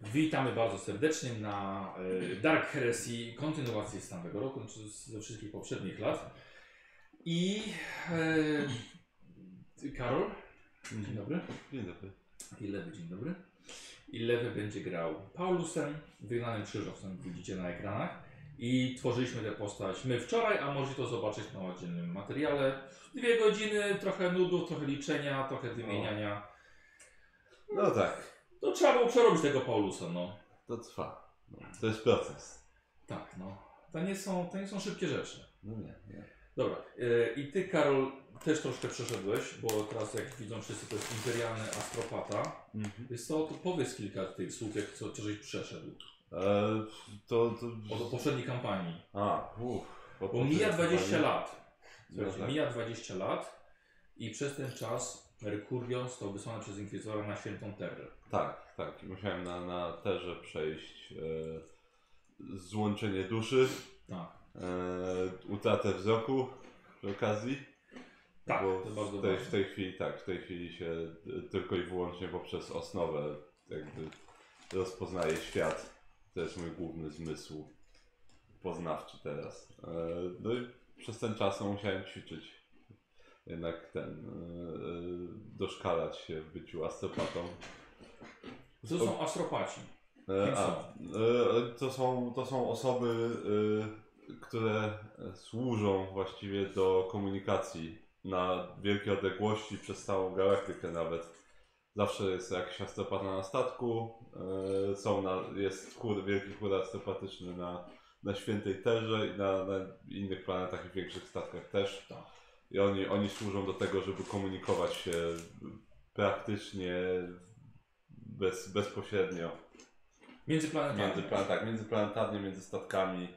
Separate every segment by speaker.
Speaker 1: Witamy bardzo serdecznie na e, Dark Heresy, kontynuację z tamtego roku, znaczy z- ze wszystkich poprzednich lat. I e, Karol, dzień dobry.
Speaker 2: Dzień dobry.
Speaker 1: I lewy, dzień dobry. I lewy będzie grał Paulusem, wygnanym krzyżowcem, widzicie na ekranach. I tworzyliśmy tę postać my wczoraj, a możecie to zobaczyć na oddzielnym materiale. Dwie godziny, trochę nudów, trochę liczenia, trochę wymieniania.
Speaker 2: No tak,
Speaker 1: No trzeba było przerobić tego Paulusa, no.
Speaker 2: to trwa. No, to jest proces.
Speaker 1: Tak, no. To nie są, to nie są szybkie rzeczy.
Speaker 2: No nie, nie.
Speaker 1: Dobra. e, I ty, Karol, też troszkę przeszedłeś, bo teraz jak widzą wszyscy, to jest imperialny astropata.
Speaker 2: Mhm.
Speaker 1: Więc to, to powiedz kilka tych słów, jak co, co żeś przeszedł.
Speaker 2: E, to, to...
Speaker 1: Od poprzedniej kampanii.
Speaker 2: A, uff.
Speaker 1: Bo mija 20 lat.
Speaker 2: No
Speaker 1: Słuchajcie,
Speaker 2: tak.
Speaker 1: mija 20 lat i przez ten czas Mercurio został wysłany przez Inkwizytora na Świętą Terrę.
Speaker 2: Tak, tak. Musiałem na, na terze przejść e, złączenie duszy,
Speaker 1: Tak.
Speaker 2: e, utratę wzroku przy okazji.
Speaker 1: Tak,
Speaker 2: bo
Speaker 1: to bardzo
Speaker 2: w tej,
Speaker 1: ważne.
Speaker 2: w tej chwili tak, w tej chwili się e, tylko i wyłącznie poprzez osnowę jakby rozpoznaje świat. To jest mój główny zmysł poznawczy teraz. E, No i przez ten czas no, musiałem ćwiczyć. Jednak ten, e, e, doszkalać się w byciu astropatą.
Speaker 1: Co to są astropaci?
Speaker 2: E,
Speaker 1: Kim są?
Speaker 2: e, to, są, to są osoby, e, które służą właściwie do komunikacji na wielkie odległości przez całą galaktykę nawet. Zawsze jest jakiś astropata na statku, e, są na, jest chór, wielki chór astropatyczny na, na Świętej Terze i na, na innych planetach i większych statkach też.
Speaker 1: Tak.
Speaker 2: I oni, oni służą do tego, żeby komunikować się praktycznie bez, bezpośrednio
Speaker 1: Międzyplanetarne.
Speaker 2: Międzyplan, tak, międzyplanetarnie, między statkami.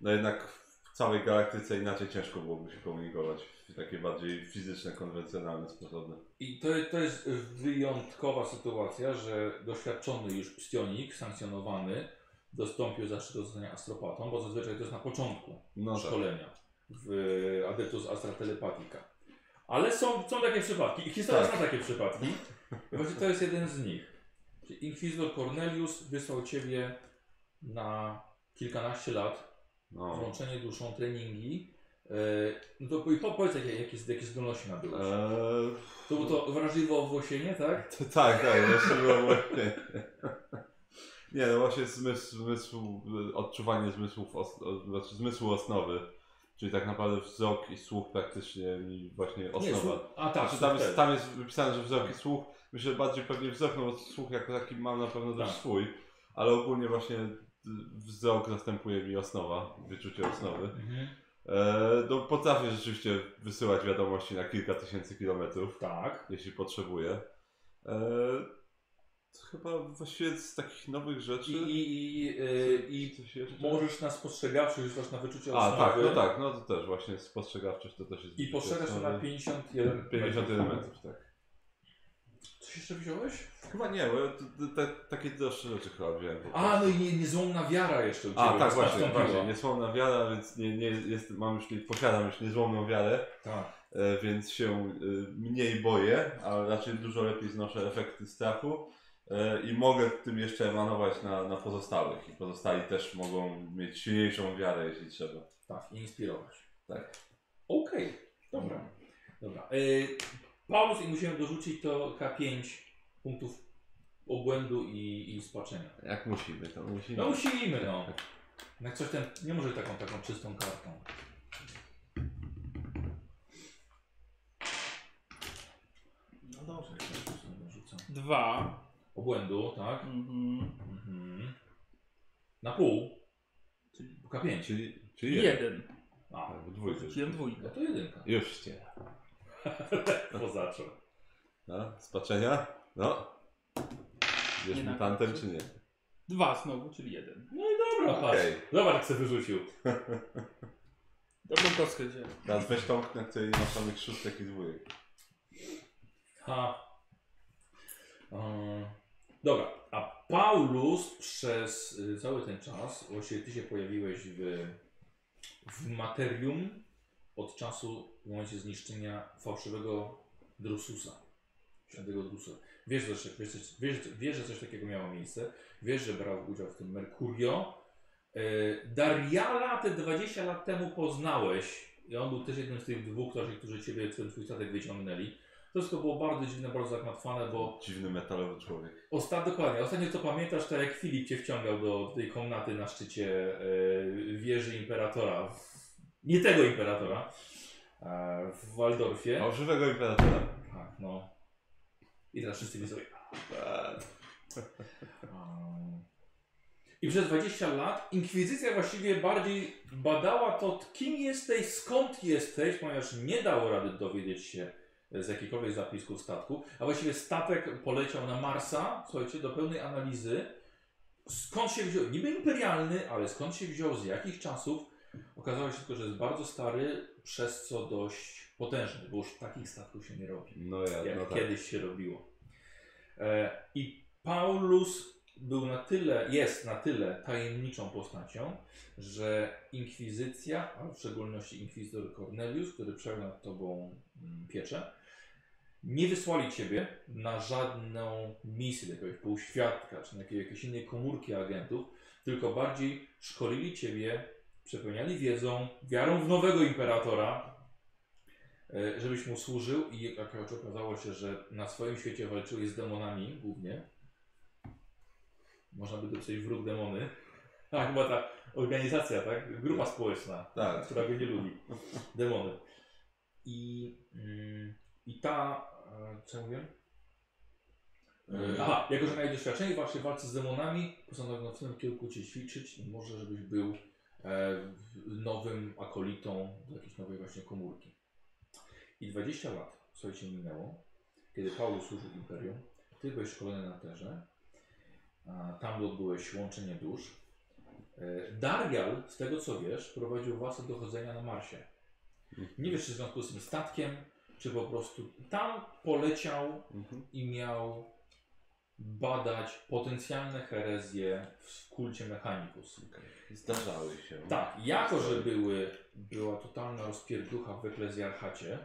Speaker 2: No jednak w całej galaktyce inaczej ciężko byłoby się komunikować w takie bardziej fizyczne, konwencjonalne sposoby.
Speaker 1: I to, to jest wyjątkowa sytuacja, że doświadczony już pstionik, sankcjonowany, dostąpił zaszczytu zostania astropatą, bo zazwyczaj to jest na początku
Speaker 2: No tak.
Speaker 1: szkolenia w Adeptus Astra Telepatica. Ale są, są takie przypadki. I historia
Speaker 2: Tak.
Speaker 1: zna takie przypadki. I Właśnie to jest jeden z nich. Czyli Inkwizytor Cornelius wysłał Ciebie na kilkanaście lat,
Speaker 2: No.
Speaker 1: włączenie duszą, treningi. E, No to po- po- powiedz, jakie, jakie, jakie zdolności nabyłeś.
Speaker 2: Eee,
Speaker 1: To było to wrażliwe owłosienie, tak?
Speaker 2: t- tak, tak, właśnie było właśnie. Nie, no właśnie zmysł, zmysł odczuwanie zmysłów, os, o- znaczy zmysłu osnowy. Czyli tak naprawdę wzrok i słuch praktycznie i właśnie
Speaker 1: Nie,
Speaker 2: osnowa.
Speaker 1: słuch- A tak,
Speaker 2: znaczy, tam,
Speaker 1: super.
Speaker 2: jest, tam jest wypisane, że wzrok i słuch. Myślę, że bardziej pewnie wzrok, no bo słuch jako taki mam na pewno też
Speaker 1: Tak.
Speaker 2: swój. Ale ogólnie właśnie y, wzrok zastępuje mi osnowa, wyczucie osnowy.
Speaker 1: Mhm.
Speaker 2: E, no, potrafię rzeczywiście wysyłać wiadomości na kilka tysięcy kilometrów,
Speaker 1: Tak.
Speaker 2: jeśli potrzebuję. E, to chyba właściwie z takich nowych rzeczy...
Speaker 1: I, i, i, y, i
Speaker 2: coś jeszcze?
Speaker 1: możesz na spostrzegawczość rzucać na wyczucie
Speaker 2: A,
Speaker 1: osnowy
Speaker 2: tak, no tak, no to też właśnie spostrzegawczość to też jest...
Speaker 1: i postrzegasz to na 51
Speaker 2: 51 metrów, tak.
Speaker 1: Coś jeszcze wziąłeś?
Speaker 2: Chyba nie, bo ja t- t- te, takie droższe rzeczy chyba wziąłem. po
Speaker 1: A, no
Speaker 2: prostu.
Speaker 1: i nie, niezłomna wiara jeszcze u Ciebie.
Speaker 2: A, tak, właśnie,
Speaker 1: nastąpiła.
Speaker 2: właśnie. Niezłomna wiara, więc nie, nie jest, mam już, nie, posiadam już niezłomną wiarę,
Speaker 1: Tak.
Speaker 2: e, więc się e, mniej boję, a raczej dużo lepiej znoszę efekty strachu e, i mogę tym jeszcze emanować na, na pozostałych. I pozostali też mogą mieć silniejszą wiarę, jeśli trzeba.
Speaker 1: Tak, i inspirować.
Speaker 2: Tak.
Speaker 1: Okej, dobra. Dobra. Y, Paulus i musimy dorzucić to K5 punktów obłędu i, i spaczenia.
Speaker 2: Jak musimy, to musimy.
Speaker 1: No musimy, no. Jak coś ten, nie może taką, taką czystą kartą.
Speaker 3: No dobrze.
Speaker 1: Rzucam.
Speaker 3: Dwa.
Speaker 1: Obłędu, tak?
Speaker 3: Mhm.
Speaker 1: Mhm. Na pół.
Speaker 3: Czyli-
Speaker 1: Bo K5.
Speaker 2: Czyli, czyli jeden.
Speaker 3: Jeden.
Speaker 1: A,
Speaker 2: Tak, bo dwójka.
Speaker 3: Rzuciłem
Speaker 1: no
Speaker 3: dwójkę.
Speaker 1: to jedynka.
Speaker 2: Już cię.
Speaker 1: Pozaczę.
Speaker 2: No, spaczenia? No. Wiesz
Speaker 3: Nie na-
Speaker 2: mutantem czy nie?
Speaker 3: Dwa znowu, czyli jeden.
Speaker 1: No i dobra, patrz.
Speaker 2: Okej.
Speaker 1: Zobacz, jak sobie wyrzucił.
Speaker 3: Dobrą kostkę wziąłem.
Speaker 2: Teraz weź tą, na której nie ma samych szóstek i dwójek.
Speaker 1: Ha. Ehm, dobra, a Paulus przez y, cały ten czas, właściwie ty się pojawiłeś w, w materium od czasu w momencie zniszczenia fałszywego Drususa. Świętego Drususa. Wiesz, że, coś- wiesz, coś- wiesz, wiesz, że coś takiego miało miejsce. Wiesz, że brał udział w tym Mercurio. Yy, Dariala te 20 lat temu poznałeś. I on był też jednym z tych dwóch, którzy, którzy ciebie w ten twój statek wyciągnęli. To wszystko było bardzo dziwne, bardzo zagmatwane, bo
Speaker 2: Dziwny metalowy człowiek.
Speaker 1: Osta, dokładnie. Ostatnio co pamiętasz, to jak Filip cię wciągał do tej komnaty na szczycie e, wieży imperatora. W, nie tego imperatora. E, w Waldorfie.
Speaker 2: O żywego imperatora.
Speaker 1: Tak, no. I teraz wszyscy wiedzą.
Speaker 2: Eee,
Speaker 1: Um, I przez 20 lat inkwizycja właściwie bardziej badała to, kim jesteś, skąd jesteś, ponieważ nie dało rady dowiedzieć się z jakichkolwiek zapisków statku, a właściwie statek poleciał na Marsa, słuchajcie, do pełnej analizy, skąd się wziął, niby imperialny, ale skąd się wziął, z jakich czasów, okazało się tylko, że jest bardzo stary, przez co dość potężny, bo już takich statków się nie robi
Speaker 2: No ja,
Speaker 1: jak
Speaker 2: no tak.
Speaker 1: kiedyś się robiło. E, I Paulus był na tyle, jest na tyle tajemniczą postacią, że inkwizycja, a w szczególności inkwizytor Cornelius, który przejął nad tobą mm, pieczę, nie wysłali ciebie na żadną misję do jakiegoś półświadka czy na jakiej- jakiejś innej komórki agentów, tylko bardziej szkolili ciebie, przepełniali wiedzą, wiarą w nowego imperatora, e, żebyś mu służył i jak okazało się, że na swoim świecie walczyłeś z demonami głównie. Można by dopisać wróg demony. A chyba ta organizacja, tak? Grupa społeczna
Speaker 2: Tak.
Speaker 1: która go nie lubi. Demony. I, mm, i ta. e, Co ja mówię? E, Aha, jako że miałeś doświadczenie w waszej walce z demonami, postanowiono w tym kierunku cię ćwiczyć i może, żebyś był e, nowym akolitą do jakiejś nowej właśnie komórki. I 20 lat, słuchajcie, minęło, kiedy Paulus służył imperium. Ty byłeś szkolony na terze. a Tam odbyłeś łączenie dusz. E, Darial, z tego co wiesz, prowadził was do chodzenia na Marsie. Nie wiesz, czy w związku z tym statkiem, czy po prostu tam poleciał
Speaker 2: Mhm.
Speaker 1: i miał badać potencjalne herezje w kulcie Mechanicus.
Speaker 2: Zdarzały się. no.
Speaker 1: Tak, jako że były, była totalna rozpierducha w eklezjarchacie,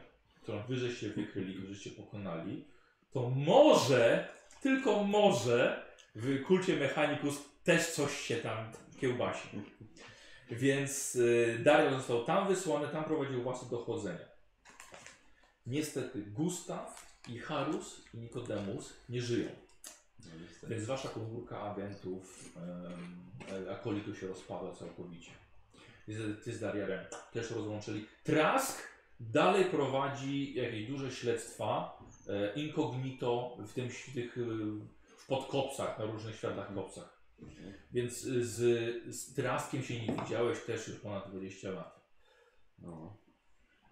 Speaker 1: którą wyżej się wykryli, wyżej się pokonali, to może, tylko może w kulcie Mechanicus też coś się tam kiełbasi. Więc y, Dario został tam wysłany, tam prowadził własne dochodzenia. Niestety Gustaw i Harus i Nikodemus nie żyją.
Speaker 2: No, niestety.
Speaker 1: Więc wasza komórka agentów em, e, akolitu się rozpada całkowicie. Ty z- Ty z Dariarem też rozłączyli. Trask dalej prowadzi jakieś duże śledztwa e, incognito w tym ś- tych, e, w podkopsach, na różnych światach kopsach. Więc e, z, z Traskiem się nie widziałeś też już ponad 20 lat.
Speaker 2: No.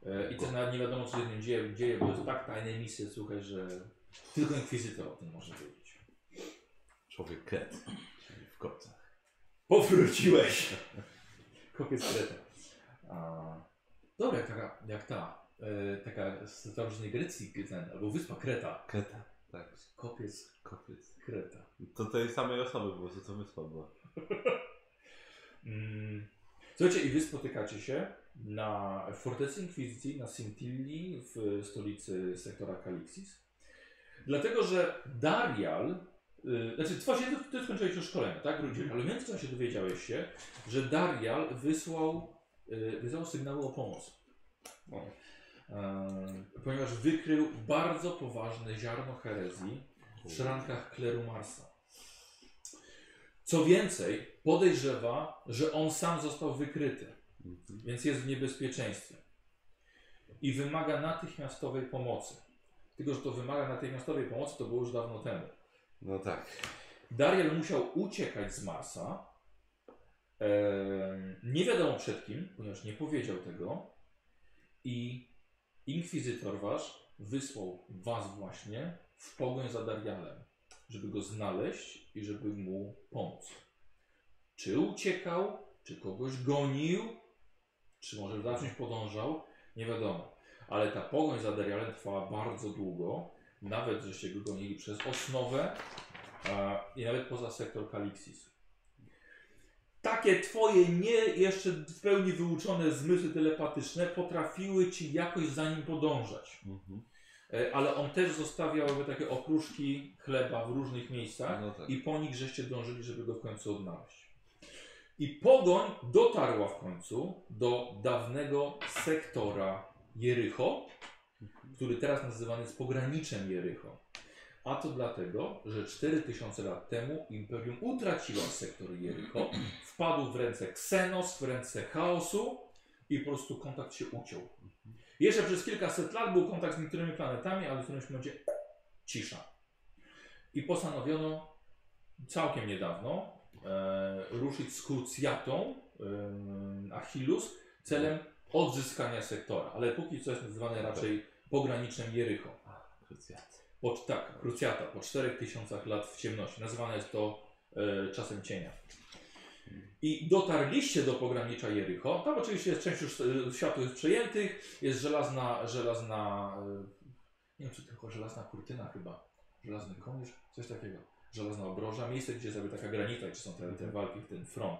Speaker 1: E, I też nawet nie wiadomo, co się z nim dzieje, dzieje, bo to tak tajne misje, słuchaj, że tylko inkwizytor o tym może wiedzieć.
Speaker 2: Człowiek kret. Czyli w kopcach.
Speaker 1: Powróciłeś. Kopiec kreta. A, Dobra, jak taka, jak ta, e, taka z starożytnej Grecji, gdzie ten, albo wyspa Kreta.
Speaker 2: Kreta. Tak.
Speaker 1: Kopiec
Speaker 2: Kopiec.
Speaker 1: Kreta.
Speaker 2: To tej samej osoby było, co to wyspa była.
Speaker 1: Mm. Słuchajcie, i wy spotykacie się na fortecy Inkwizycji, na Sintilli, w stolicy sektora Kalixis. Dlatego, że Darial, y, znaczy ty właśnie ty, ty skończyłeś już szkolenie, tak, Rudzie? Ale w międzyczasie dowiedziałeś się, że Darial wysłał, y, wysłał sygnały o pomoc.
Speaker 2: No.
Speaker 1: Em, ponieważ wykrył bardzo poważne ziarno herezji w szrankach kleru Marsa. Co więcej, podejrzewa, że on sam został wykryty,
Speaker 2: Mhm.
Speaker 1: więc jest w niebezpieczeństwie i wymaga natychmiastowej pomocy. Tylko, że to wymaga natychmiastowej pomocy, to było już dawno temu.
Speaker 2: No tak.
Speaker 1: Dariel musiał uciekać z Marsa. Em, nie wiadomo przed kim, ponieważ nie powiedział tego. I inkwizytor wasz wysłał was właśnie w pogoń za Darialem, żeby go znaleźć i żeby mu pomóc. Czy uciekał, czy kogoś gonił, czy może za czymś podążał, nie wiadomo. Ale ta pogoń za Darialem trwała bardzo długo, nawet żeście go gonili przez osnowę, a, i nawet poza sektor Kalixis. Takie twoje nie jeszcze w pełni wyuczone zmysły telepatyczne potrafiły ci jakoś za nim podążać.
Speaker 2: Mhm.
Speaker 1: E, Ale on też zostawiał jakby takie okruszki chleba w różnych miejscach
Speaker 2: No tak.
Speaker 1: i po nich żeście dążyli, żeby go w końcu odnaleźć. I pogoń dotarła w końcu do dawnego sektora Jericho, który teraz nazywany jest pograniczem Jericho. A to dlatego, że 4000 lat temu Imperium utraciło sektor Jericho, wpadł w ręce Ksenos, w ręce chaosu i po prostu kontakt się uciął. Jeszcze przez kilkaset lat był kontakt z niektórymi planetami, ale w którymś momencie cisza. I postanowiono całkiem niedawno e, ruszyć z krucjatą e, Achillus celem odzyskania sektora, ale póki co jest nazywane raczej pogranicznym Jericho. Po, tak, krucjata po 4000 lat w ciemności. Nazywane jest to e, czasem cienia. I dotarliście do pogranicza Jericho. Tam oczywiście jest część już e, światów jest przejętych, jest żelazna, żelazna, e, nie wiem czy tylko żelazna kurtyna chyba, żelazny kołnierz, coś takiego. Żelazna obroża, miejsce gdzie jest jakby taka granica, gdzie są te, te walki, ten front.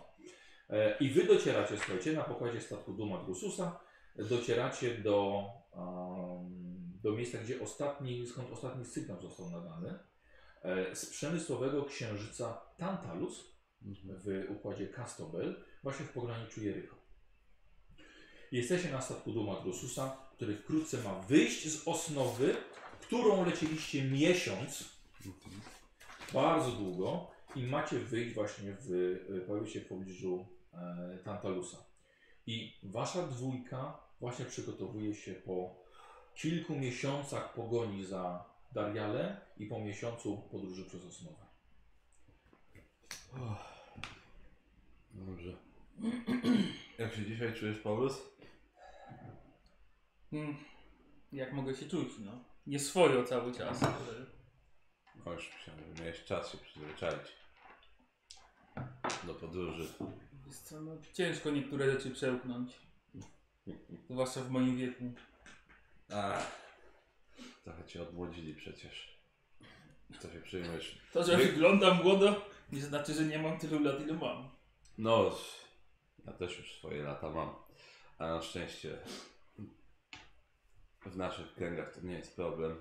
Speaker 1: E, I wy docieracie, słuchajcie, na pokładzie statku Duma Drususa, docieracie do, em, do miejsca, gdzie ostatni, skąd ostatni sygnał został nadany, e, z przemysłowego księżyca Tantalus w układzie Castobel, właśnie w pograniczu Jericho. Jesteście na statku Duma Drususa, który wkrótce ma wyjść z osnowy, którą lecieliście miesiąc,
Speaker 2: Mhm.
Speaker 1: bardzo długo i macie wyjść właśnie w, y, pojawi się w pobliżu e, Tantalusa. I wasza dwójka właśnie przygotowuje się po kilku miesiącach pogoni za Dariale i po miesiącu podróży przez Osnowę.
Speaker 2: Dobrze. Jak się dzisiaj czujesz, Paulus?
Speaker 3: Mm, jak mogę się czuć, no. Nie swojo cały czas. ale-
Speaker 2: Kończ się, miałeś czas się przyzwyczaić do podróży.
Speaker 3: Wiesz co, no, ciężko niektóre rzeczy przełknąć. Zwłaszcza w moim wieku.
Speaker 2: Ach, trochę cię odmłodzili przecież. Co się przyjmujesz?
Speaker 3: To, że
Speaker 2: Wy-
Speaker 3: wyglądam młodo, nie znaczy, że nie mam tylu lat, ile mam.
Speaker 2: No, ja też już swoje lata mam. A na szczęście w naszych kręgach to nie jest problem.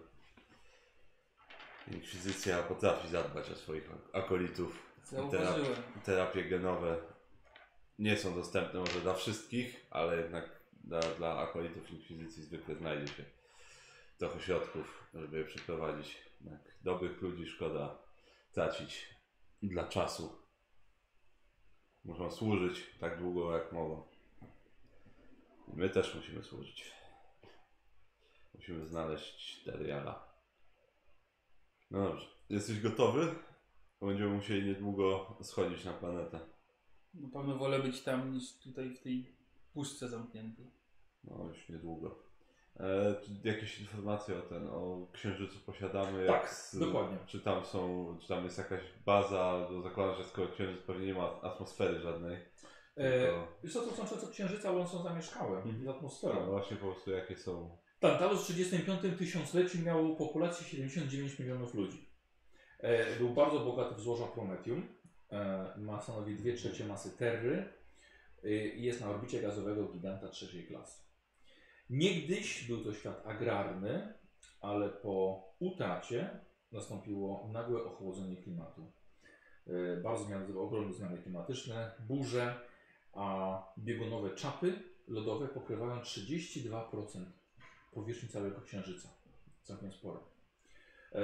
Speaker 2: Inkwizycja potrafi zadbać o swoich ak- akolitów.
Speaker 3: Zauważyłem.
Speaker 2: Terapie genowe nie są dostępne może dla wszystkich, ale jednak dla, dla akolitów inkwizycji zwykle znajdzie się trochę środków, żeby je przeprowadzić. Jednak dobrych ludzi szkoda tracić dla czasu. Muszą służyć tak długo, jak mogą. I my też musimy służyć. Musimy znaleźć Dariala. No dobrze. Jesteś gotowy? Będziemy musieli niedługo schodzić na planetę.
Speaker 3: Na pewno wolę być tam niż tutaj w tej puszce zamkniętej.
Speaker 2: No już niedługo. E, czy jakieś informacje o ten, o księżycu posiadamy?
Speaker 1: Tak,
Speaker 2: jak z,
Speaker 1: dokładnie.
Speaker 2: Czy tam są, czy tam jest jakaś baza, bo zakładam, że skoro księżyc pewnie nie ma atmosfery żadnej.
Speaker 1: E,
Speaker 2: tylko-
Speaker 1: wiesz co, to są często księżyca, bo one są zamieszkałe
Speaker 2: Mhm.
Speaker 1: z
Speaker 2: No
Speaker 1: atmosferą.
Speaker 2: właśnie po prostu jakie są.
Speaker 1: Tantalus Tak, w 35 tysiącleciu miał populację 79 milionów ludzi. E, był bardzo bogaty w złoża Prometium. E, ma stanowi 2 trzecie masy Terry e, i jest na orbicie gazowego giganta trzeciej klasy. Niegdyś był to świat agrarny, ale po utracie nastąpiło nagłe ochłodzenie klimatu. E, bardzo zmiany, ogromne zmiany klimatyczne, burze, a biegunowe czapy lodowe pokrywają 32% powierzchni całego Księżyca. Całkiem sporo. E,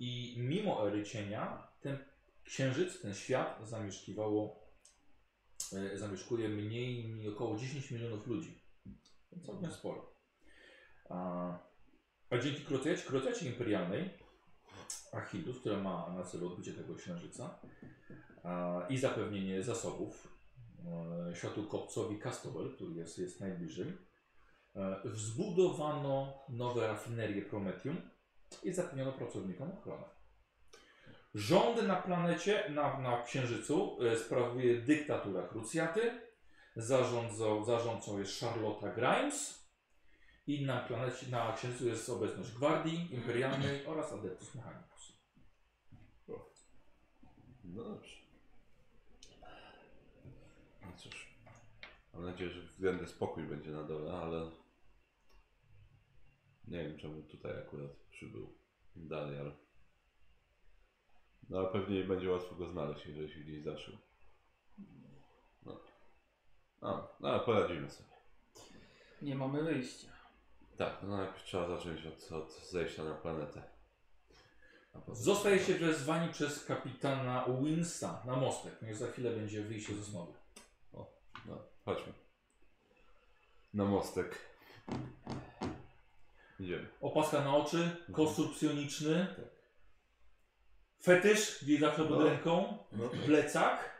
Speaker 1: I mimo ery cienia, ten Księżyc, ten świat zamieszkiwało, e, zamieszkuje mniej niż około 10 milionów ludzi. Więc Całkiem sporo. A, a dzięki krocaci, krocaci imperialnej Achillus, która ma na celu odbicie tego księżyca a, i zapewnienie zasobów e, światu kopcowi Castowel, który jest, jest najbliżej, E, Wzbudowano nowe rafinerie Prometium i zapewniono pracownikom ochronę. Rządy na planecie, na, na Księżycu e, sprawuje dyktatura krucjaty, zarządzą, zarządcą jest Charlotta Grimes i na, planecie, na Księżycu jest obecność Gwardii Imperialnej oraz Adeptus Mechanicus.
Speaker 2: No dobrze. No cóż. Mam nadzieję, że względny spokój będzie na dole, ale Nie wiem czemu tutaj akurat przybył Darial. No ale pewnie będzie łatwo go znaleźć, jeżeli się gdzieś zaszył. No. A, no ale poradzimy sobie.
Speaker 3: Nie mamy wyjścia.
Speaker 2: Tak, no najpierw trzeba zacząć od, od zejścia na planetę. A potem-
Speaker 1: Zostajecie wezwani przez kapitana Winsta na mostek, ponieważ za chwilę będzie wyjście ze znowu.
Speaker 2: No, chodźmy. Na mostek. Idziemy.
Speaker 1: Opaska na oczy,
Speaker 2: Mhm.
Speaker 1: kostur psioniczny, fetysz, gdzie zawsze pod
Speaker 2: Tak. No.
Speaker 1: ręką,
Speaker 2: No.
Speaker 1: plecak,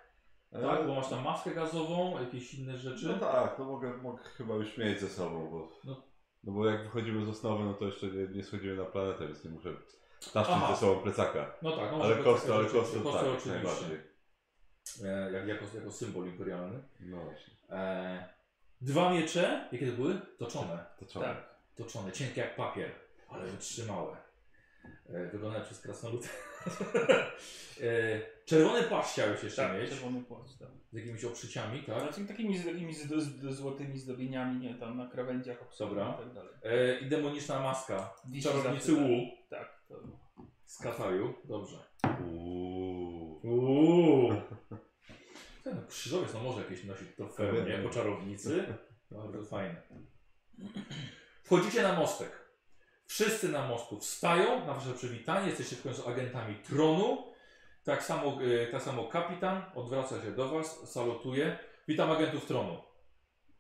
Speaker 1: tak,
Speaker 2: E,
Speaker 1: bo masz tam maskę gazową, jakieś inne rzeczy.
Speaker 2: No tak, no mogę, mogę chyba już mieć ze sobą, bo...
Speaker 1: No.
Speaker 2: No. bo jak wychodzimy z osnowy, no to jeszcze nie, nie schodzimy na planetę, więc nie muszę taszczyć
Speaker 1: Aha.
Speaker 2: ze sobą plecaka.
Speaker 1: No tak, no
Speaker 2: Ale
Speaker 1: może
Speaker 2: kostur,
Speaker 1: plecak
Speaker 2: ale
Speaker 1: rzeczywiście,
Speaker 2: kostur,
Speaker 1: kostur
Speaker 2: tak, najbardziej.
Speaker 1: oczywiście, e, jak, jako, jako symbol imperialny.
Speaker 2: No właśnie,
Speaker 1: E, dwa miecze, jakie to były? Toczone.
Speaker 2: to trzeba.
Speaker 1: Tak, toczone, cienkie jak papier, ale wytrzymałe. E, wyglądają przez krasnolud. e, czerwony płaszcz chciałeś jeszcze mieć,
Speaker 3: czerwony płaszcz, tak.
Speaker 1: z jakimiś obszyciami, tak?
Speaker 3: Ale tymi takimi, z- takimi z, z, złotymi zdobieniami, nie, tam na krawędziach
Speaker 1: Dobra.
Speaker 3: i tak dalej.
Speaker 1: E, I demoniczna maska,
Speaker 3: Wisi
Speaker 1: czarownicy
Speaker 3: zawsze,
Speaker 1: Wu
Speaker 3: Tak, to
Speaker 1: z Kataju, dobrze.
Speaker 2: Uuu.
Speaker 1: Uuu. Ten krzyżowiec, no może jakieś nosi trofeum, nie?
Speaker 2: Pewnie.
Speaker 1: Po czarownicy. Bardzo fajne. Wchodzicie na mostek. Wszyscy na mostku wstają na wasze przywitanie. Jesteście w końcu agentami tronu. Tak samo, e, tak samo kapitan odwraca się do was, salutuje. Witam agentów tronu.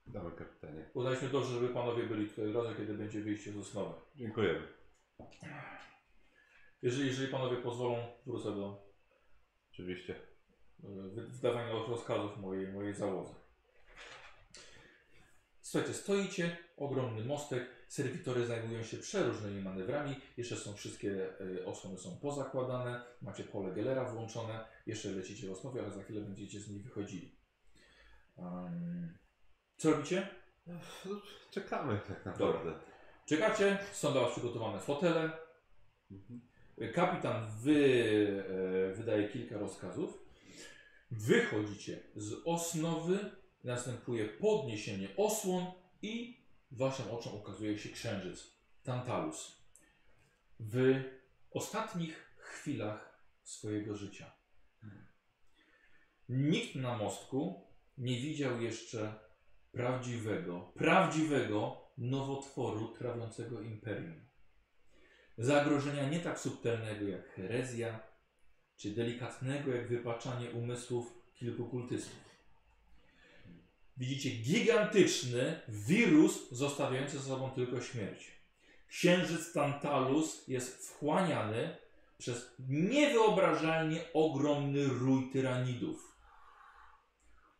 Speaker 2: Damy kapitanie.
Speaker 1: Uznaliśmy dobrze, żeby panowie byli tutaj razem, kiedy będzie wyjście z osnowy.
Speaker 2: Dziękujemy.
Speaker 1: Jeżeli, jeżeli panowie pozwolą, wrócę do
Speaker 2: Oczywiście.
Speaker 1: e, wy- wydawania rozkazów mojej, mojej załodze. Słuchajcie, stoicie, ogromny mostek, serwitory zajmują się przeróżnymi manewrami, jeszcze są wszystkie e, osłony są pozakładane, macie pole Gellera włączone, jeszcze lecicie w osnowie, ale za chwilę będziecie z nich wychodzili. Em, co robicie?
Speaker 2: Czekamy tak naprawdę.
Speaker 1: Czekacie, są dla was przygotowane fotele, Kapitan wy, e, wydaje kilka rozkazów. Wychodzicie z osnowy, następuje podniesienie osłon i waszym oczom ukazuje się księżyc Tantalus. W ostatnich chwilach swojego życia. Nikt na mostku nie widział jeszcze prawdziwego, prawdziwego nowotworu trawiącego imperium. Zagrożenia nie tak subtelnego jak herezja, czy delikatnego jak wypaczanie umysłów kilku kultystów. Widzicie gigantyczny wirus zostawiający za sobą tylko śmierć. Księżyc Tantalus jest wchłaniany przez niewyobrażalnie ogromny rój tyranidów.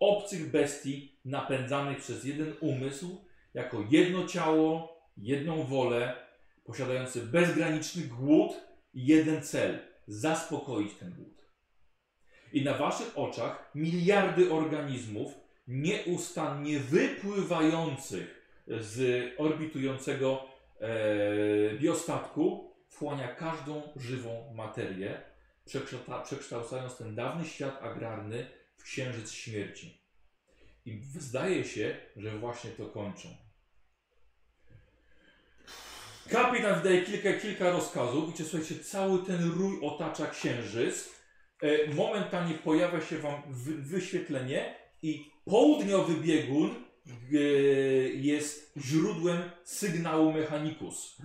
Speaker 1: Obcych bestii napędzanych przez jeden umysł jako jedno ciało, jedną wolę, posiadający bezgraniczny głód i jeden cel zaspokoić ten głód. I na waszych oczach miliardy organizmów nieustannie wypływających z orbitującego e, biostatku wchłania każdą żywą materię, przekształta, przekształcając ten dawny świat agrarny w księżyc śmierci. I zdaje się, że właśnie to kończą. Kapitan wydaje kilka, kilka rozkazów, gdzie słuchajcie, cały ten rój otacza księżyc. E, Momentalnie pojawia się wam wy- wyświetlenie i południowy biegun e, jest źródłem sygnału Mechanicus.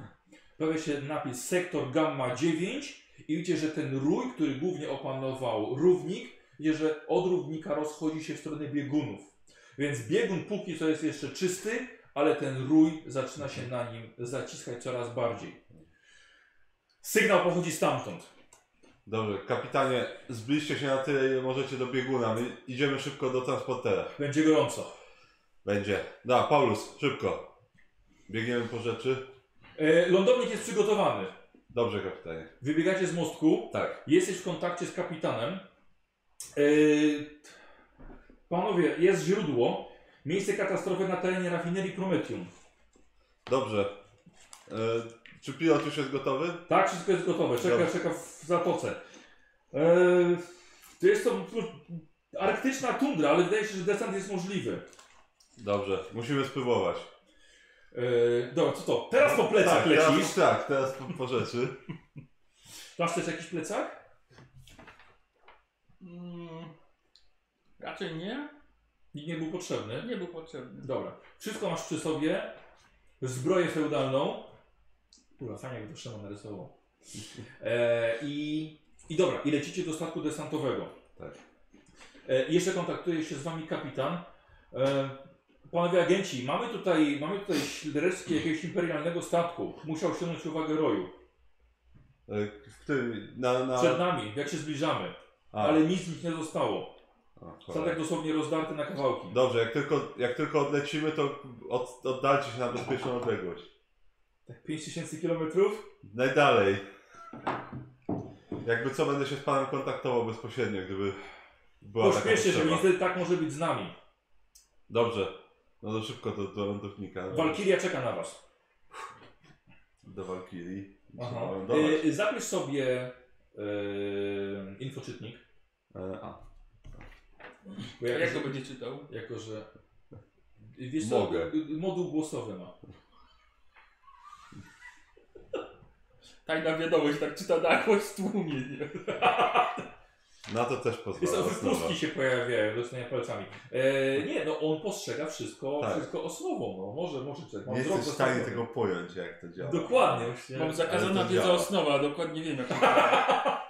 Speaker 1: Pojawia się napis sektor gamma 9 i widzicie, że ten rój, który głównie opanował równik, widzicie, że od równika rozchodzi się w stronę biegunów. Więc biegun póki co jest jeszcze czysty, ale ten rój zaczyna się na nim zaciskać coraz bardziej. Sygnał pochodzi stamtąd.
Speaker 2: Dobrze, kapitanie, zbliżcie się na tyle, ile możecie do bieguna. My idziemy szybko do transportera.
Speaker 1: Będzie gorąco.
Speaker 2: Będzie. Da, Paulus, szybko. Biegniemy po rzeczy.
Speaker 1: E, lądownik jest przygotowany.
Speaker 2: Dobrze, kapitanie.
Speaker 1: Wybiegacie z mostku.
Speaker 2: Tak.
Speaker 1: Jesteś w kontakcie z kapitanem. E, panowie, jest źródło. Miejsce katastrofy na terenie rafinerii Prometium.
Speaker 2: Dobrze. E, czy pilot już jest gotowy?
Speaker 1: Tak, wszystko jest gotowe. Czeka,
Speaker 2: Dobrze.
Speaker 1: czeka w zatoce. E, to jest to to- arktyczna tundra, ale wydaje się, że descent jest możliwy.
Speaker 2: Dobrze. Musimy spływować.
Speaker 1: Yy, dobra, co to? Teraz po plecach
Speaker 2: tak,
Speaker 1: lecisz.
Speaker 2: Teraz, tak, teraz po, po rzeczy.
Speaker 1: Masz też jakiś plecak?
Speaker 3: Mm, raczej nie.
Speaker 1: Nikt nie był potrzebny.
Speaker 3: Nie był potrzebny.
Speaker 1: Dobra. Wszystko masz przy sobie. Zbroję feudalną. Kurwa, fajnie jak to Szymon narysował. E, i, I dobra, i lecicie do statku desantowego.
Speaker 2: Tak.
Speaker 1: E, i jeszcze kontaktuje się z wami kapitan. E, panowie agenci, mamy tutaj, mamy tutaj śl- resztki jakiegoś imperialnego statku. Musiał ściągnąć uwagę roju.
Speaker 2: E, W którym? Na, na...
Speaker 1: Przed nami, jak się zbliżamy.
Speaker 2: A,
Speaker 1: Ale tak- nic z nich nie zostało.
Speaker 2: a, cholera.
Speaker 1: Statek dosłownie rozdarty na kawałki.
Speaker 2: Dobrze, jak tylko, jak tylko odlecimy, to od, oddalcie się na bezpieczną odległość.
Speaker 1: Tak 5000 kilometrów?
Speaker 2: Najdalej. Jakby co, będę się z panem kontaktował bezpośrednio, gdyby była taka
Speaker 1: Pośpieszcie No, się,
Speaker 2: potrzeba.
Speaker 1: niestety tak może być z nami.
Speaker 2: Dobrze. No to szybko do, do lądownika.
Speaker 1: Walkiria czeka na was.
Speaker 2: Do Walkirii.
Speaker 1: Aha.
Speaker 2: Trzeba lądować.
Speaker 1: Y, zapisz sobie y, infoczytnik.
Speaker 2: E, a,
Speaker 1: Bo
Speaker 3: A
Speaker 1: jako,
Speaker 3: Jak
Speaker 1: że,
Speaker 3: to będzie czytał?
Speaker 1: jako, że... Wiesz co,
Speaker 2: Mogę.
Speaker 1: y, y, moduł głosowy ma.
Speaker 3: Tajna wiadomość, tak czyta na głos w tłumie, nie?
Speaker 2: na to też
Speaker 1: Jest
Speaker 2: pozwala osnowa.
Speaker 1: odpustki się pojawiają, doceniam palcami. E, nie, no on postrzega wszystko,
Speaker 2: Tak.
Speaker 1: wszystko osłową, no może, może czekać.
Speaker 2: Nie jesteś w stanie tego pojąć, jak to działa.
Speaker 1: Dokładnie, właśnie.
Speaker 3: Mam zakazana
Speaker 2: Ale to
Speaker 3: wiedza
Speaker 2: działa.
Speaker 3: osnowa, dokładnie wiem jak to działa.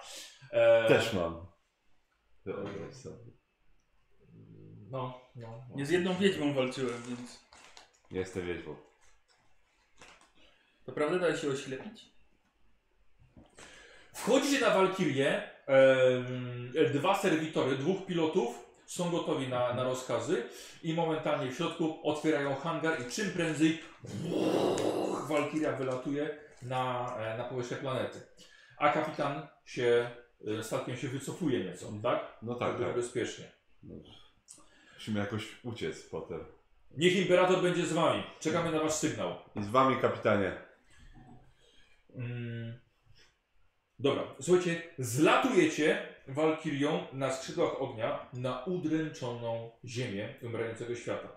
Speaker 1: E,
Speaker 2: Też mam. Wyobraź sobie.
Speaker 1: No, no.
Speaker 3: Nie z jedną wiedźmą walczyłem, więc...
Speaker 2: Nie jestem wiedźmą.
Speaker 3: To prawda daje się oślepić?
Speaker 1: Wchodzicie na Walkirię, dwa serwitory, dwóch pilotów są gotowi na, na rozkazy i momentalnie w środku otwierają hangar i czym prędzej Walkiria wylatuje na, e, na powierzchnię planety. A kapitan się e, statkiem się wycofuje nieco, tak?
Speaker 2: No tak,
Speaker 1: Żeby
Speaker 2: tak.
Speaker 1: bezpiecznie.
Speaker 2: Dobrze. Musimy jakoś uciec potem.
Speaker 1: Niech imperator będzie z wami. Czekamy na wasz sygnał.
Speaker 2: I z wami, kapitanie.
Speaker 1: Mm. Dobra, słuchajcie, zlatujecie walkirią na skrzydłach ognia na udręczoną ziemię umierającego świata.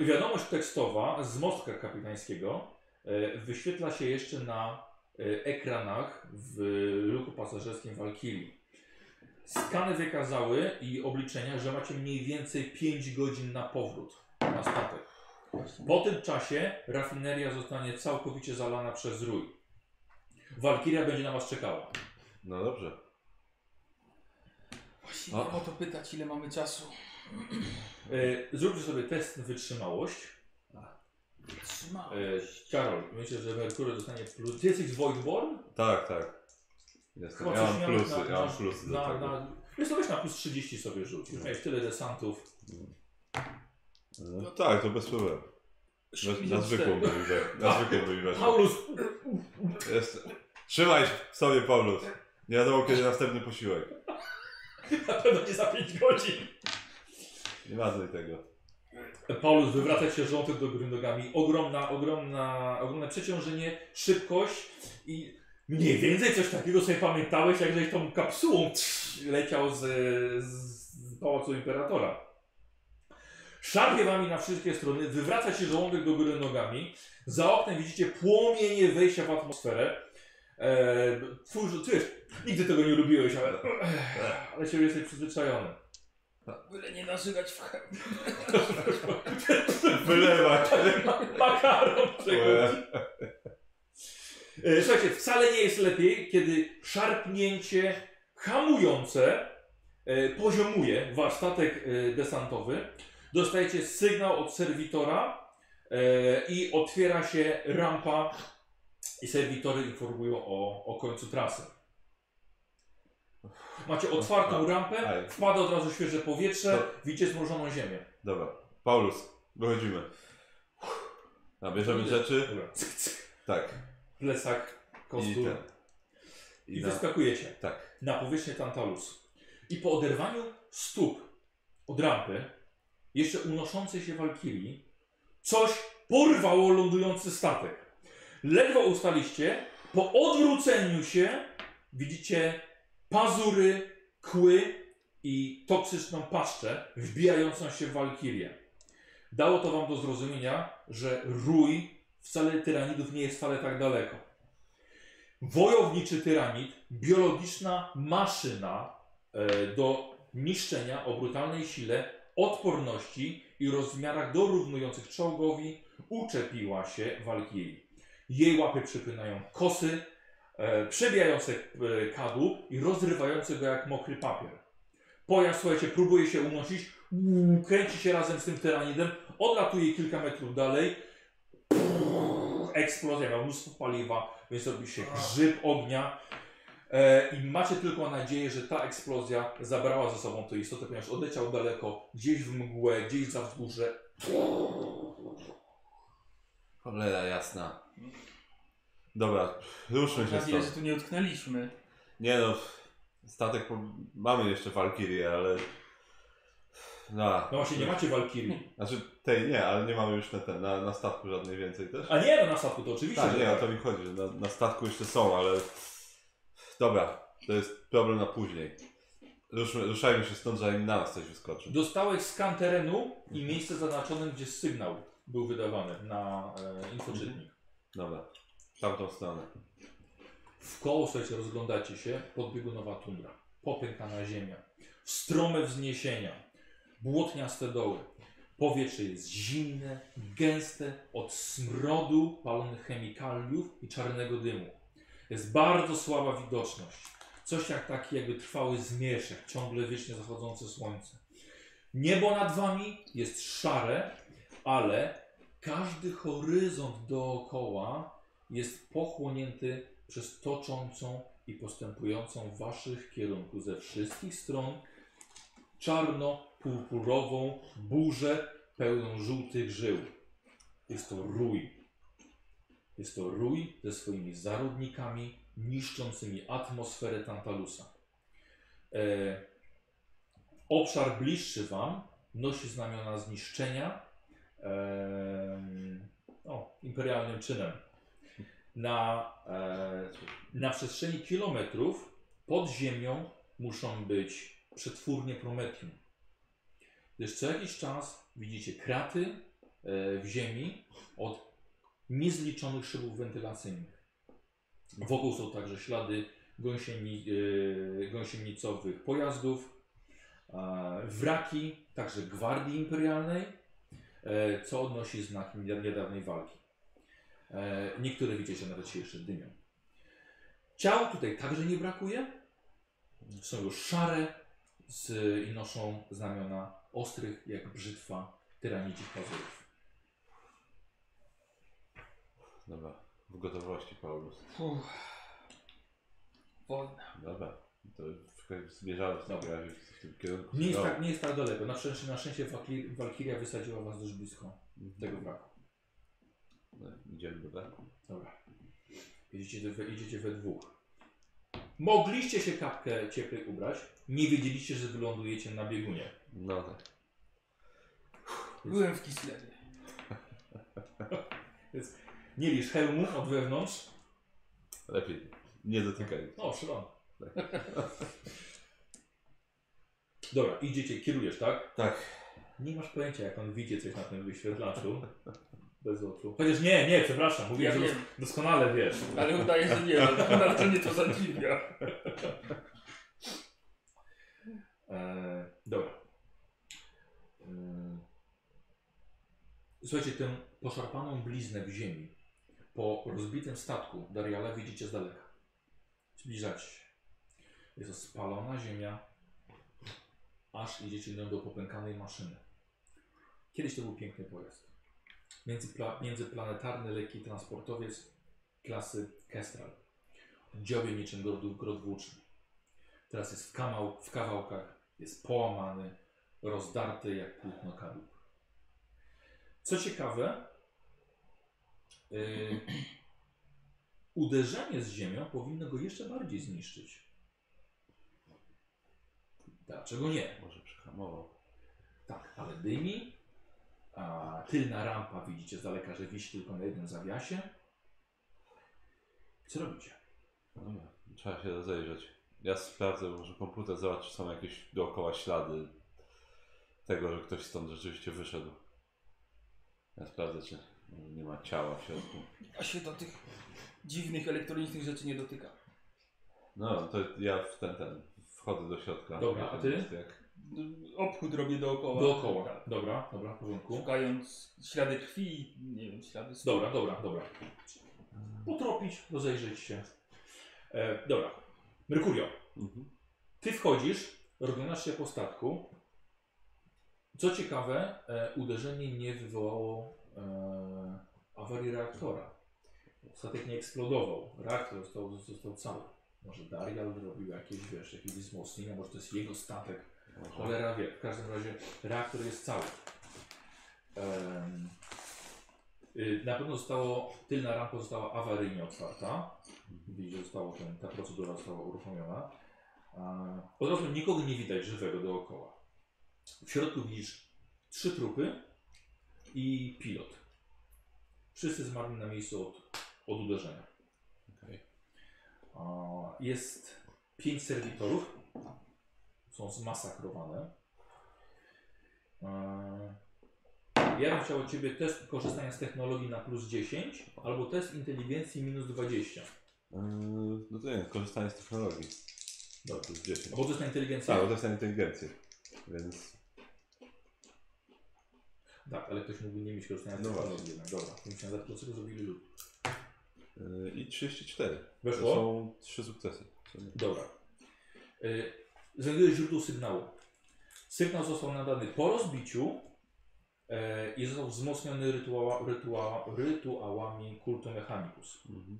Speaker 1: E, wiadomość tekstowa z mostka kapitańskiego e, wyświetla się jeszcze na e, ekranach w luku pasażerskim Walkirii. Skany wykazały i obliczenia, że macie mniej więcej 5 godzin na powrót na statek. Po tym czasie rafineria zostanie całkowicie zalana przez rój. Walkiria będzie na was czekała.
Speaker 2: No dobrze.
Speaker 3: Właśnie
Speaker 2: A.
Speaker 3: o to pytać, ile mamy czasu.
Speaker 1: E, Zróbcie sobie test na wytrzymałość.
Speaker 3: Trzymam.
Speaker 1: E, Karol, myślę, że Merkury dostanie plus. Ty jesteś z Voidborn?
Speaker 2: Tak, tak. Jestem. Ja
Speaker 1: coś
Speaker 2: mam
Speaker 1: miałeś
Speaker 2: plusy, ja mam plusy do
Speaker 1: na,
Speaker 2: tego.
Speaker 1: na, Wiesz co, weź na plus 30 sobie rzuć. Już
Speaker 2: No.
Speaker 1: miałeś tyle desantów.
Speaker 2: No tak, to bez problemu. Na, na
Speaker 3: 54.
Speaker 2: zwykłą byli we-
Speaker 3: No.
Speaker 2: Na zwykłą byli weszli.
Speaker 1: Paulus!
Speaker 2: Jest. Trzymaj sobie, Paulus. Nie wiadomo, kiedy następny posiłek.
Speaker 1: Na pewno nie za 5 godzin.
Speaker 2: Nie mazuj tego.
Speaker 1: Paulus wywraca się żołądek do góry nogami. Ogromna, ogromna, ogromne przeciążenie, szybkość i mniej więcej coś takiego sobie pamiętałeś, jak żeś tą kapsułą trz- leciał z, z pałacu imperatora. Szarpie wami na wszystkie strony, wywraca się żołądek do góry nogami. Za oknem widzicie płomienie wejścia w atmosferę. Eee, twój, ty wiesz, nigdy tego nie lubiłeś, ale, ale się jesteś przyzwyczajony.
Speaker 3: Byle nie narzygać w chem.
Speaker 2: Wylewać.
Speaker 1: Makaron przechodzi. E, Słuchajcie, wcale nie jest lepiej, kiedy szarpnięcie hamujące e, poziomuje wasz statek e, desantowy. Dostajecie sygnał od serwitora e, i otwiera się rampa i serwitory informują o, o końcu trasy. Macie
Speaker 2: No, tak.
Speaker 1: otwartą rampę,
Speaker 2: Aj.
Speaker 1: wpada od razu świeże powietrze,
Speaker 2: To-
Speaker 1: widzicie zmrożoną ziemię.
Speaker 2: Dobra. Paulus, wychodzimy. Nabierzemy rzeczy.
Speaker 1: Dobra. Cyk, cyk.
Speaker 2: Tak.
Speaker 1: Plecak,
Speaker 2: I
Speaker 1: kostur.
Speaker 2: ten.
Speaker 1: I
Speaker 2: I na...
Speaker 1: wyskakujecie
Speaker 2: Tak.
Speaker 1: na powierzchnię Tantalus. I po oderwaniu stóp od rampy, jeszcze unoszącej się walkirii, coś porwało lądujący statek. Ledwo ustaliście, po odwróceniu się widzicie pazury, kły i toksyczną paszczę wbijającą się w walkirię. Dało to wam do zrozumienia, że rój wcale tyranidów nie jest wcale tak daleko. Wojowniczy tyranid, biologiczna maszyna e, do niszczenia o brutalnej sile, odporności i rozmiarach dorównujących czołgowi, uczepiła się Walkiri. Jej łapy przypinają kosy, e, przebijające e, kadłub i rozrywające go jak mokry papier. Pojazd, słuchajcie, próbuje się unosić, uuu, kręci się razem z tym tyranidem, odlatuje kilka metrów dalej. Pff, Eksplozja, ma mnóstwo paliwa, więc robi się grzyb ognia. E, I macie tylko nadzieję, że ta eksplozja zabrała ze sobą tę istotę, ponieważ odleciał daleko, gdzieś w mgłę, gdzieś za wzgórze.
Speaker 2: Cholera jasna. Dobra, ruszmy się
Speaker 3: Mam nadzieję, że
Speaker 2: stąd.
Speaker 3: tu nie utknęliśmy.
Speaker 2: Nie no, statek po... mamy jeszcze Walkirię, ale... No,
Speaker 1: No właśnie, nie macie walkirii.
Speaker 2: Znaczy tej nie, ale nie mamy już na ten, na, na statku żadnej więcej też.
Speaker 1: A nie, no na statku to oczywiście.
Speaker 2: Tak,
Speaker 1: że
Speaker 2: nie, o
Speaker 1: tak.
Speaker 2: to mi chodzi, że na, na statku jeszcze są, ale... Dobra, to jest problem na później. Ruszmy, ruszajmy się stąd, zanim na nas coś wyskoczy.
Speaker 1: Dostałeś skan terenu i miejsce zaznaczone, gdzie sygnał był wydawany na e, infoczytnik.
Speaker 2: Dobra, w tamtą stronę.
Speaker 1: W koło, słuchajcie, rozglądacie się, podbiegunowa tundra, popękana ziemia, strome wzniesienia, błotniaste doły. Powietrze jest zimne, gęste od smrodu palonych chemikaliów i czarnego dymu. Jest bardzo słaba widoczność. Coś jak taki jakby trwały zmierzch, ciągle wiecznie zachodzące słońce. Niebo nad wami jest szare, ale każdy horyzont dookoła jest pochłonięty przez toczącą i postępującą w waszych kierunku ze wszystkich stron czarno-purpurową burzę pełną żółtych żył. Jest to rój. Jest to rój ze swoimi zarodnikami niszczącymi atmosferę Tantalusa. E, obszar bliższy wam nosi znamiona zniszczenia em, o, imperialnym czynem. Na e, na przestrzeni kilometrów pod ziemią muszą być przetwórnie Prometium. Gdyż co jakiś czas widzicie kraty e, w ziemi od niezliczonych szybów wentylacyjnych. Wokół są także ślady gąsieni, e, gąsienicowych pojazdów, e, wraki, także gwardii imperialnej, e, co odnosi znak niedawnej walki. E, niektóre widzicie nawet się jeszcze dymią. Ciał tutaj także nie brakuje. Są już szare z, i noszą znamiona ostrych jak brzytwa tyranicznych pazurów.
Speaker 2: Dobra, w gotowości Paulus.
Speaker 3: Fuh. Wojna.
Speaker 2: Dobra, to zbierzamy w takim razie w tym kierunku. No,
Speaker 1: Nie jest,
Speaker 2: Dobra.
Speaker 1: tak, nie jest tak daleko. Na szczęście, na szczęście Walkir- Walkiria wysadziła was dość blisko tego braku.
Speaker 2: No, Idziemy do tak?
Speaker 1: Dobra. Jedziecie we, jedziecie we dwóch. Mogliście się kapkę cieplej ubrać. Nie wiedzieliście, że wylądujecie na biegunie.
Speaker 2: No tak.
Speaker 3: Byłem w Kislewie.
Speaker 1: Nie licz hełmu od wewnątrz.
Speaker 2: Lepiej nie dotykaj.
Speaker 1: No, szalone. Dobra, idziecie, kierujesz, tak?
Speaker 2: Tak,
Speaker 1: Nie masz pojęcia, jak on widzi coś na tym wyświetlaczu. Bez oczu. Chociaż nie, nie, przepraszam, mówię,
Speaker 3: Ja
Speaker 1: że
Speaker 3: wiem,
Speaker 1: doskonale wiesz.
Speaker 3: ale udaje, że nie wiem. Bardzo mnie to zadziwia.
Speaker 1: E, dobra. Mm. Słuchajcie, tę poszarpaną bliznę w ziemi po rozbitym statku Dariala widzicie z daleka. Zbliżacie się. Jest to spalona ziemia, aż idziecie nią do popękanej maszyny. Kiedyś to był piękny pojazd. Międzypla międzyplanetarny lekki transportowiec klasy Kestral. Dziobie niczym grot, grot włóczni. Teraz jest w, kamał, w kawałkach, jest połamany, rozdarty jak płótno kadłub. Co ciekawe, yy, uderzenie z ziemią powinno go jeszcze bardziej zniszczyć. Dlaczego nie?
Speaker 2: może przyhamował.
Speaker 1: Tak, ale dymi. A tylna rampa widzicie z daleka, że wisi tylko na jednym zawiasie. Co robicie?
Speaker 2: Dobra, No trzeba się rozejrzeć. Ja sprawdzę, może komputer zobaczy, czy są jakieś dookoła ślady tego, że ktoś stąd rzeczywiście wyszedł. Ja sprawdzę, czy nie ma ciała w środku.
Speaker 3: A się do tych dziwnych elektronicznych rzeczy nie dotyka.
Speaker 2: No, to ja w ten, ten, wchodzę do środka.
Speaker 1: Dobra, a ty?
Speaker 2: Jest Jak...
Speaker 3: Obchód robię dookoła.
Speaker 1: Dookoła.
Speaker 3: Tak.
Speaker 1: Dobra, dobra, w porządku.
Speaker 3: Szukając ślady krwi, nie wiem, ślady stóp.
Speaker 1: Dobra, dobra, dobra. Potropić, rozejrzeć się. E, dobra. Merkurio,
Speaker 2: Mhm.
Speaker 1: ty wchodzisz, rozglądasz się po statku. Co ciekawe, e, uderzenie nie wywołało e, awarii reaktora. Statek nie eksplodował. Reaktor został, został cały. Może Daria zrobił jakieś, wiesz, jakieś wzmocnienia, może to jest jego statek. No, Cholera wie. W każdym razie reaktor jest cały. Em, y, na pewno zostało, tylna rampa została awaryjnie otwarta. Widzisz, że zostało ten, ta procedura została uruchomiona. E, Od razu nikogo nie widać żywego dookoła. W środku widzisz trzy trupy i pilot. Wszyscy zmarli na miejscu od, od uderzenia.
Speaker 2: Okej.
Speaker 1: A, Jest pięć serwitorów. Są zmasakrowane. E, Ja bym chciał od Ciebie test korzystania z technologii na plus 10 albo test inteligencji minus 20.
Speaker 2: Yy, no to nie, korzystanie z technologii.
Speaker 1: Dobra.
Speaker 2: To jest 10.
Speaker 1: Albo test na inteligencję.
Speaker 2: Tak, bo to jest na inteligencję. Więc
Speaker 1: Tak, ale ktoś mógłby nie mieć korzystania z
Speaker 2: No
Speaker 1: technologii
Speaker 2: właśnie.
Speaker 1: jednak. Dobra, to musiałem zapytać, dlaczego zrobili lud.
Speaker 2: yy, i 34. To
Speaker 1: Weszło?
Speaker 2: są trzy sukcesy.
Speaker 1: Dobra. Y, znajduje źródło sygnału. Sygnał został nadany po rozbiciu e, i został wzmocniony rytuała, rytuała, rytuałami kultu mechanicus.
Speaker 2: Mhm.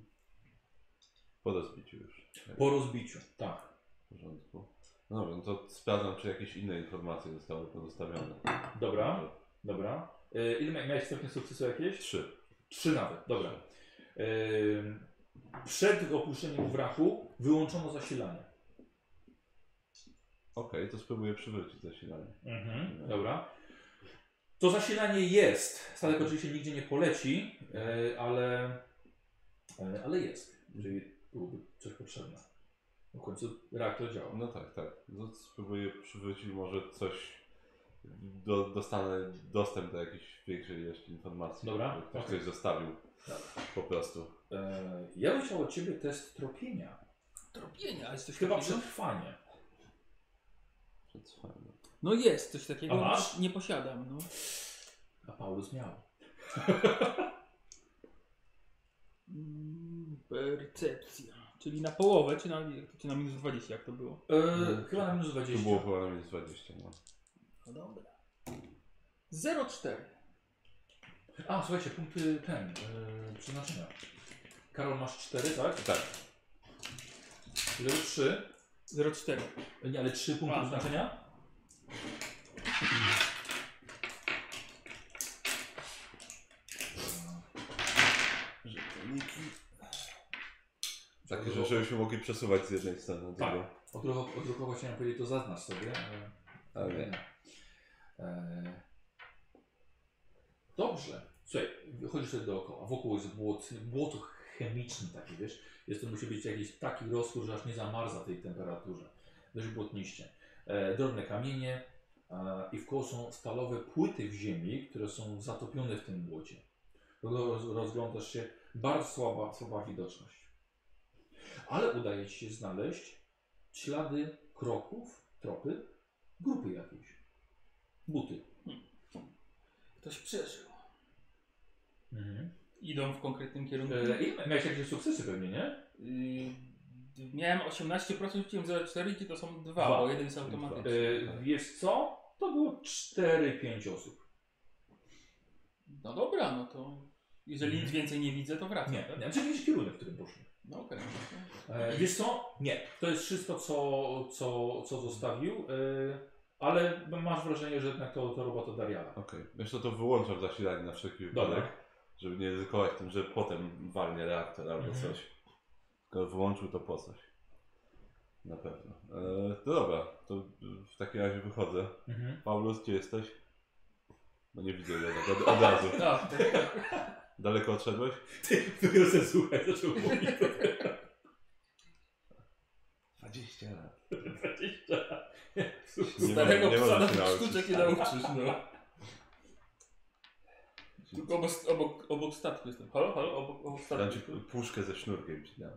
Speaker 2: Po rozbiciu już.
Speaker 1: Po rozbiciu, tak.
Speaker 2: W porządku. No dobra, no to sprawdzam, czy jakieś inne informacje zostały pozostawione.
Speaker 1: Dobra, dobra. Y, ile mia- miałeś stopnie sukcesu jakieś?
Speaker 2: Trzy.
Speaker 1: Trzy nawet, dobra. Ym, przed opuszczeniem wrachu wyłączono zasilanie.
Speaker 2: Okej, to spróbuję przywrócić zasilanie.
Speaker 1: Mhm, dobra. To zasilanie jest. Statek oczywiście nigdzie nie poleci, e, ale, e, ale jest. Czyli byłoby coś potrzebne. W końcu reaktor działa.
Speaker 2: No tak, tak. No, to spróbuję przywrócić może coś. Do, dostanę dostęp do jakiejś większej ilości informacji.
Speaker 1: Dobra,
Speaker 2: Jakby Ktoś
Speaker 1: okej.
Speaker 2: coś zostawił.
Speaker 1: Dobra.
Speaker 2: Po prostu.
Speaker 1: E, ja bym chciał od Ciebie test tropienia.
Speaker 3: Tropienia, jest coś
Speaker 1: Chyba
Speaker 3: takiego?
Speaker 1: przetrwanie.
Speaker 2: Przetrwanie.
Speaker 3: No jest coś takiego.
Speaker 1: A masz?
Speaker 3: Nie posiadam, no.
Speaker 1: A Paulus miał.
Speaker 3: Mm, Percepcja. Czyli na połowę, czy na, czy na minus 20, jak to było?
Speaker 1: E, Chyba na minus
Speaker 2: Tu
Speaker 1: 20.
Speaker 2: było chyba na minus 20. No.
Speaker 3: No dobra. 0,4.
Speaker 1: A, słuchajcie, punkty ten, e, przeznaczenia. Karol, masz 4, tak?
Speaker 2: Tak,
Speaker 1: Ile 3?
Speaker 3: 0,4.
Speaker 1: Nie, ale 3 punkty
Speaker 3: A.
Speaker 1: przeznaczenia?
Speaker 2: takie rzeczy byśmy mogli przesuwać z jednej strony na
Speaker 1: Tak.
Speaker 2: drugą.
Speaker 1: Odruchowo, odruchowo chciałem powiedzieć, to zaznacz sobie, ale...
Speaker 2: Ale nie.
Speaker 1: E, Dobrze. Słuchaj, chodzisz sobie dookoła. Wokół jest błoto, błoto chemiczne takie, wiesz. Jest to musi być jakiś taki roztwór, że aż nie zamarza w tej temperaturze. Dość błotniście. E, drobne kamienie e, i w koło są stalowe płyty w ziemi, które są zatopione w tym błocie. Roz, rozglądasz się, bardzo słaba, słaba widoczność. Ale udaje ci się znaleźć ślady kroków, tropy, grupy jakiejś. Buty.
Speaker 3: Ktoś przeżył.
Speaker 1: Mhm.
Speaker 3: Idą w konkretnym kierunku.
Speaker 1: E, I miałeś jakieś sukcesy pewnie, nie?
Speaker 3: Y, miałem 18%, wciąłem 0,4, gdzie to są dwa,
Speaker 1: Dwa.
Speaker 3: bo jeden jest automatyczny.
Speaker 2: Y,
Speaker 1: E, wiesz co? To było 4-5 osób.
Speaker 3: No dobra, no to
Speaker 2: Mhm.
Speaker 3: jeżeli nic więcej nie widzę, to wracam.
Speaker 1: Nie,
Speaker 3: tak?
Speaker 1: nie. Znaczy jakiś kierunek, w którym poszli.
Speaker 3: No okej.
Speaker 1: E, wiesz co? Nie. To jest wszystko, co, co, co zostawił, e, ale masz wrażenie, że jednak to, to robota Dariala.
Speaker 2: Okej. Jeszcze to wyłączam zasilanie na wszelki wypadek,
Speaker 1: Dobra.
Speaker 2: żeby nie ryzykować tym, że potem walnie reaktor albo
Speaker 1: Mhm.
Speaker 2: coś. Tylko wyłączył to po coś. Na pewno. E, to dobra, to w takim razie wychodzę.
Speaker 1: Mhm.
Speaker 2: Paulus, gdzie jesteś? No nie widzę go tak od, od razu.
Speaker 3: No,
Speaker 2: Daleko odszedłeś?
Speaker 1: Ty, dopiero sobie słuchaj, zaczął mówić.
Speaker 2: 20 lat.
Speaker 1: 20 lat.
Speaker 2: Nie można-
Speaker 3: starego
Speaker 2: nie można
Speaker 3: psa na
Speaker 2: się
Speaker 3: tych
Speaker 2: nauczyć.
Speaker 3: sztuczek nie nauczysz, no.
Speaker 2: ci,
Speaker 3: Tylko obok, obok, obok statku jestem. Halo, halo, obok, obok
Speaker 2: dam ci
Speaker 3: statku.
Speaker 2: puszkę ze sznurkiem ci dam.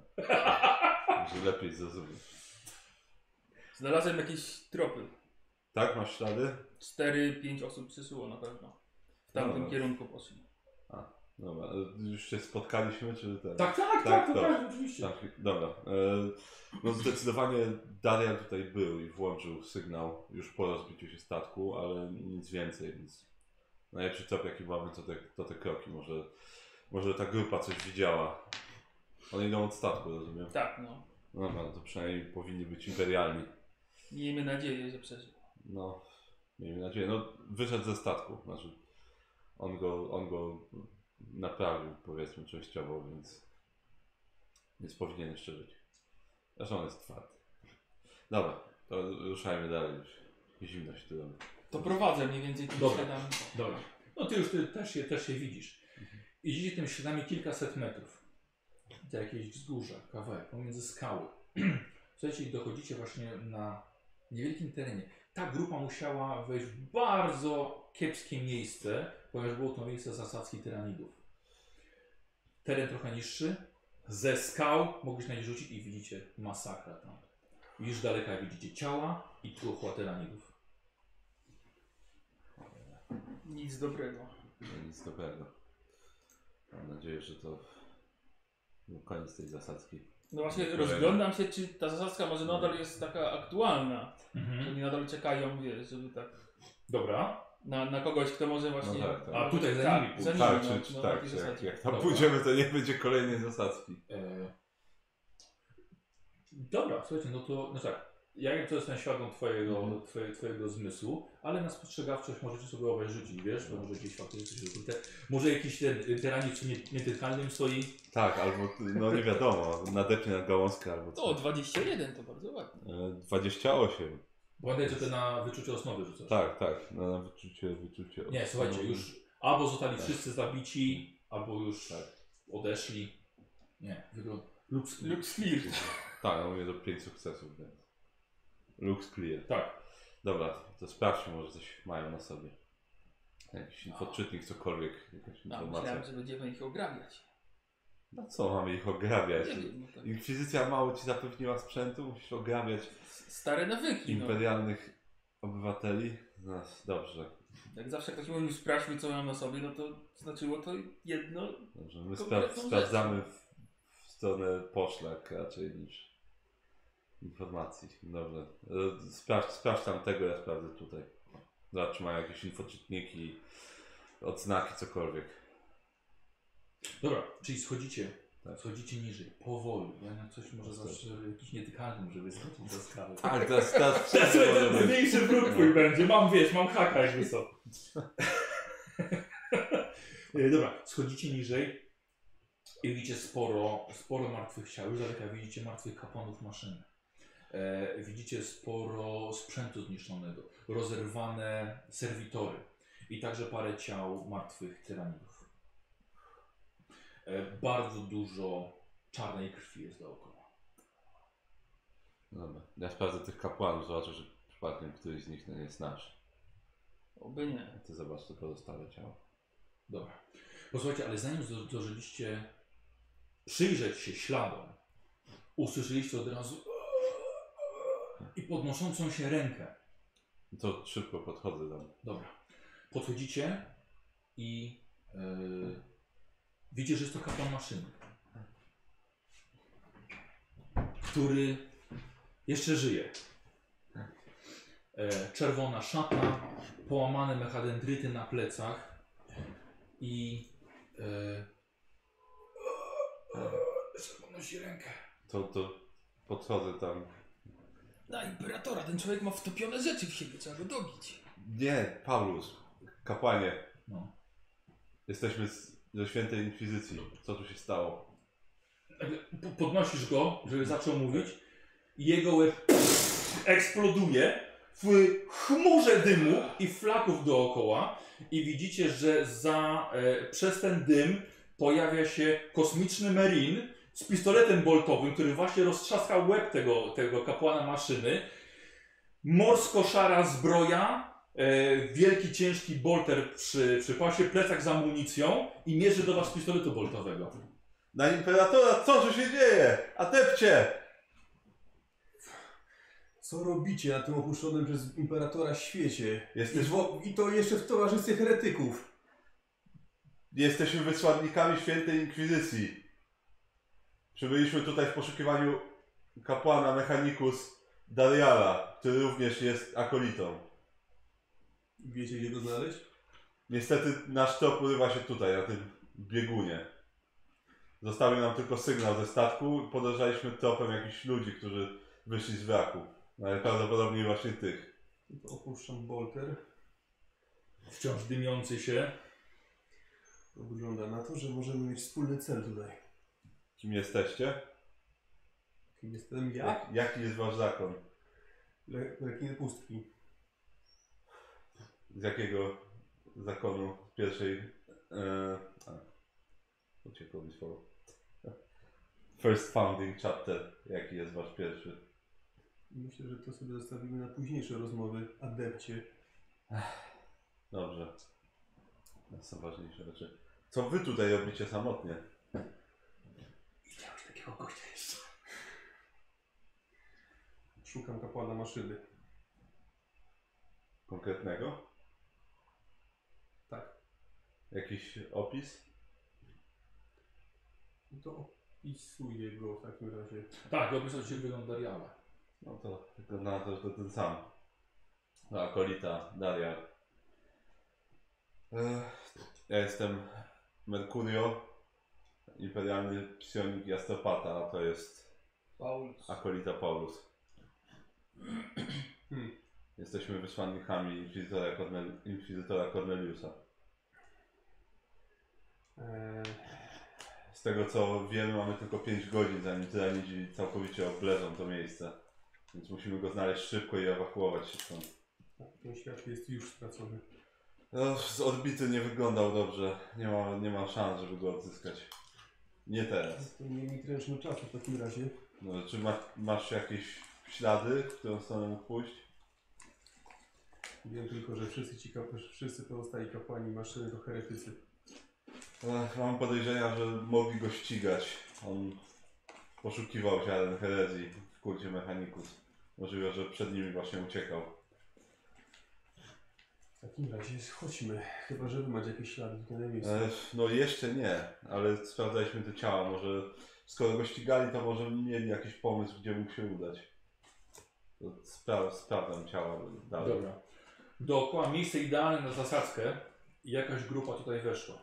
Speaker 2: Żeby lepiej zrozumieć.
Speaker 3: Znalazłem jakieś tropy.
Speaker 2: Tak, masz ślady?
Speaker 3: 4-5 osób przysyło na pewno. W tamtym
Speaker 2: No.
Speaker 3: kierunku poszli.
Speaker 2: Dobra, e, już się spotkaliśmy, czy ten?
Speaker 1: Tak, tak,
Speaker 2: Tak,
Speaker 1: tak, to
Speaker 2: to-
Speaker 1: tak, oczywiście.
Speaker 2: Tak, dobra. E, No zdecydowanie Darian tutaj był i włączył sygnał już po rozbiciu się statku, ale nic więcej, więc najlepszy trop jaki mamy to te, to te kroki. Może, może ta grupa coś widziała. One idą od statku, rozumiem.
Speaker 3: Tak, no.
Speaker 2: No dobra, no to przynajmniej powinni być imperialni.
Speaker 3: Miejmy nadzieję, że przeżył.
Speaker 2: No, miejmy nadzieję. No, wyszedł ze statku, znaczy on go, on go naprawił powiedzmy częściowo, więc, więc powinien jeszcze żyć. Zresztą on jest twardy. Dobra, to ruszajmy dalej już. Zimno się tu robi.
Speaker 3: To prowadzę mniej więcej tym
Speaker 1: Dobra.
Speaker 3: śladami.
Speaker 1: Dobra. No ty już ty też, je, też je widzisz. Idziecie tym śladami kilkaset metrów. To jakieś wzgórza, kawałek, pomiędzy skały. Słuchajcie, i dochodzicie właśnie na niewielkim terenie. Ta grupa musiała wejść w bardzo kiepskie miejsce, ponieważ było to miejsce zasadzki tyranidów. Teren trochę niższy. Ze skał mogliście na nich rzucić i widzicie masakra tam. Już z daleka widzicie ciała i truchła tyranidów.
Speaker 3: Nic dobrego.
Speaker 2: No, nic dobrego. Mam nadzieję, że to był koniec tej zasadzki.
Speaker 3: No właśnie
Speaker 2: Dobrego.
Speaker 3: rozglądam się, czy ta zasadzka może
Speaker 2: Mhm.
Speaker 3: nadal jest taka aktualna.
Speaker 1: Mhm.
Speaker 3: Oni nadal czekają, wiesz, żeby tak
Speaker 1: Dobra.
Speaker 3: na, na kogoś, kto może właśnie...
Speaker 2: No tak, tak.
Speaker 1: A tutaj za nimi pójść.
Speaker 3: za nimi,
Speaker 2: Tak,
Speaker 3: no,
Speaker 2: czy, czy,
Speaker 3: no,
Speaker 2: tak,
Speaker 3: takiej
Speaker 2: czy jak,
Speaker 3: zasadzie.
Speaker 2: jak tam
Speaker 1: Dobra.
Speaker 2: pójdziemy, to nie będzie kolejnej zasadzki.
Speaker 1: E, Dobra, słuchajcie, no to no tak. Ja wiem, to jestem świadom twojego,
Speaker 2: Mhm.
Speaker 1: twoje, twojego zmysłu, ale na spostrzegawczość możecie sobie obaj rzucić, wiesz,
Speaker 2: No.
Speaker 1: bo może gdzieś faktycznie coś ukryte. Może jakiś ten y, teranic nietykalnym stoi.
Speaker 2: Tak, albo, no nie wiadomo, nadepnie na gałązkę albo
Speaker 3: O,
Speaker 2: coś.
Speaker 3: 21 to bardzo ładnie.
Speaker 2: E, 28.
Speaker 1: Pamiętaj, że ty na wyczucie osnowy rzucasz.
Speaker 2: Tak, No. tak. Na, na wyczucie, wyczucie.
Speaker 1: Nie, słuchajcie, już albo zostali wszyscy zabici, albo już
Speaker 2: Tak.
Speaker 1: odeszli. Nie, wygląda. Lux,
Speaker 3: Lux Flirt.
Speaker 2: Tak, ja mówię do 5 sukcesów, więc. Looks clear.
Speaker 1: Tak.
Speaker 2: Dobra, to sprawdźmy, może coś mają na sobie. Jakiś infoczytnik, cokolwiek, jakaś
Speaker 3: No,
Speaker 2: informacja.
Speaker 3: myślałem, że będziemy ich ograbiać.
Speaker 2: Na co mamy ich
Speaker 3: Nie
Speaker 2: ograbiać?
Speaker 3: wiem, no tak.
Speaker 2: Inkwizycja mało ci zapewniła sprzętu, musisz ograbiać
Speaker 3: Stare nawyki, no.
Speaker 2: imperialnych obywateli. No, dobrze,
Speaker 3: Jak zawsze ktoś mówił, sprawdź mi, co mam na sobie, no to znaczyło to jedno.
Speaker 2: dobrze. My
Speaker 3: Konkretną
Speaker 2: spra-
Speaker 3: rzecz.
Speaker 2: sprawdzamy w, w stronę poszlak raczej niż informacji. Dobrze. E, Sprawdź, sprawdź tam tego, ja sprawdzę tutaj. Zobacz, czy mają jakieś infoczytniki, odznaki, cokolwiek.
Speaker 1: Dobra, czyli schodzicie.
Speaker 2: Tak. No
Speaker 1: Schodzicie niżej, powoli. Ja na coś może zawsze jakiś nietykalny, żeby skoczyć ze skały.
Speaker 2: Tak, teraz, teraz
Speaker 1: Teraz
Speaker 2: wszystko może być.
Speaker 1: mniejszy wróg twój będzie, mam wiesz, mam haka jakby co. E, Dobra, schodzicie niżej i widzicie sporo, sporo martwych ciał. Już z daleka widzicie martwych kapłanów maszyny. E, widzicie sporo sprzętu zniszczonego, rozerwane serwitory i także parę ciał martwych tyranidów. E, bardzo dużo czarnej krwi jest dookoła.
Speaker 2: Dobra. Ja sprawdzę tych kapłanów, zobaczę, że przypadkiem któryś z nich no, nie jest nasz.
Speaker 3: Oby nie.
Speaker 2: Ty zobacz, to pozostałe ciało.
Speaker 1: Dobra. Posłuchajcie, ale zanim zdo- zdążyliście przyjrzeć się śladom, usłyszeliście od razu i podnoszącą się rękę.
Speaker 2: To szybko podchodzę tam.
Speaker 1: Dobra. Podchodzicie i yy, widzicie, że jest to kapłan maszyny, który jeszcze żyje. E, czerwona szata, połamane mechadendryty na plecach i e, jeszcze podnosi rękę.
Speaker 2: To, to podchodzę tam.
Speaker 3: Na imperatora, ten człowiek ma wtopione rzeczy w siebie, trzeba go dobić.
Speaker 2: Nie, Paulus, kapłanie,
Speaker 1: No.
Speaker 2: jesteśmy z, ze świętej inkwizycji. Co tu się stało?
Speaker 1: P- Podnosisz go, żeby zaczął mówić i jego łeb eksploduje w chmurze dymu i flaków dookoła i widzicie, że za, e, przez ten dym pojawia się kosmiczny merin z pistoletem boltowym, który właśnie roztrzaskał łeb tego, tego kapłana maszyny. Morsko-szara zbroja,
Speaker 4: E, wielki, ciężki bolter przy, przy pasie, plecak z amunicją i mierzy do was z pistoletu boltowego.
Speaker 2: Na imperatora, co tu się dzieje? Adepcie!
Speaker 5: Co robicie na tym opuszczonym przez imperatora świecie? I,
Speaker 2: Jesteś,
Speaker 5: wo- I to jeszcze w towarzystwie heretyków.
Speaker 2: jesteśmy wysłannikami świętej inkwizycji. Przybyliśmy tutaj w poszukiwaniu kapłana Mechanicus Dariala, który również jest akolitą.
Speaker 5: Wiecie gdzie go znaleźć?
Speaker 2: Niestety nasz trop urywa się tutaj, na tym biegunie. Zostawił nam tylko sygnał ze statku. Podejrzaliśmy tropem jakichś ludzi, którzy wyszli z wraku. Najprawdopodobniej właśnie tych.
Speaker 5: To Opuszczam bolter.
Speaker 4: Wciąż dymiący się.
Speaker 5: To wygląda na to, że możemy mieć wspólny cel tutaj.
Speaker 2: Kim jesteście?
Speaker 5: Kim jestem ja?
Speaker 2: Jak, jaki jest wasz zakon?
Speaker 5: Le- Rekiny pustki.
Speaker 2: Z jakiego zakonu z pierwszej... E, a, uciekło mi słowo. First founding chapter. Jaki jest wasz pierwszy?
Speaker 5: Myślę, że to sobie zostawimy na późniejsze rozmowy. Adepcie.
Speaker 2: Dobrze. To są ważniejsze rzeczy. Co wy tutaj robicie samotnie?
Speaker 1: Widziałeś takiego gościa jeszcze.
Speaker 5: Szukam kapłana maszyny.
Speaker 2: Konkretnego?
Speaker 5: Tak.
Speaker 2: Jakiś opis?
Speaker 5: No To opisuję go w takim razie.
Speaker 1: Tak, opisał się wygląd Dariala.
Speaker 2: No to wygląda na to, że to ten sam. No, akolita, Daria. Ech, Ja jestem Mercurio, imperialny psionik Jastopata, a to jest
Speaker 3: Paulus.
Speaker 2: akolita Paulus.
Speaker 5: Hmm.
Speaker 2: Jesteśmy wysłannikami inkwizytora, Cornel- inkwizytora Corneliusa.
Speaker 5: Eee,
Speaker 2: Z tego co wiemy, mamy tylko 5 godzin, zanim tyranidzi całkowicie oblezą to miejsce. Więc musimy go znaleźć szybko i ewakuować się stąd.
Speaker 5: tak, ten świat jest już stracony.
Speaker 2: No, z odbity nie wyglądał dobrze. Nie ma, nie ma szans, żeby go odzyskać. Nie teraz.
Speaker 5: To nie mi tręczny czasu w takim razie.
Speaker 2: No, czy ma, masz jakieś ślady, w którą stronę mógł pójść?
Speaker 5: Wiem tylko, że wszyscy ci kap- wszyscy pozostali kapłani maszyny to heretycy.
Speaker 2: Ech, Mam podejrzenia, że mogli go ścigać. On poszukiwał ziaren herezji w kulcie Mechanicus. Możliwe, że przed nimi właśnie uciekał.
Speaker 5: W takim razie chodźmy. Chyba, że wy macie jakieś ślady tutaj na miejscu.
Speaker 2: E, No jeszcze nie, ale sprawdzaliśmy te ciała. Może skoro go ścigali, to może mieli jakiś pomysł, gdzie mógł się udać. To Spra sprawdzam ciała dalej.
Speaker 1: Dobra. Dookoła miejsce idealne na zasadzkę i jakaś grupa tutaj weszła.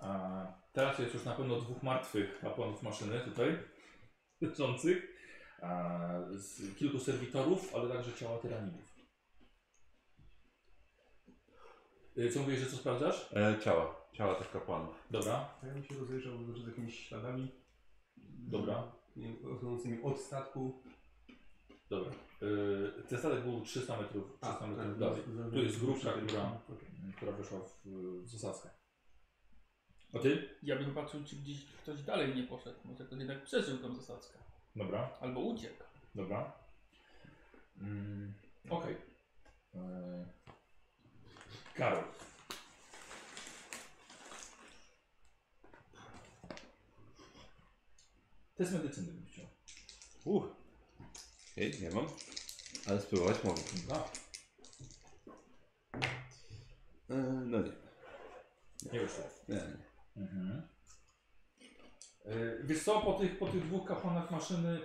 Speaker 1: A teraz jest już na pewno dwóch martwych kapłanów maszyny tutaj, leżących, a z kilku serwitorów, ale także ciała tyranidów. Y, Co mówisz, że co sprawdzasz?
Speaker 2: E, ciała, ciała tych kapłanów.
Speaker 1: Dobra,
Speaker 5: A Ja bym się rozejrzał może z jakimiś śladami
Speaker 1: dobra,
Speaker 5: nie wiem, odchodzącymi od statku.
Speaker 1: dobra. Y, ten statek był 300 metrów, 300
Speaker 5: tak,
Speaker 1: metrów dalej. Tu jest grubsza, która,
Speaker 5: Okej.
Speaker 1: która weszła w, w zasadzkę. A ty?
Speaker 3: Ja bym patrzył, czy gdzieś ktoś dalej nie poszedł. Może ktoś jednak przeżył tą zasadzkę.
Speaker 1: Dobra.
Speaker 3: Albo uciekł.
Speaker 1: Dobra. Mm, Okej. Eee, Karol. Test medycyny bym chciał.
Speaker 2: Uch. Ej, nie mam. Ale spróbować mogę.
Speaker 1: Dobra.
Speaker 2: E, no nie.
Speaker 1: Nie wyszło.
Speaker 2: nie, nie.
Speaker 1: Mhm. Eee, wiesz co, po tych, po tych dwóch kapłanach maszyny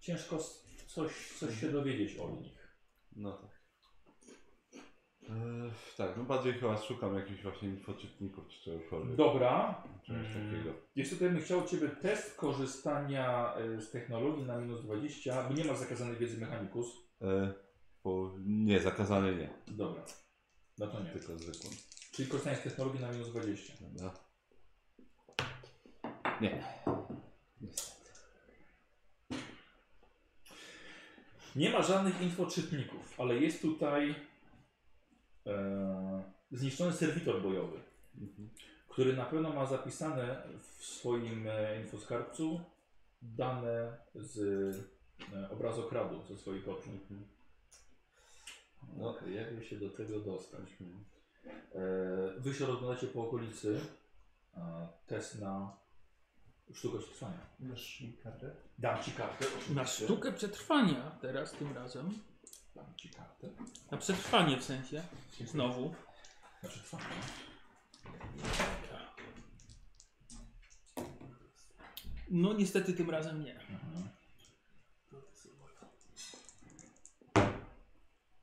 Speaker 1: ciężko s- coś, coś się dowiedzieć o nich.
Speaker 2: No tak. E, tak, no bardziej chyba szukam jakichś właśnie infoczytników czy czegokolwiek.
Speaker 1: Dobra.
Speaker 2: Czegoś
Speaker 1: Mm.
Speaker 2: takiego.
Speaker 1: Jeszcze tutaj bym chciał od Ciebie test korzystania y, z technologii na minus 20, bo nie ma zakazanej wiedzy mechanikus.
Speaker 2: E, bo nie, zakazane nie.
Speaker 1: Dobra. No to nie.
Speaker 2: Tylko zwykłe.
Speaker 1: Czyli korzystanie z technologii na minus 20.
Speaker 2: Dobra. Nie. Niestety.
Speaker 1: Nie ma żadnych infoczytników, ale jest tutaj e, zniszczony serwitor bojowy, Mhm. który na pewno ma zapisane w swoim e, infoskarbcu dane z e, obrazokradu ze swoich oczu.
Speaker 2: No,
Speaker 1: Okej, jak Musimy się do tego dostać. Mhm. E, Wy się rozglądacie po okolicy. E, Test na sztukę przetrwania.
Speaker 5: Masz mi kartę?
Speaker 1: Dam ci kartę. oczywiście.
Speaker 3: Na sztukę przetrwania teraz tym razem.
Speaker 1: Dam ci kartę.
Speaker 3: Na przetrwanie w sensie. Znowu.
Speaker 1: Na przetrwanie.
Speaker 3: No niestety tym razem nie.
Speaker 1: Mhm.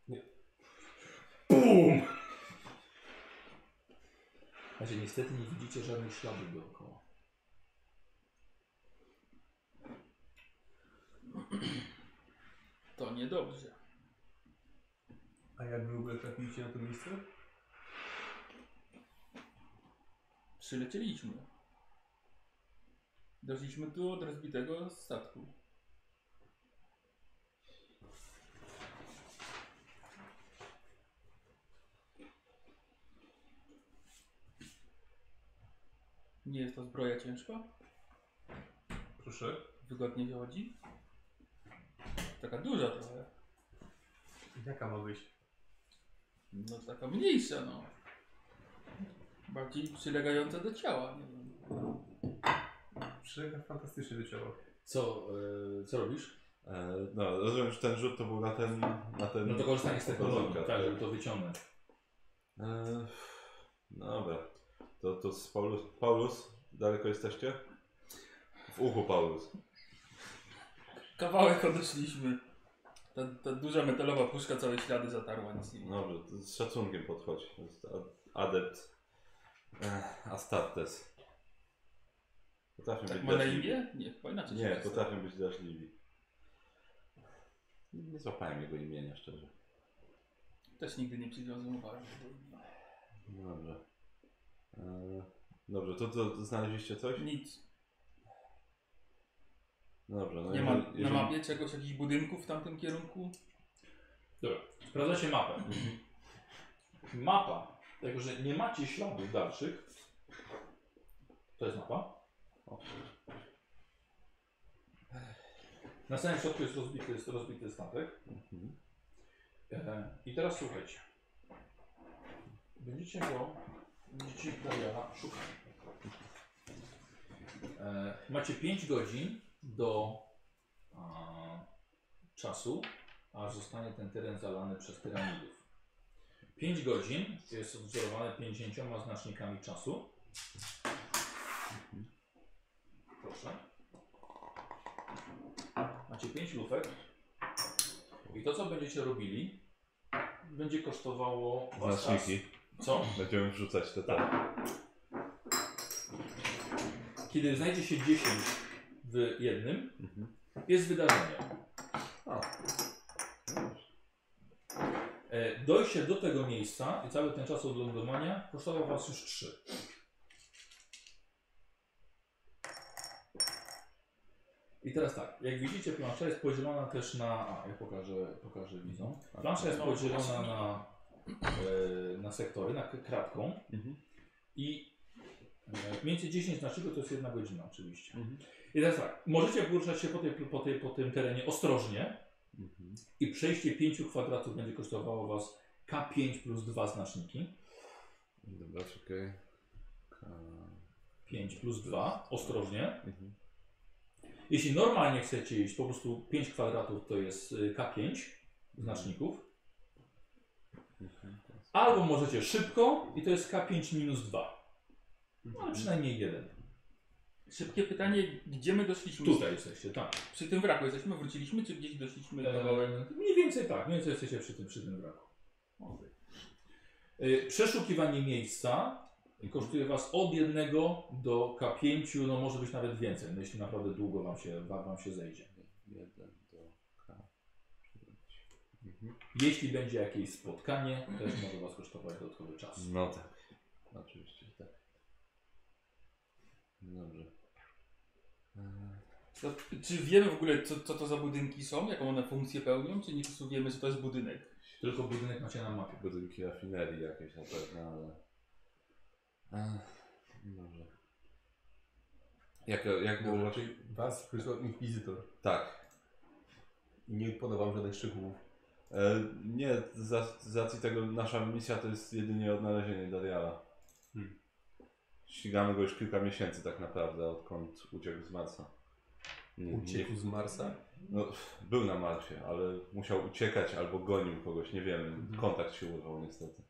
Speaker 5: Nie.
Speaker 1: BUM! Znaczy, niestety nie widzicie żadnych śladów dookoła.
Speaker 3: To niedobrze.
Speaker 5: A jak w ogóle trafiliście na to miejsce?
Speaker 3: Przylecieliśmy. Doszliśmy tu od rozbitego statku. Nie jest to zbroja ciężka?
Speaker 5: Proszę.
Speaker 3: Wygodnie się chodzi? Taka duża trochę.
Speaker 5: Jaka ma być?
Speaker 3: No taka mniejsza no. Bardziej przylegająca do ciała. Nie wiem.
Speaker 5: Przylega fantastycznie do ciała.
Speaker 1: Co, e, co robisz?
Speaker 2: E, no, rozumiem, że ten rzut to był na ten... Na ten
Speaker 1: No to korzystanie z technologii,
Speaker 2: Rozumka,
Speaker 1: tak, żeby to wyciągnąć.
Speaker 2: E, dobra. To, to z Paulus. Paulus, daleko jesteście? W uchu Paulus.
Speaker 3: Kawałek odeszliśmy. Ta, ta duża metalowa puszka całe ślady zatarła, nic nie ma.
Speaker 2: Dobrze, to z szacunkiem podchodź. To jest a- adept e, Astartes. Potrafią
Speaker 3: Tak
Speaker 2: być
Speaker 3: ma na
Speaker 2: drażliwi.
Speaker 3: imię? Nie, chyba inaczej.
Speaker 2: Nie,
Speaker 3: się nazywa.
Speaker 2: potrafią być drażliwi. Nie złapałem jego imienia, szczerze.
Speaker 3: Też nigdy nie przywiązałem uwagi. do imienia.
Speaker 2: Dobrze. E, dobrze, to, to, to znaleźliście coś?
Speaker 3: Nic.
Speaker 2: Dobrze, no
Speaker 3: Nie
Speaker 2: jeżeli-
Speaker 3: ma na
Speaker 2: jeżeli-
Speaker 3: mapie czegoś, jakichś budynków w tamtym kierunku?
Speaker 1: Dobra, sprawdzacie mapę. Mapa, jako że nie macie śladów dalszych, to jest mapa. O. Na samym środku jest rozbity, jest rozbity statek.
Speaker 2: Mhm.
Speaker 1: E, I teraz słuchajcie. Będziecie go, będziecie Dariana szukali. E, macie 5 godzin do a, czasu, aż zostanie ten teren zalany przez tyranidów. 5 godzin jest odwzorowane 50 znacznikami czasu. Proszę. Macie 5 lufek. I to, co będziecie robili, będzie kosztowało was
Speaker 2: Znaczniki.
Speaker 1: czas. Co?
Speaker 2: Będziemy wrzucać te tak.
Speaker 1: Kiedy znajdzie się 10 w jednym,
Speaker 2: Mhm.
Speaker 1: jest wydarzenie. E, Dojście do tego miejsca i cały ten czas od lądowania kosztował Was już 3. I teraz tak, jak widzicie, plansza jest podzielona też na. A, ja pokażę, pokażę widzą.
Speaker 2: Tak.
Speaker 1: Plansza jest podzielona na, e, na sektory, na k- kratką.
Speaker 2: Mhm.
Speaker 1: I e, między 10 znaczników to jest jedna godzina, oczywiście.
Speaker 2: Mhm.
Speaker 1: I teraz tak, możecie poruszać się po, tej, po, tej, po tym terenie ostrożnie,
Speaker 2: Mhm.
Speaker 1: i przejście 5 kwadratów będzie kosztowało Was K5 plus 2 znaczniki.
Speaker 2: Dobra, czekaj.
Speaker 1: 5 plus 2, ostrożnie.
Speaker 2: Mhm.
Speaker 1: Jeśli normalnie chcecie iść, po prostu 5 kwadratów to jest y, K5 znaczników. Albo możecie szybko i to jest K5 minus 2. No, ale przynajmniej jeden.
Speaker 3: Szybkie pytanie, gdzie my doszliśmy?
Speaker 1: Tutaj jesteście, tak.
Speaker 3: Przy tym wraku jesteśmy, wróciliśmy, czy gdzieś doszliśmy kawałek?
Speaker 1: E, mniej więcej tak, mniej więcej jesteście przy tym, przy tym braku. Y, Przeszukiwanie miejsca kosztuje Was od 1 do K5, no może być nawet więcej, no jeśli naprawdę długo Wam się, wam wam się zejdzie.
Speaker 2: Jeden do K.
Speaker 1: Jeśli będzie jakieś spotkanie, też może Was kosztować dodatkowy czas.
Speaker 2: No tak. Oczywiście, że tak. Dobrze. E,
Speaker 3: To, czy wiemy w ogóle, co, co to za budynki są? Jaką one funkcję pełnią? Czy nie po prostu wiemy, że to jest budynek?
Speaker 1: Tylko budynek macie na mapie.
Speaker 2: Budynki rafinerii jakieś na pewno, ale... E, Dobrze. Jak, jak było
Speaker 5: Dobrze,
Speaker 2: właśnie?
Speaker 5: czyli was wysłał inkwizytor.
Speaker 2: Tak.
Speaker 5: I nie podał wam żadnych szczegółów.
Speaker 2: E, nie, z, rac- z racji tego nasza misja to jest jedynie odnalezienie Dariala.
Speaker 1: Hmm.
Speaker 2: Ścigamy go już kilka miesięcy tak naprawdę, odkąd uciekł z Marsa. Nie- nie-
Speaker 6: Uciekł z Marsa?
Speaker 2: no, był na Marsie, ale musiał uciekać albo gonił kogoś, nie wiem. Kontakt się urwał niestety.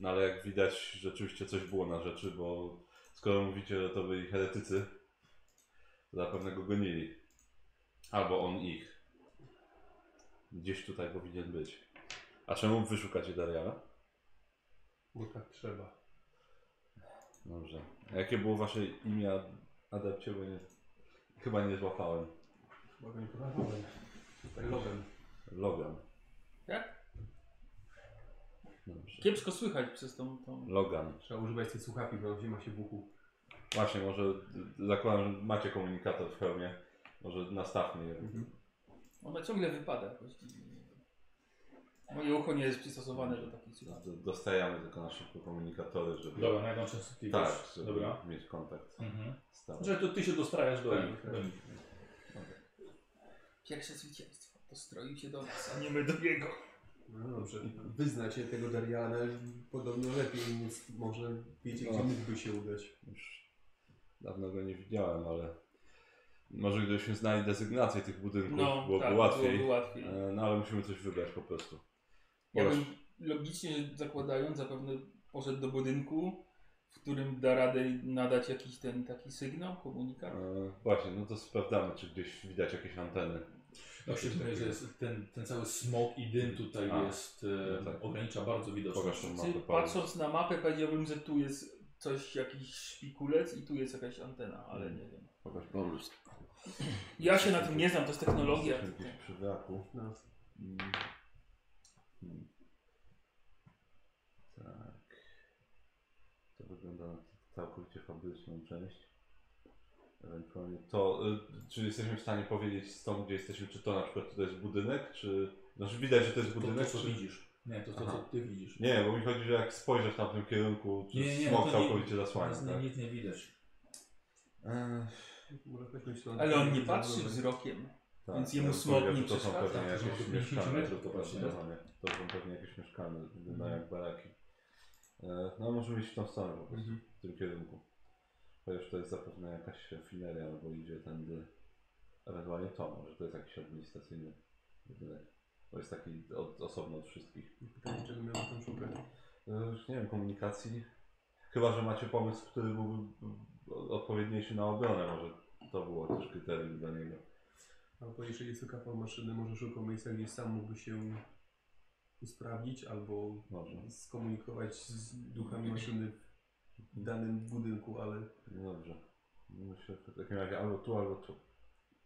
Speaker 2: No ale jak widać, rzeczywiście coś było na rzeczy, bo skoro mówicie, że to byli heretycy, to zapewne go gonili. Albo on ich. Gdzieś tutaj powinien być. A czemu wyszukacie Dariala?
Speaker 6: Bo tak trzeba.
Speaker 2: Dobrze. A jakie było wasze imię, ad- adepcie, bo nie, chyba nie złapałem.
Speaker 6: Mogę nie podawać. Tak, lobem.
Speaker 2: Logan.
Speaker 3: Jak?
Speaker 2: Dobrze.
Speaker 3: Kiepsko słychać przez tą... tą...
Speaker 2: Logan.
Speaker 6: Trzeba używać tych słuchawki, bo zima się w uchu.
Speaker 2: Właśnie, może zakładam, że macie komunikator w hełmie. Może nastawmy je.
Speaker 3: Ona ciągle wypada jakoś. Moje ucho nie jest przystosowane do takich
Speaker 2: Do-
Speaker 3: sytuacji.
Speaker 2: do- Dostajemy tylko na szybko komunikatory, żeby,
Speaker 1: Dobra, na jedną częstotliwość.
Speaker 2: tak, żeby
Speaker 1: Dobra.
Speaker 2: mieć kontakt
Speaker 1: Mhm.
Speaker 2: stały.
Speaker 1: Że to ty się dostrajasz do
Speaker 6: Tak,
Speaker 1: nich.
Speaker 6: tak.
Speaker 1: do nich.
Speaker 3: Pierwsze zwycięstwo. Dostroił się do nas, a nie my do niego.
Speaker 6: No dobrze. Wyznacie tego Dariana podobno lepiej, więc może wiecie,
Speaker 2: No.
Speaker 6: gdzie mógłby się udać.
Speaker 2: Już dawno go nie widziałem, ale może gdybyśmy znali desygnację tych budynków,
Speaker 1: No,
Speaker 2: byłoby
Speaker 1: tak,
Speaker 2: łatwiej.
Speaker 3: No, tak, byłoby łatwiej.
Speaker 2: E, No ale musimy coś wybrać po prostu.
Speaker 3: Ja
Speaker 2: Oraz-
Speaker 3: bym logicznie zakładając, zapewne poszedł do budynku, w którym da radę nadać jakiś ten taki sygnał, komunikat.
Speaker 2: e, Właśnie, no to sprawdzamy, czy gdzieś widać jakieś anteny.
Speaker 1: No się wydaje, że jest ten, ten cały smog i dym tutaj
Speaker 2: A,
Speaker 1: jest, e,
Speaker 2: no tak.
Speaker 1: ogranicza bardzo
Speaker 2: Pokaż
Speaker 1: widoczność.
Speaker 2: tą
Speaker 3: Czyli
Speaker 2: mapę. Paweł.
Speaker 3: Patrząc na mapę powiedziałbym, że tu jest coś, jakiś szpikulec i tu jest jakaś antena,
Speaker 2: Hmm.
Speaker 3: ale nie wiem.
Speaker 2: Pokaż.
Speaker 3: Ja się na tym nie znam, to jest technologia.
Speaker 2: Jesteśmy Gdzieś przy wraku.
Speaker 6: No.
Speaker 2: Mm. Mm. Tak. To wygląda na całkowicie fabryczną część. Ewentualnie to, y, czy jesteśmy w stanie powiedzieć stąd, gdzie jesteśmy, czy to na przykład to jest budynek, czy... Znaczy widać, że to jest
Speaker 1: To, to,
Speaker 2: budynek,
Speaker 1: co
Speaker 2: czy...
Speaker 1: widzisz. Nie, to, to co
Speaker 2: Aha.
Speaker 1: ty widzisz.
Speaker 2: Nie, bo mi chodzi, że jak spojrzę w tamtym kierunku, czy
Speaker 1: Nie, nie, nie,
Speaker 2: smog
Speaker 1: to nie-
Speaker 2: całkowicie zasłania,
Speaker 1: Nic,
Speaker 2: tak?
Speaker 1: nic nie widać.
Speaker 2: Eee,
Speaker 6: Może weźmy się na-
Speaker 3: Ale on nie patrzy wzrokiem.
Speaker 2: tak,
Speaker 3: Więc jemu
Speaker 2: ja
Speaker 3: smog
Speaker 2: powiedział,
Speaker 3: nie
Speaker 2: że to są
Speaker 3: przeszkadza,
Speaker 2: pewnie
Speaker 1: to są
Speaker 2: jakieś
Speaker 1: tylko 50
Speaker 2: mieszkania,
Speaker 1: metrów to właśnie, tak?
Speaker 2: zdecydowanie. to są pewnie jakieś mieszkania, wyglądają jak baraki. Eee, No możemy iść w tą stronę po prostu.
Speaker 6: Mhm.
Speaker 2: w tym kierunku. Chociaż to jest zapewne jakaś rafineria, albo idzie tędy. Ewentualnie to, może to jest jakiś administracyjny budynek. Bo jest taki od, osobno od wszystkich.
Speaker 6: Pytanie, czego miał tam szukać.
Speaker 2: E, Już nie wiem, komunikacji. Chyba, że macie pomysł, który byłby o- odpowiedniejszy na obronę, może to było też kryterium dla niego.
Speaker 6: Albo jeżeli jest tylko kawał maszyny, może szukał miejsca, gdzie sam mógłby się usprawnić albo
Speaker 2: Może.
Speaker 6: skomunikować z duchami maszyny w danym budynku, ale
Speaker 2: No dobrze. Myślę, że w takim razie albo tu, albo tu.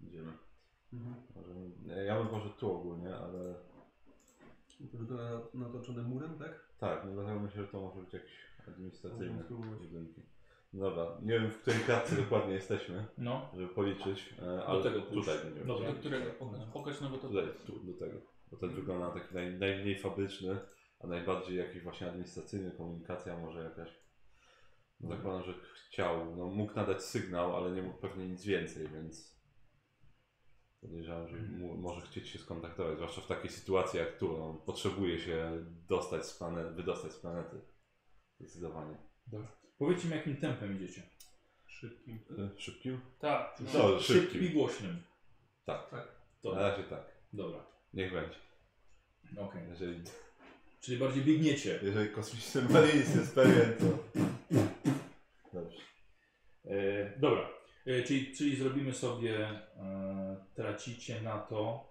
Speaker 2: Idziemy. Mhm. Może, ja bym może tu ogólnie, ale
Speaker 6: to wygląda na- natoczone murem, tak?
Speaker 2: Tak, no dlatego myślę, że to może być jakieś administracyjne
Speaker 1: No,
Speaker 6: Możemy spróbować.
Speaker 2: budynki. Dobra, nie wiem w której klatce dokładnie jesteśmy,
Speaker 1: No,
Speaker 2: żeby policzyć, e, ale
Speaker 1: tego pójść.
Speaker 2: tutaj będziemy.
Speaker 1: Dobra.
Speaker 3: Do którego? Pokaż, Hmm. pokaż no bo to...
Speaker 2: Hmm. Tutaj, tu, do tego. Bo ten wygląda na taki naj, najmniej fabryczny, a najbardziej jakiś właśnie administracyjny, komunikacja może jakaś. No zakładam, że chciał, no mógł nadać sygnał, ale nie mógł pewnie nic więcej, więc podejrzewam, że mu, może chcieć się skontaktować, zwłaszcza w takiej sytuacji jak tu, no, potrzebuje się dostać z planety, wydostać z planety. Zdecydowanie.
Speaker 1: powiedzcie mi jakim tempem idziecie.
Speaker 6: Szybkim.
Speaker 2: Y, Szybkim?
Speaker 3: Tak. No.
Speaker 2: No,
Speaker 1: Szybkim i
Speaker 2: szybkim.
Speaker 1: głośnym.
Speaker 2: Tak, na
Speaker 1: Dobra,
Speaker 2: razie tak.
Speaker 1: dobra.
Speaker 2: Niech będzie.
Speaker 1: Okej.
Speaker 2: Jeżeli,
Speaker 1: Czyli bardziej biegniecie.
Speaker 2: jeżeli kosmiczny marines jest pewien, to... Dobrze.
Speaker 1: E, dobra, e, czyli, czyli zrobimy sobie, e, tracicie na to,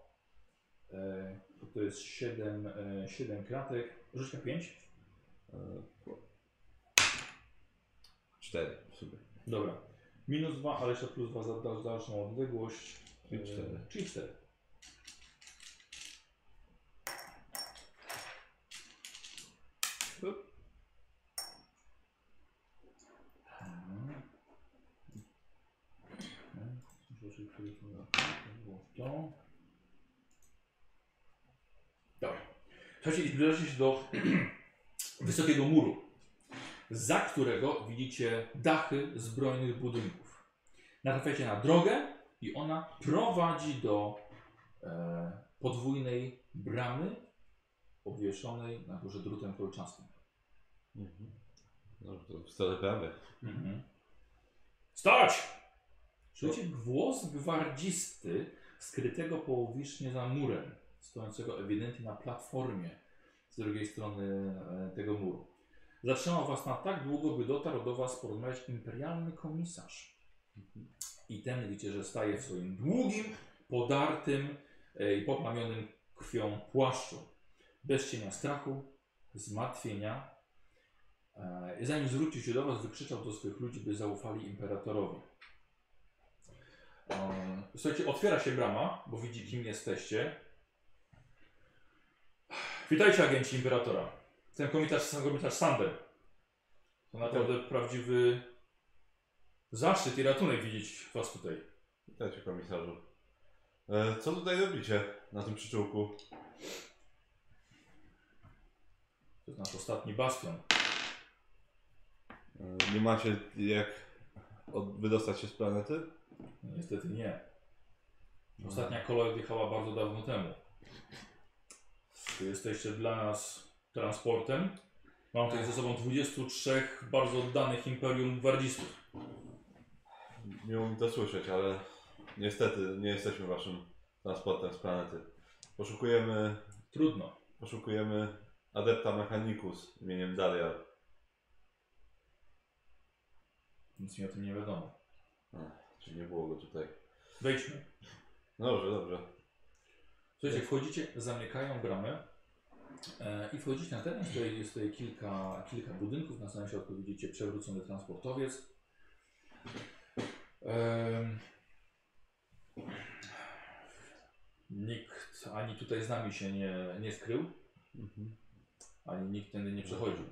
Speaker 1: e, to jest 7, e, 7 kratek, rzućka 5.
Speaker 2: Cztery w sumie.
Speaker 1: Dobra, minus 2, ale jeszcze plus 2 za dal- dalszą odległość. E,
Speaker 2: Czyli cztery.
Speaker 1: Czyli 4. Rzeczy, które są- było w to. Dobra. Słuchajcie, i zbliżacie się do wysokiego muru, za którego widzicie dachy zbrojnych budynków. Natrafiacie na drogę i ona prowadzi do e, podwójnej bramy obwieszonej na górze drutem kolczastym.
Speaker 2: Mhm. No to wstawiamy.
Speaker 1: Mhm. Stać! Słyszycie głos gwardzisty, skrytego połowicznie za murem, stojącego ewidentnie na platformie z drugiej strony e, tego muru. Zatrzymał was na tak długo, by dotarł do was porozmawiać imperialny komisarz. I ten widzicie, że staje w swoim długim, podartym e, i poplamionym krwią płaszczu. Bez cienia strachu, zmartwienia E, I zanim zwrócił się do was, wykrzyczał do swoich ludzi, by zaufali imperatorowi. E, Słuchajcie, otwiera się brama, bo widzi kim jesteście. Witajcie agenci imperatora. Ten komitarz, sam komitarz Sander. To naprawdę prawdziwy zaszczyt i ratunek widzieć was tutaj.
Speaker 2: Witajcie komisarzu. E, co tutaj robicie na tym przyczółku?
Speaker 1: To jest nasz ostatni bastion.
Speaker 2: E, nie macie jak od, wydostać się z planety?
Speaker 1: No, Niestety nie. Ostatnia kolej odjechała bardzo dawno temu. Wy jesteście dla nas transportem. Mam tutaj ze sobą 23 bardzo oddanych imperium gwardzistów.
Speaker 2: Miło mi to słyszeć, ale niestety nie jesteśmy waszym transportem z planety. Poszukujemy,
Speaker 1: Trudno.
Speaker 2: poszukujemy adepta mechanicus imieniem Darial.
Speaker 1: Nic mi o tym nie wiadomo.
Speaker 2: Czyli nie było go tutaj.
Speaker 1: Wejdźmy.
Speaker 2: No dobrze, dobrze.
Speaker 1: Słuchajcie, wchodzicie, zamykają bramę e, i wchodzicie na teren, tutaj jest tutaj kilka, kilka budynków. Na samym środku widzicie przewrócony transportowiec. Em, nikt ani tutaj z nami się nie, nie skrył,
Speaker 2: Mhm.
Speaker 1: ani nikt tędy nie przechodził.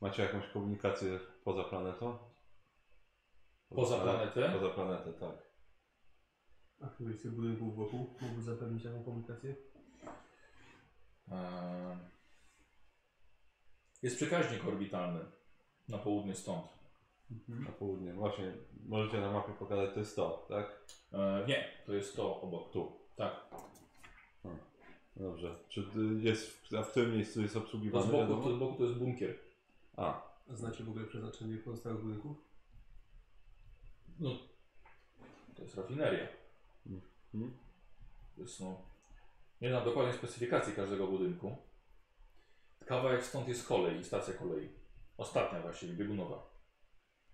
Speaker 2: Macie jakąś komunikację poza planetą?
Speaker 1: Poza planetę?
Speaker 2: Poza planetę, tak.
Speaker 6: A któryś z tych budynków wokół mógłby zapewnić taką komunikację?
Speaker 1: Em, e, jest przekaźnik orbitalny na południe stąd.
Speaker 2: Na południe. Właśnie, możecie na mapie pokazać, to jest to, tak?
Speaker 1: E, nie, to jest to obok tu. Tak,
Speaker 2: Dobrze. Czy y, jest, w- a w którym miejscu jest
Speaker 1: to
Speaker 2: obsługiwany?
Speaker 1: z boku,
Speaker 2: wiadomo?
Speaker 1: to, z boku to jest bunkier.
Speaker 2: A,
Speaker 6: A znacie w ogóle przeznaczenie pozostałych budynków?
Speaker 1: No, to jest rafineria.
Speaker 2: Mhm.
Speaker 1: To jest, no, nie znam dokładnie specyfikacji każdego budynku. Kawałek stąd jest kolej, stacja kolei. Ostatnia właściwie, biegunowa.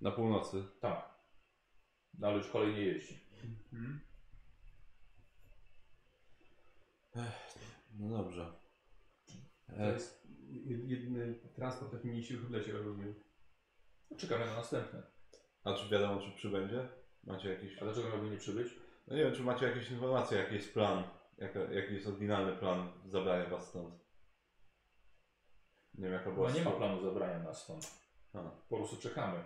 Speaker 2: na północy.
Speaker 1: Tak. No, ale już kolej nie jeździ.
Speaker 2: No dobrze.
Speaker 6: To
Speaker 2: E,
Speaker 6: jest je- jedyny transport, jaki mieści w lecie, rozumiem.
Speaker 1: Czekamy na następne.
Speaker 2: a czy wiadomo, czy przybędzie? Macie jakieś...
Speaker 1: A dlaczego miałby nie przybyć?
Speaker 2: No nie wiem, czy macie jakieś informacje, jaki jest plan, jaka, jaki jest oryginalny plan zabrania was stąd? Nie wiem, jaka była...
Speaker 1: Chyba nie ma
Speaker 2: sto-
Speaker 1: planu zabrania nas stąd.
Speaker 2: A.
Speaker 1: Po prostu czekamy.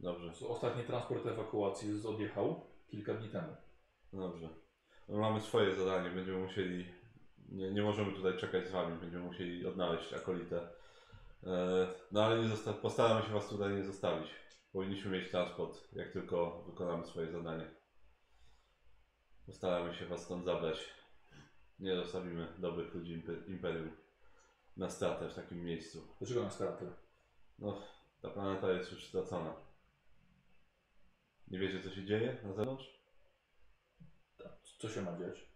Speaker 2: Dobrze,
Speaker 1: Ostatni transport ewakuacji z- odjechał kilka dni temu.
Speaker 2: no dobrze. No mamy swoje zadanie, będziemy musieli... Nie, nie możemy tutaj czekać z wami, będziemy musieli odnaleźć akolitę. E, No ale nie zosta- postaramy się was tutaj nie zostawić. Powinniśmy mieć transport, jak tylko wykonamy swoje zadanie. Postaramy się was stąd zabrać. Nie zostawimy dobrych ludzi impe- imperium na stratę w takim miejscu.
Speaker 1: Dlaczego na stratę?
Speaker 2: No, ta planeta jest już stracona. Nie wiecie, co się dzieje na zewnątrz?
Speaker 1: Co się ma dziać?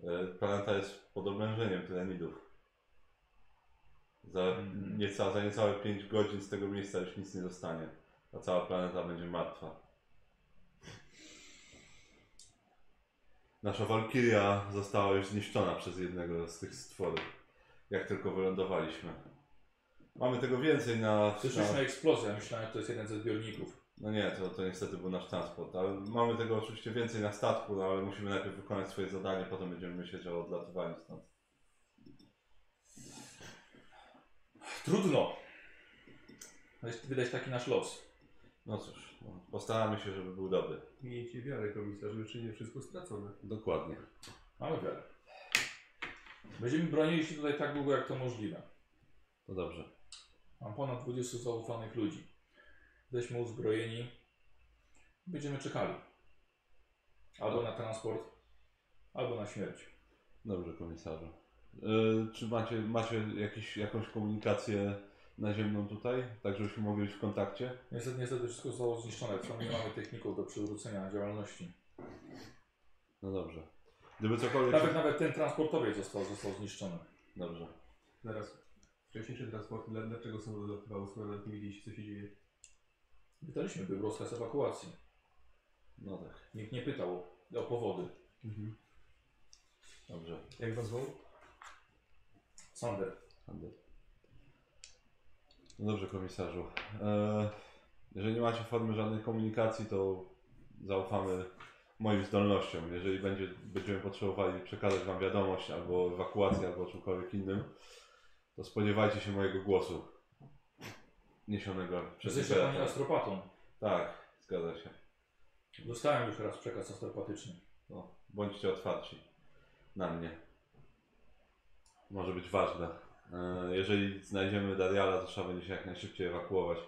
Speaker 2: E, Planeta jest pod oblężeniem tyranidów. Za,
Speaker 1: Mhm.
Speaker 2: nieca, za niecałe 5 godzin z tego miejsca już nic nie zostanie. A cała planeta będzie martwa. Nasza Walkiria została już zniszczona przez jednego z tych stworów, jak tylko wylądowaliśmy. Mamy tego więcej na... na...
Speaker 1: Słyszeliśmy eksplozję, ja myślałem, że to jest jeden ze zbiorników.
Speaker 2: No nie, to, to niestety był nasz transport, ale mamy tego oczywiście więcej na statku, no ale musimy najpierw wykonać swoje zadanie, potem będziemy myśleć o odlatywaniu stąd.
Speaker 1: Trudno! Widać- Widać taki nasz los.
Speaker 2: No cóż, no, postaramy się, żeby był dobry.
Speaker 6: Miejcie wiarę, komisarzu, czy nie wszystko stracone.
Speaker 2: Dokładnie.
Speaker 1: Mamy wiarę. Będziemy bronili się tutaj tak długo, jak to możliwe.
Speaker 2: To dobrze.
Speaker 1: Mam ponad 20 zaufanych ludzi. Jesteśmy uzbrojeni. Będziemy czekali. Albo na transport, albo na śmierć.
Speaker 2: Dobrze, komisarzu. Y, Czy macie, macie jakiś, jakąś komunikację naziemną tutaj, tak żebyśmy mogli być w kontakcie?
Speaker 1: Niestety, niestety wszystko zostało zniszczone, co nie mamy techników do przywrócenia działalności.
Speaker 2: No dobrze. Gdyby cokolwiek...
Speaker 1: Nawet nawet ten transportowiec został, został zniszczony.
Speaker 2: Dobrze.
Speaker 5: Zaraz. Wcześniejsze transporty, dla- dlaczego są dolatywały, skoro nawet nie widzieliście co się dzieje?
Speaker 1: Pytaliśmy był rozkaz ewakuacji.
Speaker 2: No tak.
Speaker 1: Nikt nie pytał o powody.
Speaker 2: Dobrze.
Speaker 5: Jak was zwoł?
Speaker 1: Sander,
Speaker 2: Handel. No dobrze, komisarzu. E, jeżeli nie macie formy żadnej komunikacji, to zaufamy moim zdolnościom. Jeżeli będzie, będziemy potrzebowali przekazać Wam wiadomość albo ewakuację, albo o czymkolwiek innym, to spodziewajcie się mojego głosu niesionego przez
Speaker 1: jesteś
Speaker 2: Iberata.
Speaker 1: pani astropatą.
Speaker 2: Tak, zgadza się.
Speaker 1: Dostałem już raz przekaz astropatyczny.
Speaker 2: No, bądźcie otwarci na mnie. Może być ważne. E, Jeżeli znajdziemy Dariala, to trzeba będzie się jak najszybciej ewakuować.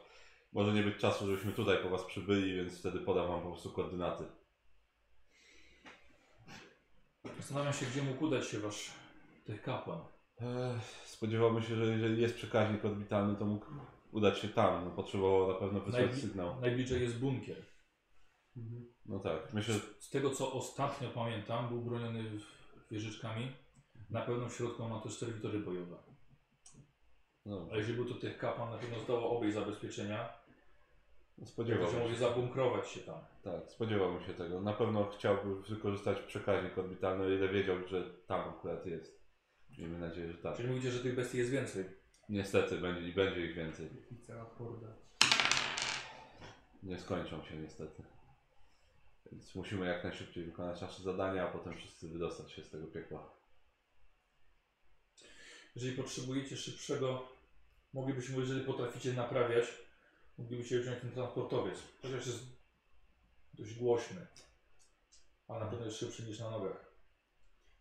Speaker 2: Może nie być czasu, żebyśmy tutaj po was przybyli, więc wtedy podam wam po prostu koordynaty.
Speaker 1: Zastanawiam się, gdzie mógł udać się wasz tych kapłan.
Speaker 2: E, Spodziewałbym się, że jeżeli jest przekaźnik orbitalny, to mógł udać się tam. No, potrzebował na pewno wysłać
Speaker 1: Najbli-
Speaker 2: sygnał.
Speaker 1: Najbliżej jest bunkier.
Speaker 2: No tak, myślę, że
Speaker 1: Z tego co ostatnio pamiętam, był broniony w- wieżyczkami. Na pewno w środku ma też serwitory bojowe.
Speaker 2: no,
Speaker 1: A jeżeli był to tych kapłan, na pewno zdało obie zabezpieczenia. To się
Speaker 2: spodziewałbym
Speaker 1: może
Speaker 2: się.
Speaker 1: zabunkrować się tam.
Speaker 2: Tak, spodziewałbym się tego. Na pewno chciałby wykorzystać przekaźnik orbitalny, o ile wiedział, że tam akurat jest. Miejmy nadzieję, że tak.
Speaker 1: Czyli mówicie, że tych bestii jest więcej.
Speaker 2: Niestety, będzie, i będzie ich więcej.
Speaker 5: I cała horda.
Speaker 2: Nie skończą się niestety. Więc musimy jak najszybciej wykonać nasze zadania, a potem wszyscy wydostać się z tego piekła.
Speaker 1: Jeżeli potrzebujecie szybszego, moglibyśmy, jeżeli potraficie naprawiać, moglibyście wziąć ten transportowiec. Chociaż jest dość głośny. A na pewno jest szybszy niż na nogach.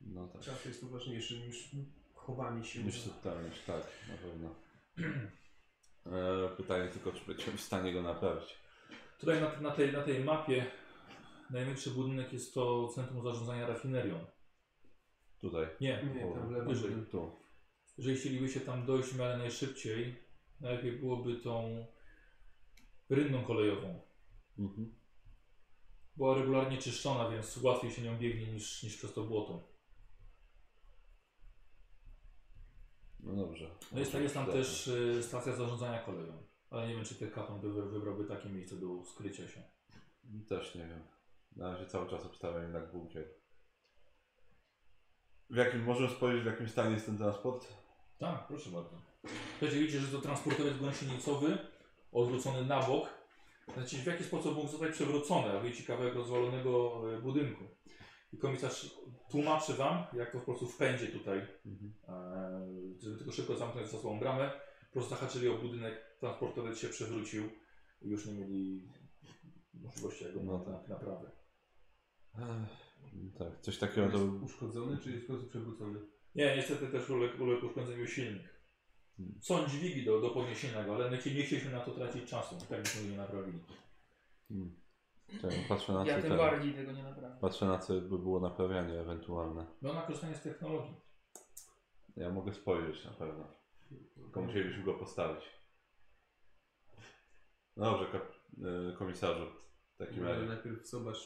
Speaker 2: No tak.
Speaker 5: Czas jest tu ważniejszy niż chowanie się.
Speaker 2: Niż subtelność, tak, na pewno. E, pytanie tylko, czy będziemy w stanie go naprawić.
Speaker 1: Tutaj na, na, tej, na tej mapie największy budynek jest to Centrum Zarządzania Rafinerią.
Speaker 2: Tutaj.
Speaker 1: Nie,
Speaker 5: Nie, tam w lewo.
Speaker 1: Wyżej.
Speaker 2: Tu.
Speaker 1: jeżeli chcielibyście tam dojść w miarę najszybciej, najlepiej byłoby tą rynną kolejową.
Speaker 2: Mhm.
Speaker 1: Była regularnie czyszczona, więc łatwiej się nią biegnie niż, niż przez to błoto.
Speaker 2: No dobrze.
Speaker 1: No jest, jest tam
Speaker 2: Dobrze.
Speaker 1: też y, stacja zarządzania koleją, ale nie wiem czy ten katon by wybrałby takie miejsce do skrycia się.
Speaker 2: Też nie wiem. Na razie cały czas obstawiam jednak bunkier. W jakim, możemy spojrzeć w jakim stanie jest ten transport?
Speaker 1: Tak, proszę bardzo. Słuchajcie, widzicie, że to transportowiec gąsienicowy, odwrócony na bok. Znaczy w jaki sposób mógł zostać przewrócony, a widzicie kawałek rozwalonego e, budynku. I komisarz tłumaczy wam, jak to po prostu wpędzie tutaj E, żeby tylko szybko zamknąć za sobą bramę, po prostu zahaczyli o budynek, transportowiec się przewrócił i już nie mieli możliwości jego
Speaker 2: No
Speaker 1: na- naprawy.
Speaker 2: Ech, Tak, coś takiego
Speaker 5: Jest
Speaker 2: to...
Speaker 5: uszkodzony czy jest w końcu przewrócony?
Speaker 1: Nie, niestety też uległ, uległ uszkodzeniu silnik.
Speaker 2: Hmm.
Speaker 1: Są dźwigi do, do podniesienia go, ale my ci- nie chcieliśmy na to tracić czasu, tak byśmy nie naprawili.
Speaker 2: Hmm. Czekaj, patrzę na
Speaker 3: Ja
Speaker 2: co
Speaker 3: tym
Speaker 2: ten-
Speaker 3: bardziej tego nie naprawię.
Speaker 2: Patrzę na co by było naprawianie ewentualne.
Speaker 1: No na korzystanie z technologii.
Speaker 2: Ja mogę spojrzeć na pewno.
Speaker 3: Mm.
Speaker 2: Tylko musielibyśmy go postawić. No dobrze, kap- y, komisarzu. W takim
Speaker 5: Ale
Speaker 2: razie.
Speaker 5: najpierw zobacz,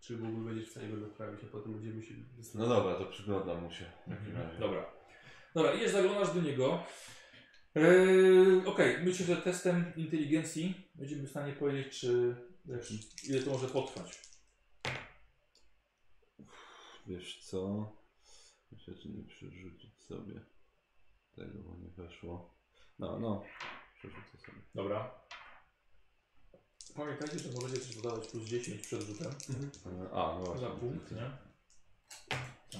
Speaker 5: czy mógłby będziesz w stanie go naprawić, a potem będziemy się
Speaker 2: No dobra, to przyglądam mu się. W takim
Speaker 1: Mhm.
Speaker 2: razie.
Speaker 1: Dobra. Dobra, idziesz, zaglądasz do niego. Eee, Okej, myślę, że testem inteligencji będziemy w stanie powiedzieć, czy wiesz, ile to może potrwać.
Speaker 2: Wiesz co? Myślę, czy nie przerzucić sobie tego, bo nie weszło. No, no. Przerzucę sobie.
Speaker 1: Dobra. Pamiętajcie, że możecie też dodawać plus 10 przed rzutem.
Speaker 2: E, A, no właśnie.
Speaker 1: Za punkt, nie?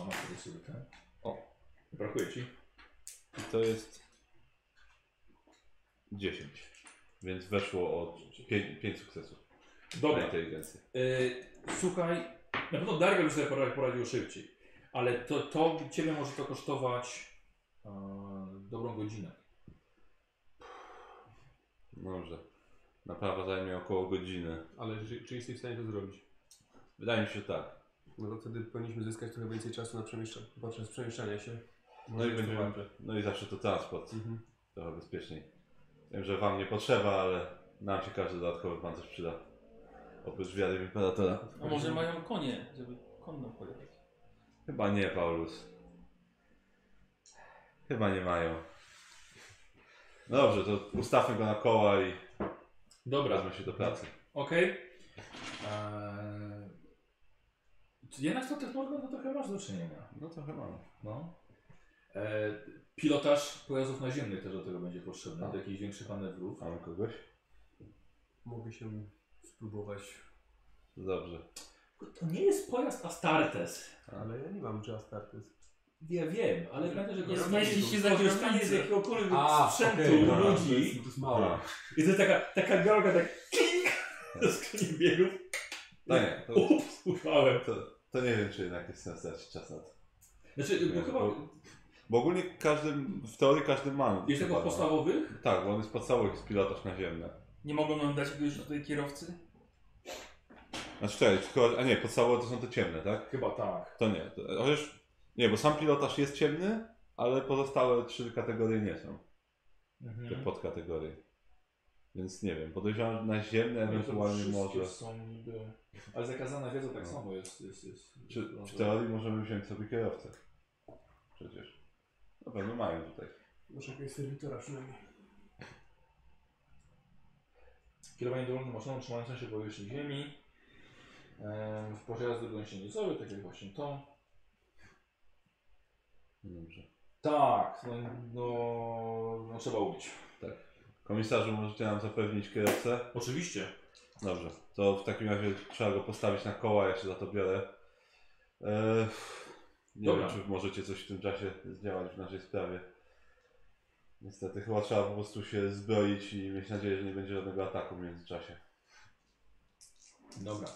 Speaker 1: A masz sobie sobie ten. O, brakuje ci.
Speaker 2: I to jest 10. Więc weszło o 5 sukcesów. Na
Speaker 1: Dobra.
Speaker 2: inteligencję.
Speaker 1: Y, słuchaj, na pewno Dariel już sobie pora- poradził szybciej, ale to, to ciebie może to kosztować e, dobrą godzinę.
Speaker 2: Dobrze. Naprawa zajmie około godziny.
Speaker 5: Ale czy, czy jesteś w stanie to zrobić?
Speaker 2: Wydaje mi się, że tak.
Speaker 5: No to wtedy powinniśmy zyskać trochę więcej czasu na przemieszczanie, podczas przemieszczania się.
Speaker 2: No i, będziemy,
Speaker 6: tłumaczę.
Speaker 2: no i zawsze to transport,
Speaker 6: Mhm.
Speaker 2: trochę bezpieczniej. Wiem, że wam nie potrzeba, ale nam się każdy dodatkowy pan coś przyda. Oprócz wiary w imperatora.
Speaker 3: A może mają konie, żeby konno pojechać.
Speaker 2: Chyba nie, Paulus. Chyba nie mają. No dobrze, to ustawmy go na koła i
Speaker 1: Dobra,
Speaker 2: wezmę się do pracy.
Speaker 1: okej. Eee, czy Jednak to też Morgan to trochę masz do czynienia.
Speaker 2: No trochę mam.
Speaker 1: No. Eee, pilotaż pojazdów naziemnych też do tego będzie
Speaker 2: Tak.
Speaker 1: potrzebny, do jakichś większych manewrów.
Speaker 2: Mamy kogoś?
Speaker 6: Mogę się spróbować,
Speaker 2: Dobrze.
Speaker 1: To nie jest pojazd Astartes.
Speaker 6: ale ja nie mam Just Artist.
Speaker 1: Ja wiem, ale pamiętaj, że
Speaker 3: Nie zmieści się za
Speaker 1: korzystanie z
Speaker 3: kierownicę.
Speaker 1: jakiegokolwiek
Speaker 5: A,
Speaker 1: sprzętu
Speaker 5: okej, dobra, To jest,
Speaker 1: ludzi.
Speaker 5: to jest mała.
Speaker 2: A,
Speaker 1: I to jest taka, taka gałka, tak kling, z koni biegów.
Speaker 2: to No nie, to,
Speaker 1: Ups, uchwałem.
Speaker 2: to, to nie wiem, czy jednak jest sens tracić czas na to.
Speaker 1: Znaczy,
Speaker 2: Nie,
Speaker 1: bo chyba
Speaker 2: bo- Bo ogólnie każdy, w teorii każdy ma.
Speaker 1: jest tego
Speaker 2: chyba,
Speaker 1: w
Speaker 2: no.
Speaker 1: podstawowych?
Speaker 2: Tak, bo on jest podstawowy, jest pilotaż naziemny.
Speaker 3: Nie mogą nam dać jakiegoś tutaj kierowcy?
Speaker 2: Znaczy, czekaj, tylko, a nie, podstawowe to są te ciemne, tak?
Speaker 1: Chyba tak.
Speaker 2: To nie. To, chociaż, nie, bo sam pilotaż jest ciemny, ale pozostałe trzy kategorie nie są. te podkategorie. Więc nie wiem, podejrzewam, że naziemne
Speaker 5: No
Speaker 2: ewentualnie może.
Speaker 1: Są niby... Ale zakazana wiedza tak
Speaker 2: No.
Speaker 1: samo jest. jest, jest
Speaker 2: Czy w
Speaker 1: jest-
Speaker 2: teorii możemy wziąć sobie kierowcę? Przecież. Na pewno mają tutaj.
Speaker 6: Może jakiegoś serwitora przynajmniej.
Speaker 1: Kierowanie dowolną maszyną trzymającą się powierzchni ziemi. Em, W pojazdy gąsienicowe, tak jak właśnie to.
Speaker 2: Dobrze.
Speaker 1: Tak, no, no, no trzeba umieć.
Speaker 2: Komisarzu, możecie nam zapewnić kierowcę?
Speaker 1: Oczywiście.
Speaker 2: Dobrze. To w takim razie trzeba go postawić na koła, ja się za to biorę. Eee, nie
Speaker 1: Dobra.
Speaker 2: wiem, czy możecie coś w tym czasie zdziałać w naszej sprawie. Niestety, chyba trzeba po prostu się zbroić i mieć nadzieję, że nie będzie żadnego ataku w międzyczasie.
Speaker 1: Dobra.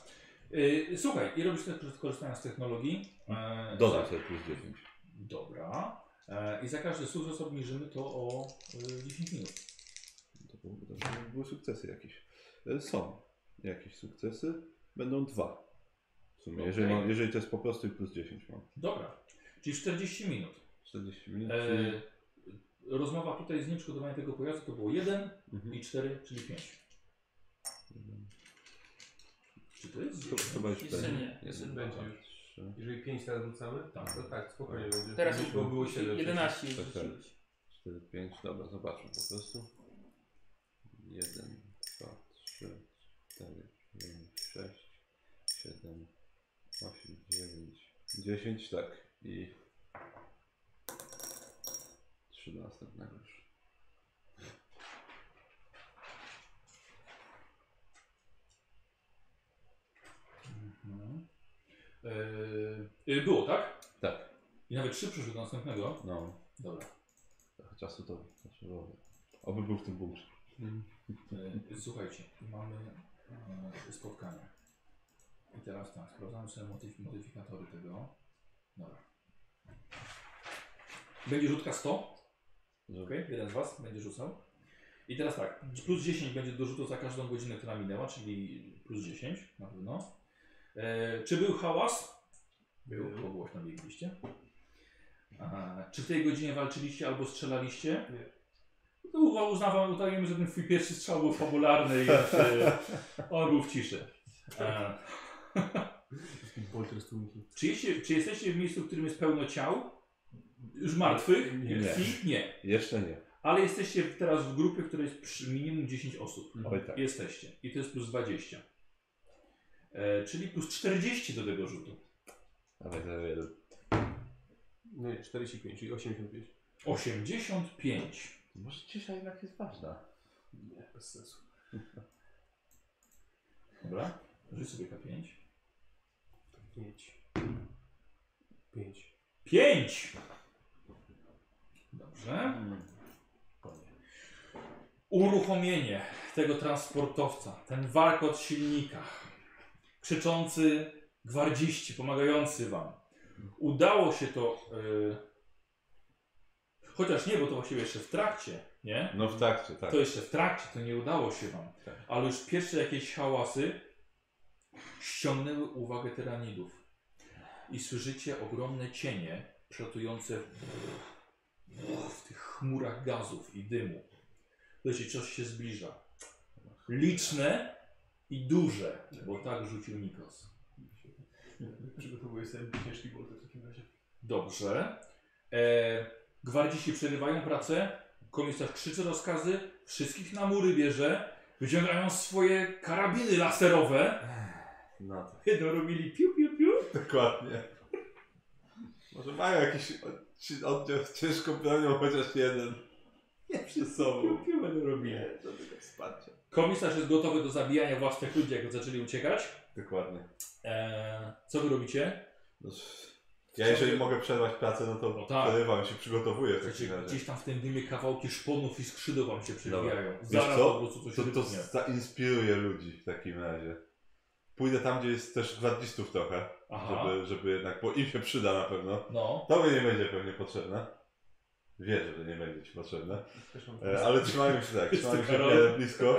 Speaker 1: Y, słuchaj, i robisz też korzystając z technologii. E,
Speaker 2: Dodam sobie plus 10.
Speaker 1: Dobra. E, I za każdy sukces obniżymy to o y, 10 minut.
Speaker 2: To były, to były sukcesy jakieś. E, Są jakieś sukcesy. Będą dwa. W sumie,
Speaker 1: Okej.
Speaker 2: jeżeli, mam, jeżeli to jest po prostu i plus 10 mam.
Speaker 1: Dobra. Czyli 40 minut.
Speaker 2: 40 minut.
Speaker 1: E,
Speaker 2: czyli-
Speaker 1: rozmowa tutaj z nim, przygotowanie tego pojazdu to było 1
Speaker 2: Mhm.
Speaker 1: i 4, czyli 5. Czy to jest?
Speaker 2: Ch- Chyba już
Speaker 3: Jeszcze
Speaker 2: będzie.
Speaker 3: nie.
Speaker 2: Jeden,
Speaker 6: Jeszcze będzie
Speaker 2: dwa,
Speaker 6: już.
Speaker 2: trzy,
Speaker 6: Jeżeli 5 teraz rzucamy,
Speaker 1: Tak.
Speaker 6: to tak, spokojnie będzie.
Speaker 3: Teraz
Speaker 6: Bo
Speaker 3: już
Speaker 6: było 7.
Speaker 3: 11 już
Speaker 2: Tak, tak.
Speaker 3: rzuciłeś.
Speaker 2: 4, 5. Dobra, zobaczmy po prostu. 1, 2, 3, 4, 5, 6, 7, 8, 9, 10, tak. I 3 do następnego już.
Speaker 1: Mhm. E, y, było, tak?
Speaker 2: Tak.
Speaker 1: I nawet 3 przyszły do następnego.
Speaker 2: No.
Speaker 1: Dobra.
Speaker 2: Trochę czasu to potrzebowało. Oby był w tym bunkrze.
Speaker 1: E, Słuchajcie, mamy e, spotkanie. I teraz tak, sprawdzamy sobie modyf modyfikatory tego. Dobra. Będzie rzutka 100. Ok, jeden z Was będzie rzucał. I teraz tak, plus 10 będzie do rzutu za każdą godzinę, która minęła, czyli plus 10 na pewno. E, czy był hałas? Był, bo głośno biegliście. E, czy w tej godzinie walczyliście albo strzelaliście? No, uwa- uznawam, udajemy, że ten twój pierwszy strzał był fabularny i e, on był w ciszy. E,
Speaker 6: E, Bolter z tłumki.
Speaker 1: czy, jeście, czy jesteście w miejscu, w którym jest pełno ciał? Już martwych?
Speaker 6: Nie.
Speaker 1: Krwi? Nie.
Speaker 2: Jeszcze nie.
Speaker 1: Ale jesteście teraz w grupie, w której jest przy minimum 10 osób.
Speaker 2: Oj tak.
Speaker 1: Jesteście. I to jest plus 20. E, czyli plus 40 do tego rzutu.
Speaker 2: Ale to wiele.
Speaker 6: No nie, 45, czyli 85.
Speaker 1: 85.
Speaker 2: Może cisza jednak jest ważna.
Speaker 6: Nie, bez sensu.
Speaker 1: Dobra. Rzuć sobie K5.
Speaker 6: 5. 5.
Speaker 1: 5! Dobrze. Uruchomienie tego transportowca, ten warkot silnika, krzyczący gwardziści pomagający wam. Udało się to. y, Chociaż nie, bo to właściwie jeszcze w trakcie, nie?
Speaker 2: No w trakcie, tak.
Speaker 1: To jeszcze w trakcie, to nie udało się wam.
Speaker 2: Tak.
Speaker 1: Ale już pierwsze jakieś hałasy ściągnęły uwagę tyranidów. I słyszycie ogromne cienie przelatujące w tych chmurach gazów i dymu. Wiecie, coś się zbliża. Liczne i duże, bo tak rzucił Nikos.
Speaker 5: Przygotowuję sobie ciężki bolter w takim razie.
Speaker 1: Dobrze. E, gwardziści przerywają pracę. Komisarz krzyczy rozkazy. Wszystkich na mury bierze. Wyciągają swoje karabiny laserowe.
Speaker 2: Na no to.
Speaker 1: Jedno robili piu, piu, piu.
Speaker 2: Dokładnie. Może mają jakiś od- oddział z ciężką bronią, chociaż jeden. Nie przy sobą.
Speaker 1: Piu, piu będą robili.
Speaker 2: Nie, do tego wsparcia.
Speaker 1: Komisarz jest gotowy do zabijania własnych ludzi, jak zaczęli uciekać.
Speaker 2: Dokładnie.
Speaker 1: E, co wy robicie?
Speaker 2: No, ja jeżeli mogę przerwać pracę, no to
Speaker 1: No tak.
Speaker 2: przerywam tak się, przygotowuję w takim
Speaker 1: Znaczy,
Speaker 2: razie.
Speaker 1: gdzieś tam w tym dymie kawałki szponów i skrzydeł wam się przewijają.
Speaker 2: Wiesz
Speaker 1: Zaraz
Speaker 2: co?
Speaker 1: po prostu coś
Speaker 2: To, to
Speaker 1: wybuchnie.
Speaker 2: zainspiruje ludzi w takim razie. Pójdę tam, gdzie jest też gwardzistów trochę,
Speaker 1: Aha,
Speaker 2: żeby, żeby jednak, bo im się przyda na pewno.
Speaker 1: no.
Speaker 2: Tobie nie będzie pewnie potrzebne. Wierzę, że nie będzie ci potrzebne. E, Ale trzymajmy się tak, trzymajmy się
Speaker 1: Karol.
Speaker 2: miarę blisko.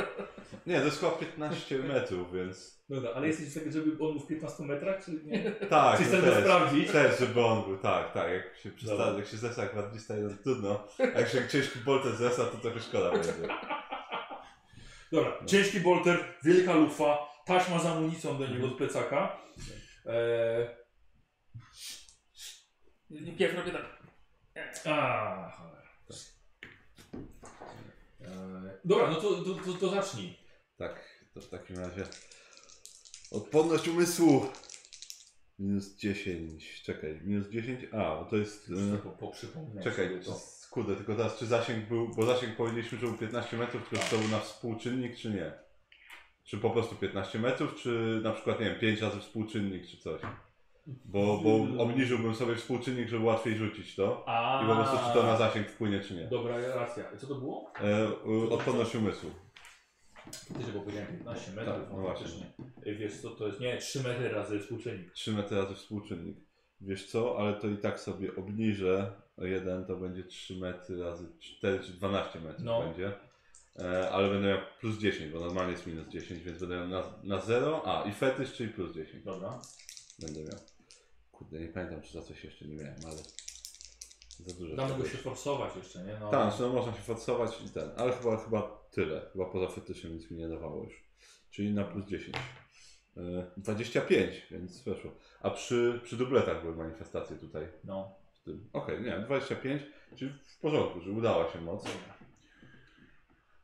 Speaker 2: Nie, to jest chyba 15 metrów, więc
Speaker 1: Dobra, ale jesteś tak, żeby on był w 15 metrach, czy nie?
Speaker 2: tak,
Speaker 1: Czy
Speaker 2: no
Speaker 1: chcesz to
Speaker 2: też,
Speaker 1: sprawdzić?
Speaker 2: też, żeby on był, tak, tak, jak się przestanie,
Speaker 1: Dobra.
Speaker 2: jak się zesa gwardzista jeden, to trudno, a jak się ciężki bolter zesa, to trochę szkoda będzie.
Speaker 1: Dobra,
Speaker 2: No.
Speaker 1: ciężki bolter, wielka lufa, taśma z amunicją do
Speaker 2: Mhm.
Speaker 1: niego z plecaka. Eee,
Speaker 3: Pierw robię tak.
Speaker 1: a, cholera. Eee, dobra, no to, to, to, to zacznij.
Speaker 2: Tak, to w takim razie. Odporność umysłu! Minus 10, czekaj, minus 10, a, bo to jest... e,
Speaker 1: Po, po przypomnę
Speaker 2: Czekaj,
Speaker 1: sobie
Speaker 2: czy,
Speaker 1: to.
Speaker 2: kurde, tylko teraz czy zasięg był, bo zasięg powiedzieliśmy, że był 15 metrów, tylko czy to był na współczynnik, czy nie? Czy po prostu 15 metrów, czy na przykład, nie wiem, 5 razy współczynnik, czy coś? Bo, bo obniżyłbym sobie współczynnik, żeby łatwiej rzucić to
Speaker 1: A,
Speaker 2: i po prostu czy to na zasięg wpłynie, czy nie.
Speaker 1: Dobra, racja. Co to było?
Speaker 2: E, y, odporność umysłu.
Speaker 1: Ty, bo powiedziałem 15 metrów,
Speaker 2: Tak, no
Speaker 1: no
Speaker 2: właśnie.
Speaker 1: faktycznie. E, Wiesz co, to jest, nie, 3 metry razy współczynnik.
Speaker 2: 3 metry razy współczynnik. Wiesz co, ale to i tak sobie obniżę o 1, to będzie 3 metry razy 4, czy 12 metrów
Speaker 1: No.
Speaker 2: będzie. E, ale będę miał plus 10, bo normalnie jest minus 10, więc będę miał na, na 0, a i fetysz, czyli plus 10
Speaker 1: Dobra.
Speaker 2: będę miał. Kurde, nie pamiętam czy za coś jeszcze nie miałem, ale za dużo.
Speaker 1: Damy go
Speaker 2: tego
Speaker 1: się
Speaker 2: jest.
Speaker 1: forsować jeszcze, nie? No,
Speaker 2: Tak, no można się forsować i ten, ale chyba, chyba tyle, chyba poza fetyszem nic mi nie dawało już. Czyli na plus 10. E, 25, więc weszło. A przy, przy dubletach były manifestacje tutaj.
Speaker 1: no.
Speaker 2: w tym. Okej, nie, 25, czyli w porządku, że udała się moc.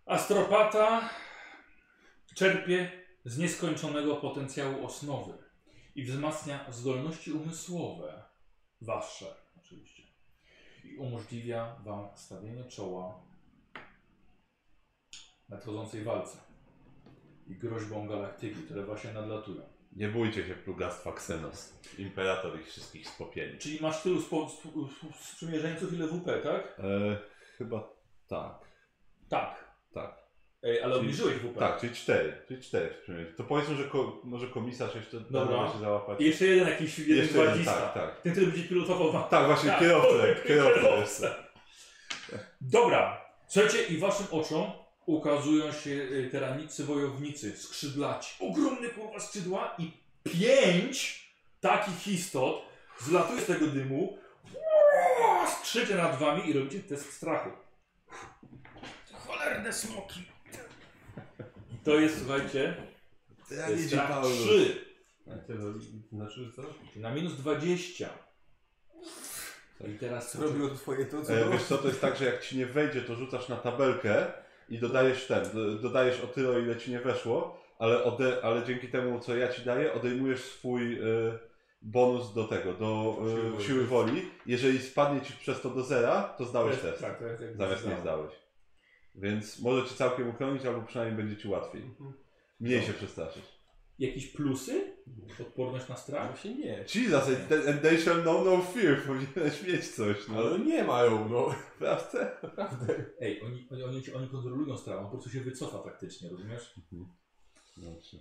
Speaker 1: Astropata czerpie z nieskończonego potencjału osnowy i wzmacnia zdolności umysłowe, wasze oczywiście, i umożliwia wam stawienie czoła nadchodzącej walce i groźbą galaktyki, które właśnie nadlatują.
Speaker 2: Nie bójcie się plugastwa Xenos. Imperator ich wszystkich spopieli.
Speaker 1: Czyli masz tylu spo- sp- sp- sprzymierzeńców, ile WP, tak?
Speaker 2: E, chyba tak,
Speaker 1: Tak.
Speaker 2: tak.
Speaker 1: Ej, ale
Speaker 2: Czyli-
Speaker 1: obniżyłeś WP.
Speaker 2: Tak, czyli 4, czyli 4 w sumie. To powiedzmy, że ko, może komisarz jeszcze
Speaker 1: Dobra.
Speaker 2: da się załapać.
Speaker 1: I jeszcze jeden jakiś jeden
Speaker 2: Jeszcze jeden,
Speaker 1: gwardzista.
Speaker 2: tak, tak.
Speaker 1: Ten, który będzie pilotował wam.
Speaker 2: Tak, właśnie,
Speaker 1: Tak,
Speaker 2: kierowcę, kierowcę
Speaker 1: kierowcę.
Speaker 2: jeszcze.
Speaker 1: Dobra, słuchajcie i waszym oczom ukazują się y, teranicy wojownicy, skrzydlaci. Ogromne kurwa skrzydła i pięć takich istot zlatuje z tego dymu, skrzyczy nad wami i robicie test strachu.
Speaker 3: Cholerne smoki.
Speaker 1: To jest, słuchajcie, to jest strach 3,
Speaker 5: Znaczy, że co?
Speaker 1: na minus 20. I teraz
Speaker 5: Robiło to twoje to, co
Speaker 2: E,
Speaker 5: było?
Speaker 2: wiesz co, to jest tak, że jak ci nie wejdzie, to rzucasz na tabelkę i dodajesz ten, do- dodajesz o tyle, o ile ci nie weszło, ale, ode, ale dzięki temu, co ja ci daję, odejmujesz swój y, bonus do tego, do y,
Speaker 5: Siły
Speaker 2: siły,
Speaker 5: woli.
Speaker 2: woli. Jeżeli spadnie ci przez to do zera, to zdałeś test,
Speaker 1: Tak, to jest jak
Speaker 2: zamiast nie zdałeś. Więc może ci całkiem uchronić, albo przynajmniej będzie ci łatwiej. Mniej
Speaker 5: No.
Speaker 2: się przestraszysz.
Speaker 1: Jakieś plusy? Odporność na strach?
Speaker 5: Właśnie nie.
Speaker 2: Jesus, and they- and they shall know no fear, powinieneś mieć coś, no.
Speaker 5: Ale nie mają, no.
Speaker 2: Prawda?
Speaker 5: Naprawdę.
Speaker 1: Ej, oni, oni, oni, oni kontrolują strach, on po prostu się wycofa praktycznie, rozumiesz?
Speaker 2: Dobrze.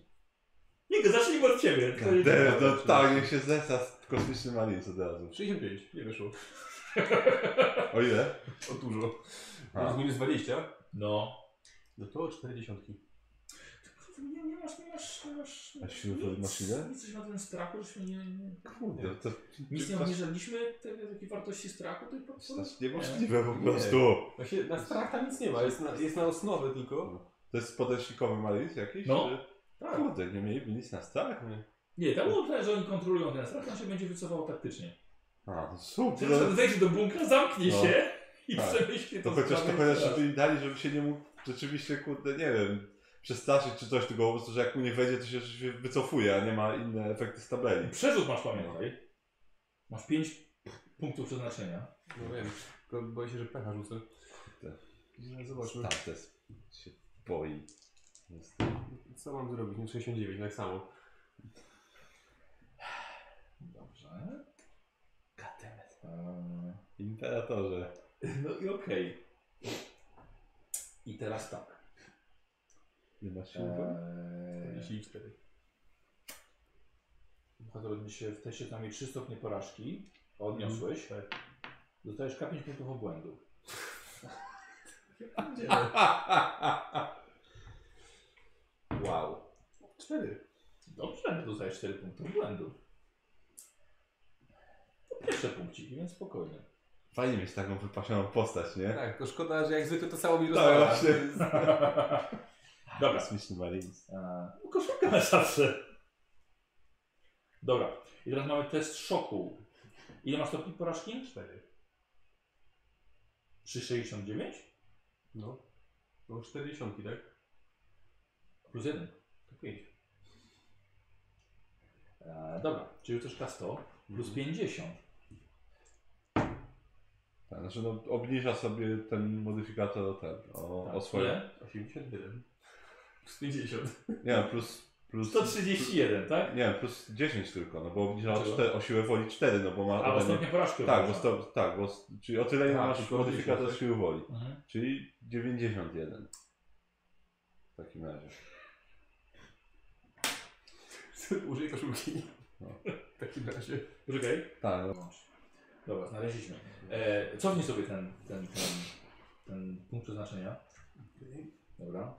Speaker 1: Nie, zacznijmy od ciebie. To jest-
Speaker 2: De, no tak, niech się zesa z kosmicznym aliens od razu.
Speaker 5: 65, nie wyszło.
Speaker 2: O ile?
Speaker 5: O dużo.
Speaker 2: A.
Speaker 5: Minus 20.
Speaker 1: No.
Speaker 5: No to 40.
Speaker 1: nie, nie masz, nie maś, nie masz.
Speaker 2: A śrubowy
Speaker 1: nic-
Speaker 2: masz ile?
Speaker 1: Nic się na ten strachu, żeśmy nie. nie
Speaker 2: Kurde, to
Speaker 1: nic nie
Speaker 2: to-
Speaker 1: obniżaliśmy tej takiej wartości strachu, tej po
Speaker 2: to
Speaker 1: prostu.
Speaker 2: jest niemożliwe po
Speaker 5: Nie.
Speaker 2: prostu.
Speaker 5: Właśnie na strach tam nic nie ma, jest na, jest na osnowę tylko.
Speaker 2: To jest podręcznikowy malis jakiś?
Speaker 1: No.
Speaker 2: Czy-
Speaker 1: Tak.
Speaker 2: Kurde, nie mieliby nic na strach?
Speaker 1: Nie, tam było tyle, że oni kontrolują ten strach, on się będzie wycofał taktycznie.
Speaker 2: A, to super.
Speaker 1: Czyli wejdzie do bunkra, zamknie
Speaker 2: No.
Speaker 1: się i
Speaker 2: Tak.
Speaker 1: przemyśli
Speaker 2: To
Speaker 1: tą
Speaker 2: chociaż to
Speaker 1: sprawę
Speaker 2: chociaż
Speaker 1: jeszcze
Speaker 2: żeby im dali, żeby się nie mógł rzeczywiście, kurde, nie wiem, przestraszyć czy coś, tylko po prostu, że jak mu nie wejdzie, to się rzeczywiście wycofuje, a nie ma inne efekty z tabeli.
Speaker 1: raz. Przerzut masz, pamiętaj. Masz 5 punktów przeznaczenia.
Speaker 5: No wiem, tylko boję się, że pecha rzucę.
Speaker 2: Kurde.
Speaker 5: No, Zobaczmy.
Speaker 2: Tak, to jest, się boi. Jest-
Speaker 5: Co mam zrobić? No 69, tak samo.
Speaker 1: Dobrze. Katemet. Eee,
Speaker 2: Imperatorze.
Speaker 1: No i okej. I teraz tak.
Speaker 2: Nie ma siły.
Speaker 1: Eee,
Speaker 5: 44.
Speaker 1: bohater odniesie się w teście tam 3 stopnie porażki. Odniosłeś. Dostajesz K5 punktów obłędu.
Speaker 2: Wow.
Speaker 5: 4.
Speaker 1: Dobrze, dostajesz 4 punkty obłędu. To pierwsze punkciki, więc spokojnie.
Speaker 2: Fajnie mieć taką wypasioną postać, nie?
Speaker 5: Tak, to szkoda, że jak zwykle to samo mi
Speaker 2: Tak,
Speaker 5: rozwala.
Speaker 2: właśnie.
Speaker 1: Dobra.
Speaker 2: Kosmiczny Marines.
Speaker 1: Eee, koszulka na zawsze. Dobra. I teraz mamy test szoku. Ile masz stopni porażki?
Speaker 5: 4.
Speaker 1: Przy 69?
Speaker 5: No. No 40, tak?
Speaker 1: Plus 1.
Speaker 5: To 5.
Speaker 1: E, dobra, czyli też K100 plus
Speaker 2: Mhm.
Speaker 1: 50.
Speaker 2: Tak, znaczy no, obniża sobie ten modyfikator o ten, o,
Speaker 1: Tak,
Speaker 2: o swoje.
Speaker 1: ile?
Speaker 5: 81. Plus 50.
Speaker 2: Nie, no, plus, plus...
Speaker 1: 131, tak?
Speaker 2: Nie, plus 10 tylko, no bo obniża o,
Speaker 1: Dlaczego?
Speaker 2: czte- o siłę woli 4, no bo ma...
Speaker 1: A, bo
Speaker 2: ode mnie-
Speaker 1: stopnie porażki
Speaker 2: Tak, bo
Speaker 1: obniża.
Speaker 2: sto, tak, bo s- czyli o tyle ile
Speaker 5: Tak,
Speaker 2: masz
Speaker 5: tylko
Speaker 2: modyfikator
Speaker 5: 10,
Speaker 2: siły woli,
Speaker 1: Mhm.
Speaker 2: czyli 91. W takim razie.
Speaker 5: Użyj koszulki.
Speaker 2: No.
Speaker 5: W takim razie.
Speaker 1: Poczekaj.
Speaker 2: Tak, no.
Speaker 1: Dobra, znaleźliśmy. E, cofnij sobie ten, ten, ten, ten punkt przeznaczenia. Dobra.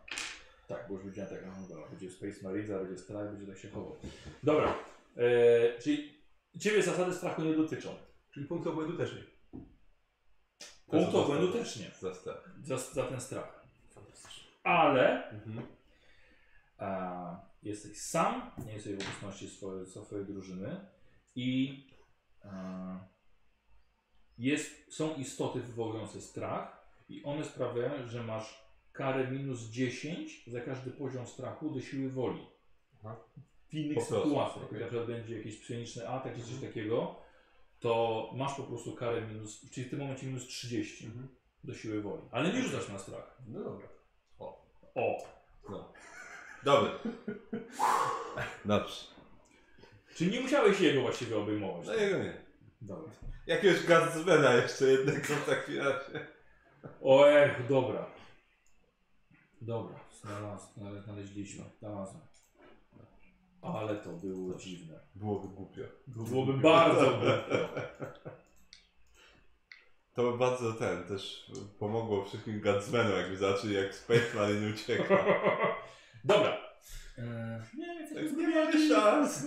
Speaker 1: Tak, bo już widziałem tak, no dobra, będzie Space Marine, będzie strach, będzie tak się chował. Dobra, e, czyli ciebie zasady strachu nie dotyczą.
Speaker 5: Czyli punkt obłędu też nie.
Speaker 1: Punkt obłędu też nie,
Speaker 2: za strach.
Speaker 1: za, za ten strach.
Speaker 5: Fantastycznie.
Speaker 1: Ale
Speaker 5: Mhm.
Speaker 1: A, jesteś sam, nie jesteś w obecności swojej, swojej drużyny i a, jest, są istoty wywołujące strach i one sprawiają, że masz karę minus 10 za każdy poziom strachu do siły woli.
Speaker 5: Aha.
Speaker 1: W innych
Speaker 2: Po prostu, Mhm.
Speaker 1: sytuacjach,
Speaker 5: okej.
Speaker 1: jak na przykład będzie jakiś psioniczny atak czy coś takiego, to masz po prostu karę minus, czyli w tym momencie minus 30
Speaker 5: Mhm.
Speaker 1: do siły woli. Ale nie rzucasz na strach.
Speaker 5: No dobra.
Speaker 1: O!
Speaker 2: Dobry. Dobrze.
Speaker 1: Czyli nie musiałeś jego właściwie obejmować.
Speaker 2: No jego nie.
Speaker 1: Dobra.
Speaker 2: Jakiegoś gazmena jeszcze jednego w takim razie.
Speaker 1: Ojej, eh, dobra. Dobra, znalaz, znale- znaleźliśmy, znalazłem. Ale to było dziwne.
Speaker 2: Byłoby głupio.
Speaker 1: Byłoby bardzo głupio.
Speaker 2: To by bardzo ten też pomogło wszystkim gazmenom, jakby zobaczyli jak Space Marine ucieka.
Speaker 1: Dobra.
Speaker 5: E,
Speaker 1: Eee, nie, jesteśmy
Speaker 2: Nie mamy
Speaker 1: zgubieni.
Speaker 2: szans.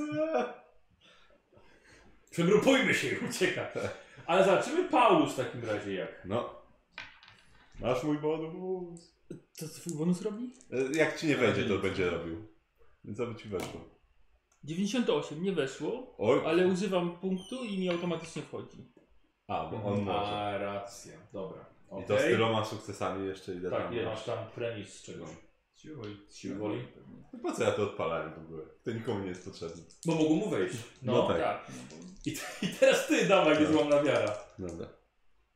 Speaker 1: Przegrupujmy się i ucieka. Ale zobaczymy Paulus w takim razie jak.
Speaker 2: No. Masz mój bonus.
Speaker 3: Co twój bonus robi?
Speaker 2: E, Jak ci nie wejdzie, to będzie robił. Więc aby ci weszło.
Speaker 3: 98, nie weszło,
Speaker 2: Oj,
Speaker 3: ale używam punktu i mi automatycznie wchodzi.
Speaker 2: a, bo on może.
Speaker 1: A, racja. Dobra.
Speaker 2: I to z
Speaker 1: Okay.
Speaker 2: tyloma sukcesami jeszcze ile
Speaker 1: Tak,
Speaker 2: tam
Speaker 1: nie,
Speaker 2: masz.
Speaker 1: masz tam premis z czegoś.
Speaker 5: Siły woli.
Speaker 1: Z siły woli.
Speaker 2: No Po co ja to odpalałem w ogóle? To nikomu nie jest potrzebne.
Speaker 1: Bo mogło mu wejść. No,
Speaker 2: No tak.
Speaker 1: tak. I, I teraz ty dawaj,
Speaker 2: No.
Speaker 1: niezłomna wiara.
Speaker 2: Dobra.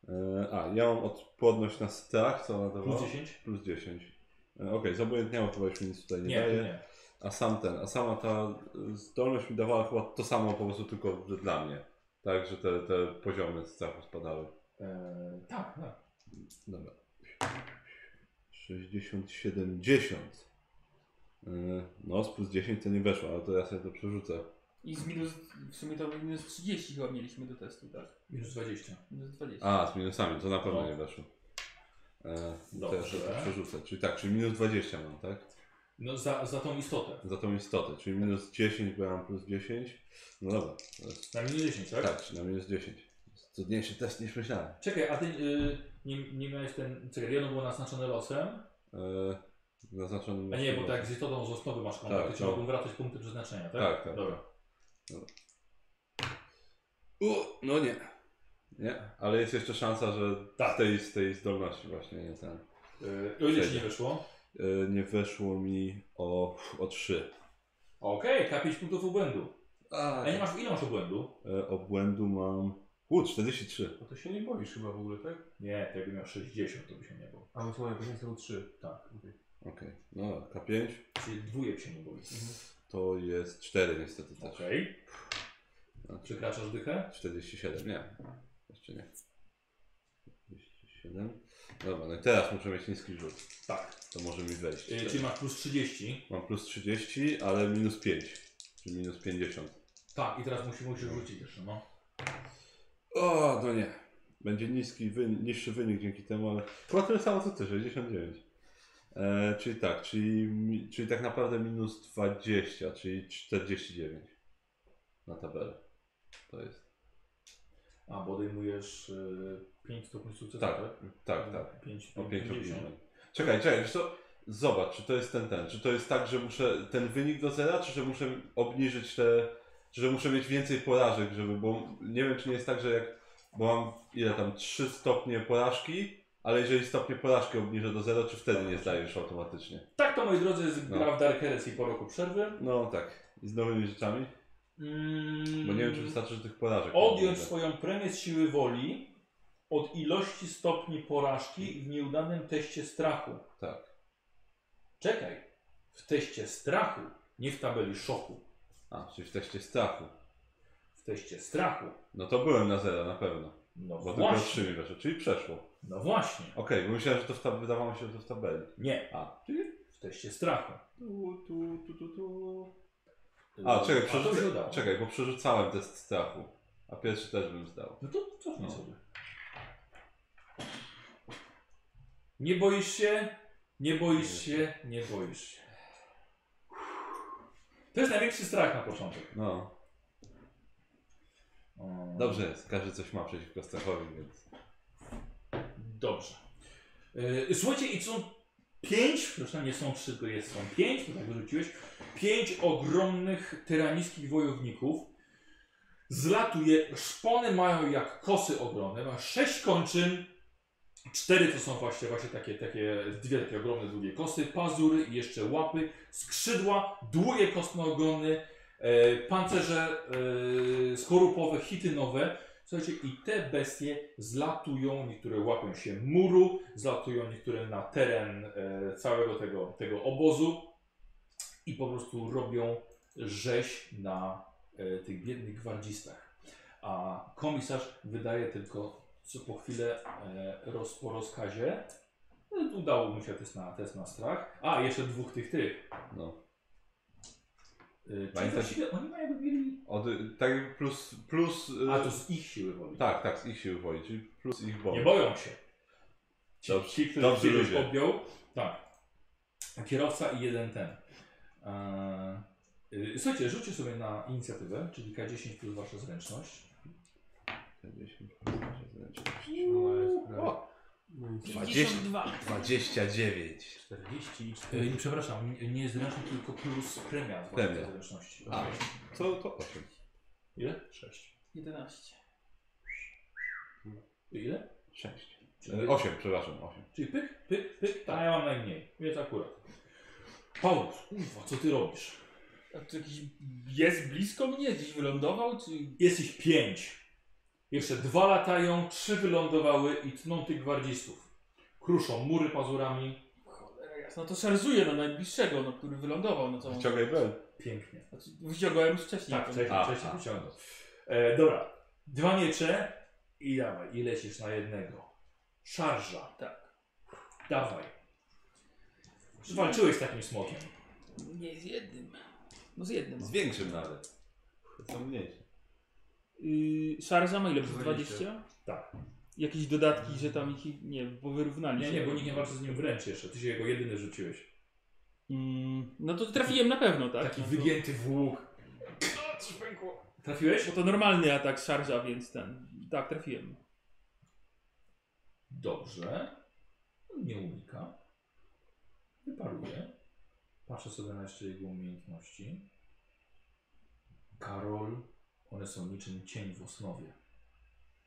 Speaker 2: E, a, ja mam odporność na strach, co ona dawała?
Speaker 1: Plus 10?
Speaker 2: Plus 10. E, Okej, zobojętniało chyba już mi nic tutaj nie,
Speaker 1: Nie,
Speaker 2: daje.
Speaker 1: nie.
Speaker 2: A sam ten, a sama ta y, zdolność mi dawała chyba to samo po prostu tylko że dla mnie. Tak, że te, te poziomy strachu spadały.
Speaker 1: Eee, tak, tak.
Speaker 2: Dobra. 60, 70. Yy, No, z plus 10 to nie weszło, ale to ja sobie to przerzucę.
Speaker 3: I z minus, w sumie to minus 30 chyba mieliśmy do testu, tak?
Speaker 1: Minus 20.
Speaker 3: Minus 20.
Speaker 2: A, z minusami, to na pewno
Speaker 1: No.
Speaker 2: nie weszło. Yy, to ja
Speaker 1: Dobrze.
Speaker 2: sobie to przerzucę. Czyli tak, czyli minus 20 mam, tak?
Speaker 1: No za, za tą istotę.
Speaker 2: Za tą istotę, czyli minus 10, bo ja mam plus 10. No dobra, to jest,
Speaker 1: Na minus 10, tak?
Speaker 2: tak, czyli na minus 10. Cudniejszy test niż myślałem.
Speaker 1: Czekaj, a ty y, nie, nie miałeś ten... Czekaj, jedno było naznaczone losem,
Speaker 2: Yy, naznaczony
Speaker 1: a nie, bo tak z istotą z osnowy masz kontakt,
Speaker 2: Tak,
Speaker 1: to ci
Speaker 2: no.
Speaker 1: mogą wracać punkty przeznaczenia, tak?
Speaker 2: Tak, tak.
Speaker 1: Dobra.
Speaker 2: U, no nie. Nie, ale jest jeszcze szansa, że
Speaker 1: Tak.
Speaker 2: z, tej, z tej zdolności właśnie nie ten.
Speaker 1: Y, o ile ci nie
Speaker 2: Przejdzie.
Speaker 1: wyszło?
Speaker 2: Yy, nie weszło mi o, o 3.
Speaker 1: Okej, okay, 5 punktów obłędu.
Speaker 2: A, tak.
Speaker 1: A nie masz, ile masz obłędu?
Speaker 2: yy, E, obłędu mam. U, 43.
Speaker 6: No to się nie boisz chyba w ogóle, tak?
Speaker 1: Nie, to jakby miał 60, to by się nie było.
Speaker 6: A no to moje poziomie są 3.
Speaker 1: Tak.
Speaker 2: Okej, no K5
Speaker 1: Czyli dwójek się nie boi.
Speaker 2: Mhm. to jest 4 niestety też.
Speaker 1: Okej.
Speaker 2: Znaczy-
Speaker 1: Przekraczasz dychę?
Speaker 2: 47, nie. Jeszcze nie. 47. Dobra, no i teraz muszę mieć niski rzut.
Speaker 1: Tak.
Speaker 2: To może mi wejść.
Speaker 1: Y, czyli masz plus 30.
Speaker 2: Mam plus 30, ale minus 5. Czyli minus 50.
Speaker 1: Tak, i teraz musi, musisz rzucić jeszcze, no.
Speaker 2: O, no nie. Będzie niski, wy, niższy wynik dzięki temu, ale chyba tyle samo co ty, 69. E, czyli tak, czyli, mi- czyli tak naprawdę minus 20, czyli 49 na tabelę. To jest.
Speaker 1: A, bo odejmujesz y, 5 stopni sukcesu,
Speaker 2: Tak,
Speaker 1: tak?
Speaker 2: Tak, tak.
Speaker 1: 5,
Speaker 2: O 5
Speaker 1: 50.
Speaker 2: Czekaj, czekaj, wiesz co? Zobacz, czy to jest ten ten. Czy to jest tak, że muszę ten wynik do zera, czy że muszę obniżyć te. Czy że muszę mieć więcej porażek, żeby. Bo nie wiem, czy nie jest tak, że jak. Bo mam ile tam 3 stopnie porażki, ale jeżeli stopnie porażki obniżę do zera, czy wtedy nie zdajesz automatycznie?
Speaker 1: Tak to, moi drodzy, jest
Speaker 2: No.
Speaker 1: gra w Dark Heresy po roku przerwy.
Speaker 2: No tak. I z nowymi rzeczami?
Speaker 1: Mm,
Speaker 2: Bo nie wiem, czy wystarczy, że tych porażek.
Speaker 1: Odjąć
Speaker 2: nie
Speaker 1: swoją premię z siły woli od ilości stopni porażki w nieudanym teście strachu.
Speaker 2: Tak.
Speaker 1: Czekaj. W teście strachu, nie w tabeli szoku.
Speaker 2: A, czyli w teście strachu.
Speaker 1: W teście strachu.
Speaker 2: No to byłem na zera na pewno.
Speaker 1: No
Speaker 2: Bo tylko
Speaker 1: właśnie.
Speaker 2: 3 mi weszło, czyli przeszło.
Speaker 1: No właśnie.
Speaker 2: Okej, bo myślałem, że to w tab- wydawało mi się, że to w tabeli.
Speaker 1: Nie.
Speaker 2: A, czyli
Speaker 1: W teście strachu.
Speaker 2: Tu, tu, tu, tu, tu. A, czekaj,
Speaker 1: A to się udało.
Speaker 2: przerzucę, czekaj, bo przerzucałem test strachu. A pierwszy też bym zdał.
Speaker 1: No to cofnij
Speaker 2: No.
Speaker 1: sobie. Nie boisz się, nie boisz się, nie boisz się. To jest największy strach na początek.
Speaker 2: No,
Speaker 1: Mm,
Speaker 2: dobrze jest. Każdy coś ma przeciwko strachowi, więc.
Speaker 1: Dobrze. Yy, słuchajcie, i są pięć, zresztą nie są trzy, tylko jest, są pięć, to tak wyrzuciłeś, pięć ogromnych tyranickich wojowników. Zlatuje, szpony mają jak kosy ogromne, ma sześć kończyn, cztery to są właśnie, właśnie takie, takie, dwie takie ogromne, długie kosy, pazury i jeszcze łapy, skrzydła, długie kostnoogony, e, pancerze e, skorupowe, chitynowe, Słuchajcie, i te bestie zlatują, niektóre łapią się muru, zlatują niektóre na teren e, całego tego, tego obozu i po prostu robią rzeź na e, tych biednych gwardzistach. A komisarz wydaje tylko co po chwilę e, roz, po rozkazie. No, udało mu się test na, test na strach. A, jeszcze dwóch tych tych.
Speaker 2: No.
Speaker 1: E, czyli
Speaker 2: Pamiętasz-
Speaker 1: właściwie oni mają mieli...
Speaker 2: Od, tak, jakby plus. plus y,
Speaker 1: A, to z ich siły woli.
Speaker 2: Tak, tak, z ich sił woli, czyli plus ich woli.
Speaker 1: Nie boją się. Ci,
Speaker 2: Dobrze-
Speaker 1: ci którzy
Speaker 2: dobrze
Speaker 1: kiedyś
Speaker 2: ludzie.
Speaker 1: objął. Tak. Kierowca i jeden ten. Eee, y, słuchajcie, rzućcie sobie na inicjatywę, czyli K10 plus wasza zręczność.
Speaker 2: 10,
Speaker 6: No, jest prawie.
Speaker 2: O,
Speaker 6: No i
Speaker 2: 52. 29.
Speaker 6: 40 i
Speaker 1: E,
Speaker 6: 4.
Speaker 1: nie, przepraszam, nie- nie zręczność, tylko plus premia z
Speaker 2: Premia.
Speaker 1: waszej zręczności.
Speaker 2: A, to, to 8.
Speaker 1: Ile?
Speaker 6: 6.
Speaker 3: 11.
Speaker 1: Ile?
Speaker 2: 6.
Speaker 1: Czyli,
Speaker 2: 8, przepraszam, 8.
Speaker 1: czyli pyk, pyk, pyk, tak. a ja mam najmniej. Więc akurat. Paulus, kurwa, co ty robisz?
Speaker 3: A czy jakiś jest blisko mnie? Gdzieś wylądował? Czy...
Speaker 1: Jesteś pięć. Jeszcze dwa latają, trzy wylądowały i tną tych gwardzistów. Kruszą mury pazurami.
Speaker 3: Cholera jasna, No to szarżuję na najbliższego, no, który wylądował. No to...
Speaker 2: Wciągaj broń.
Speaker 1: Pięknie.
Speaker 3: Znaczy, Wyciągałem już wcześniej.
Speaker 1: Tak,
Speaker 3: to-
Speaker 1: wcześniej,
Speaker 2: A,
Speaker 1: wcześniej
Speaker 2: a.
Speaker 1: wyciągnął. E, dobra, dwa miecze i dawaj. I lecisz na jednego. Szarża.
Speaker 3: Tak.
Speaker 1: Dawaj. Walczyłeś z takim smokiem.
Speaker 3: Nie, z jednym. No z jednym.
Speaker 2: Z większym nawet. To są mniejsze.
Speaker 3: Yy, szarża ma ile? Plus
Speaker 6: 20?
Speaker 3: 20?
Speaker 1: Tak.
Speaker 3: Jakieś dodatki, że tam ich nie, bo wyrównali
Speaker 1: Nie,
Speaker 3: się.
Speaker 1: nie, bo nikt nie walczy z nim wręcz jeszcze. Ty się jego jedyny rzuciłeś.
Speaker 3: Mm, no to trafiłem na pewno, tak?
Speaker 1: Taki
Speaker 3: no to,
Speaker 1: wygięty w łuk. O, Coś pękło. Trafiłeś?
Speaker 3: Bo to normalny atak szarża, więc ten. Tak, trafiłem.
Speaker 1: Dobrze. Nie unika. Wyparuje. Patrzę sobie na jeszcze jego umiejętności. Karol, one są niczym cień w osnowie.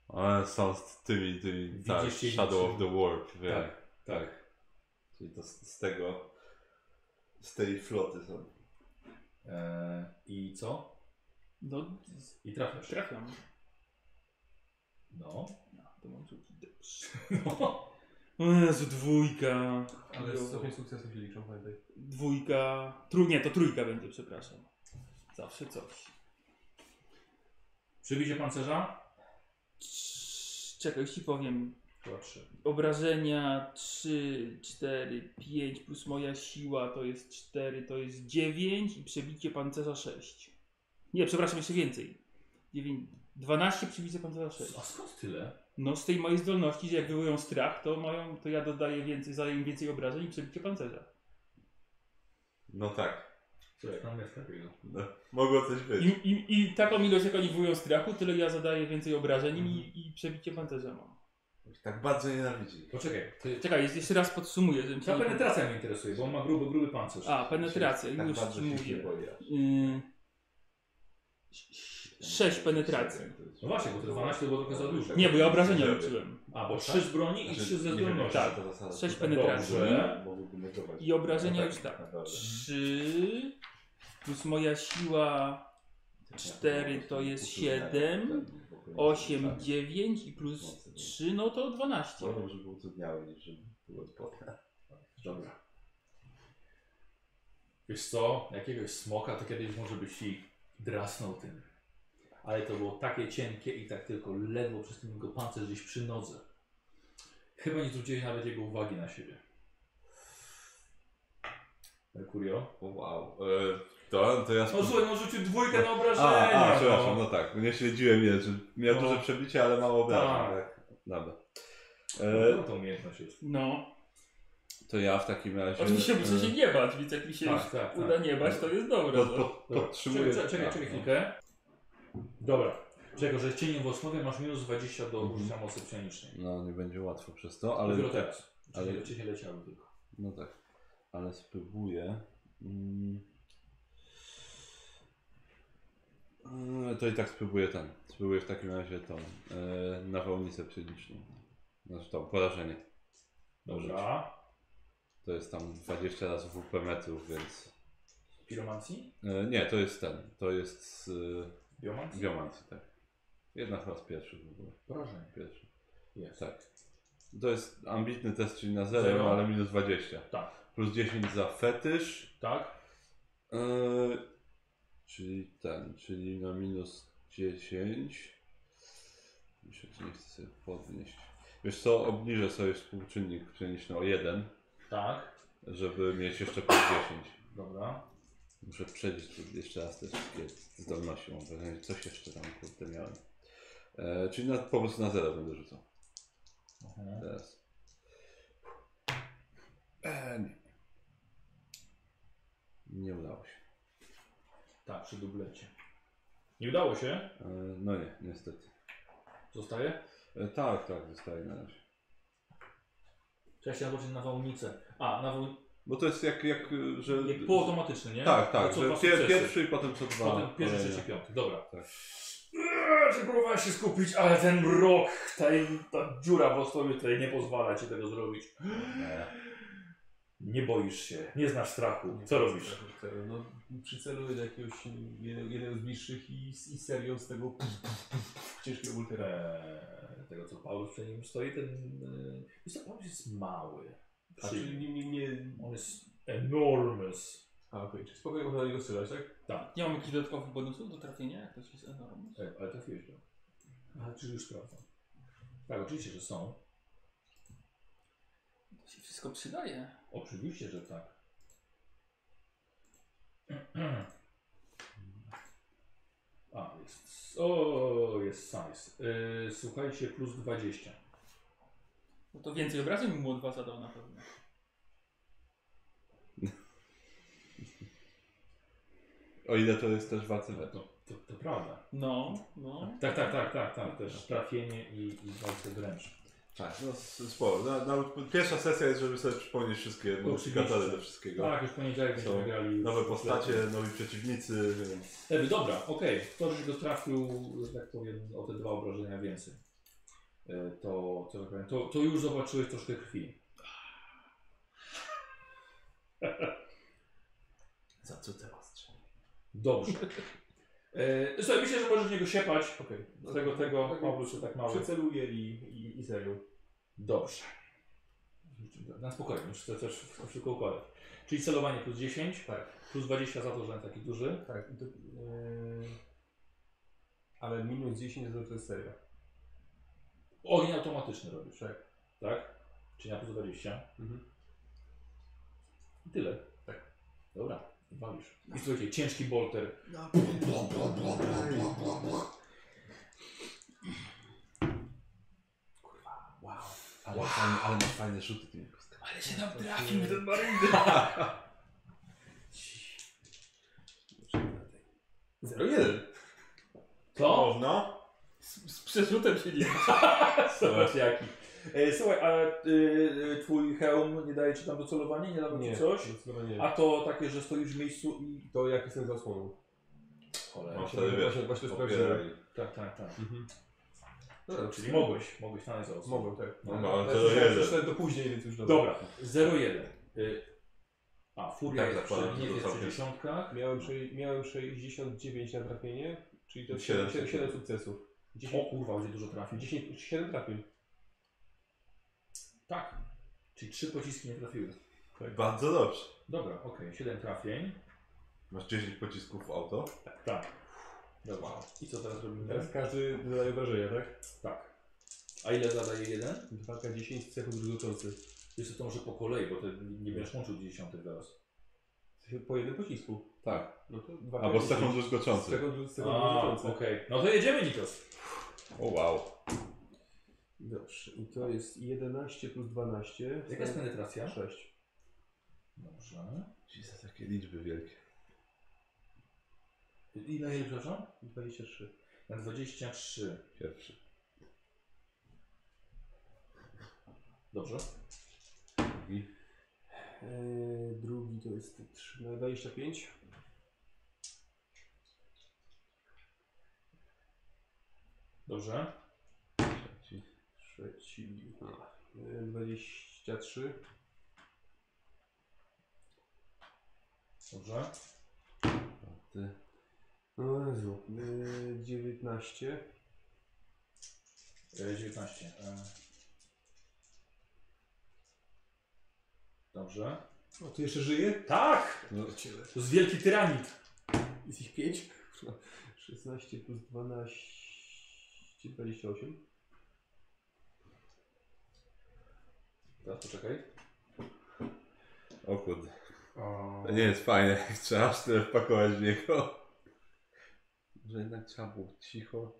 Speaker 2: Ale są z tymi, tymi,
Speaker 1: Widzisz
Speaker 2: tak,
Speaker 1: się
Speaker 2: Shadow
Speaker 1: niczym.
Speaker 2: of the Warp, wiem.
Speaker 1: Tak, tak.
Speaker 2: Czyli to z, z tego, z tej floty są.
Speaker 1: Eee, I co?
Speaker 3: No,
Speaker 1: I trafiasz.
Speaker 3: trafiam.
Speaker 1: No.
Speaker 3: No, to mam rzucić. Dobrze.
Speaker 1: no.
Speaker 3: O Jezu, dwójka.
Speaker 5: Ale
Speaker 3: Jo.
Speaker 5: stopień sukcesu się liczą, pamiętaj.
Speaker 3: Dwójka. Trój, nie, to trójka będzie, przepraszam. Zawsze coś.
Speaker 1: Przybicie pancerza?
Speaker 3: Cz- Czekaj, już ci powiem.
Speaker 1: Chyba trzy.
Speaker 3: Obrażenia 3, 4, 5 plus moja siła to jest 4, to jest 9 i przebicie pancerza 6. Nie, przepraszam, jeszcze więcej. 9, 12 przebicie pancerza 6.
Speaker 1: A skąd tyle?
Speaker 3: No z tej mojej zdolności, że jak wywołują strach, to mają, to ja dodaję więcej, zadaję im więcej obrażeń i przebicie pancerza.
Speaker 2: No tak,
Speaker 1: Coś tam jest takiego.
Speaker 2: no, mogło coś być.
Speaker 3: I, i, I taką ilość, jak oni wywołują strachu, tyle ja zadaję więcej obrażeń im i, i przebicie pancerza mam.
Speaker 2: Tak bardzo nienawidzi.
Speaker 1: Poczekaj. Ty...
Speaker 3: Czekaj, jest- jeszcze raz podsumuję, żebym
Speaker 1: Ta
Speaker 3: cię nie-
Speaker 1: penetracja mnie interesuje, bo on ma gruby, gruby pancerz.
Speaker 3: A, penetracja,
Speaker 2: Tak
Speaker 3: już
Speaker 2: bardzo
Speaker 3: ci
Speaker 2: się nie
Speaker 3: mówię.
Speaker 2: boję.
Speaker 3: Y, Sześć penetracji.
Speaker 1: No właśnie, bo te 12 to było trochę za dużo.
Speaker 3: Nie, bo ja obrażenia rzuciłem.
Speaker 1: A, bo 3 z broni
Speaker 2: Znaczy,
Speaker 1: i 3 ze zdolności.
Speaker 3: Tak. Sześć penetracji. I
Speaker 2: No
Speaker 3: obrażenia już tak. Trzy plus moja siła cztery to
Speaker 2: Tak,
Speaker 3: jest siedem, osiem, dziewięć i plus trzy, no to 12.
Speaker 2: Wolę, żeby utrudniały niż żeby było spotne.
Speaker 1: Dobra. Wiesz co, jakiegoś smoka to kiedyś może byś i drasnął tym. Ale to było takie cienkie i tak tylko ledwo przez ten jego pancerz gdzieś przy nodze. Chyba nie zwróciłeś nawet jego uwagi na siebie. Merkurio?
Speaker 2: O, Wow. E, to, to ja
Speaker 1: No
Speaker 2: spod-
Speaker 1: słuchaj, no rzucił dwójkę na obrażenia.
Speaker 2: a, a,
Speaker 1: no.
Speaker 2: przepraszam, no tak, nie śledziłem je, że miał
Speaker 1: No.
Speaker 2: duże przebicie, ale mało obrażeń.
Speaker 1: Tak.
Speaker 2: Tak. Dobra.
Speaker 1: No,
Speaker 2: E,
Speaker 1: to umiejętność jest.
Speaker 3: No,
Speaker 2: to ja w takim razie...
Speaker 3: oczywiście
Speaker 2: e,
Speaker 3: muszę się nie bać, więc jak mi się
Speaker 1: Tak,
Speaker 3: już
Speaker 1: tak,
Speaker 3: uda
Speaker 1: tak.
Speaker 3: nie bać, to jest dobre.
Speaker 2: pod,
Speaker 3: No.
Speaker 2: pod,
Speaker 1: Dobra,
Speaker 2: podtrzymuję... tak,
Speaker 1: Czekaj,
Speaker 2: no.
Speaker 1: czekaj, czekaj
Speaker 2: A,
Speaker 1: chwilkę. Dobra. Czego, że cieniem w osnowie masz minus 20 do użycia mocy psionicznej.
Speaker 2: No, no, nie będzie łatwo przez to, ale...
Speaker 1: Mhm. Ale dopiero tak. teraz.
Speaker 2: ale-
Speaker 1: Ale cię leciały tylko.
Speaker 2: No tak, ale spróbuję. Mm. E, To i tak spróbuję ten. Spróbuję w takim razie tą e, nawałnicę psioniczną. Znaczy tą, porażenie.
Speaker 1: Dobra.
Speaker 2: To jest tam 20 razy WP metrów, więc...
Speaker 1: Piromancji?
Speaker 2: E, nie, to jest ten. To jest z e,
Speaker 1: Biomancji?
Speaker 2: biomancji, tak. Jedna chyba z pierwszych w ogóle.
Speaker 1: Porażenie.
Speaker 2: Pierwszy.
Speaker 1: Jest.
Speaker 2: Tak. To jest ambitny test, czyli na 0,
Speaker 1: Zero.
Speaker 2: ale minus 20.
Speaker 1: Tak.
Speaker 2: Plus 10 za fetysz.
Speaker 1: Tak?
Speaker 2: Eee, czyli ten, czyli na minus 10. Myślę, że nie chcę sobie podnieść. Wiesz co, obniżę sobie współczynnik pszeniczny o 1,
Speaker 1: Tak.
Speaker 2: żeby mieć jeszcze plus 10.
Speaker 1: Dobra.
Speaker 2: Muszę przejść tu jeszcze raz te wszystkie zdolności. Mam wrażenie, że coś jeszcze tam kurde miałem. Eee, czyli na, po prostu na 0 będę rzucał.
Speaker 1: Mhm.
Speaker 2: Teraz. Eee, nie. Nie udało się.
Speaker 1: Tak, przy dublecie. Nie udało się.
Speaker 2: Eee, no nie, niestety.
Speaker 1: Zostaje?
Speaker 2: E, Tak, tak, zostaje na razie.
Speaker 1: Trzeba się zobaczyć na wałnicę. A, na wałnicę.
Speaker 2: Bo to jest jak, jak y, że...
Speaker 1: Jak półautomatyczny, nie?
Speaker 2: Tak,
Speaker 1: To
Speaker 2: tak,
Speaker 1: co
Speaker 2: że
Speaker 1: dwa
Speaker 2: pier,
Speaker 1: sukcesy.
Speaker 2: pierwszy i potem co dwa.
Speaker 1: Potem pierwszy,
Speaker 2: kolejne.
Speaker 1: trzeci, piąty. Dobra.
Speaker 2: Tak.
Speaker 1: Eee, próbowałem się skupić, ale ten rok, ta, ta dziura w osnowie tutaj nie pozwala ci tego zrobić.
Speaker 2: Nie.
Speaker 1: Nie boisz się, nie znasz strachu. Co robisz?
Speaker 5: No, przyceluję do jakiegoś jednego, jednego z bliższych i, i serią z tego ciężkiego ultera.
Speaker 1: Eee, tego co Paulus przed nim stoi, ten... Eee, wiesz co, Paulus jest mały.
Speaker 5: A czyli nie, nie, nie...
Speaker 1: On jest enormous.
Speaker 5: A okej, czy spokojnie można na niego strzelać, tak?
Speaker 3: Nie mam jakichś dodatkowych bonusów do trafienia, jak ktoś jest enormny.
Speaker 1: Ej, E, ale trafiłeś go. Ale czy już sprawdzam. Tak, oczywiście, że są.
Speaker 3: To się wszystko przydaje.
Speaker 1: Oczywiście, że tak. A, jest. O, jest size. Yy, słuchajcie, plus 20.
Speaker 3: No to więcej obrażeń mu od was zadał na pewno.
Speaker 2: O ile to jest też warte
Speaker 1: To,
Speaker 2: wetu.
Speaker 1: to, to prawda.
Speaker 3: No, no.
Speaker 1: Tak, tak, tak, tak, tak. Też trafienie i, i walce wręcz.
Speaker 2: Tak, no s- sporo. Na, na, pierwsza sesja jest, żeby sobie przypomnieć wszystkie
Speaker 1: Oczywiście.
Speaker 2: modyfikatory do wszystkiego.
Speaker 1: Tak, już poniedziałek
Speaker 2: Są
Speaker 1: będziemy grali.
Speaker 2: Nowe postacie, nowi przeciwnicy, więc...
Speaker 1: Ewy, dobra, okej. To, żeś go trafił, że tak powiem, o te dwa obrażenia więcej. E, To, to, tak powiem, to, to już zobaczyłeś troszkę krwi.
Speaker 5: Za co teraz trzeba?
Speaker 1: Dobrze. E, Słuchaj, myślę, że możesz w niego siepać.
Speaker 5: Okej.
Speaker 1: Z tego, tego,
Speaker 5: Tak,
Speaker 1: Paulus się tak mały.
Speaker 5: Przyceluję i, i, i serio.
Speaker 1: Dobrze. Na spokojnie, muszę to też wszystko szybko układać. Czyli celowanie plus 10,
Speaker 5: Tak.
Speaker 1: plus 20 za to, że taki duży.
Speaker 5: Tak. i To, yy... Ale minus 10 to to jest serio.
Speaker 1: Ogień automatyczny robisz.
Speaker 5: Tak.
Speaker 1: Tak? Czyli na plus 20.
Speaker 5: Mhm.
Speaker 1: I tyle.
Speaker 5: Tak.
Speaker 1: Dobra, walisz. I słuchajcie, ciężki bolter.
Speaker 2: Ale, fajne, ale masz fajne rzuty tymi kostkami.
Speaker 3: Ale się nam trafił ten marynarz.
Speaker 5: Zero jeden.
Speaker 1: Co?
Speaker 2: Można?
Speaker 3: Z, z przerzutem się nie
Speaker 1: Zobacz jaki. E, słuchaj, a y, y, twój hełm nie daje ci tam docelowanie? Nie daje ci coś?
Speaker 5: Zdecydowanie nie.
Speaker 1: A to takie, że stoisz w miejscu i...
Speaker 5: To jak jestem za osłoną.
Speaker 1: Cholera.
Speaker 2: Masz No, wtedy, wiesz,
Speaker 5: Właśnie- właśnie
Speaker 2: popieraj.
Speaker 1: No, Tak, tak, tak.
Speaker 5: Mhm.
Speaker 1: Dobra, czyli mogłeś, mogłeś na za osobę.
Speaker 5: Mogłem, No tak.
Speaker 2: No, ale
Speaker 5: Ale
Speaker 2: to
Speaker 5: słyszałem-
Speaker 2: jeden.
Speaker 5: słyszałem to później, więc już dobra.
Speaker 1: Dobra, 0-1. Y, a, furia
Speaker 2: Tak,
Speaker 1: jest przy,
Speaker 2: zakładam,
Speaker 1: nie
Speaker 2: że to
Speaker 1: jest przy
Speaker 2: całkiem-
Speaker 1: dziesiątkach.
Speaker 5: Miałem, sze- miałem 69 na trafienie, czyli to
Speaker 2: Siedem
Speaker 5: 7, 7,
Speaker 2: sukcesów.
Speaker 5: sukcesów.
Speaker 1: O
Speaker 5: 10,
Speaker 1: kurwa, będzie dużo trafić.
Speaker 5: 10, 7 trafień.
Speaker 1: Tak. Czyli trzy pociski nie trafiły.
Speaker 2: Bardzo dobrze.
Speaker 1: Dobra, okej, siedem trafień.
Speaker 2: Masz 10 pocisków w auto.
Speaker 1: Tak. Dobra. I co teraz robimy?
Speaker 5: Teraz
Speaker 2: Mhm.
Speaker 5: każdy zadaje obrażenia, tak?
Speaker 1: Tak. A ile zadaje jeden?
Speaker 5: 2K10 z cechu drugoczący.
Speaker 1: Wiesz co, to może po kolei, bo ty nie będziesz łączył dziesiątek teraz.
Speaker 5: Po jednym pocisku.
Speaker 2: Tak.
Speaker 5: No to 2K10.
Speaker 2: Albo z cechą
Speaker 5: Z
Speaker 2: druzgoczącym.
Speaker 5: cechą dru- z cechą
Speaker 1: A,
Speaker 5: drugoczący.
Speaker 1: okej. No to jedziemy, Nikos.
Speaker 2: O wow.
Speaker 5: Dobrze, i to jest 11 plus 12.
Speaker 1: Jaka jest penetracja?
Speaker 5: 6.
Speaker 1: Dobrze.
Speaker 2: Jesus, jakie liczby wielkie.
Speaker 1: I na ile, przepraszam?
Speaker 5: 23.
Speaker 1: Na 23.
Speaker 2: Pierwszy.
Speaker 1: Dobrze.
Speaker 5: Eee, drugi to jest 3 na 25.
Speaker 1: Dobrze.
Speaker 2: Trzeci.
Speaker 5: Trzeci. a, eee, 23.
Speaker 1: Dobrze.
Speaker 2: Czwarty.
Speaker 5: O No, Jezu. Eee, 19.
Speaker 1: E, 19. E. Dobrze.
Speaker 5: O, tu jeszcze żyje?
Speaker 1: Tak!
Speaker 2: No,
Speaker 1: To jest wielki tyranit.
Speaker 5: Jest ich 5. 16 plus 12. 28.
Speaker 1: Teraz poczekaj.
Speaker 2: o kurde.
Speaker 1: O...
Speaker 2: To nie jest fajne. Trzeba aż tyle wpakować w niego. Że jednak trzeba było cicho.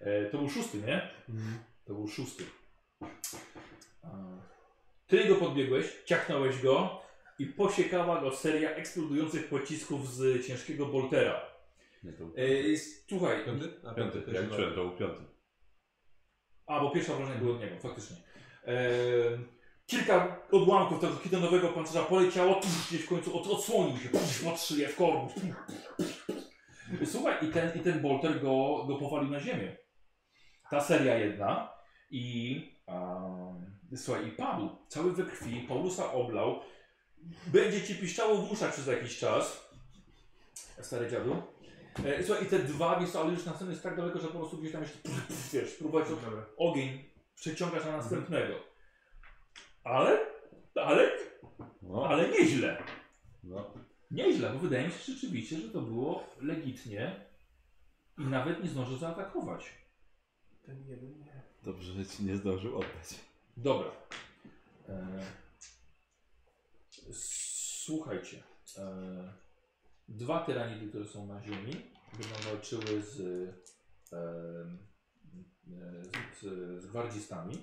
Speaker 1: E, to był szósty, nie?
Speaker 5: Mhm.
Speaker 1: To był szósty. E, Ty go podbiegłeś, ciachnąłeś go i posiekała go seria eksplodujących pocisków z ciężkiego boltera.
Speaker 2: Nie, to był
Speaker 1: E, słuchaj,
Speaker 5: Piąty? A
Speaker 2: piąty.
Speaker 5: też
Speaker 2: Jak
Speaker 5: chyba.
Speaker 2: czułem, to był piąty.
Speaker 1: A, bo pierwsze obrażenie było od niego, faktycznie. Ehm, kilka odłamków tego kitonowego pancerza poleciało, tuż gdzieś w końcu od, odsłonił się, tuż pod szyję w korbu. Słuchaj, i ten, i ten bolter go, go powalił na ziemię. Ta seria jedna i em, słuchaj, i padł, cały we krwi, Paulusa oblał. Będzie ci piszczało w uszach przez jakiś czas. Stary dziadu. E, słuchaj, i te dwa, wiesz, co, ale już następny jest tak daleko, że po prostu gdzieś tam jeszcze, wiesz, próbować od,
Speaker 5: Dobra.
Speaker 1: ogień przeciągasz na następnego. Ale, ale,
Speaker 2: No,
Speaker 1: ale nieźle.
Speaker 2: no.
Speaker 1: Nieźle, bo wydaje mi się rzeczywiście, że to było legitnie i nawet nie zdążył zaatakować.
Speaker 5: Ten jeden nie.
Speaker 2: Dobrze, że ci nie zdążył oddać.
Speaker 1: Dobra. E... Słuchajcie. E... Dwa tyranidy, które są na ziemi, będą walczyły z, e... e, z, z gwardzistami.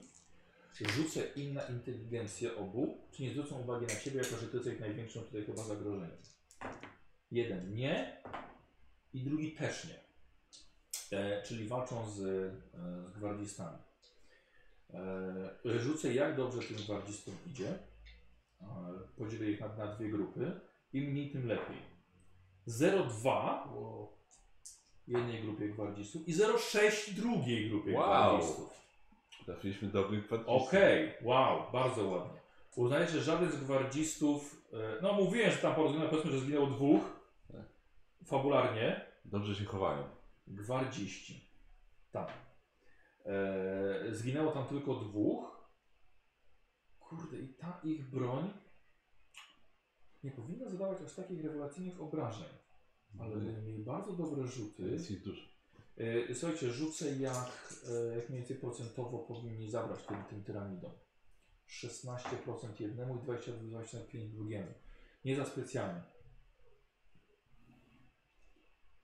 Speaker 1: Rzucę im na inteligencję obu, czy nie zwrócą uwagi na siebie, jako że ty jesteś największym tutaj chyba zagrożeniem. Jeden nie i drugi też nie. E, czyli walczą z, e, z gwardzistami. E, rzucę jak dobrze tym gwardzistom idzie. E, podzielę ich na, na dwie grupy. Im mniej, tym lepiej. 0,2 jednej grupie gwardzistów i 0,6 drugiej grupie
Speaker 2: Wow.
Speaker 1: gwardzistów.
Speaker 2: Trafiliśmy dobrych kwadrystów.
Speaker 1: Okej, wow, bardzo ładnie. Uznaję, że żaden z gwardzistów, e, no mówiłem, że tam porozumiem, powiedzmy, że zginęło dwóch, fabularnie,
Speaker 2: Dobrze się chowają.
Speaker 1: gwardziści, tak. E, zginęło tam tylko dwóch. Kurde, i ta ich broń nie powinna zadawać aż takich rewelacyjnych obrażeń, ale mieli bardzo dobre rzuty.
Speaker 2: Jest ich dużo.
Speaker 1: E, Słuchajcie, rzucę jak, e, jak mniej więcej procentowo powinni zabrać tym, tym tyranidom. 16% jednemu i 22,25% drugiemu. Nie za specjalnie.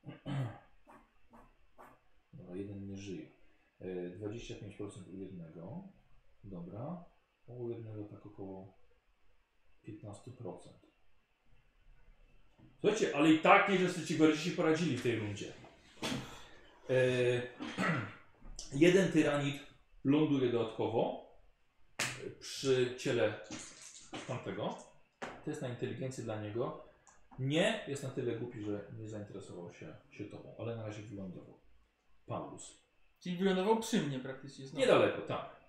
Speaker 1: Dobra, jeden nie żyje. E, 25% u jednego. Dobra. U jednego tak około 15%. Słuchajcie, ale i tak nie, że ci gorsi się poradzili w tej rundzie. E, jeden tyranid ląduje dodatkowo e, przy ciele tamtego. To jest na inteligencję dla niego. Nie jest na tyle głupi, że nie zainteresował się, się tobą, ale na razie wylądował. Paulus.
Speaker 3: Czyli wylądował przy mnie praktycznie znowu.
Speaker 1: Niedaleko, tak.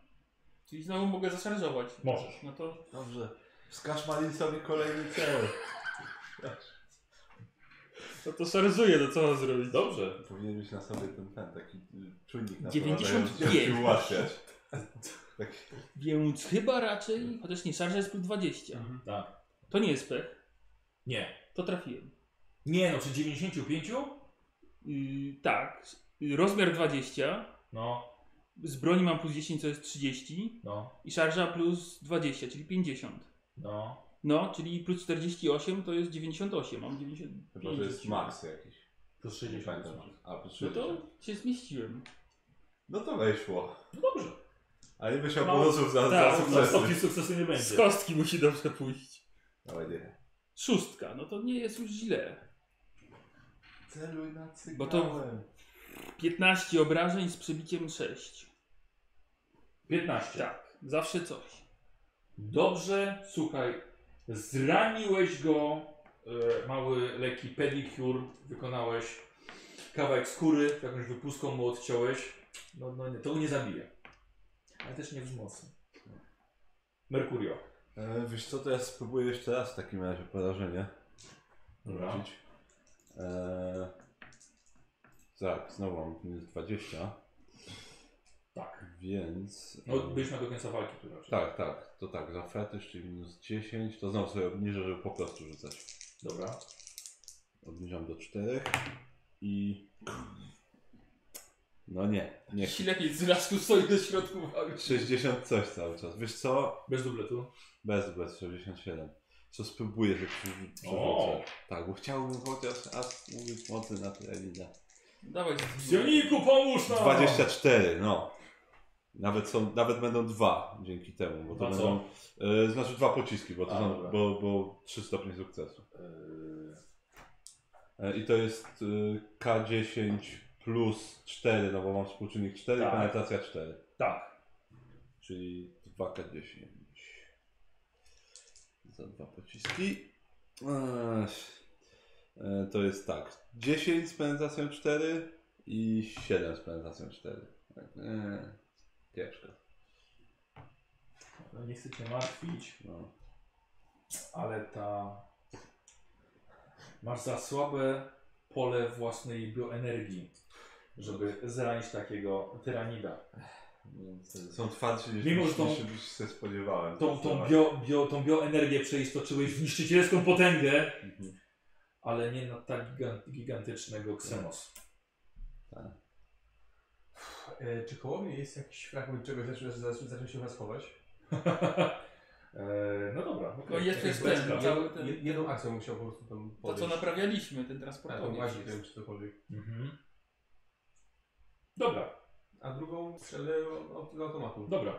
Speaker 3: Czyli znowu mogę zaszarżować.
Speaker 1: Możesz.
Speaker 3: No to
Speaker 2: Dobrze. Wskaż Malisowi kolejny cel.
Speaker 3: no to szarżuję, no co mam zrobić?
Speaker 1: Dobrze.
Speaker 2: Powinien mieć na sobie ten, ten taki y, czujnik na
Speaker 3: 95.
Speaker 2: i ułatwiać. Tak
Speaker 3: Więc chyba raczej, chociaż nie, szarża jest plus 20.
Speaker 1: Tak.
Speaker 3: To nie jest pech,
Speaker 1: Nie.
Speaker 3: to trafiłem.
Speaker 1: Nie, no przy 95?
Speaker 3: Yy, tak, yy, rozmiar 20,
Speaker 1: No,
Speaker 3: z broni mam plus 10, co jest 30
Speaker 1: no,
Speaker 3: i szarża plus 20, czyli 50.
Speaker 1: no.
Speaker 3: No, czyli plus 48 to jest 98, mam 95.
Speaker 2: Chyba, że jest max jakiś.
Speaker 1: Plus
Speaker 2: Nie tak
Speaker 1: 60.
Speaker 2: pamiętam. A, plus
Speaker 3: No
Speaker 2: 60.
Speaker 3: to się zmieściłem.
Speaker 2: No to weszło.
Speaker 1: No dobrze.
Speaker 2: A nie myślał
Speaker 3: No.
Speaker 2: bonusów za,
Speaker 3: Tak,
Speaker 2: za
Speaker 1: Na
Speaker 2: sukcesy.
Speaker 1: stopniu sukcesu nie
Speaker 3: Z
Speaker 1: będzie.
Speaker 3: kostki musi dobrze pójść.
Speaker 2: Ale nie.
Speaker 3: Szóstka, no to nie jest już źle.
Speaker 2: Celuj na cygałem.
Speaker 3: Bo to- 15 obrażeń z przebiciem 6.
Speaker 1: 15.
Speaker 3: Tak, zawsze coś.
Speaker 1: Dobrze, słuchaj, zraniłeś go, e, mały lekki pedicure, wykonałeś kawałek skóry, jakąś wypustką mu odciąłeś. No, no nie, to go nie zabije, ale też nie wzmocni. Merkurio.
Speaker 2: E, wiesz co, to ja spróbuję jeszcze raz w takim razie porażenie.
Speaker 1: Dobra.
Speaker 2: rzucić. E, tak, znowu mam minus 20,
Speaker 1: Tak.
Speaker 2: więc...
Speaker 1: No,
Speaker 2: e,
Speaker 1: byliśmy do końca walki tu raczej.
Speaker 2: Tak, tak, to tak, za fetysz, czyli minus 10, to znowu sobie obniżę, żeby po prostu rzucać.
Speaker 1: Dobra.
Speaker 2: Obniżam do 4 i... No nie, nie.
Speaker 3: Ślepiec z lasku stoi do środku walki.
Speaker 2: 60 coś cały czas. Wiesz co?
Speaker 1: Bez dubletu.
Speaker 2: Bez, bez, 67. Co spróbuję, że przy-
Speaker 1: O!
Speaker 2: przerzucę. Tak, bo chciałbym chociaż aż mówić mocy na tyle
Speaker 3: Dawaj,
Speaker 1: Psioniku, pomóż nam!
Speaker 2: 24, no. Nawet, są, nawet będą dwa dzięki temu, bo to
Speaker 1: A co?
Speaker 2: będą. Y, znaczy dwa pociski, bo to
Speaker 1: A,
Speaker 2: są,
Speaker 1: dobra.
Speaker 2: bo, bo trzy stopnie sukcesu.
Speaker 1: Yy,
Speaker 2: E, I to jest y, K10 plus 4, no bo mam współczynnik 4,
Speaker 1: Tak.
Speaker 2: penetracja 4,
Speaker 1: tak.
Speaker 2: czyli 2K10. Za dwa pociski. Ech. E, To jest tak, 10 z penetracją 4 i 7 z penetracją 4. Tak. Eee, ciężko.
Speaker 1: No, nie chcę cię martwić,
Speaker 2: No.
Speaker 1: ale ta... Masz za słabe pole własnej bioenergii, żeby zranić takiego tyranida.
Speaker 2: Są twardsi niż,
Speaker 1: Mimo,
Speaker 2: Mimo,
Speaker 1: że tą-
Speaker 2: niż, niż się spodziewałem.
Speaker 1: Tą, tą, bio, bio, tą bioenergię przeistoczyłeś w niszczycielską potęgę,
Speaker 2: Mhm.
Speaker 1: ale nie na tak gigan- gigantycznego Xenos.
Speaker 5: E, czy koło mnie jest jakiś fragment czegoś, zaczął, zaczął, zaczął się was chować?
Speaker 1: Eee, no dobra.
Speaker 3: No
Speaker 1: okej.
Speaker 3: jeszcze jest ten,
Speaker 1: Beczka.
Speaker 3: cały
Speaker 5: Je,
Speaker 3: ten,
Speaker 5: jedną akcją musiał po prostu tam
Speaker 3: to
Speaker 5: podejść.
Speaker 3: co naprawialiśmy, ten
Speaker 5: Tak, tą
Speaker 3: transportowy.
Speaker 5: łazić wiem, czy cokolwiek.
Speaker 1: Mhm. Dobra,
Speaker 5: A drugą strzelę od, od automatu.
Speaker 1: dobra.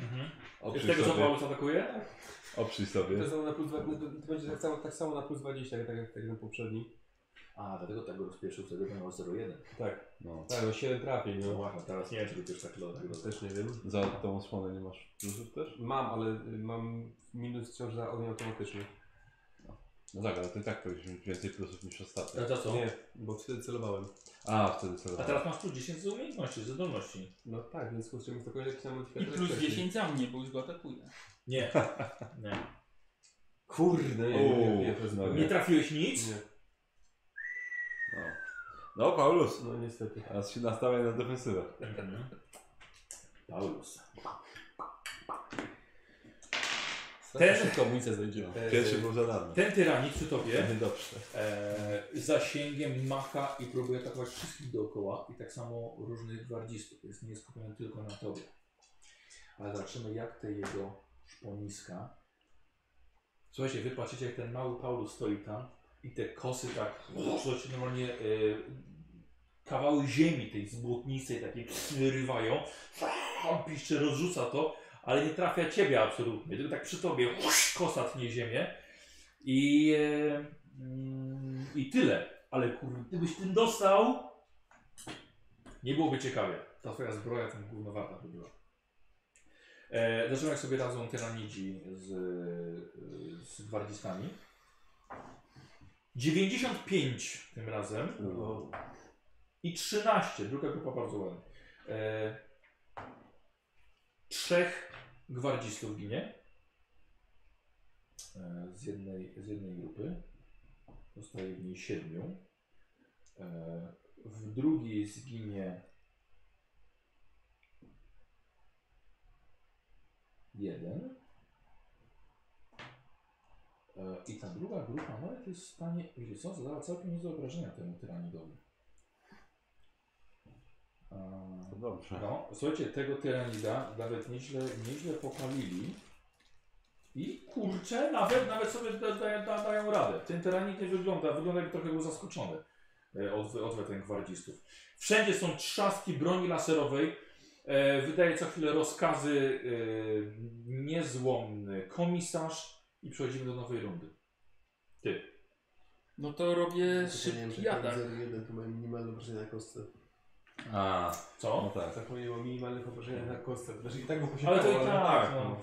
Speaker 1: Mhm.
Speaker 2: O,
Speaker 1: Z tego co
Speaker 2: sobie,
Speaker 1: Paulus atakuje?
Speaker 2: Oprzyj
Speaker 5: To
Speaker 2: sobie.
Speaker 5: jest znowu na plus 20, to będzie tak samo, tak samo na plus 20, tak jak tak jak ten poprzedni.
Speaker 1: A, dlatego tak go rozpieszył, wtedy to miał 0,1.
Speaker 5: Tak,
Speaker 2: No.
Speaker 5: tak, no 7 trafień,
Speaker 1: No
Speaker 5: no.
Speaker 1: właśnie, teraz nie wiem, czy to już tak loda.
Speaker 5: Tego Też nie wiem.
Speaker 2: Za tą osłonę nie masz plusów też?
Speaker 5: Mam, ale y, mam minus wciąż na ogień automatyczny.
Speaker 2: No tak, ale to i tak powinieneś mieć więcej plusów niż ostatnio.
Speaker 1: A No to co?
Speaker 5: Nie, bo wtedy celowałem.
Speaker 2: A, wtedy
Speaker 1: A
Speaker 2: celowo.
Speaker 1: teraz masz tu 10 z umiejętności, z zdolności.
Speaker 5: No tak, więc kurczę, mi to kolejny jakiś tam
Speaker 3: I
Speaker 5: modyfikator
Speaker 3: plus
Speaker 5: wcześniej.
Speaker 3: 10 za mnie, bo już go atakuję.
Speaker 1: Nie.
Speaker 5: Tak.
Speaker 1: Nie.
Speaker 5: Kurde, nie, nie, nie,
Speaker 2: Uuu,
Speaker 5: nie, to jest
Speaker 2: no
Speaker 5: nie.
Speaker 1: Nie trafiłeś nic?
Speaker 5: Nie,
Speaker 2: No. no, Paulus,
Speaker 5: no niestety.
Speaker 2: teraz się nastawiaj na defensywę.
Speaker 1: Mhm. Paulus.
Speaker 5: Ten... Szybko amunicja zejdzie.
Speaker 2: No.
Speaker 5: Eee,
Speaker 2: Pierwszy był zadany.
Speaker 1: Ten tyranik przy
Speaker 5: Mhm.
Speaker 1: tobie
Speaker 2: Dobrze.
Speaker 1: e, zasięgiem macha i próbuje atakować wszystkich dookoła i tak samo różnych gwardzistów, więc nie jest skupiony tylko na tobie. Ale zobaczymy jak te jego szponiska. Słuchajcie, wy patrzycie jak ten mały Paulus stoi tam i te kosy tak, słuchajcie, normalnie e, kawały ziemi tej zbłotnicy takiej wyrywają. On piszczy, rozrzuca to, ale nie trafia ciebie absolutnie, tylko tak przy tobie kosa tnie ziemię. I, e, mm, I tyle. Ale kurde, gdybyś tym dostał, nie byłoby ciekawie. Ta twoja zbroja tam gówno warta by była. E, zobaczymy jak sobie radzą tyranidzi z, e, z gwardzistami. 95 tym razem. I 13, druga grupa bardzo ładna. E, trzech gwardzistów ginie. E, z jednej, z jednej grupy. Zostaje w niej siedmiu. E, W drugiej zginie jeden. E, I ta druga grupa nawet jest w stanie, wiecie co, zadała całkiem niezłe obrażenia temu tyranidowi. E,
Speaker 2: To dobrze.
Speaker 1: no, słuchajcie, tego tyranida nawet nieźle, nieźle popalili. I kurczę, nawet, nawet sobie da, da, da, dają radę. Ten tyranid nie wygląda, wygląda jakby trochę był zaskoczony e, od, odwetem gwardzistów. Wszędzie są trzaski broni laserowej. E, wydaje co chwilę rozkazy e, niezłomny komisarz i przechodzimy do nowej rundy.
Speaker 3: No to robię
Speaker 6: nie wiem,
Speaker 3: szybki
Speaker 6: czy jak
Speaker 3: atak.
Speaker 6: mam 0,1 to mają minimalne wrażenie na kostce.
Speaker 2: A, no
Speaker 1: Co?
Speaker 2: tak.
Speaker 5: Zapomniałem o minimalnych obrażeniach na kostce. Znaczy i tak go posiadał,
Speaker 1: Ale to i tak,
Speaker 5: tak,
Speaker 1: no.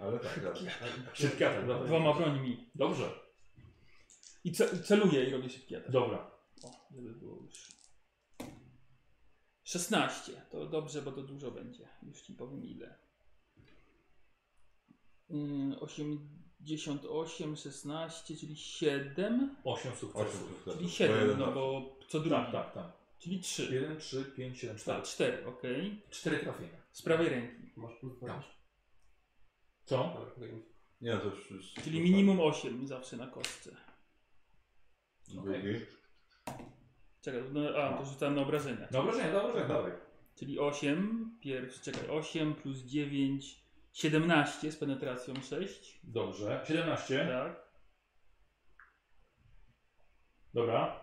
Speaker 2: Ale tak, dobrze.
Speaker 1: Szybki atak, dobra.
Speaker 3: Dwoma brońmi.
Speaker 1: Dobrze,
Speaker 3: I ce- celuję i robię szybki atak.
Speaker 1: dobra.
Speaker 3: O, żeby było już. 16. To dobrze, bo to dużo będzie. Już ci powiem ile. Mm, 88, 16, czyli 7.
Speaker 1: 8
Speaker 2: Osiem
Speaker 1: sukcesów.
Speaker 2: sukcesów.
Speaker 3: Czyli
Speaker 2: Bo
Speaker 3: 7,
Speaker 2: jeden
Speaker 3: no
Speaker 2: tak.
Speaker 3: bo co drugi.
Speaker 1: Tak, tak, tak.
Speaker 3: Czyli 3.
Speaker 1: 1, 3, 5, 7, 4.
Speaker 3: 4, ok.
Speaker 1: 4 trafienia.
Speaker 3: Z prawej ręki.
Speaker 5: Masz plus 20.
Speaker 1: Co?
Speaker 5: Ale tak jak-
Speaker 2: Nie, to już... już
Speaker 3: Czyli minimum 8 zawsze na kostce.
Speaker 2: Drugi.
Speaker 3: Czekaj, no, a to rzucam na obrażenia.
Speaker 1: Na obrażenia, na obrażenia, Tak, dawaj.
Speaker 3: Czyli 8, pierwszy, czekaj, 8 plus 9, 17 z penetracją 6.
Speaker 1: Dobrze. 17.
Speaker 3: Tak.
Speaker 1: Dobra.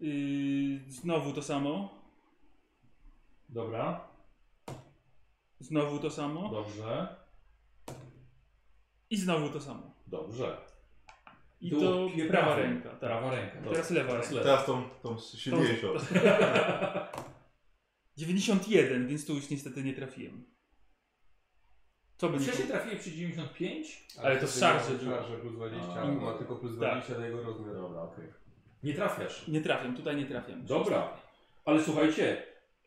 Speaker 3: Yy, znowu to samo.
Speaker 1: Dobra.
Speaker 3: Znowu to samo.
Speaker 1: Dobrze.
Speaker 3: I znowu to samo.
Speaker 1: Dobrze.
Speaker 3: I
Speaker 1: Tu
Speaker 3: to
Speaker 1: pierdolę.
Speaker 3: prawa ręka. Tak.
Speaker 1: Prawa ręka.
Speaker 3: I Teraz lewa ręka.
Speaker 1: lewa.
Speaker 2: Teraz tą, tą silniejszą.
Speaker 3: 91, więc tu już niestety nie trafiłem. Co by nie
Speaker 1: Wcześniej
Speaker 3: było?
Speaker 1: trafiłem przy 95?
Speaker 3: Ale to
Speaker 5: wtedy
Speaker 3: szarże
Speaker 5: miał
Speaker 3: było.
Speaker 5: Szarże plus 20,
Speaker 1: A.
Speaker 5: a ma tylko plus
Speaker 3: Tak.
Speaker 5: 20 na jego rozmiar.
Speaker 1: Dobra, okej. Nie trafiasz.
Speaker 3: Nie trafiam, tutaj nie trafiam.
Speaker 1: Dobra. Ale słuchajcie,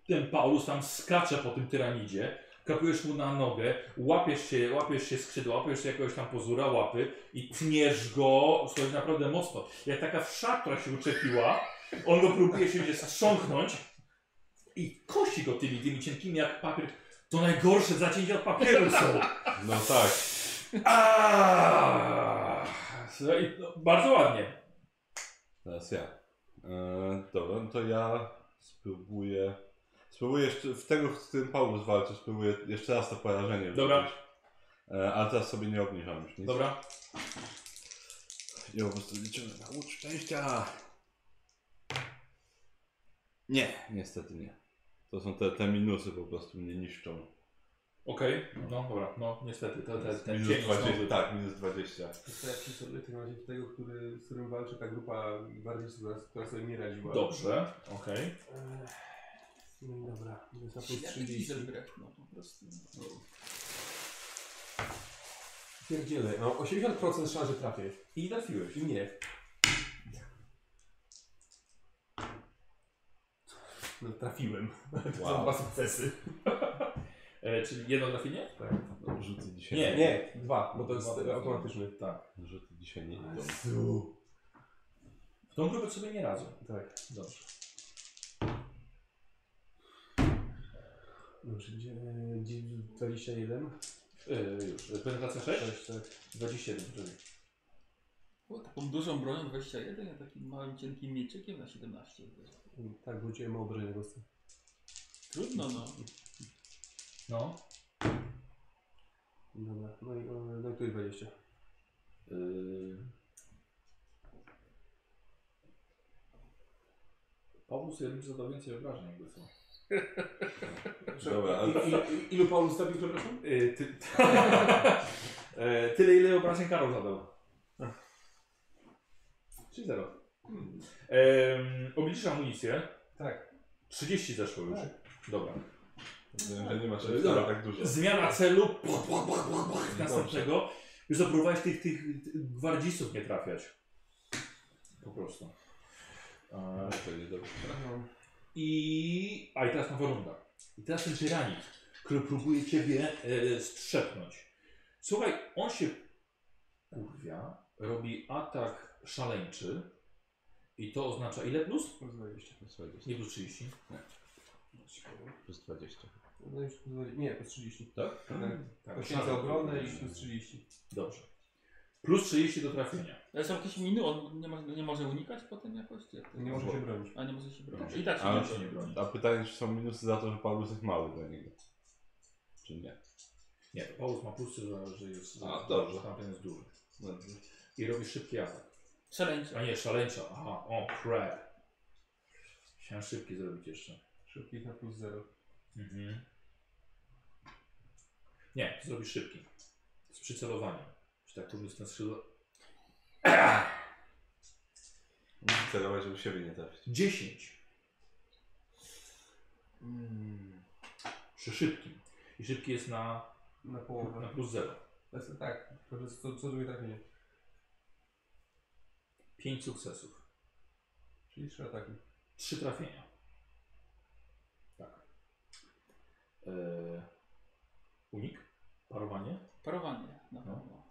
Speaker 1: ten Paulus tam skacze po tym tyranidzie. Kapujesz mu na nogę, łapiesz się, łapiesz się skrzydła, łapiesz się jakiegoś tam pozura łapy i tniesz go, słuchaj, naprawdę mocno. Jak taka wszak, która się uczepiła, on go próbuje się gdzieś strząknąć i kosi go tymi, tymi cienkimi jak papier. To najgorsze zacięcia od papieru są.
Speaker 2: No tak.
Speaker 1: Aaaa! Słuchaj, no, Bardzo ładnie.
Speaker 2: Teraz ja. E, dobra, no to ja spróbuję. Spróbuję jeszcze. W tego, z tym Paulus walczy, spróbuję jeszcze raz to porażenie.
Speaker 1: Dobra.
Speaker 2: wrzucić. E, ale teraz sobie nie obniżam już nic.
Speaker 1: Dobra.
Speaker 2: Ja po prostu liczymy na łódź szczęścia. Nie, niestety nie. To są te, te minusy po prostu mnie niszczą.
Speaker 1: Okej, no dobra, no niestety, to, to, ten
Speaker 2: Minus
Speaker 1: cień
Speaker 2: 20,
Speaker 1: znowu.
Speaker 2: tak, minus 20.
Speaker 5: To ja przyszedłem w takim razie do tego, który, z którym walczy ta grupa bardziej, która, która sobie nie radziła.
Speaker 1: Dobrze, okej.
Speaker 5: Ech, No i dobra, więc na plus
Speaker 3: Ja widzę
Speaker 5: 30.
Speaker 3: grę, no po prostu.
Speaker 5: Pierdzielę, mam 80% szans, że trafię.
Speaker 1: I trafiłeś.
Speaker 5: I nie. No trafiłem. To są dwa sukcesy.
Speaker 1: E, czyli jedno trafienie?
Speaker 2: No, rzuty dzisiaj
Speaker 1: Nie.
Speaker 5: Nie, dwa, bo to
Speaker 1: Dwa
Speaker 5: jest
Speaker 1: trafienia.
Speaker 5: automatyczny.
Speaker 1: Tak.
Speaker 2: Rzuty dzisiaj nie idą.
Speaker 5: Jezu.
Speaker 1: W tą grupę sobie nie radzą.
Speaker 5: Tak.
Speaker 1: Dobrze.
Speaker 5: Dobrze, gdzie- gdzie- 21.
Speaker 1: E, już. E, Penetracja 6?
Speaker 5: Sześć, tak.
Speaker 1: 27, czyli.
Speaker 3: O, taką dużą bronią 21, a takim małym, cienkim mieczykiem na 17.
Speaker 5: Tak, wróciłem o obrażenia głosy.
Speaker 3: Trudno no.
Speaker 1: No.
Speaker 5: Dobra, no i, e, no i tu jest 20.
Speaker 1: Yy... Paulus ja bym zadał więcej obrażeń, jakby co. Tak,
Speaker 2: Dobra, ale
Speaker 5: I- i- Ilu Paulus stawił, przepraszam?
Speaker 1: Yy, ty... yy, tyle, ile obrażeń Karol zadał. Czyli zero. Yy, obliczysz amunicję.
Speaker 5: Tak.
Speaker 1: 30 zeszło już. Dobra.
Speaker 2: że nie masz
Speaker 1: No Dobra.
Speaker 2: wcale tak dużo.
Speaker 1: Zmiana celu. Puch, puch, puch, puch, puch, następnego. Już zapróbowałeś tych, tych, tych gwardzistów nie trafiać. Po prostu. Eee,
Speaker 2: To nie dobrze.
Speaker 1: I. A i teraz nowa runda. I teraz ten tyranik, który próbuje ciebie e, strzepnąć. Słuchaj, on się kurwia, robi atak szaleńczy. I to oznacza ile plus?
Speaker 5: Plus 20.
Speaker 2: Plus 20.
Speaker 1: Nie plus 30.
Speaker 2: Plus 20.
Speaker 5: No już plus 20. Nie, plus 30.
Speaker 2: Tak?
Speaker 1: Tak,
Speaker 5: Poświęcę obronę i plus 30.
Speaker 1: Dobrze. Plus 30 do trafienia.
Speaker 3: Ale są jakieś miny, on nie, ma, nie może unikać potem jakoś? czy Jak to
Speaker 5: Nie może się bronić.
Speaker 3: A nie może się bronić.
Speaker 1: Tak.
Speaker 3: I tak się
Speaker 2: A-
Speaker 3: nie
Speaker 1: się
Speaker 3: broni.
Speaker 1: nie broni.
Speaker 2: A pytanie, czy są minusy za to, że Paulus jest mały dla niego? Czy nie?
Speaker 1: Nie, Paulus ma plusy, że, że jest.
Speaker 2: A, dobrze.
Speaker 1: Tamten jest duży.
Speaker 2: No,
Speaker 1: I robi szybki atak.
Speaker 3: Szaleńcze.
Speaker 1: A nie, szaleńcza. Aha, o, crap. Chciałem szybki zrobić jeszcze.
Speaker 5: Szybkich na plus 0.
Speaker 1: Mhm. Nie, zrobi szybki. Z przycelowaniem. Czy tak trudno jest ten skrzydło?
Speaker 2: Muszę celować, żeby siebie nie trafić.
Speaker 1: 10
Speaker 5: Mm.
Speaker 1: przy szybkim. I szybki jest na, na
Speaker 5: Na połowę.
Speaker 1: plus 0.
Speaker 5: To jest, tak, to jest co, tak, co drugie trafienie.
Speaker 1: 5 sukcesów.
Speaker 5: Czyli trzy ataki.
Speaker 1: 3 trafienia. Tak. Eee, unik? Parowanie?
Speaker 3: Parowanie na
Speaker 1: No.
Speaker 3: pewno.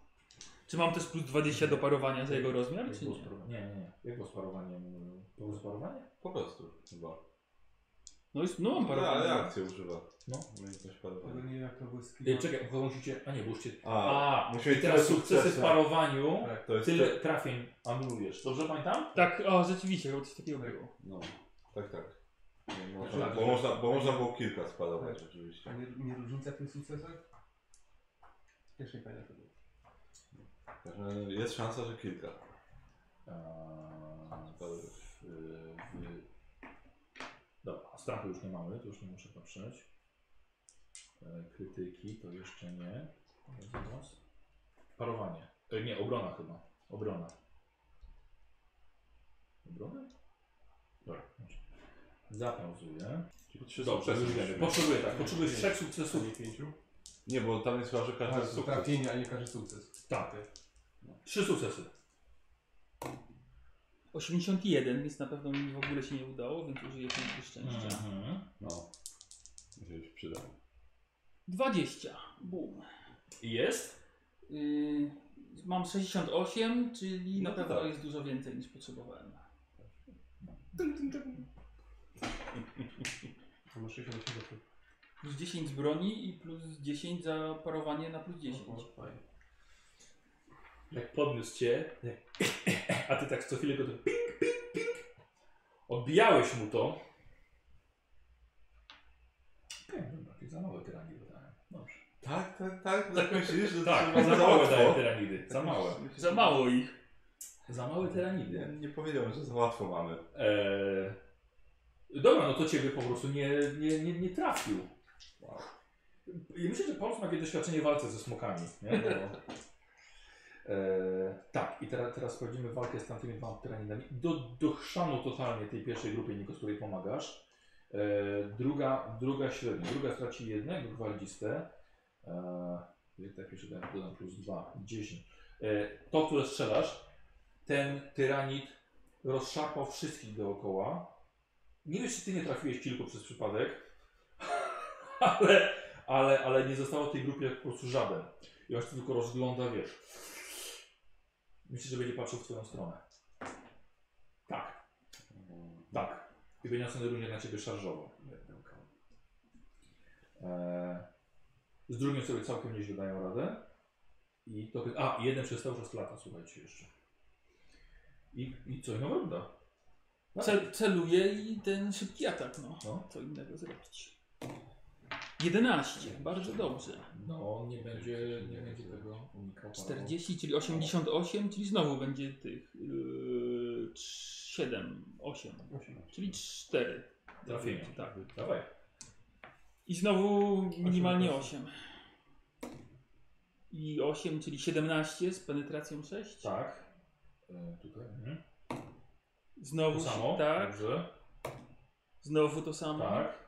Speaker 3: Czy mam też plus 20 do parowania za jego rozmiar,
Speaker 1: Jak
Speaker 3: Tak, czy
Speaker 1: było z
Speaker 3: nie?
Speaker 1: parowaniem? Nie, nie, nie. Jak było z parowaniem? Było z parowaniem?
Speaker 2: Po prostu, chyba.
Speaker 3: No już no mam
Speaker 2: Ale, ale
Speaker 3: parowanie.
Speaker 2: akcję używa.
Speaker 1: No.
Speaker 2: Umiejętność
Speaker 5: Ale
Speaker 2: parowania.
Speaker 5: nie jak to były skill.
Speaker 1: Ej, czekaj, bo musicie... A nie, bo musicie...
Speaker 2: A,
Speaker 1: A,
Speaker 2: musieli
Speaker 1: i teraz
Speaker 2: tyle
Speaker 1: sukcesy w
Speaker 2: sukcesów.
Speaker 1: parowaniu.
Speaker 5: Tak.
Speaker 2: to jest... Te...
Speaker 1: Tyle trafień anulujesz. Dobrze pamiętam?
Speaker 3: Tak, o rzeczywiście, bo coś takiego było.
Speaker 2: No, tak, tak. No,
Speaker 1: Znaczy,
Speaker 2: można,
Speaker 1: tak.
Speaker 2: bo, można, bo można było kilka sparować,
Speaker 5: Tak. A
Speaker 2: oczywiście.
Speaker 5: nie, nie różnica w tych sukcesach? Też nie pamiętam tego.
Speaker 2: Także Jest szansa, że kilka.
Speaker 1: Eee, w, w... y, Dobra, strachu już nie mamy, to już nie muszę patrzeć. E, Krytyki to jeszcze nie. Zaraz. Parowanie. E, Nie, obrona chyba. Obrona. Obrona? Dobra. dobrze. Zapauzuję.
Speaker 2: Trzy
Speaker 1: Dobrze,
Speaker 2: sukcesy
Speaker 1: już wiemy.
Speaker 2: musimy.
Speaker 1: Potrzebuję tak, potrzebuję trzech sukcesów.
Speaker 5: Nie pięciu?
Speaker 2: Nie, bo tam jest chyba, że
Speaker 5: A,
Speaker 2: każdy
Speaker 5: to
Speaker 2: sukces.
Speaker 5: trafienie, a nie każdy sukces.
Speaker 1: Tak.
Speaker 2: No.
Speaker 1: Trzy sukcesy.
Speaker 3: 81, więc na pewno mi w ogóle się nie udało, więc użyję punktu
Speaker 5: Hmm.
Speaker 3: szczęścia.
Speaker 1: Mhm.
Speaker 2: No. Się już przyda.
Speaker 3: 20. Bum.
Speaker 1: I Jest?
Speaker 3: Y, mam 68, czyli na
Speaker 2: No to
Speaker 3: pewno
Speaker 2: tak.
Speaker 3: jest dużo więcej niż potrzebowałem.
Speaker 5: To ma 68 sukcesów.
Speaker 3: Plus 10 z broni i plus 10 za parowanie na plus 10.
Speaker 5: O, fajnie.
Speaker 1: Jak podniósł cię, jak- a ty tak co chwilę go to ping, ping, ping. Odbijałeś mu to. Okej, dobra, ty za małe tyranidy dałem. Dobrze.
Speaker 2: Tak, tak, tak. Tak myślisz, że
Speaker 1: Tak,
Speaker 2: to
Speaker 1: za małe daję
Speaker 2: łatwo?
Speaker 1: tyranidy. Za małe.
Speaker 3: Za mało ich.
Speaker 1: Za małe
Speaker 2: Nie,
Speaker 1: tyranidy.
Speaker 2: nie powiedziałem, że za łatwo mamy.
Speaker 1: Eee, dobra, no to ciebie po prostu nie, nie, nie, nie trafił. I myślę, że Paulus ma jakieś doświadczenie w walce ze smokami. Nie? Bo... E, tak, i teraz, teraz sprawdzimy walkę z tamtymi dwoma tyraninami. Do, do chrzanu totalnie tej pierwszej grupy, Niko, z której pomagasz. E, druga, druga średnia. Druga straci jednego gwardzistę. E, jak tak jeszcze dodam- dodam plus dwa, 10. E, to, które strzelasz, ten tyranit rozszarpał wszystkich dookoła. Nie wiem, czy ty nie trafiłeś kilku przez przypadek, ale, ale, ale nie zostało w tej grupie po prostu żaden. I właśnie tylko rozgląda, wiesz. Myślę, że będzie patrzył w twoją stronę. Tak. Tak. I będzie następny rundzie na ciebie szarżował. Eee, z drugim sobie całkiem nieźle dają radę. I to... A, jeden przez cały czas lata, słuchajcie jeszcze. I, i coś nowego da.
Speaker 3: Cel, celuje i ten szybki atak, no.
Speaker 1: No.
Speaker 3: Co innego zrobić. 11, bardzo dobrze.
Speaker 1: No, nie będzie, nie będzie tego unikał.
Speaker 3: 40, czyli 88, czyli znowu będzie tych yy, 7, 8, czyli 4.
Speaker 1: Trafienia.
Speaker 3: Tak.
Speaker 1: Dawaj.
Speaker 3: I znowu minimalnie 8. I 8, czyli 17 z penetracją 6.
Speaker 1: Tak. E, tutaj. Mhm.
Speaker 3: Znowu
Speaker 1: To samo.
Speaker 3: tak,
Speaker 1: Dobrze.
Speaker 3: znowu to samo.
Speaker 1: Tak.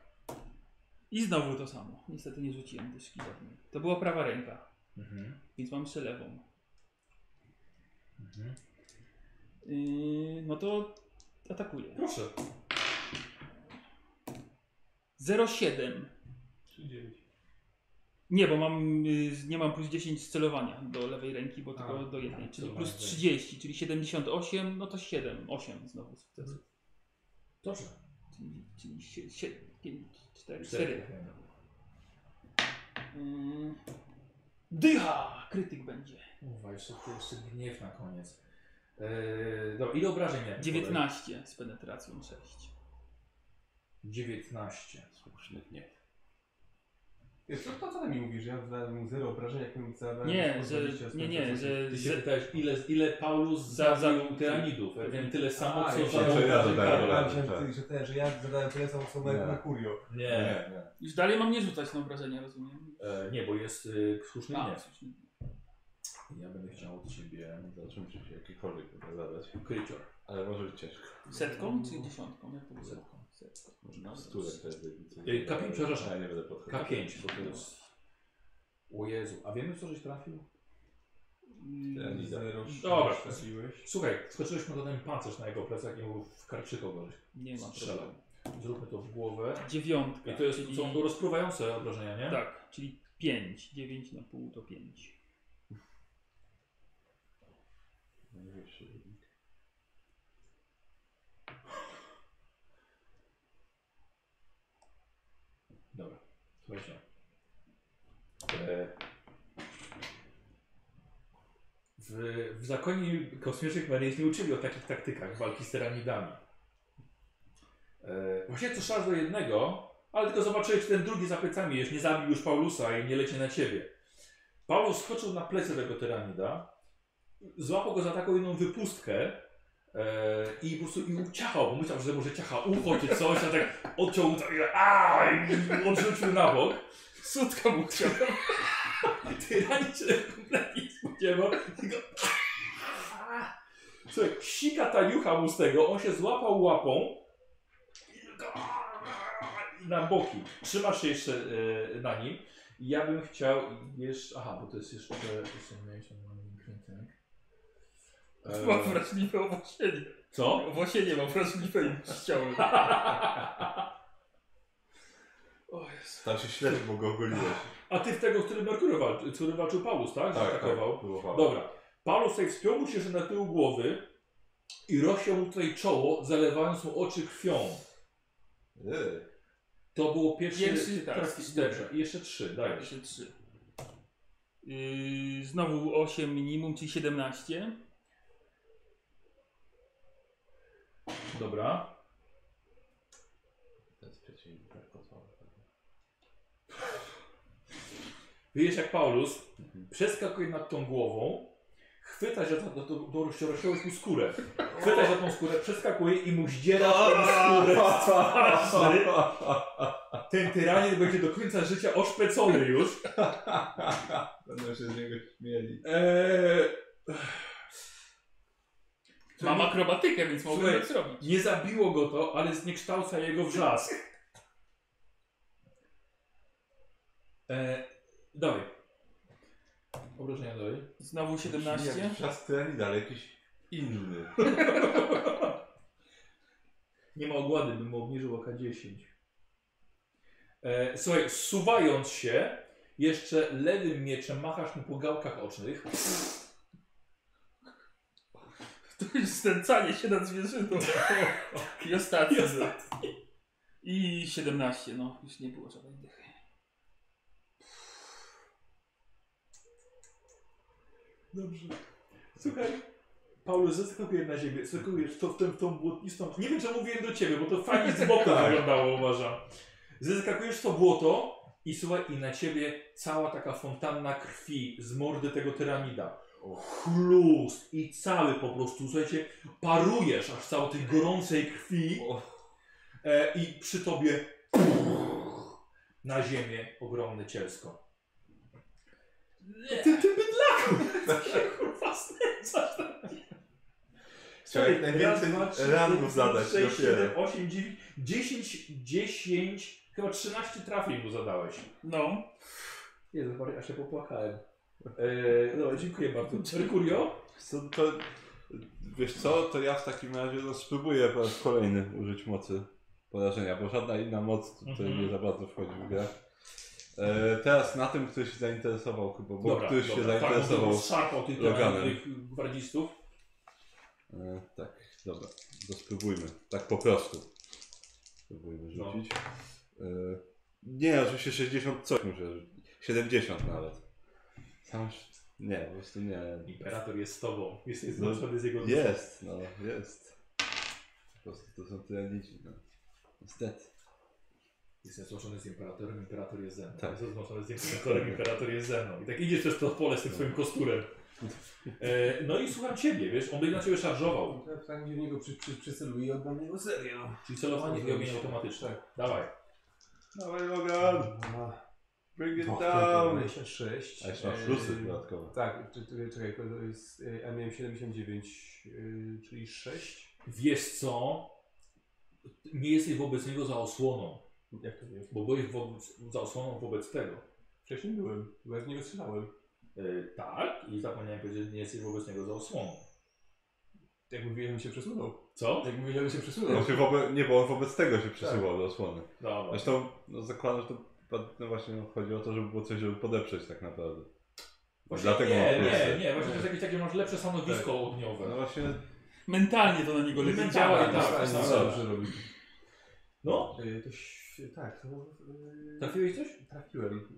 Speaker 3: I znowu to samo. Niestety nie rzuciłem dyszki żadnej. To była prawa ręka,
Speaker 1: Mhm.
Speaker 3: więc mam jeszcze lewą.
Speaker 1: Mhm.
Speaker 3: Yy, no to atakuję.
Speaker 1: Proszę.
Speaker 3: 07. Nie, bo mam, y, nie mam plus 10 z celowania do lewej ręki, bo tylko do jednej, czyli
Speaker 1: celowanie
Speaker 3: plus
Speaker 1: wejdzie.
Speaker 3: 30, czyli 78, no to 7, 8 znowu
Speaker 1: Tak.
Speaker 3: sukcesu.
Speaker 1: Dobrze.
Speaker 3: Czyli, czyli 7, 5, 4, 4. Y, Dycha! Krytyk będzie.
Speaker 1: Uwaj, jeszcze, jeszcze gniew na koniec. Yy, dobra, ile obrażeń miałem?
Speaker 3: 19 z penetracją 6.
Speaker 1: 19.
Speaker 2: Słuszny gniew.
Speaker 5: Wiesz, to, to co ty mi mówisz? Ja zadałem mu zero obrażeń, jak mi
Speaker 1: Tak,
Speaker 5: zadałem
Speaker 3: Nie,
Speaker 5: po
Speaker 3: że,
Speaker 5: 20,
Speaker 3: nie, nie, że,
Speaker 1: Ty się
Speaker 3: że
Speaker 1: pytałeś, ile, ile Paulus
Speaker 3: Za- za-
Speaker 1: zabił tyranidów. Ja wiem tyle samo,
Speaker 5: A,
Speaker 1: co
Speaker 5: ja
Speaker 2: się- że ja zadałem
Speaker 1: Karol.
Speaker 5: Ja
Speaker 2: obrażeń.
Speaker 5: myślałem, że ty- że te, że ja zadałem tyle samo co
Speaker 2: Tak. Nie.
Speaker 5: na Kurio.
Speaker 1: Nie.
Speaker 2: nie.
Speaker 3: już dalej mam nie rzucać na obrażenia, rozumiem?
Speaker 1: E, nie, bo jest y, słuszny
Speaker 3: A,
Speaker 1: nie.
Speaker 3: słusznie.
Speaker 1: Ja będę chciał od ciebie
Speaker 2: Zobaczymy, czy się jakikolwiek uda zadać.
Speaker 1: krycior.
Speaker 2: Ale może być ciężko.
Speaker 3: Setką czy dziesiątką? Jak to było?
Speaker 1: Setką.
Speaker 3: Setką.
Speaker 2: Może
Speaker 3: No,
Speaker 2: na stulek to jest debicy.
Speaker 1: Ej, K5, przepraszam.
Speaker 2: Ja nie będę podchodził.
Speaker 1: K5
Speaker 2: Bo to jest-
Speaker 1: plus. O Jezu, a wiemy w co żeś trafił?
Speaker 3: Mm,
Speaker 2: Ja nie znam.
Speaker 5: Zero.
Speaker 1: Dobra.
Speaker 5: Strzeliłeś.
Speaker 1: Słuchaj, skoczyłeś mu na ten pancerz na jego plecach i mu w karczyko go żeś
Speaker 3: Nie ma
Speaker 1: strzelał.
Speaker 3: problemu.
Speaker 1: Zróbmy to w głowę.
Speaker 3: Dziewiątka.
Speaker 1: I to jest,
Speaker 3: czyli,
Speaker 1: są to rozpruwające obrażenia, nie?
Speaker 3: Tak, czyli 5. 9 na pół to 5.
Speaker 2: Najwyższy wynik.
Speaker 1: Dobra, słuchajcie. E, W, w zakonie kosmicznych Marines nie uczyli o takich taktykach walki z tyranidami. E, Właśnie co szarż do jednego, ale tylko zobaczyłeś, czy ten drugi za plecami jest, nie zabił już Paulusa i nie leci na ciebie. Paulus skoczył na plecy tego tyranida, złapał go za taką jedną wypustkę e, i po prostu i uciachał, bo myślał, że może ciacha ucho czy coś, a tak odciął tak, a, i odrzucił na bok. Sutka mu chciał. Tyranik się tego kompletnie nie spodziewał. Tylko... Słuchaj, sika taniucha mu z tego, on się złapał łapą i tylko na boki. Trzymasz się jeszcze e, na nim. Ja bym chciał jeszcze... Aha, bo to jest jeszcze...
Speaker 3: Mam
Speaker 1: E,
Speaker 3: wrażliwe owłosienie.
Speaker 1: co?
Speaker 3: Owłosienie mam wrażliwe i chciałem.
Speaker 1: Tak.
Speaker 2: Tam się śledź, bo go ogoliłeś.
Speaker 1: A ty w tego, który Merkury walczy, który walczył Paulus, tak? Że atakował.
Speaker 2: było faul.
Speaker 1: Dobra. Paulus tutaj wspiął mu się jeszcze na tył głowy i rozsiał mu tutaj czoło, zalewając mu oczy krwią.
Speaker 2: Ej,
Speaker 1: To było pierwsze
Speaker 3: Pierwszy, tak.
Speaker 1: trafi- Dobrze. I jeszcze trzy, dajesz.
Speaker 3: Jeszcze 3. Yy, znowu 8 minimum, czyli 17.
Speaker 1: Dobra.
Speaker 2: To jest przeciwnik, tak, to są.
Speaker 1: Widzisz jak Paulus przeskakuje nad tą głową, chwyta się za tą, tą, tą rozsiałeś mu skórę. Chwyta się za tą skórę, przeskakuje i mu zdziera tą skórę z twarzy. ten tyraniec będzie do końca życia oszpecony już.
Speaker 2: Będą się z niego śmieli.
Speaker 1: Eee,
Speaker 3: Mam akrobatykę, więc mogę
Speaker 1: Słuchaj.
Speaker 3: tak zrobić.
Speaker 1: nie zabiło go to, ale zniekształca jego wrzask. Eee, dalej. Obrażenia dalej.
Speaker 3: Znowu 17.
Speaker 2: Jakiś czas tyranida, ale jakiś inny.
Speaker 1: Nie ma ogłady, bym mu obniżył oka 10. E, słuchaj, suwając się, jeszcze lewym mieczem machasz mu po gałkach ocznych.
Speaker 3: To jest znęcanie się nad zwierzyną. I ostatni. I I 17, no. Już nie było żadnej dychy.
Speaker 1: Dobrze. Słuchaj, Paulus, zeskakujesz na ziemię, skakujesz to w, ten, w tą błotnistą... Nie wiem, czy mówiłem do ciebie, bo to fajnie z boku wyglądało, uważam. Zeskakujesz w to błoto i słuchaj, i na ciebie cała taka fontanna krwi z mordy tego tyranida. Chlust i cały po prostu, słuchajcie, parujesz aż cało tej gorącej krwi e, i przy tobie na ziemię ogromne cielsko. Ty, ty bydlaku! Ty Tak się kurwa znęcasz na mnie.
Speaker 2: Chciałem
Speaker 1: Słuchaj,
Speaker 2: najwięcej
Speaker 1: raz, dwa, trzy,
Speaker 2: ranów
Speaker 1: cztery,
Speaker 2: zadać
Speaker 1: sześć,
Speaker 2: dopiero.
Speaker 1: siedem, osiem, dziewięć, 10, 10, chyba 13 trafień mu zadałeś.
Speaker 3: No.
Speaker 1: Jezu, Mary, aż no, się popłakałem. Eee, no, dziękuję bardzo. Merkurio?
Speaker 2: Co, to, wiesz co, to ja w takim razie no, spróbuję po raz kolejny użyć mocy porażenia, bo żadna inna moc tutaj
Speaker 1: Mhm.
Speaker 2: nie za bardzo wchodzi w grę. E, teraz na tym, który się zainteresował chyba, bo ktoś się zainteresował.
Speaker 1: Tak, szarpał tych
Speaker 2: Loganem.
Speaker 1: tych gwardzistów.
Speaker 2: E, tak, dobra, to spróbujmy. Tak po prostu. Spróbujmy
Speaker 1: No.
Speaker 2: rzucić. E, nie, oczywiście 60 coś muszę rzucić. 70 nawet. Tam, nie, po prostu nie.
Speaker 1: Imperator jest z tobą. Jesteś
Speaker 2: No,
Speaker 1: złączony z jego
Speaker 2: Jest, no, jest. Po prostu to są tyranidzi, no. Niestety.
Speaker 1: Jestem złączony z imperatorem, imperator jest ze mną.
Speaker 2: Tak.
Speaker 1: Jestem złączony z imperatorem, imperator jest ze mną. I tak idziesz przez to pole z tym swoim kosturem. E, no i słucham ciebie, wiesz, on by na ciebie szarżował.
Speaker 5: Ja tak gdzie w niego przy, przy, przyceluję i oddam jego serię. No.
Speaker 1: Czyli celowanie i ogień automatyczny. Dawaj.
Speaker 2: Dawaj Logan,
Speaker 5: Dwa,
Speaker 2: bring
Speaker 5: pięć,
Speaker 2: it down!
Speaker 5: 26.
Speaker 2: A jeszcze masz
Speaker 5: Eee,
Speaker 2: plusy dodatkowe.
Speaker 5: Tak, czy- czy- czekaj, to jest, e, ja miałem 79, e, czyli 6.
Speaker 1: Wiesz co? Nie jesteś wobec niego za osłoną.
Speaker 5: Jak to nie?
Speaker 1: Bo byłeś wobec, za osłoną wobec tego.
Speaker 5: Wcześniej byłem, bo ja z niego strzelałem.
Speaker 1: Yy, tak, i zapomniałem powiedzieć, że nie jesteś wobec niego za osłoną.
Speaker 5: Jak mówiłem, się przesunął.
Speaker 1: Co? No,
Speaker 5: Jak mówiłem, się przesunął.
Speaker 2: On się wobec, nie, bo on wobec tego się przesuwał do osłony.
Speaker 1: Dobra.
Speaker 2: Zresztą no, zakładam, że to no właśnie no, chodzi o to, żeby było coś, żeby podeprzeć tak naprawdę.
Speaker 1: Właśnie
Speaker 2: Dlatego
Speaker 1: nie,
Speaker 2: mam
Speaker 1: nie,
Speaker 2: plusy.
Speaker 1: nie, właśnie to jest jakieś takie masz lepsze stanowisko ogniowe.
Speaker 2: No właśnie,
Speaker 3: Mentalnie no. to na niego lepiej
Speaker 1: Mentalnie,
Speaker 3: działa.
Speaker 1: tak,
Speaker 3: niż-
Speaker 1: tak,
Speaker 2: tak.
Speaker 5: dobrze robi.
Speaker 1: No,
Speaker 5: E, To, ś- tak, to, e,
Speaker 1: trafiłeś coś?
Speaker 5: trafiłem.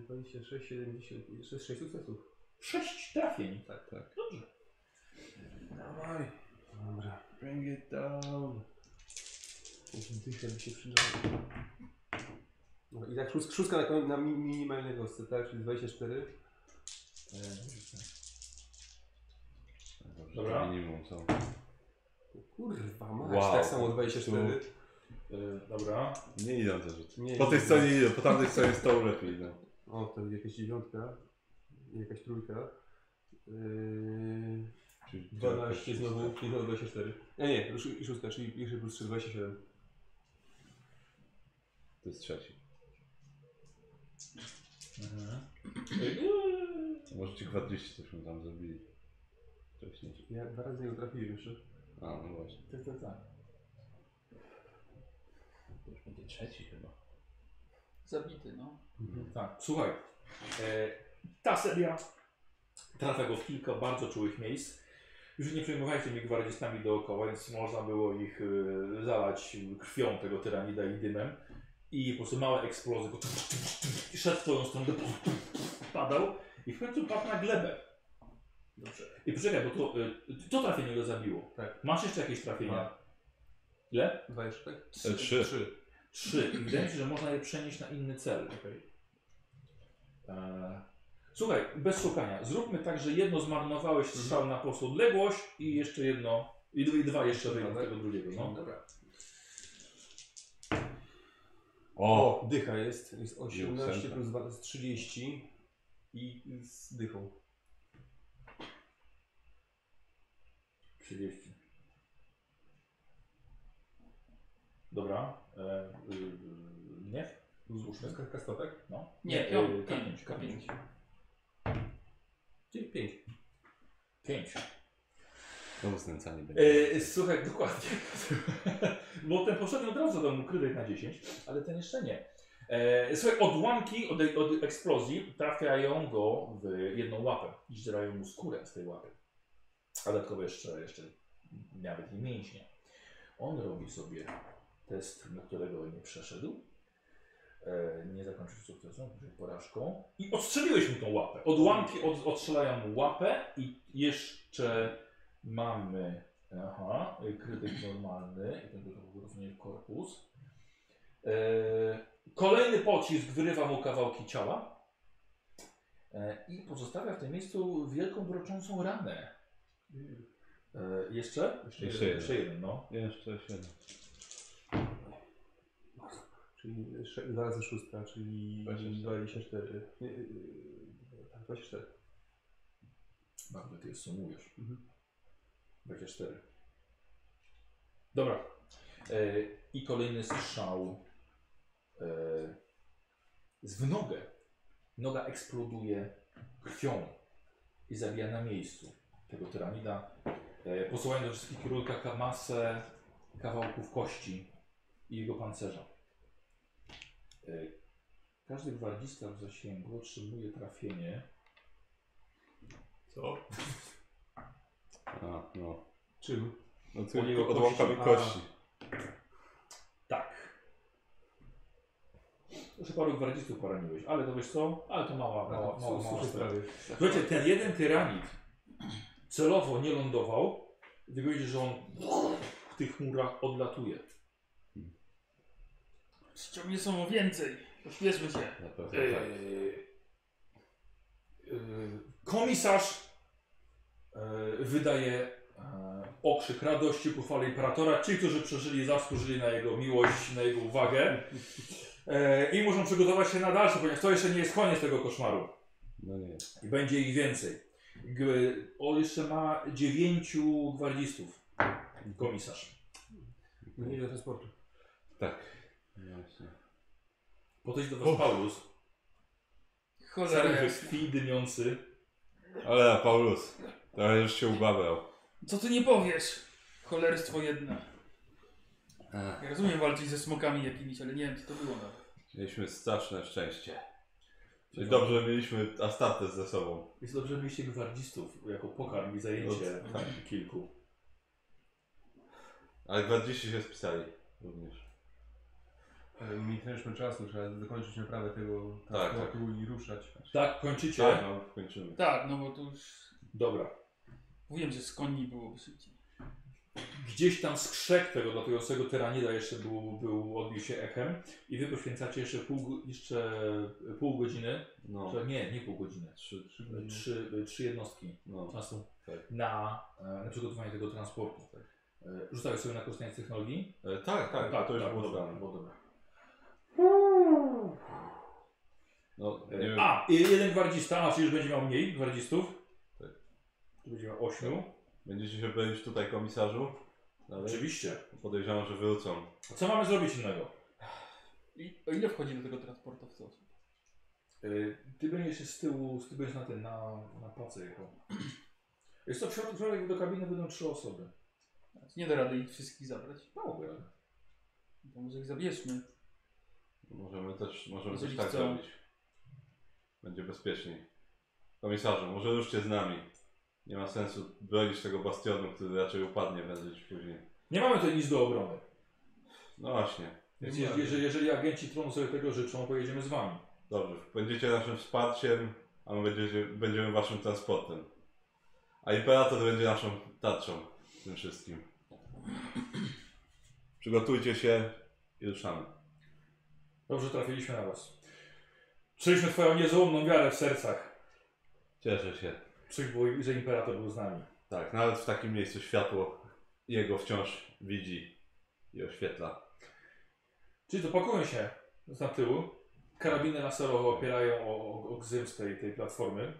Speaker 5: E, 26, 70, jeszcze 6 sukcesów.
Speaker 1: Sześć trafień.
Speaker 5: Tak,
Speaker 2: tak.
Speaker 1: Dobrze.
Speaker 5: Dawaj. Dobra.
Speaker 2: bring it down.
Speaker 5: Ten tysiąc by się przydało. No I tak szóst, szóstka na, koń- na mi- minimalnej kostce, tak? Czyli 24.
Speaker 1: E,
Speaker 2: Dobrze,
Speaker 1: Dobra.
Speaker 2: to Minimum są.
Speaker 5: O Kurwa, masz
Speaker 2: Wow.
Speaker 5: tak samo 24.
Speaker 1: e, dobra.
Speaker 2: Nie idą te rzeczy.
Speaker 5: Nie,
Speaker 2: Po tej
Speaker 5: nie.
Speaker 2: stronie idą, po tamtej stronie stołu lepiej no. idą.
Speaker 5: O, to będzie jakaś dziewiątka. Jakaś trójka. Yy,
Speaker 2: Czyli
Speaker 5: 12 znowu, czyli znowu 24. Nie, nie, już- i szóstka, czyli jeszcze plus 3, 27.
Speaker 2: To jest trzeci.
Speaker 1: Mhm.
Speaker 2: Może ci kwadryści coś mu tam zrobili. Wcześniej.
Speaker 5: Ja dwa razy nie trafiłem jeszcze.
Speaker 2: A, no właśnie.
Speaker 1: Tak, tak, tak.
Speaker 2: To już będzie trzeci chyba.
Speaker 3: Zabity, no.
Speaker 2: Mhm.
Speaker 1: Tak, słuchaj. E, ta seria trafia go w kilka bardzo czułych miejsc. Już nie przejmowałem się tymi gwardzistami dookoła, więc można było ich e, zalać krwią tego tyranida i dymem. I po prostu małe eksplozje. Go i szedł w twoją stronę, padał i w końcu padł na glebę.
Speaker 5: Dobrze.
Speaker 1: I poczekaj, bo to, e, to trafienie go zabiło.
Speaker 5: Tak.
Speaker 1: Masz jeszcze jakieś trafienia?
Speaker 5: Mam.
Speaker 1: Ile?
Speaker 5: Dwa jeszcze, tak?
Speaker 2: E, trzy.
Speaker 1: Trzy. I wydaje mi się, że można je przenieść na inny cel.
Speaker 5: Okej.
Speaker 1: Eee, Słuchaj, bez szukania. Zróbmy tak, że jedno zmarnowałeś
Speaker 5: Mhm.
Speaker 1: strzał na posłu odległość i jeszcze jedno, i no. dwa, i dwa jeszcze wyjdą z tego drugiego. No.
Speaker 5: Dobra.
Speaker 2: O!
Speaker 5: O, dycha jest. Jest 18
Speaker 2: Jusenka.
Speaker 5: plus 2 to jest 30 i z dychą.
Speaker 1: 30. Dobra. E, y, y, nie? Słuszny.
Speaker 5: Ka- Kastotek?
Speaker 1: No.
Speaker 3: Nie,
Speaker 1: e,
Speaker 5: y,
Speaker 3: piąt-
Speaker 1: K5.
Speaker 3: pięć,
Speaker 1: K5.
Speaker 3: pięć.
Speaker 5: Czyli 5.
Speaker 1: 5.
Speaker 2: Znowu znęcanie będzie.
Speaker 1: E, słuchaj, dokładnie. Bo ten poszedł od razu do mu krytyk na 10, ale ten jeszcze nie. E, słuchaj, odłamki od, od eksplozji trafiają go w jedną łapę i zdzierają mu skórę z tej łapy. A dodatkowo jeszcze, jeszcze nawet nie mięśnie. On robi sobie test, na którego nie przeszedł. E, nie zakończył sukcesu, czyli porażką. I odstrzeliłeś mu tą łapę. Odłamki od, odstrzelają mu łapę i jeszcze mamy aha, y, krytyk normalny i ten tylko po prostu nie w korpus. E, kolejny pocisk wyrywa mu kawałki ciała e, i pozostawia w tym miejscu wielką broczącą ranę. E, jeszcze?
Speaker 2: Jeszcze jeden.
Speaker 1: Jeszcze jeden, no.
Speaker 2: Jeszcze siedem.
Speaker 5: Czyli sze- dwa razy 6, czyli
Speaker 2: 24.
Speaker 5: 24. Nie, yy, yy, Tak, 24.
Speaker 1: Bardzo ty je sumujesz.
Speaker 5: Mhm.
Speaker 1: 24. Dobra. E, I kolejny strzał e, z w nogę. Noga eksploduje krwią i zabija na miejscu tego tyranida, e, posyłając do wszystkich kierunkach masę kawałków kości i jego pancerza. E, każdy gwardzista w zasięgu otrzymuje trafienie
Speaker 6: Co?
Speaker 2: A, no.
Speaker 5: Czym?
Speaker 2: No
Speaker 1: U niego
Speaker 2: tylko odłamkami kości.
Speaker 1: Tak. Jeszcze paru gwardzistów poraniłeś, ale to wiesz co? Ale to mała,
Speaker 5: Tak,
Speaker 1: mała, mała, mała sprawa. Słuchajcie, ten jeden tyranid celowo nie lądował, gdy widzisz, że on w tych murach odlatuje.
Speaker 3: Ściągnie są o więcej. Pośpieszmy się.
Speaker 2: Na pewno
Speaker 1: Eee,
Speaker 2: tak.
Speaker 1: eee, komisarz eee, wydaje eee, okrzyk radości ku chwale imperatora. Ci, którzy przeżyli, zasłużyli na jego miłość, na jego uwagę. Eee, I muszą przygotować się na dalsze, ponieważ to jeszcze nie jest koniec tego koszmaru.
Speaker 2: No nie.
Speaker 1: I będzie ich więcej. G- on jeszcze ma dziewięciu gwardzistów. Komisarz.
Speaker 5: No nie do transportu.
Speaker 2: Tak. Właśnie.
Speaker 1: Podejdź do was Paulus.
Speaker 3: Cholera.
Speaker 1: Cały we
Speaker 3: jasna.
Speaker 1: krwi dymiący.
Speaker 2: Ale Paulus, teraz już się ubawiał.
Speaker 3: Co ty nie powiesz? Cholerstwo jedna.
Speaker 2: Ach,
Speaker 3: Ja rozumiem walczyć ze smokami jakimiś, ale nie wiem co to było nawet.
Speaker 2: Mieliśmy straszne szczęście. Czyli dobrze że mieliśmy Astatę ze sobą.
Speaker 1: Jest dobrze, że mieliście gwardzistów jako pokarm i zajęcie
Speaker 2: No, tak.
Speaker 1: kilku.
Speaker 2: Ale gwardziści się spisali również.
Speaker 5: Ale E, mi też mamy czasu, trzeba zakończyć naprawę tego
Speaker 2: Tak,
Speaker 5: transportu i ruszać.
Speaker 1: Tak, kończycie.
Speaker 2: Tak, no, kończymy.
Speaker 3: Tak, no bo to już...
Speaker 1: Dobra.
Speaker 3: Mówiłem, że z koni byłoby szybciej.
Speaker 1: Gdzieś tam skrzek tego latującego tyranida jeszcze był, był odbił się echem i wy poświęcacie jeszcze pół, go- jeszcze pół godziny,
Speaker 2: No,
Speaker 1: Że nie, nie pół godziny,
Speaker 2: trzy, trzy,
Speaker 1: e, trzy, e, trzy jednostki
Speaker 2: no.
Speaker 1: czasu
Speaker 2: Tak.
Speaker 1: na, e, na przygotowanie tego transportu. E, Rzucałeś sobie na korzystanie z technologii?
Speaker 2: E, tak, tak, to już było
Speaker 1: dobra,
Speaker 2: znane.
Speaker 1: było dobra.
Speaker 2: No, nie
Speaker 1: E,
Speaker 2: wiem.
Speaker 1: A, i jeden gwardzista, a czyli już będzie miał mniej gwardzistów.
Speaker 2: Tak.
Speaker 1: Czyli będzie miał ośmiu.
Speaker 2: Będziecie się bronić tutaj komisarzu? Ale
Speaker 1: Oczywiście.
Speaker 2: podejrzewam, że wrócą.
Speaker 1: Co mamy zrobić innego?
Speaker 3: I o ile wchodzi do tego transportowca? osób?
Speaker 1: Y, Ty będziesz z tyłu, ty będziesz na tym, na, na pace jako. Jest to w środku, w środku do kabiny będą trzy osoby.
Speaker 3: Nie da rady ich wszystkich zabrać.
Speaker 1: Małoby, ale.
Speaker 3: To może ich zabierzmy.
Speaker 2: Możemy też, możemy
Speaker 3: Jeżeli
Speaker 2: też tak
Speaker 3: chcą.
Speaker 2: zrobić. Będzie bezpieczniej. Komisarzu, może ruszcie z nami. Nie ma sensu bronić tego bastionu, który raczej upadnie prędzej czy później.
Speaker 1: Nie mamy tutaj nic do obrony.
Speaker 2: No właśnie.
Speaker 1: Więc je, jeżeli, jeżeli agenci tronu sobie tego życzą, pojedziemy z wami.
Speaker 2: Dobrze, będziecie naszym wsparciem, a my będziecie, będziemy waszym transportem. A imperator będzie naszą tarczą w tym wszystkim. Przygotujcie się i ruszamy.
Speaker 1: Dobrze trafiliśmy na was. Czuliśmy twoją niezłomną wiarę w sercach.
Speaker 2: Cieszę się.
Speaker 1: Czuć było, że imperator był z nami.
Speaker 2: Tak, nawet w takim miejscu światło jego wciąż widzi i oświetla.
Speaker 1: Czyli to pakują się. z tyłu. Karabiny laserowe opierają o, o, o gzyms tej, tej platformy.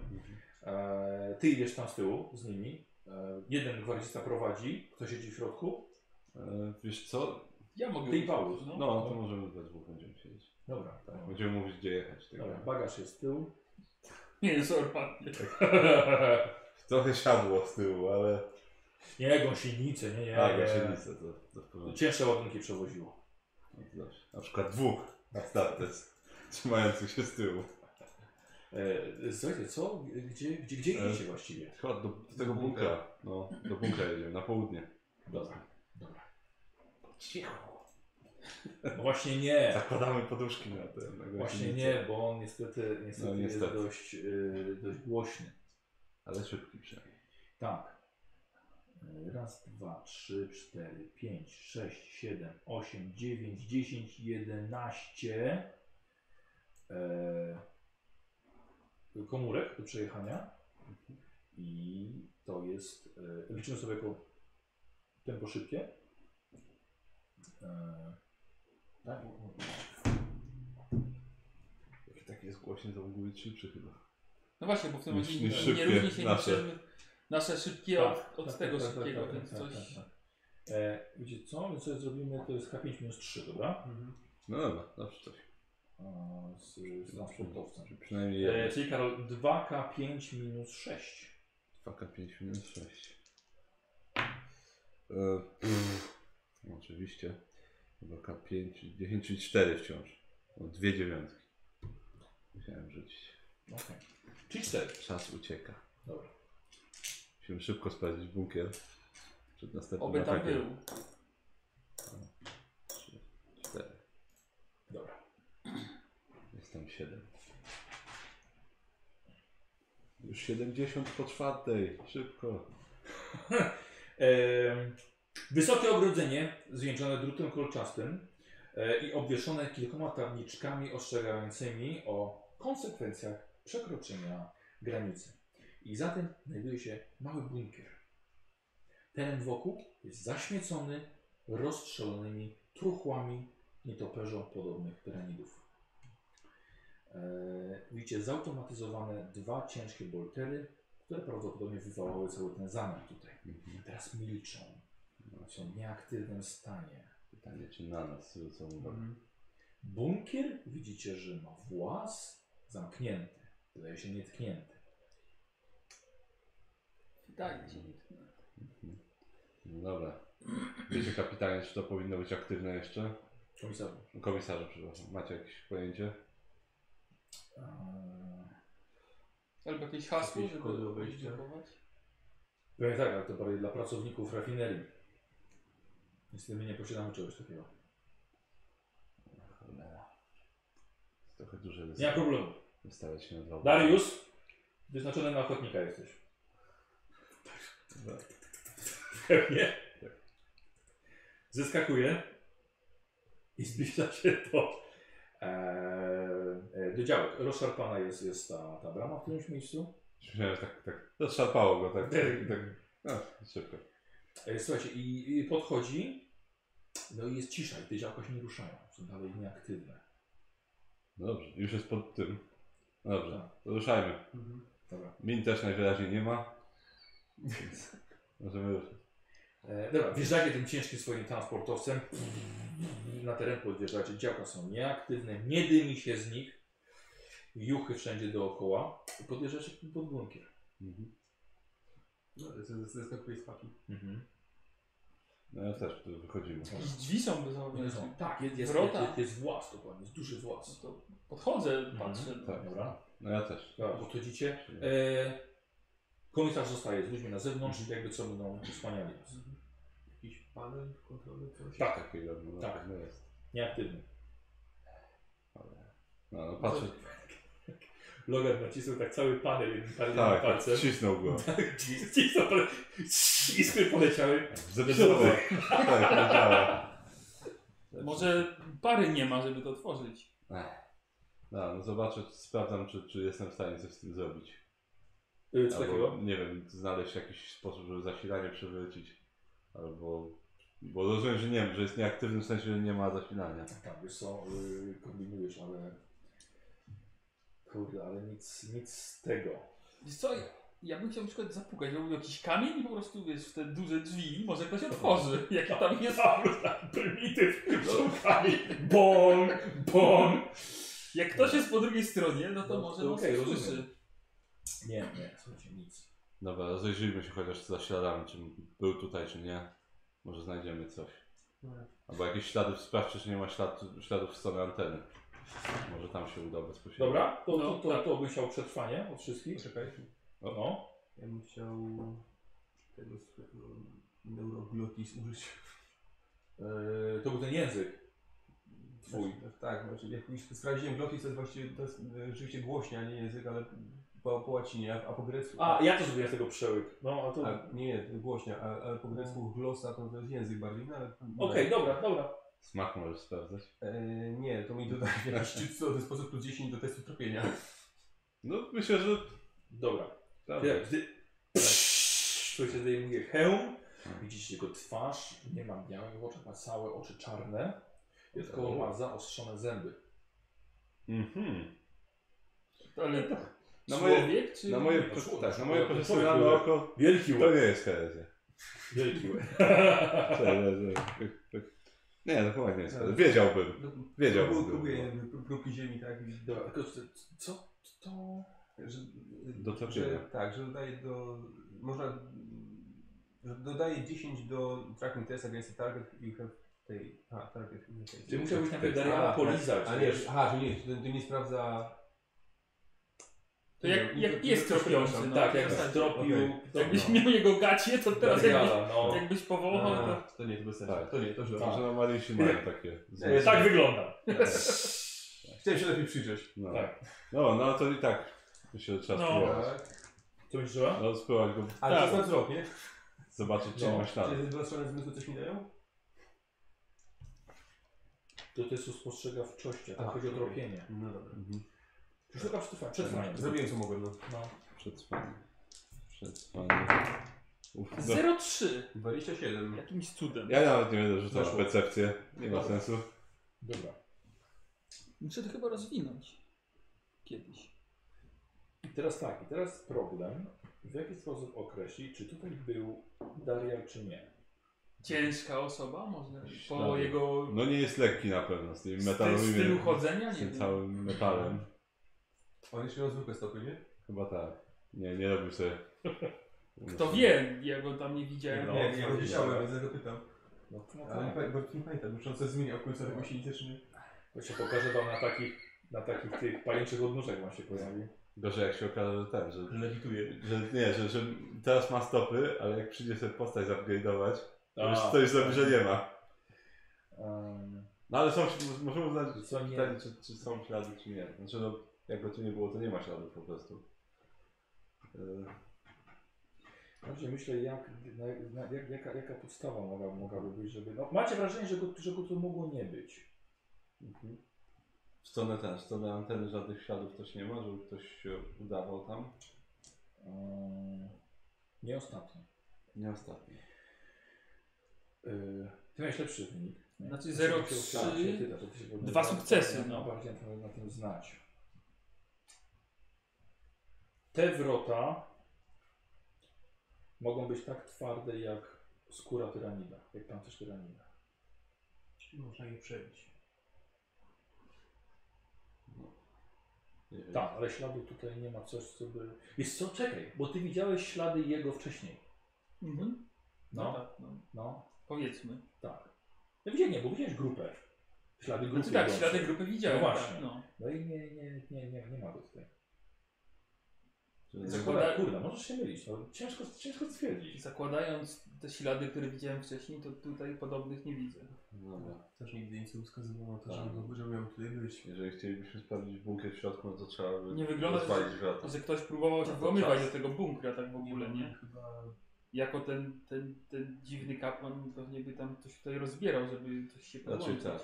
Speaker 1: E, ty idziesz tam z tyłu z nimi. E, jeden gwardzista prowadzi, kto siedzi w środku.
Speaker 2: E, wiesz co?
Speaker 1: Ja mogę. Ty i Paulus. No,
Speaker 2: No, to możemy we dwóch będziemy siedzieć.
Speaker 1: Dobra, tak.
Speaker 2: Będziemy mówić, gdzie jechać. Tak.
Speaker 1: Dobra, bagaż jest z tyłu.
Speaker 3: Nie no, jest ormatnie.
Speaker 2: Trochę siadło z tyłu, ale...
Speaker 1: Nie, gąsienicę, nie, nie.
Speaker 2: A,
Speaker 1: nie.
Speaker 2: gąsienicę, to, to w porządku.
Speaker 1: Cięższe ładunki przewoziło.
Speaker 2: Zawsze. Na przykład dwóch na startes, trzymających się z tyłu.
Speaker 1: E, słuchajcie, co? Gdzie, gdzie, gdzie
Speaker 2: E,
Speaker 1: idziecie właściwie?
Speaker 2: Chyba do, do tego bunkra. No, do bunkra jedziemy, na południe.
Speaker 1: Dobra, dobra. Cicho. No właśnie nie.
Speaker 2: Zakładamy poduszki na ten. Na
Speaker 1: Właśnie
Speaker 2: gąsienicę.
Speaker 1: nie, bo on niestety, tak, niestety,
Speaker 2: No, niestety.
Speaker 1: jest dość, y, dość głośny.
Speaker 2: Ale szybki przynajmniej.
Speaker 1: Tak. Y, Raz, dwa, trzy, cztery, pięć, sześć, siedem, osiem, dziewięć, dziesięć, jedenaście. e, komórek do przejechania. I to jest. E, liczymy sobie jako tempo szybkie. E, tak?
Speaker 2: Jak taki jest głośny, to mógł być szybszy chyba.
Speaker 3: No właśnie, bo w tym
Speaker 2: Niż-
Speaker 3: momencie
Speaker 2: niż
Speaker 3: nie, nie
Speaker 2: szybkie
Speaker 3: różni się
Speaker 2: nasze.
Speaker 3: niczym nasze szybkie od, od tego szybkiego,
Speaker 1: tak,
Speaker 3: więc
Speaker 1: tak,
Speaker 3: coś...
Speaker 1: tak, tak. E, wiecie co? My sobie zrobimy, to jest H5 minus 3, dobra?
Speaker 3: Mhm.
Speaker 2: No dobra, zawsze coś. Hmm.
Speaker 1: E, z, z transportowcem.
Speaker 2: Przynajmniej
Speaker 1: E,
Speaker 2: jeden.
Speaker 1: czyli Karol, 2K5 minus 6.
Speaker 2: 2K5 minus 6. E, pff, oczywiście. 2K5, 10 czyli 4 wciąż. No, dwie dziewiątki. Musiałem rzucić.
Speaker 1: Okay. Czyli 4.
Speaker 2: Czas ucieka.
Speaker 1: Dobra.
Speaker 2: Musimy szybko sprawdzić bunkier przed następnym
Speaker 3: Oby tam
Speaker 2: atakiem.
Speaker 3: był.
Speaker 2: Trzy, cztery.
Speaker 1: Dobra.
Speaker 2: Jest tam 7. Już 70 po czwartej. Szybko.
Speaker 1: E, wysokie ogrodzenie zwieńczone drutem kolczastym e, i obwieszone kilkoma tabliczkami ostrzegającymi o konsekwencjach przekroczenia granicy. I za tym znajduje się mały bunkier. Teren wokół jest zaśmiecony rozstrzelonymi truchłami nietoperzom podobnych piramidów. E, widzicie zautomatyzowane dwa ciężkie boltery, które prawdopodobnie wywołały cały ten zamach tutaj. Teraz milczą. Są w nieaktywnym stanie.
Speaker 2: Pytanie, czy na nas zwrócą uwagę.
Speaker 1: Mhm. Bunkier widzicie, że ma włas zamknięty. Wydaje się nietknięty.
Speaker 3: Dajcie.
Speaker 2: No dobra. Wiecie kapitanie, czy to powinno być aktywne jeszcze?
Speaker 1: Komisarzu.
Speaker 2: Komisarzu, przepraszam. Macie jakieś pojęcie?
Speaker 1: Eee,
Speaker 3: Albo jakieś hasło,
Speaker 6: Jakieś kody
Speaker 3: żeby
Speaker 6: obejścia.
Speaker 3: blokować.
Speaker 1: Pewnie tak, ale to bardziej dla pracowników rafinerii. Niestety my nie posiadamy czegoś takiego.
Speaker 2: No, Cholera. Jest trochę duże
Speaker 1: Nie ma
Speaker 2: ryzyko.
Speaker 1: problemu.
Speaker 2: Wystawiać się na dwa
Speaker 1: Dariusz, wyznaczony na ochotnika jesteś.
Speaker 2: Dobra.
Speaker 1: Pewnie. Zeskakuje i zbliża się do, e, e, do działek. Rozszarpana jest, jest ta, ta brama w którymś miejscu.
Speaker 2: Myślałem, że tak, tak. Zaszarpało go, tak.
Speaker 1: Tak.
Speaker 2: tak, tak. A, szybko.
Speaker 1: E, Słuchajcie, i, i podchodzi, no i jest cisza i te działka się nie ruszają. Są dalej nieaktywne.
Speaker 2: No dobrze, już jest pod tym. No dobrze,
Speaker 1: Tak.
Speaker 2: to ruszajmy.
Speaker 1: Dobra.
Speaker 2: Min też najwyraźniej nie ma. Więc możemy ruszyć.
Speaker 1: E, dobra, wjeżdżacie tym ciężkim swoim transportowcem. Na teren podjeżdżacie, działka są nieaktywne, nie dymi się z nich. Juchy wszędzie dookoła. I podjeżdżacie pod bunkier.
Speaker 6: No, z- z- Zeskakuje z paki.
Speaker 1: Mhm.
Speaker 2: No ja też tu wychodzimy.
Speaker 3: Jakieś drzwi są bez
Speaker 1: One są- Tak, jest, jest, jest,
Speaker 3: Wrota.
Speaker 1: jest, jest włas dokładnie, jest duży włas.
Speaker 3: No To podchodzę,
Speaker 1: Mhm,
Speaker 3: patrzę.
Speaker 2: Tak.
Speaker 1: Dobra,
Speaker 2: No ja też.
Speaker 1: dobra podchodzicie. E, komisarz zostaje z ludźmi na zewnątrz, jakby co będą wspaniali.
Speaker 6: Jakiś panel kontrolny, coś?
Speaker 1: Tak,
Speaker 2: Takiego no,
Speaker 1: Tak.
Speaker 2: tak. pewno jest.
Speaker 1: nieaktywny.
Speaker 2: No, no patrzę.
Speaker 1: Logan nacisnął tak cały panel jednym palcem.
Speaker 2: Tak, tak,
Speaker 1: palcem.
Speaker 2: ścisnął go.
Speaker 1: Cisnął palec. Iskry poleciały.
Speaker 2: Zepsuty. tak, nie działa. tak.
Speaker 3: Może pary nie ma, żeby to otworzyć.
Speaker 2: No, no zobaczę, sprawdzam, czy, czy jestem w stanie coś z tym zrobić.
Speaker 1: Y, Co
Speaker 2: Albo,
Speaker 1: takiego?
Speaker 2: nie wiem, znaleźć jakiś sposób, żeby zasilanie przywrócić. Albo Bo rozumiem, że nie wiem, że jest nieaktywny w sensie, że nie ma zasilania.
Speaker 1: Tak, wiesz co, yy, kombinujesz, ale... Kurde, ale nic, nic z tego.
Speaker 3: Wiesz co, ja bym chciał na przykład zapukać, żeby był jakiś kamień i po prostu wiesz, w te duże drzwi, może ktoś otworzy, jaki tam jest,
Speaker 1: Prymityw, szukaj, No. bon, bon.
Speaker 3: jak ktoś jest po drugiej stronie, no to
Speaker 1: No,
Speaker 3: może
Speaker 1: to
Speaker 3: nas
Speaker 1: okej,
Speaker 3: usłyszy.
Speaker 1: rozumiem. Nie, nie, słuchajcie, nic.
Speaker 2: Dobra, rozejrzyjmy się chociaż za śladami, czy był tutaj, czy nie. Może znajdziemy coś. Albo jakieś ślady, sprawdźcie, czy nie ma ślad, śladów w stronę anteny. Może tam się uda bezpośrednio.
Speaker 1: Dobra, to,
Speaker 3: No,
Speaker 1: to, to,
Speaker 3: tak.
Speaker 1: to by chciał przetrwanie od wszystkich.
Speaker 6: Czekaj.
Speaker 1: No,
Speaker 5: Ja bym chciał tego swojego neuroglotis użyć.
Speaker 1: Yy, to był ten język. Twój.
Speaker 5: Znaczy, tak, znaczy, jak już sprawdziłem glotis, to jest właściwie to jest e, rzeczywiście głośnia, nie język, ale po, po łacinie, a, a po grecku.
Speaker 1: A, ja też zrobiłem z tego przełyk. No, a to... Okej,
Speaker 5: a, nie, nie, głośnia, a, ale po
Speaker 3: No.
Speaker 5: grecku glosa to, to jest język bardziej, no ale...
Speaker 1: dobra, dobra.
Speaker 2: Smak możesz sprawdzać.
Speaker 5: E, nie, to mi dodaje na szczyt to jest sposób plus 10 do testu tropienia.
Speaker 2: No myślę, że...
Speaker 1: Dobra.
Speaker 2: Dobra.
Speaker 1: Gdy, gdy Słuchajcie, zdejmuje hełm, widzicie jego twarz, nie ma białych w oczach, ma całe oczy czarne, tylko ma zaostrzone zęby.
Speaker 2: Mhm.
Speaker 3: Ale
Speaker 2: Na moje-
Speaker 3: człowiek czy...
Speaker 2: Na moje,
Speaker 1: No, człowiek,
Speaker 2: tak, na moje
Speaker 1: człowiek,
Speaker 2: profesjonalne
Speaker 1: człowiek.
Speaker 2: oko
Speaker 1: Wielki
Speaker 2: to
Speaker 1: łeb,
Speaker 2: nie jest herezja.
Speaker 1: wielki łeb.
Speaker 2: Szczerze, że- no, Nie, no chyba nie jest herezja. Wiedziałbym. Wiedziałbym.
Speaker 5: No, Próbuję- Próbuję jakby próbki ziemi, tak? i-
Speaker 1: Dobra, tylko co- co to...
Speaker 5: Że,
Speaker 2: Do trafienia.
Speaker 5: że, Tak, że dodaje do. Można. Że dodaje 10 do tracking test against the target you have tej. A, target you have tej-
Speaker 1: Ty musiałbyś
Speaker 3: Tak,
Speaker 1: najpierw
Speaker 2: A,
Speaker 1: Dariana polizać,
Speaker 5: A
Speaker 1: tak,
Speaker 5: nie,
Speaker 1: wiesz.
Speaker 5: aha, że nie, to, to nie sprawdza.
Speaker 3: To jak,
Speaker 5: Nie,
Speaker 3: jak
Speaker 5: nie, nie,
Speaker 3: pies
Speaker 5: nie,
Speaker 3: tropiący,
Speaker 5: przepraszam,
Speaker 3: no.
Speaker 1: Tak, jak
Speaker 3: Zasadzie.
Speaker 1: zdropił
Speaker 5: Okej.
Speaker 3: Jakbyś miał jego gacie, to teraz jakbyś,
Speaker 1: Dariana, no.
Speaker 3: jakbyś powołał,
Speaker 5: A,
Speaker 3: to...
Speaker 5: E, to nie, to bez sensu.
Speaker 2: Tak.
Speaker 5: To nie, to źle.
Speaker 2: Może na Marysi mają takie.
Speaker 5: Nie,
Speaker 1: Tak wygląda.
Speaker 5: Chciałem się lepiej przyjrzeć.
Speaker 2: No.
Speaker 1: Tak.
Speaker 2: no, no to i tak myślę, że trzeba
Speaker 3: No.
Speaker 2: spróbować.
Speaker 5: Tak.
Speaker 1: Co będziesz żyła?
Speaker 2: No, spróbować go
Speaker 5: Ale to
Speaker 3: Tak.
Speaker 5: jest na wzrok, nie?
Speaker 2: zobaczyć, czy
Speaker 1: No.
Speaker 2: ma ślady.
Speaker 5: Czy wyostrzone zmysły coś mi dają?
Speaker 1: To to jest spostrzegawczości, a tam
Speaker 2: Tak,
Speaker 5: A,
Speaker 1: chodzi o
Speaker 5: okej.
Speaker 1: tropienie.
Speaker 5: No dobra. Tak,
Speaker 2: Mhm.
Speaker 1: Przepraszam, przetrwanie. Przetrwanie.
Speaker 5: Zrobiłem co mogłem, no.
Speaker 1: No.
Speaker 2: Przetrwanie. Przetrwanie. Uf, no.
Speaker 3: 0,3.
Speaker 5: 27.
Speaker 3: Jakimś cudem.
Speaker 2: Ja nawet nie będę rzucał na
Speaker 5: Weszło.
Speaker 2: percepcję. Nie ma sensu.
Speaker 1: Dobra.
Speaker 3: Muszę to chyba rozwinąć. Kiedyś.
Speaker 1: I teraz tak, i teraz problem, w jaki sposób określić, czy tutaj był Darial, czy nie.
Speaker 3: Ciężka osoba, może po
Speaker 2: Ślady.
Speaker 3: jego
Speaker 2: No nie jest lekki na pewno z tym
Speaker 3: z tym stylu
Speaker 2: metalowymi.
Speaker 3: chodzenia,
Speaker 2: Z
Speaker 3: nie
Speaker 2: tym
Speaker 3: wiem.
Speaker 2: całym metalem.
Speaker 5: On jeszcze miał zwykłe stopy, nie?
Speaker 2: Chyba tak. Nie, nie robił sobie.
Speaker 3: Kto wie, ja go tam nie widziałem.
Speaker 2: No,
Speaker 5: nie, nie,
Speaker 2: no,
Speaker 5: nie
Speaker 2: no.
Speaker 5: wiedziałem, więc zapytam.
Speaker 1: No to no,
Speaker 5: Ale nie
Speaker 1: tak.
Speaker 5: pa- bo nie pamiętam, bo czy on coś zmieniał końcowe gąsienice, czy nie?
Speaker 1: To się pokaże wam na takich, na takich tych pajęczych odnóżek wam się pojawi.
Speaker 2: Gorzej jak się okaże, Tak, że ten, że,
Speaker 5: Lewituje.
Speaker 2: że nie, że, że teraz ma stopy, ale jak przyjdzie sobie postać zupgrade'ować, to już
Speaker 1: A,
Speaker 2: coś zrobi, że nie ma.
Speaker 1: Em,
Speaker 2: No ale są, możemy uznać,
Speaker 1: że co nie,
Speaker 2: pytanie, czy, czy są ślady, czy nie. Znaczy no, jak go tu nie było, to nie ma śladów po prostu. Yy,
Speaker 1: no Właśnie myślę, jak, na, na, jak, jaka, jaka podstawa mogła, mogłaby być, żeby... No, macie wrażenie, że go, że go tu mogło nie być.
Speaker 2: W stronę ten, w stronę anteny żadnych śladów też nie ma, żeby ktoś się udawał tam.
Speaker 1: Em, nie ostatnio.
Speaker 2: Nie ostatnio.
Speaker 1: Yy, ty miałeś lepszy wynik. nie?
Speaker 3: Znaczy
Speaker 1: To
Speaker 3: 0,3,
Speaker 1: się- się pyta, to ty się powinien-
Speaker 3: dwa sukcesy, no.
Speaker 1: Bardziej na tym- na tym znać. Te wrota mogą być tak twarde jak skóra tyranida, jak pancerz tyranida.
Speaker 6: Można je przebić.
Speaker 2: No. Nie wiem.
Speaker 1: Tak, ale śladu tutaj nie ma coś, co by... Jest co, czekaj, bo ty widziałeś ślady jego wcześniej.
Speaker 3: Mhm. No,
Speaker 1: No,
Speaker 3: tak, no.
Speaker 1: no,
Speaker 3: Powiedzmy.
Speaker 1: tak. No widziałeś, nie, bo widziałeś grupę. Ślady grupy.
Speaker 3: Znaczy tak,
Speaker 1: idące.
Speaker 3: ślady grupy widziałem.
Speaker 1: No
Speaker 3: tak,
Speaker 1: właśnie.
Speaker 3: no.
Speaker 1: No i nie, nie, nie, nie, nie ma go tutaj.
Speaker 2: Czyli
Speaker 1: Zakłada, kurde, możesz się mylić, no, ciężko, ciężko stwierdzić.
Speaker 3: Zakładając te ślady, które widziałem wcześniej, to tutaj podobnych nie widzę.
Speaker 2: Dobra.
Speaker 5: Też nigdy nic nie wskazywało na to,
Speaker 2: Tak.
Speaker 5: żeby, żeby miał tutaj być.
Speaker 2: Jeżeli chcielibyśmy sprawdzić bunkier w środku, no to trzeba by
Speaker 3: Nie wygląda, że-
Speaker 2: rozwalić wrota.
Speaker 3: To, że ktoś próbował się
Speaker 2: No to
Speaker 3: włamywać
Speaker 2: czas.
Speaker 3: do tego bunkra tak w ogóle, nie?
Speaker 5: Chyba...
Speaker 3: Jako ten, ten, ten dziwny kapłan pewnie by tam coś tutaj rozbierał, żeby coś się
Speaker 2: Raczej
Speaker 3: podłączyć.
Speaker 2: tak.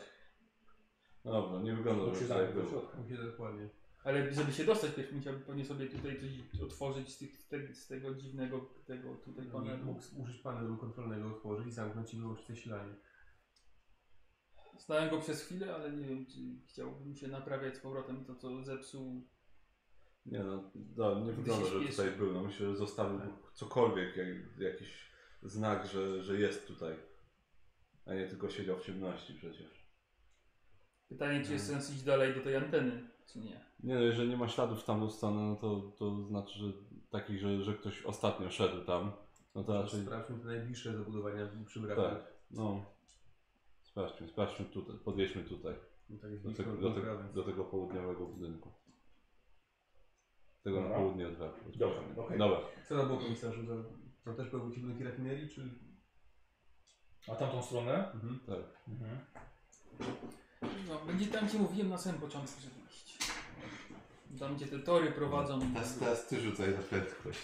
Speaker 2: No Dobra, nie wygląda,
Speaker 1: Bo
Speaker 2: że
Speaker 1: się
Speaker 2: tutaj
Speaker 1: zamknął
Speaker 2: był.
Speaker 1: do środka.
Speaker 5: Mówię dokładnie.
Speaker 3: Ale żeby się dostać, też musiałby pewnie sobie tutaj coś otworzyć z, tych, z, te, z tego dziwnego tego tutaj
Speaker 5: Pan
Speaker 3: panelu.
Speaker 5: mógł użyć panelu kontrolnego, otworzyć i zamknąć i wyłączyć te silanie.
Speaker 3: Znałem go przez chwilę, ale nie wiem, czy chciałbym się naprawiać z powrotem to, co zepsuł.
Speaker 2: Nie no, no nie wygląda, że
Speaker 3: śpieszy.
Speaker 2: tutaj był. No, myślę, że zostawił
Speaker 3: Tak.
Speaker 2: cokolwiek, jak, jakiś znak, że, że jest tutaj. A nie tylko siedział w ciemności przecież.
Speaker 3: Pytanie, czy jest sens iść dalej do tej anteny, czy nie.
Speaker 2: Nie no, jeżeli nie ma śladów w tamtą stronę, no to, to znaczy, że taki, że, że ktoś ostatnio szedł tam. No to raczej,
Speaker 5: Sprawdźmy te najbliższe zabudowania przy bramie.
Speaker 2: tak, no. Sprawdźmy, sprawdźmy tutaj, podjedźmy tutaj.
Speaker 5: No tak jest
Speaker 2: Do,
Speaker 5: blisko
Speaker 2: tego-
Speaker 5: od
Speaker 2: do,
Speaker 5: Dobra,
Speaker 2: tego-
Speaker 5: więc-
Speaker 2: do tego południowego budynku. Tego na
Speaker 1: Dobra.
Speaker 2: południe od Wepru.
Speaker 1: Dobra, okej.
Speaker 2: Dobra.
Speaker 5: Co tam było komisarzu? Za... Tam też były kierunki rafinerii, czy...
Speaker 1: A tamtą stronę?
Speaker 2: Tak.
Speaker 1: Mhm.
Speaker 3: No, będzie tam, gdzie mówiłem na samym początku, żeby iść. Tam, gdzie te tory prowadzą.
Speaker 5: No,
Speaker 7: Teraz, teraz ty rzucaj na prędkość.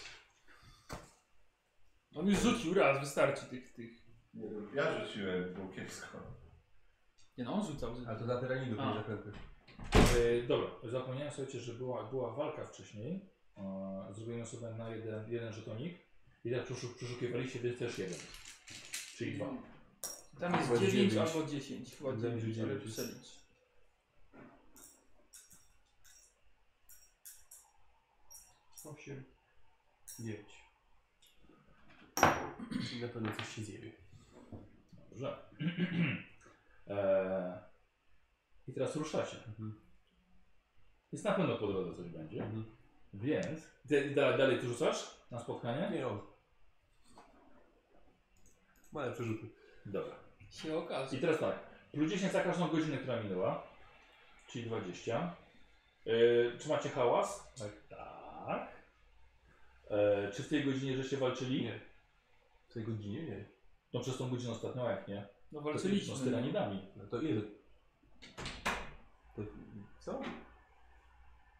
Speaker 3: On już rzucił raz, wystarczy tych, tych.
Speaker 7: Ja rzuciłem, było kiepsko.
Speaker 3: Nie no, on rzucał.
Speaker 5: A to za terenu
Speaker 3: A.
Speaker 5: do zakręty.
Speaker 1: E, dobra, zapomniałem słuchajcie, że była, była walka wcześniej. E, zrobiłem sobie na jeden, jeden żetonik. I tak przeszu- przeszukiwaliście, więc też jeden. Czyli dwa.
Speaker 3: Tam jest
Speaker 5: Chyba
Speaker 3: 9,
Speaker 5: dziewięć.
Speaker 3: albo 10. Chyba
Speaker 5: Wydaje mi się
Speaker 3: 9, ale
Speaker 5: dziewięć.
Speaker 3: przelicz.
Speaker 5: Osiem. Dziewięć. Czyli na pewno coś się dzieje.
Speaker 1: Dobrze. e, I teraz ruszacie. Jest na pewno po drodze coś będzie.
Speaker 5: Mhm.
Speaker 1: Więc. Ty, da, dalej ty rzucasz na spotkanie?
Speaker 5: Nie on. Ma lepsze rzuty.
Speaker 1: Dobra.
Speaker 3: Się okaże.
Speaker 1: I teraz tak. Plus 10 za każdą godzinę, która minęła. Czyli 20. Yy, czy macie hałas? Tak. tak. E, czy w tej godzinie żeście walczyli?
Speaker 5: Nie. W tej godzinie? Nie.
Speaker 1: No przez tą godzinę ostatnią, a jak nie? No,
Speaker 3: No walczyliśmy.
Speaker 1: z tyranidami.
Speaker 5: No to ile? To... Co?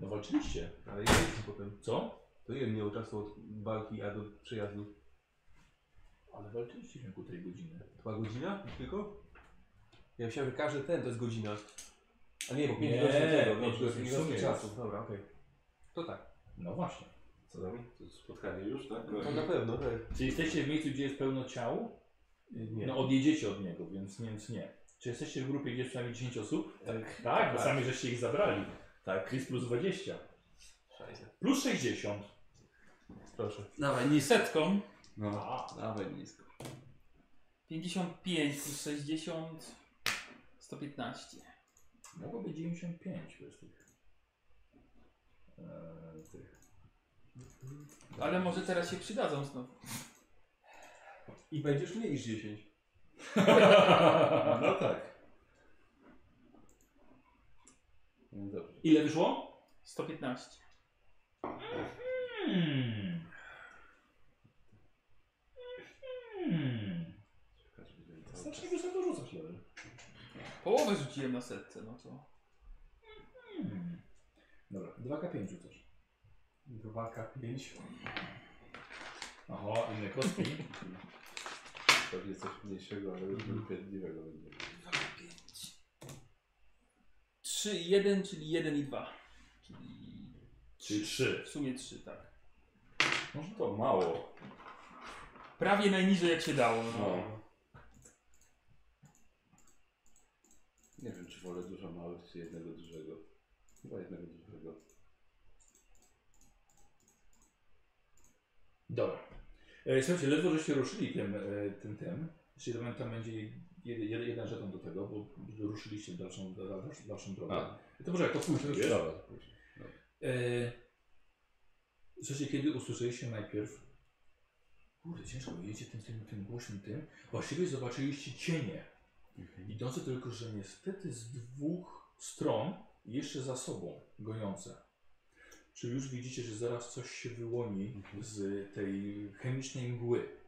Speaker 1: No walczyliście.
Speaker 5: Ale ile jest potem?
Speaker 1: Co?
Speaker 5: To ile minęło czasu od walki, a do przyjazdu?
Speaker 1: Ale walczyliście w ciągu tej godziny.
Speaker 5: Dwa godzina tylko? Ja myślałem, że każdy ten to jest godzina. A nie, bo pięć
Speaker 1: Nie,
Speaker 5: godzin tego,
Speaker 1: pięć
Speaker 5: no, to jest
Speaker 1: godzin w
Speaker 5: nie rozwój
Speaker 1: sumie
Speaker 5: czasu.
Speaker 1: jest.
Speaker 5: Dobra, okej. To tak.
Speaker 1: No właśnie.
Speaker 2: Co tam? To spotkanie już, tak?
Speaker 5: To na pewno, tak.
Speaker 1: Czy jesteście w miejscu, gdzie jest pełno ciał?
Speaker 5: Nie.
Speaker 1: No odjedziecie od niego, więc, więc nie. Czy jesteście w grupie, gdzie jest przynajmniej 10 osób?
Speaker 5: tak.
Speaker 1: Tak, bo
Speaker 5: Tak.
Speaker 1: sami żeście ich zabrali. Tak. Jest plus 20.
Speaker 5: Szajse.
Speaker 1: Plus 60.
Speaker 5: Proszę.
Speaker 7: Dawaj nisko.
Speaker 3: Setką.
Speaker 2: No,
Speaker 1: A,
Speaker 2: dawaj nisko.
Speaker 3: 55 plus 60. 115.
Speaker 1: Mogło być 95 bez tych. e, tych.
Speaker 3: Ale może teraz się przydadzą znowu.
Speaker 5: I będziesz mniej niż 10.
Speaker 2: No tak. No dobrze.
Speaker 1: Ile wyszło?
Speaker 3: 115.
Speaker 1: Hmm. Hmm.
Speaker 2: Znaczy,
Speaker 1: Znacznie wysoko rzucasz
Speaker 2: no
Speaker 1: lewy.
Speaker 3: Połowę rzuciłem na setce, no to.
Speaker 1: Hmm. Dobra, 2K5 rzucasz.
Speaker 5: 2K5.
Speaker 1: Oho, inne kostki.
Speaker 2: Pewnie coś mniejszego, ale już
Speaker 5: Mhm.
Speaker 2: wypierdliwego będzie.
Speaker 3: 3 i 1, czyli 1 i 2. Czyli
Speaker 1: Czyli 3.
Speaker 3: w sumie 3, tak.
Speaker 2: Może to mało.
Speaker 3: Prawie najniżej jak się dało. No.
Speaker 2: No. Nie wiem, czy wolę dużo małych, czy jednego dużego. Chyba jednego dużego.
Speaker 1: Dobra. E, słuchajcie, ledwo żeście ruszyli tym, e, tym, tym. Czyli tam, tam będzie jed, jed, jeden żeton do tego, bo ruszyliście w dalszą, dalszą, dalszą drogę.
Speaker 2: A.
Speaker 1: To może jak to później, wiesz?
Speaker 2: Dobra, później.
Speaker 1: E, Słuchajcie, kiedy usłyszeliście najpierw Kurde, ciężko, jedziecie tym, tym, tym głośnym tym. Właściwie zobaczyliście cienie.
Speaker 2: Mhm.
Speaker 1: Idące tylko, że niestety z dwóch stron i jeszcze za sobą goniące. Czy już widzicie, że zaraz coś się wyłoni z tej chemicznej mgły?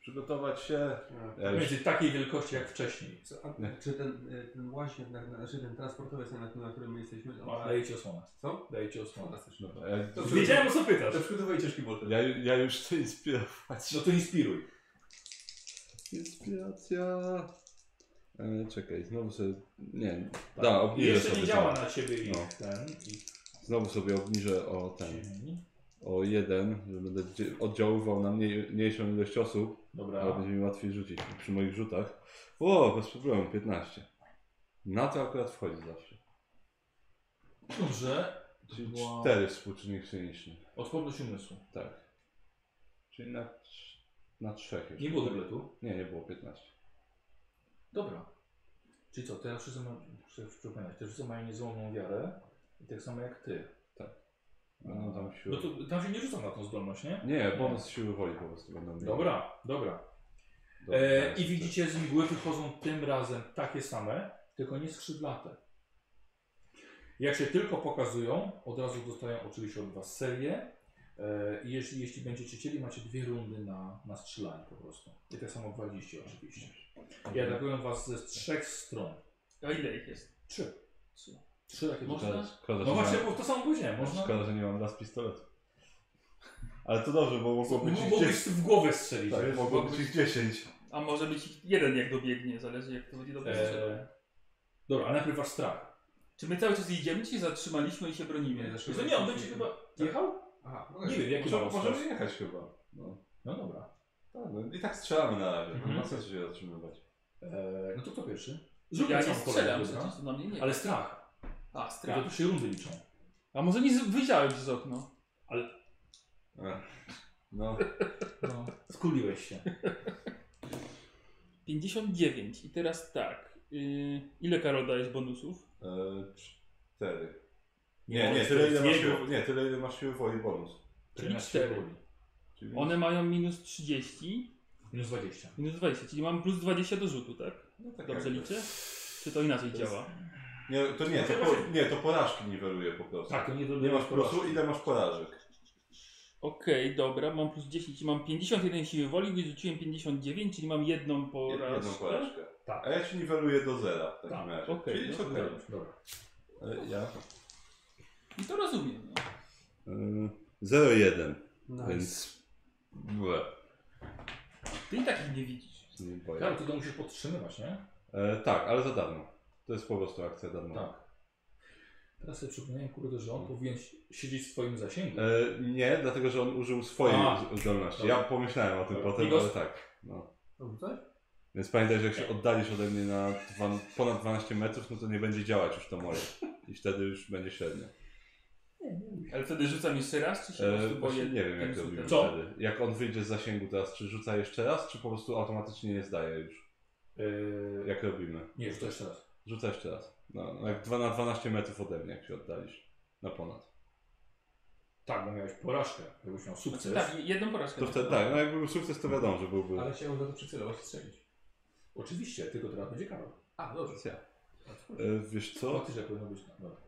Speaker 2: Przygotować się. Ja już
Speaker 1: Będzie takiej wielkości jak wcześniej.
Speaker 5: Co, a,
Speaker 2: Nie.
Speaker 5: czy ten, e, ten łaźnik, na, na, znaczy ten transportowiec, na, na którym my jesteśmy, on ma...
Speaker 1: Dajecie osłonę.
Speaker 5: Co?
Speaker 1: Dajecie osłonę.
Speaker 5: Fantastyczne.
Speaker 2: Dobra, ja,
Speaker 5: To przy-
Speaker 1: Wiedziałem o No, co pytasz.
Speaker 5: To przygotowuj ciężki bolter.
Speaker 2: ja, ja już chcę inspirować.
Speaker 1: No to inspiruj.
Speaker 2: Inspiracja. E, czekaj, znowu sobie. Nie,
Speaker 1: Tak.
Speaker 2: da, obniżę
Speaker 1: Jeszcze
Speaker 2: sobie
Speaker 1: nie
Speaker 2: to.
Speaker 1: działa na ciebie ich
Speaker 2: No.
Speaker 1: ten, ich
Speaker 2: Znowu sobie obniżę o ten,
Speaker 1: Dziewięć.
Speaker 2: o jeden, że będę dzie- oddziaływał na mniej, mniejszą ilość osób, ale
Speaker 1: Dobra.
Speaker 2: będzie mi łatwiej rzucić przy moich rzutach. O, bez problemu, 15. Na to akurat wchodzi zawsze.
Speaker 1: Dobrze.
Speaker 2: Czyli
Speaker 1: Wow.
Speaker 2: cztery współczynnik cyniczny.
Speaker 1: Odporność umysłu.
Speaker 2: Tak. Czyli na, trz- na trzech już.
Speaker 1: Nie było dubletu.
Speaker 2: Nie, nie było 15.
Speaker 1: Dobra. Czyli co, teraz wszyscy mają, muszę przypominać, te wszyscy mają niezłomną wiarę i tak samo jak ty.
Speaker 2: Będą tam siły.
Speaker 1: No to tam się nie rzucam na tą zdolność, nie?
Speaker 2: Nie, bonus siły woli po prostu będą mieli.
Speaker 1: Dobra, dobra.
Speaker 2: Dobra, tak,
Speaker 1: E,
Speaker 2: teraz
Speaker 1: I
Speaker 2: jeszcze.
Speaker 1: widzicie, z mgły wychodzą tym razem takie same, tylko nie skrzydlate. Jak się tylko pokazują, od razu dostają oczywiście od Was serię. E, i jeśli, jeśli będziecie chcieli, macie dwie rundy na, na strzelanie po prostu. I tak samo 20 oczywiście. I atakują Was ze trzech stron.
Speaker 3: A ile ich jest?
Speaker 1: Trzy. Trzy takie
Speaker 2: Szkoda,
Speaker 1: można?
Speaker 2: szkoda,
Speaker 1: No
Speaker 2: że
Speaker 1: właśnie,
Speaker 2: nie
Speaker 1: bo to samo powiedziałem,
Speaker 2: mam,
Speaker 1: można.
Speaker 2: szkoda, że nie mam las pistoletu. Ale to dobrze, bo mogło być ich
Speaker 1: Mógłbyś
Speaker 2: 10.
Speaker 1: w głowę strzelić.
Speaker 2: Tak,
Speaker 1: wiesz?
Speaker 2: mogło być ich 10.
Speaker 3: A może być ich jeden jak dobiegnie, zależy jak to będzie dobiegnie.
Speaker 1: E, dobra, ale najpierw Wasz strach.
Speaker 3: Czy my cały czas idziemy, czy się zatrzymaliśmy i się bronimy?
Speaker 1: Wiesz co, nie, on będzie chyba jechał?
Speaker 8: Aha, no
Speaker 1: Nie wiem, jaki
Speaker 2: Może,
Speaker 1: ma
Speaker 2: możemy
Speaker 1: strach.
Speaker 2: jechać chyba. No.
Speaker 1: tak. No dobra.
Speaker 2: Tak, no I tak strzelamy na razie,
Speaker 1: Mhm.
Speaker 2: nie ma sensu się zatrzymywać.
Speaker 1: Eee, no to kto pierwszy?
Speaker 3: Ja
Speaker 1: całą
Speaker 3: nie strzelam,
Speaker 1: kolejkę,
Speaker 3: przecież
Speaker 1: dobra?
Speaker 3: to na mnie nie.
Speaker 1: no. Ale strach.
Speaker 3: A,
Speaker 1: Tylko
Speaker 3: strach.
Speaker 1: tu się rundy liczą.
Speaker 3: A może nie z- wyjrzałem przez okno?
Speaker 2: No,
Speaker 1: No. Skuliłeś się.
Speaker 3: 59. I teraz tak. Yy, ile Karol dajesz bonusów?
Speaker 2: e, 4. Nie, nie,
Speaker 1: on
Speaker 2: tyle ile masz
Speaker 1: jego.
Speaker 2: siły, nie, tyle ile masz siły woli bonus.
Speaker 1: Czyli
Speaker 3: Czyli
Speaker 1: na
Speaker 3: cztery.
Speaker 1: siłę.
Speaker 2: Czyli
Speaker 3: One mają minus 30,
Speaker 1: Minus 20.
Speaker 3: minus 20, czyli mam plus 20 do rzutu, tak?
Speaker 2: no tak
Speaker 3: Dobrze
Speaker 2: jakby.
Speaker 3: liczę? Czy to inaczej działa?
Speaker 2: Nie, to nie, to, po, nie, to porażki niweluje po prostu.
Speaker 1: Tak, to nie
Speaker 2: Nie masz
Speaker 1: porażki.
Speaker 2: plusu, ile masz porażek.
Speaker 3: Okej, dobra, mam plus 10, i mam 51 siły woli, i rzuciłem 59, czyli mam jedną porażkę.
Speaker 2: Jedną porażkę.
Speaker 1: Tak.
Speaker 2: A ja ci niweluję do zera w takim
Speaker 1: Tak,
Speaker 2: razie.
Speaker 3: okej,
Speaker 2: Czyli jest
Speaker 3: no,
Speaker 2: okej.
Speaker 1: Dobra, Dobra.
Speaker 2: Ale Ja?
Speaker 3: I to rozumiem. No.
Speaker 2: Mm, 0,1,
Speaker 9: Nice.
Speaker 2: więc... Ble,
Speaker 3: Ty i tak ich nie widzisz.
Speaker 2: nie boję.
Speaker 1: Karol, ty to musisz podtrzymywać, nie?
Speaker 2: E, tak, ale za darmo. To jest po prostu akcja darmowa.
Speaker 1: Tak. Teraz sobie przypomniałem, kurde, że on powinien siedzieć w swoim zasięgu.
Speaker 2: E, nie, dlatego że on użył swojej
Speaker 1: A.
Speaker 2: z- zdolności.
Speaker 1: Dobra.
Speaker 2: Ja pomyślałem o tym
Speaker 1: Dobra.
Speaker 2: potem,
Speaker 1: Migos? Tak.
Speaker 2: ale tak. No.
Speaker 5: Rzucać?
Speaker 2: Więc pamiętaj, że jak się oddalisz ode mnie na dwa, ponad 12 metrów, no to nie będzie działać już to moje. I wtedy już będzie średnio.
Speaker 3: Ale wtedy rzucam jeszcze raz, czy się po
Speaker 2: E,
Speaker 3: prostu
Speaker 2: właśnie
Speaker 3: boję?
Speaker 2: nie wiem
Speaker 3: tym
Speaker 2: jak robimy
Speaker 3: rzutem?
Speaker 1: Co?
Speaker 2: wtedy. Jak on wyjdzie z zasięgu teraz, czy rzuca jeszcze raz, czy po prostu automatycznie nie zdaje już?
Speaker 1: Eee,
Speaker 2: Jak robimy?
Speaker 1: nie, już to jeszcze raz.
Speaker 2: Rzuca jeszcze raz. No, no jak dwa na 12 metrów ode mnie, jak się oddalisz. Na ponad.
Speaker 1: Tak, bo miałeś porażkę. Jakbyś miał
Speaker 3: Znaczy,
Speaker 1: sukces.
Speaker 3: tak, jedną porażkę.
Speaker 2: To wtedy tak, no jak był sukces, to wiadomo, że byłby.
Speaker 5: Ale chciałbym za to przycelować strzelić.
Speaker 1: Oczywiście, tylko teraz będzie Karol.
Speaker 5: A, dobrze.
Speaker 2: Ja. E, wiesz
Speaker 1: To
Speaker 2: co?
Speaker 1: ty, że powinno być.
Speaker 2: No.
Speaker 1: Dobra.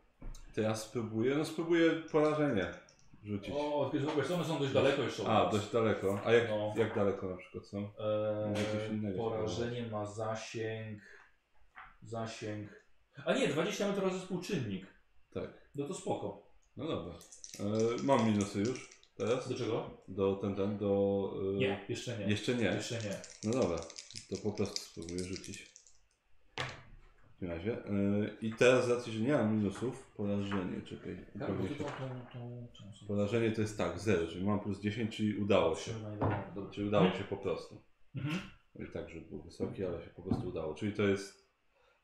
Speaker 2: To ja spróbuję, no spróbuję porażenie rzucić.
Speaker 1: O, wiesz, wiesz, one są dość daleko jeszcze. od
Speaker 2: A,
Speaker 1: nas.
Speaker 2: dość daleko. A jak,
Speaker 1: No.
Speaker 2: jak daleko na przykład są? Jakieś
Speaker 1: Eee,
Speaker 2: innego
Speaker 1: porażenie ma zasięg. Zasięg. A nie, 20 metrów razy współczynnik.
Speaker 2: Tak.
Speaker 1: No to spoko.
Speaker 2: No dobra. E, mam minusy już teraz?
Speaker 1: Do czego?
Speaker 2: Do ten, ten, do... e,
Speaker 1: Nie, jeszcze nie.
Speaker 2: Jeszcze nie.
Speaker 1: Jeszcze nie.
Speaker 2: No dobra. To po prostu spróbuję rzucić. W takim razie. E, I teraz z racji, że nie mam minusów, porażenie, czekaj.
Speaker 1: Tak, bo
Speaker 2: upewnię
Speaker 1: tu
Speaker 2: się.
Speaker 1: tą, tą, tą czasem.
Speaker 2: Porażenie to jest tak, 0, czyli mam plus 10, czyli udało się.
Speaker 1: Dobra.
Speaker 2: Czyli udało się po prostu.
Speaker 1: Mhm.
Speaker 2: No I tak rzut był wysoki, ale się po prostu udało. Czyli to jest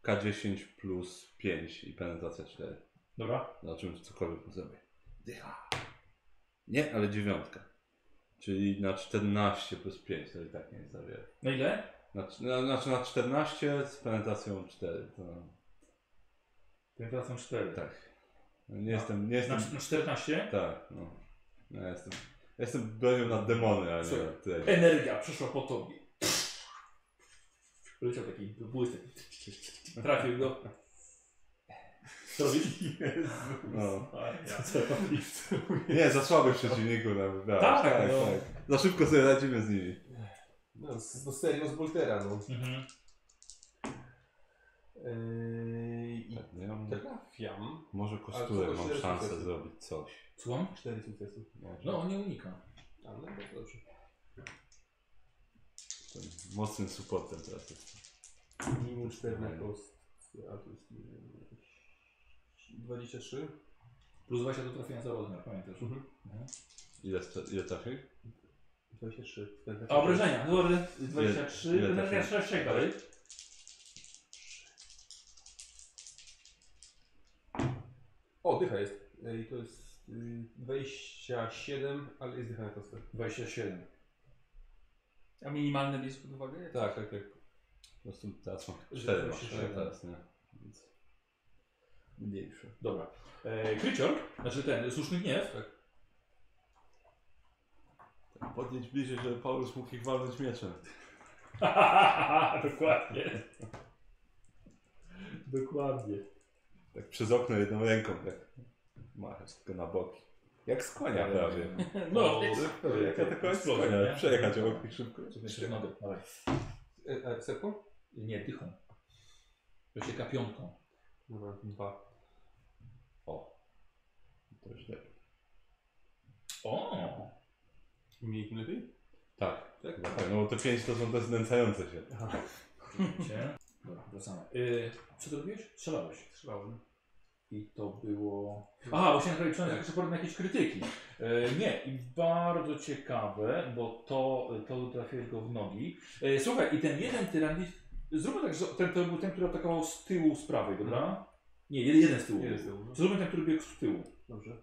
Speaker 2: K10 plus 5 i penetracja 4.
Speaker 1: Dobra.
Speaker 2: Na czym cokolwiek mu zrobię. Dycha. Nie, ale dziewiątka. Czyli na 14 plus 5, to i tak nie jest za wiele.
Speaker 1: Na ile?
Speaker 2: Na, cz- na, znaczy na 14 z penetracją 4. To,
Speaker 1: Penetracją 4.
Speaker 2: tak. No Nie jestem, nie jestem...
Speaker 1: Na, na 14?
Speaker 2: Tak, no. Ja jestem, ja jestem bronią na demony, a nie
Speaker 1: Słuchaj.
Speaker 2: na tyle.
Speaker 1: Energia przeszła po tobie. Leciał taki błysek. Trafił go. Co robisz?
Speaker 2: No.
Speaker 1: Co robisz?
Speaker 2: Nie, za słabych przeciwników nam wybrałeś.
Speaker 1: Tak, no.
Speaker 2: Za szybko sobie radzimy z nimi.
Speaker 5: No, z, no serio z Boltera, no.
Speaker 1: Mhm.
Speaker 5: Eee, I
Speaker 2: Tak, no ja mam- tak-
Speaker 5: trafiam.
Speaker 2: Może
Speaker 5: Ale
Speaker 2: kosturę
Speaker 5: to
Speaker 2: mam
Speaker 5: kosturę
Speaker 2: szansę
Speaker 5: sukcesu.
Speaker 2: zrobić coś.
Speaker 1: Słucham?
Speaker 5: Cztery sukcesy.
Speaker 2: Może.
Speaker 1: No, on nie unika.
Speaker 5: A, no to dobrze.
Speaker 2: Tym Mocnym supportem teraz jest.
Speaker 5: Minimum 4 na kost. A to jest... nie wiem, 23?
Speaker 1: Plus 20 do trafienia za rozmiar, pamiętasz?
Speaker 5: Mhm.
Speaker 2: Ile, strze- ile trafił?
Speaker 5: 23.
Speaker 1: A obrażenia, no dobrze,
Speaker 2: Ile-
Speaker 1: 23,
Speaker 2: ile
Speaker 1: będę
Speaker 2: trafienia?
Speaker 1: miał 6 dalej.
Speaker 5: O, dycha jest. E, I to jest y, 27, ale jest dycha na kostkę.
Speaker 1: 27.
Speaker 2: tak.
Speaker 3: A minimalne bierz pod uwagę?
Speaker 5: Tak, tak, tak.
Speaker 2: No to teraz mam
Speaker 1: Że
Speaker 2: cztery
Speaker 1: to
Speaker 2: masz,
Speaker 1: się
Speaker 2: tak,
Speaker 1: żegna.
Speaker 2: teraz nie. Więc mniejsze.
Speaker 1: Dobra. E, Krycior, znaczy ten, słuszny gniew.
Speaker 2: Podnieść bliżej, żeby Paulus mógł ich walnąć mieczem.
Speaker 1: Dokładnie. Dokładnie.
Speaker 2: Tak przez okno jedną ręką, tak. Machać tylko na boki. Jak z konia prawie.
Speaker 1: No,
Speaker 2: Jak ja tylko z konia, przejechać obok nich szybko.
Speaker 1: Jeszcze nogę, dawaj.
Speaker 5: E, a setką?
Speaker 1: Nie, dychą. To się kapiątką.
Speaker 5: Dobra, dwa.
Speaker 2: To już tak. lepiej.
Speaker 1: O!
Speaker 5: Mniej tym lepiej?
Speaker 2: Tak,
Speaker 5: Tak?
Speaker 2: chyba tak, no bo te pięć to są te znęcające się.
Speaker 1: Widzicie? Dobra, wracamy.
Speaker 5: Y,
Speaker 1: Yy, co ty robiłeś? Strzelałeś.
Speaker 5: Trzymałem.
Speaker 1: I to było... Aha, właśnie nagraliczone tak. jeszcze na jakieś krytyki. E, nie, i bardzo ciekawe, bo to, to trafiłeś go w nogi. E, słuchaj, i ten jeden tyranid... Zróbmy tak, że ten to był ten, który atakował z tyłu, z prawej, dobra? Nie, jeden, Mhm. jeden z tyłu. no.
Speaker 5: Nie
Speaker 1: był.
Speaker 5: jest dobrze.
Speaker 1: Zróbmy ten, który biegł z tyłu.
Speaker 5: Dobrze.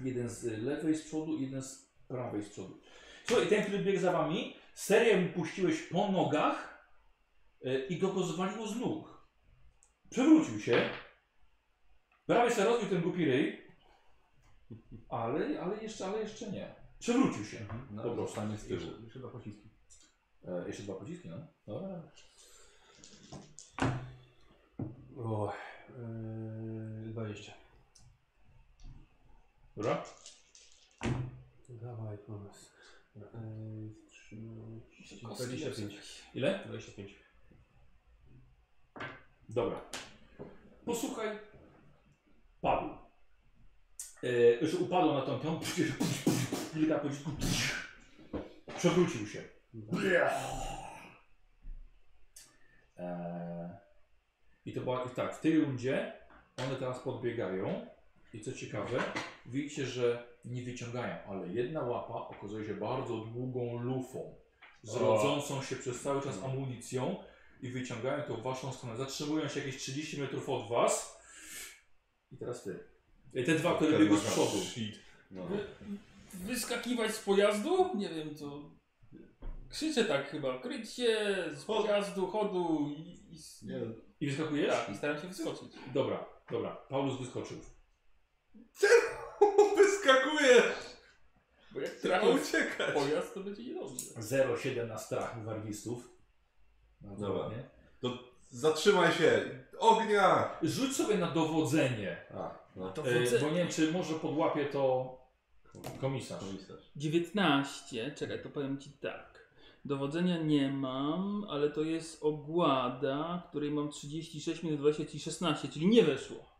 Speaker 1: Jeden z lewej z przodu, jeden z prawej z przodu. Słuchaj, ten, który biegł za wami, serię mu puściłeś po nogach y, i go go zwaliło z nóg. Przewrócił się. Prawie się rozbił ten głupi ryj. Ale, ale jeszcze, ale jeszcze nie. Przewrócił się.
Speaker 2: No,
Speaker 1: Mhm. Dobra.
Speaker 2: zostanie z tyłu.
Speaker 5: Jeszcze dwa pociski.
Speaker 1: E, jeszcze dwa pociski, no. Dobra.
Speaker 5: O, yy, 20.
Speaker 1: Dobra.
Speaker 5: Dawaj, pomysł. Yy, 13,
Speaker 3: Kostki
Speaker 5: 25.
Speaker 1: Ile?
Speaker 5: 25.
Speaker 1: Dobra. Posłuchaj. Padł. E, już upadł na tą tą. Kilka pocisków. Przewrócił się. E, I to była i tak, w tej rundzie one teraz podbiegają. I co ciekawe, widzicie, że nie wyciągają, ale jedna łapa okazuje się bardzo długą lufą, z rodzącą się przez cały czas amunicją i wyciągają to w waszą stronę. Zatrzymują się jakieś 30 metrów od was. I teraz ty. E, Te dwa, które biegły z przodu.
Speaker 2: No.
Speaker 3: Wyskakiwać z pojazdu? Nie wiem co. Krzyczę tak chyba. Kryć się z pojazdu, chodu i, i, s-
Speaker 2: Nie,
Speaker 1: I wyskakujesz?
Speaker 3: tak, i staram się wyskoczyć.
Speaker 1: Dobra, dobra. Paulus wyskoczył.
Speaker 2: Wyskakuje!
Speaker 3: Bo jak
Speaker 2: Trzeba
Speaker 3: trafię w
Speaker 2: uciekać!
Speaker 3: pojazd, to będzie niedobrze.
Speaker 1: 0,7 na strach wargistów. Bardzo
Speaker 2: Dobra.
Speaker 1: ładnie.
Speaker 2: Zatrzymaj się! Ognia!
Speaker 1: Rzuć sobie na dowodzenie.
Speaker 2: A, no.
Speaker 3: To
Speaker 1: E, bo nie wiem, czy może podłapie to komisarz.
Speaker 2: Komisarz.
Speaker 3: 19, czekaj, to powiem ci tak. Dowodzenia nie mam, ale to jest ogłada, której mam 36 minus 20 czyli 16, czyli nie weszło.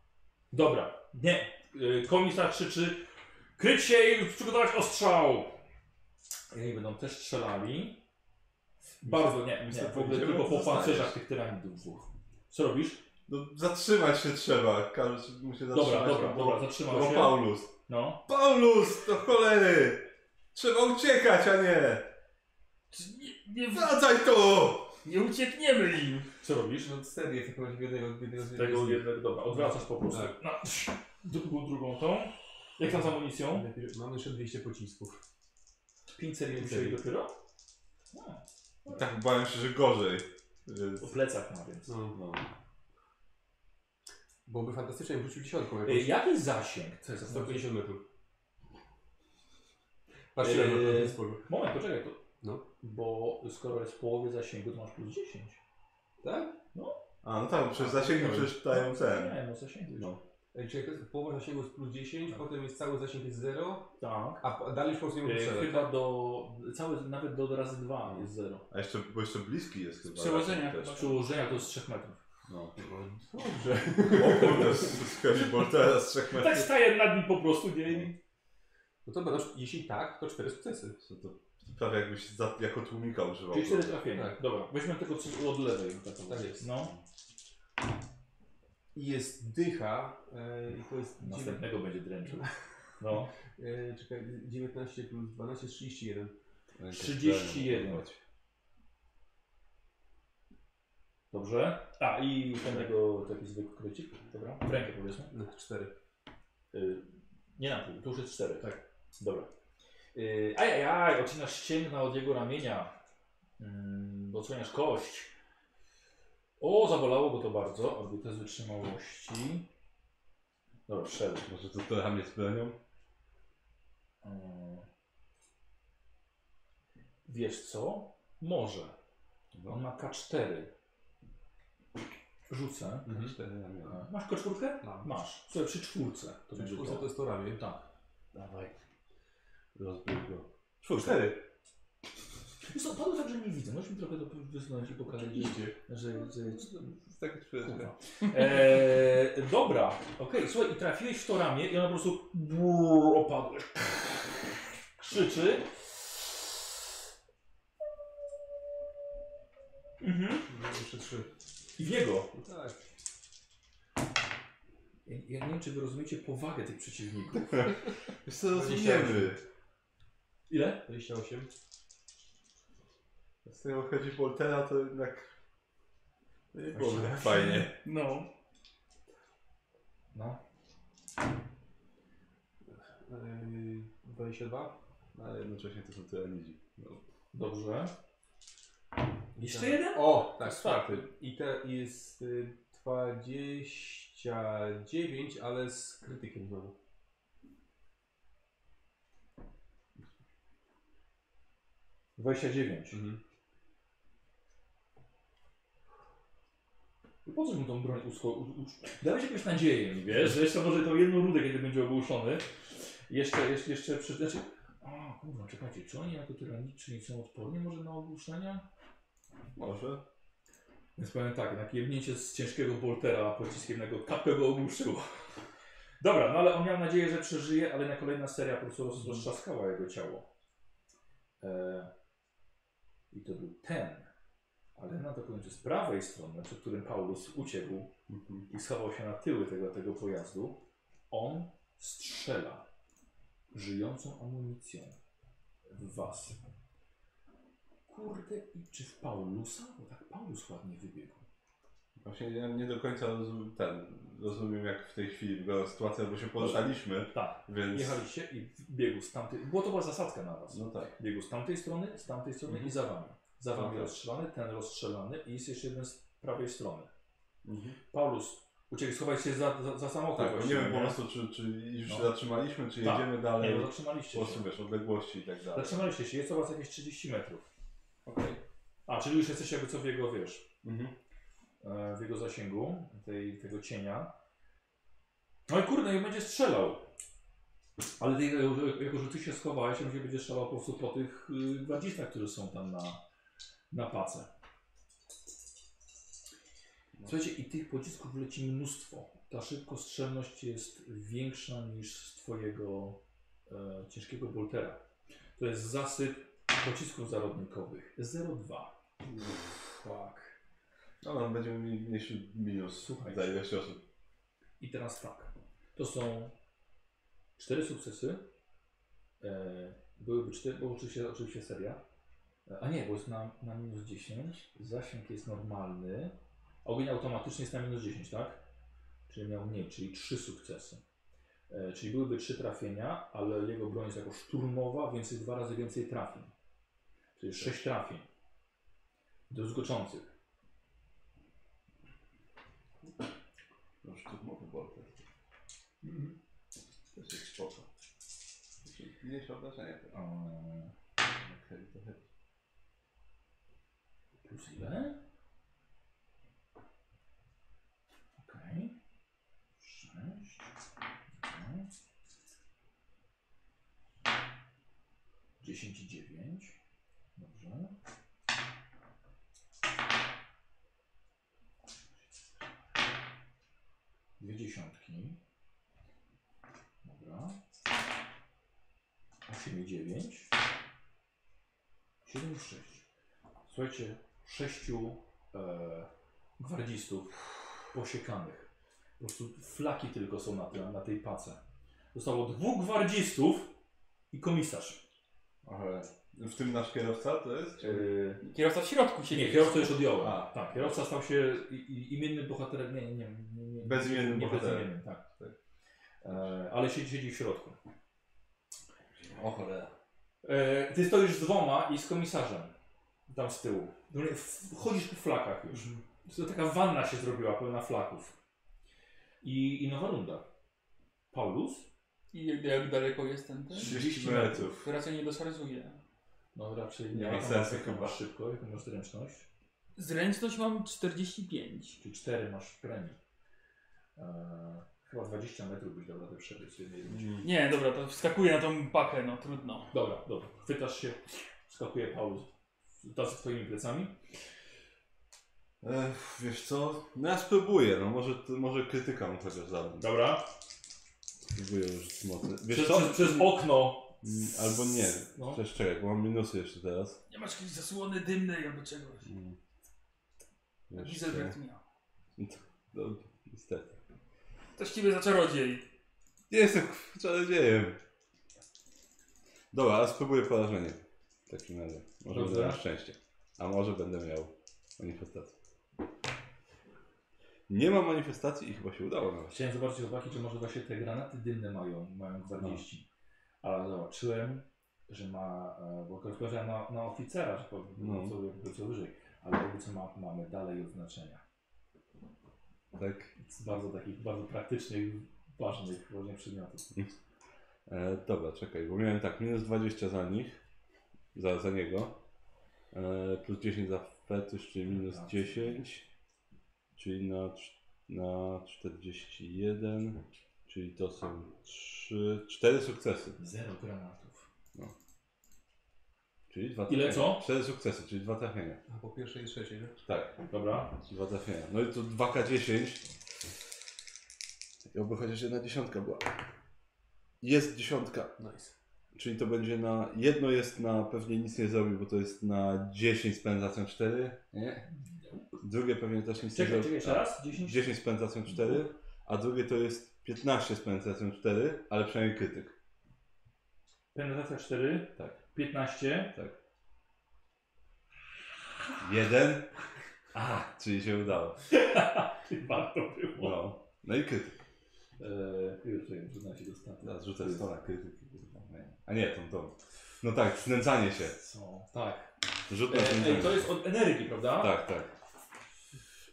Speaker 1: Dobra, nie. E, komisarz krzyczy kryć się i przygotować ostrzał. I oni będą też strzelali. Bardzo nie, nie. W ogóle
Speaker 2: powiedziałem,
Speaker 1: tylko po
Speaker 2: zostaniesz.
Speaker 1: pancerzach tych tyranidów dwóch. Co robisz?
Speaker 2: No zatrzymać się trzeba. Każdy mu się zatrzymać.
Speaker 1: Dobra, dobra,
Speaker 2: bo-
Speaker 1: dobra, zatrzymał
Speaker 2: Bo
Speaker 1: się.
Speaker 2: Paulus.
Speaker 1: No.
Speaker 2: Paulus, do cholery! Trzeba uciekać, a nie!
Speaker 3: Czy Nie, nie, w-
Speaker 2: Wracaj tu!
Speaker 3: nie uciekniemy im.
Speaker 1: Co robisz?
Speaker 5: No serię w takim razie jednego, jednego z
Speaker 1: Tego
Speaker 5: jednego z nich.
Speaker 1: jednego, dobra, odwracasz po prostu.
Speaker 5: Tak.
Speaker 1: No, drugą, drugą tą. Jak tam z amunicją?
Speaker 5: Najpierw- No, Mamy jeszcze 200 pocisków.
Speaker 1: 5 serii musieli
Speaker 5: serii.
Speaker 1: dopiero?
Speaker 2: I tak bałem się, że gorzej.
Speaker 1: O
Speaker 2: Więc...
Speaker 1: plecach ma więc.
Speaker 5: No. Byłoby fantastycznie, jakby rzucił
Speaker 1: E,
Speaker 5: dziesiątką jakąś.
Speaker 1: Jaki zasięg? Co jest za zasięg?
Speaker 5: 150 metrów. Patrzyłem na to, to
Speaker 1: Eee.
Speaker 5: jest sporo.
Speaker 1: Moment, poczekaj. To,
Speaker 5: No.
Speaker 1: Bo skoro jest w połowie zasięgu, to masz plus 10.
Speaker 5: Tak?
Speaker 2: A no tak, bo przez zasięgi przecież dają ten.
Speaker 1: Nie, no zasięgu. No.
Speaker 5: Ej, Czyli jak jest połowa zasięgu jest plus 10,
Speaker 1: Tak.
Speaker 5: potem jest cały zasięg jest 0,
Speaker 1: Tak.
Speaker 5: a p- dalej już po prostu nie mogę
Speaker 1: E,
Speaker 5: strzelać.
Speaker 1: chyba do, cały, nawet do razy 2 jest 0.
Speaker 2: A jeszcze, bo jeszcze bliski jest chyba.
Speaker 3: przełożenia
Speaker 2: też.
Speaker 1: Z przyłożenia to jest 3 metrów.
Speaker 2: No.
Speaker 5: Dobrze.
Speaker 2: O kurde, z, z Hannibal teraz trzech
Speaker 1: Tak
Speaker 2: metrów.
Speaker 1: staje nad nim po prostu, nie?
Speaker 5: No to będą, jeśli tak, to 4 sukcesy.
Speaker 2: Co to, to prawie jakbyś za, jako tłumika używał.
Speaker 1: Czyli 4 trafienia.
Speaker 5: Tak.
Speaker 1: No. Dobra, weźmy tylko od lewej.
Speaker 5: Tak jest.
Speaker 1: No.
Speaker 5: Tak i jest dycha, e, i to jest dziewię-
Speaker 1: Następnego będzie dręczył. No,
Speaker 5: e, czekaj, 19 plus 12,
Speaker 1: E,
Speaker 5: 31.
Speaker 1: 31. dobrze. A, i ten tego, taki zwykły krycik, dobra? W rękę powiedzmy.
Speaker 5: 4.
Speaker 1: Y, nie na pół, to już jest 4.
Speaker 5: Tak.
Speaker 1: Dobra. Y, ajajaj, odcinasz ścięgna od jego ramienia. Mm, odsłaniasz kość. O, zabolało go to bardzo, albo to z wytrzymałości. Dobra, wszedł.
Speaker 2: Może to to ramię z bronią?
Speaker 1: Mm. Wiesz co? Może. On ma K4. Rzucę.
Speaker 2: Cztery ramiona.
Speaker 1: Masz koczurkę?
Speaker 5: Mam.
Speaker 1: Masz. Słuchaj, przy czwórce. To będzie
Speaker 5: Kurczę, to jest to ramię.
Speaker 1: Tak.
Speaker 2: Dawaj. Rozbił go. Czwórka.
Speaker 5: Cztery.
Speaker 1: Jest to padło tak, że nie widzę. Możesz mi trochę to wysunąć i pokazać, że, że, że
Speaker 2: Taka czwórka.
Speaker 1: Kurwa. Eee, dobra, okej, słuchaj, i trafiłeś w to ramię i ona po prostu brrr, opadła. Krzyczy. Mhm.
Speaker 5: No, jeszcze 3.
Speaker 1: I w jego.
Speaker 5: No tak.
Speaker 1: Ja, ja nie wiem, czy wy rozumiecie powagę tych przeciwników.
Speaker 2: Wiesz co, rozumiemy.
Speaker 1: Ile?
Speaker 5: 28.
Speaker 2: Z tego chodzi Poltera, to jednak... No nie było
Speaker 1: Właśnie.
Speaker 2: tak fajnie.
Speaker 3: No.
Speaker 1: No.
Speaker 5: Yy, 22.
Speaker 2: No, ale jednocześnie to są tyranidzi. No.
Speaker 1: Dobrze. Jeszcze jeden?
Speaker 5: O, tak,
Speaker 1: Czwarty.
Speaker 5: czwarty. I te jest y, 29, ale z krytykiem znowu. Mhm.
Speaker 1: I po co mu tą broń usko... u- u- Dałeś jakąś nadzieję, wiesz, że jeszcze może tą jedną rudę, kiedy będzie ogłuszony. Jeszcze, jeszcze, jeszcze przy... Znaczy... A, kurwa, czekajcie, czy oni jako tyraniczni są odporni może na ogłuszenia?
Speaker 2: Może.
Speaker 1: Więc powiem tak, jednak jebnięcie z ciężkiego boltera pociskiem na jego kapę go ogłuszyło. Dobra, no ale on miał nadzieję, że przeżyje, ale na kolejna seria po prostu roz- roztrzaskała jego ciało. E... I to był ten. Ale na to końcu z prawej strony, przed którym Paulus uciekł, i schował się na tyły tego, tego pojazdu, on strzela żyjącą amunicją w was. Kurde, i czy w Paulusa? Bo tak Paulus ładnie wybiegł.
Speaker 2: Właśnie ja nie do końca rozumiem ten. Rozumiem jak w tej chwili wygląda sytuacja, bo się poruszaliśmy,
Speaker 1: Tak,
Speaker 2: więc...
Speaker 1: jechaliście i biegł z tamtej... Bo to była zasadka na was.
Speaker 2: No Mhm. tak.
Speaker 1: Biegł z tamtej strony, z tamtej strony i za wami. Za wami
Speaker 2: Mhm.
Speaker 1: rozstrzelany, ten rozstrzelany i jest jeszcze jeden z prawej strony.
Speaker 2: Mhm.
Speaker 1: Paulus uciekł, schował się za, za, za samochód
Speaker 2: Tak, bo nie
Speaker 1: właściwie,
Speaker 2: wiem po prostu, czy, czy już
Speaker 1: No.
Speaker 2: się zatrzymaliśmy, czy
Speaker 1: Tak.
Speaker 2: jedziemy
Speaker 1: Nie,
Speaker 2: dalej.
Speaker 1: bo
Speaker 2: Po
Speaker 1: zatrzymaliście się.
Speaker 2: prostu wiesz, odległości i tak dalej.
Speaker 1: Zatrzymaliście się, jest o was jakieś 30 metrów.
Speaker 2: Okej.
Speaker 1: A, czyli już jesteś jakby co w jego, wiesz,
Speaker 2: Mhm.
Speaker 1: e, w jego zasięgu, tej, tego cienia. No i kurde, jak będzie strzelał. Ale ty, jako- jako, że ty się schowałeś, on się będzie strzelał po prostu po tych y, gwardzistach, którzy są tam na, na pace. Słuchajcie, i tych pocisków leci mnóstwo. Ta szybkostrzelność jest większa niż z twojego e, ciężkiego boltera. To jest zasyp pocisków zarodnikowych 0,2. Fuck.
Speaker 2: Dobra, No, będziemy mieli mniejszy minus
Speaker 1: Słuchaj.
Speaker 2: za ilość osób.
Speaker 1: I teraz tak. To są cztery sukcesy. E, byłyby cztery, bo oczywiście, oczywiście seria. E, A nie, bo jest na, na minus 10. Zasięg jest normalny. Ogień automatycznie jest na minus 10, tak? Czyli miał mniej, czyli trzy sukcesy. E, czyli byłyby trzy trafienia, ale jego broń jest jako szturmowa, więc jest dwa razy więcej trafień. Czyli sześć trafień. Do zgoczących.
Speaker 2: No szturmowy bolter. Mhm. To jest spoko. Mniejsze obrażenia. tak.
Speaker 1: Eee,
Speaker 2: Okej, to chyba.
Speaker 1: Plus ile? Okej. Sześć. Dobra. Dziesięć i dziewięć. Dobrze. Dwie dziesiątki. Dobra. Osiem i dziewięć. Siedem i sześć. Słuchajcie, sześciu e, gwardzistów posiekanych. Po prostu flaki tylko są na, tym, na tej pace. Zostało dwóch gwardzistów i komisarz.
Speaker 2: Ale w tym nasz kierowca to jest? Czy...
Speaker 1: Yy,
Speaker 3: Kierowca w środku się
Speaker 1: nie, kierowca już odjąłem.
Speaker 2: A.
Speaker 1: Tak, kierowca stał się i- i- imiennym bohaterem. Nie, nie, nie. nie, nie
Speaker 2: Bezimiennym
Speaker 1: nie
Speaker 2: bohaterem.
Speaker 1: bezimiennym, tak. E, ale siedzi, siedzi w środku.
Speaker 2: O cholera.
Speaker 1: E, ty stoisz z dwoma i z komisarzem. Tam z tyłu. Dobra, w- Chodzisz po flakach już. To taka wanna się zrobiła, pełna flaków. I, i nowa runda. Paulus?
Speaker 3: I jak, jak daleko jest ten ten?
Speaker 2: 30 metrów.
Speaker 3: To raczej nie dosorezuje.
Speaker 1: No raczej
Speaker 2: Nie ma
Speaker 1: Jaką
Speaker 2: sensu
Speaker 1: masz- jaką
Speaker 2: chyba.
Speaker 1: masz szybko, jaką masz zręczność?
Speaker 3: Zręczność mam 45.
Speaker 1: Czy 4 masz premii. Eee, chyba 20 metrów byś dał radę przebyć. z jednej rundzie.
Speaker 3: Nie, dobra, to wskakuję na tą pakę, no trudno.
Speaker 1: Dobra, dobra. Chwytasz się, skakuje Paulus. Ta z twoimi plecami.
Speaker 2: Ech, wiesz co? No ja spróbuję, no może, może krytyką chociaż zadam.
Speaker 1: Dobra.
Speaker 2: Spróbuję użyć mocy. Wiesz
Speaker 1: Przez,
Speaker 2: co?
Speaker 1: przez, przez okno.
Speaker 2: Mm, Albo nie.
Speaker 1: No.
Speaker 2: Przecież czekaj, bo mam minusy jeszcze teraz.
Speaker 3: Nie masz jakiejś zasłony dymnej albo czegoś.
Speaker 2: Mm. Jeszcze...
Speaker 3: Gizelbert miał.
Speaker 2: No, niestety.
Speaker 3: To z ciebie za czarodziej.
Speaker 2: Nie jestem k- czarodziejem. Dobra, ale spróbuję porażenie. W takim razie. Może
Speaker 1: Dobra.
Speaker 2: będę miał szczęście. A może będę miał manifestację. Nie ma manifestacji i chyba się udało nawet.
Speaker 1: Chciałem zobaczyć chłopaki, czy może właśnie te granaty dymne mają, mają gwardziści. Ale zobaczyłem, że ma, e, bo rozkładałem na, na oficera, że powinno
Speaker 2: No.
Speaker 1: no. co, jakby co wyżej. Ale jakby co ma, mamy dalej odznaczenia.
Speaker 2: Tak.
Speaker 1: Z bardzo takich, bardzo praktycznych, ważnych różnych przedmiotów.
Speaker 2: E, dobra, czekaj, bo miałem tak, minus 20 za nich, za, za niego, e, plus 10 za fetysz, czyli minus 10, czyli na, cz- na 41, czyli to są 3, 4 sukcesy,
Speaker 1: Zero granatów.
Speaker 2: czyli 2
Speaker 1: Ile co?
Speaker 2: 4 sukcesy, czyli 2 trafienia,
Speaker 6: A po pierwszej i trzeciej, nie?
Speaker 2: tak,
Speaker 1: Dobra.
Speaker 2: 2 trafienia, no i to 2k10 i oby chociaż jedna dziesiątka była, jest dziesiątka,
Speaker 6: Nice.
Speaker 2: Czyli to będzie na. Jedno jest na pewnie nic nie zrobi, bo to jest na 10 z penzacją 4. Nie? Drugie pewnie też nic
Speaker 1: Czekaj, czekaj,
Speaker 2: nie zrobi.
Speaker 1: jeszcze raz. 10.
Speaker 2: 10 z penzacją 4, a drugie to jest 15 z penzacją 4, ale przynajmniej krytyk.
Speaker 1: Penetracja 4.
Speaker 2: Tak.
Speaker 1: 15.
Speaker 2: Tak. Jeden,
Speaker 1: Aha,
Speaker 2: czyli się udało.
Speaker 1: czyli warto było.
Speaker 2: No, no i krytyk.
Speaker 1: Eee, już tutaj można się dostać.
Speaker 2: Teraz rzucę 100 na krytyk. A nie, tą, tą. No tak, znęcanie się.
Speaker 1: Co? Tak.
Speaker 2: Rzut na
Speaker 1: Eee, ej,
Speaker 2: znęcanie.
Speaker 1: to jest od energii, prawda?
Speaker 2: Tak, tak.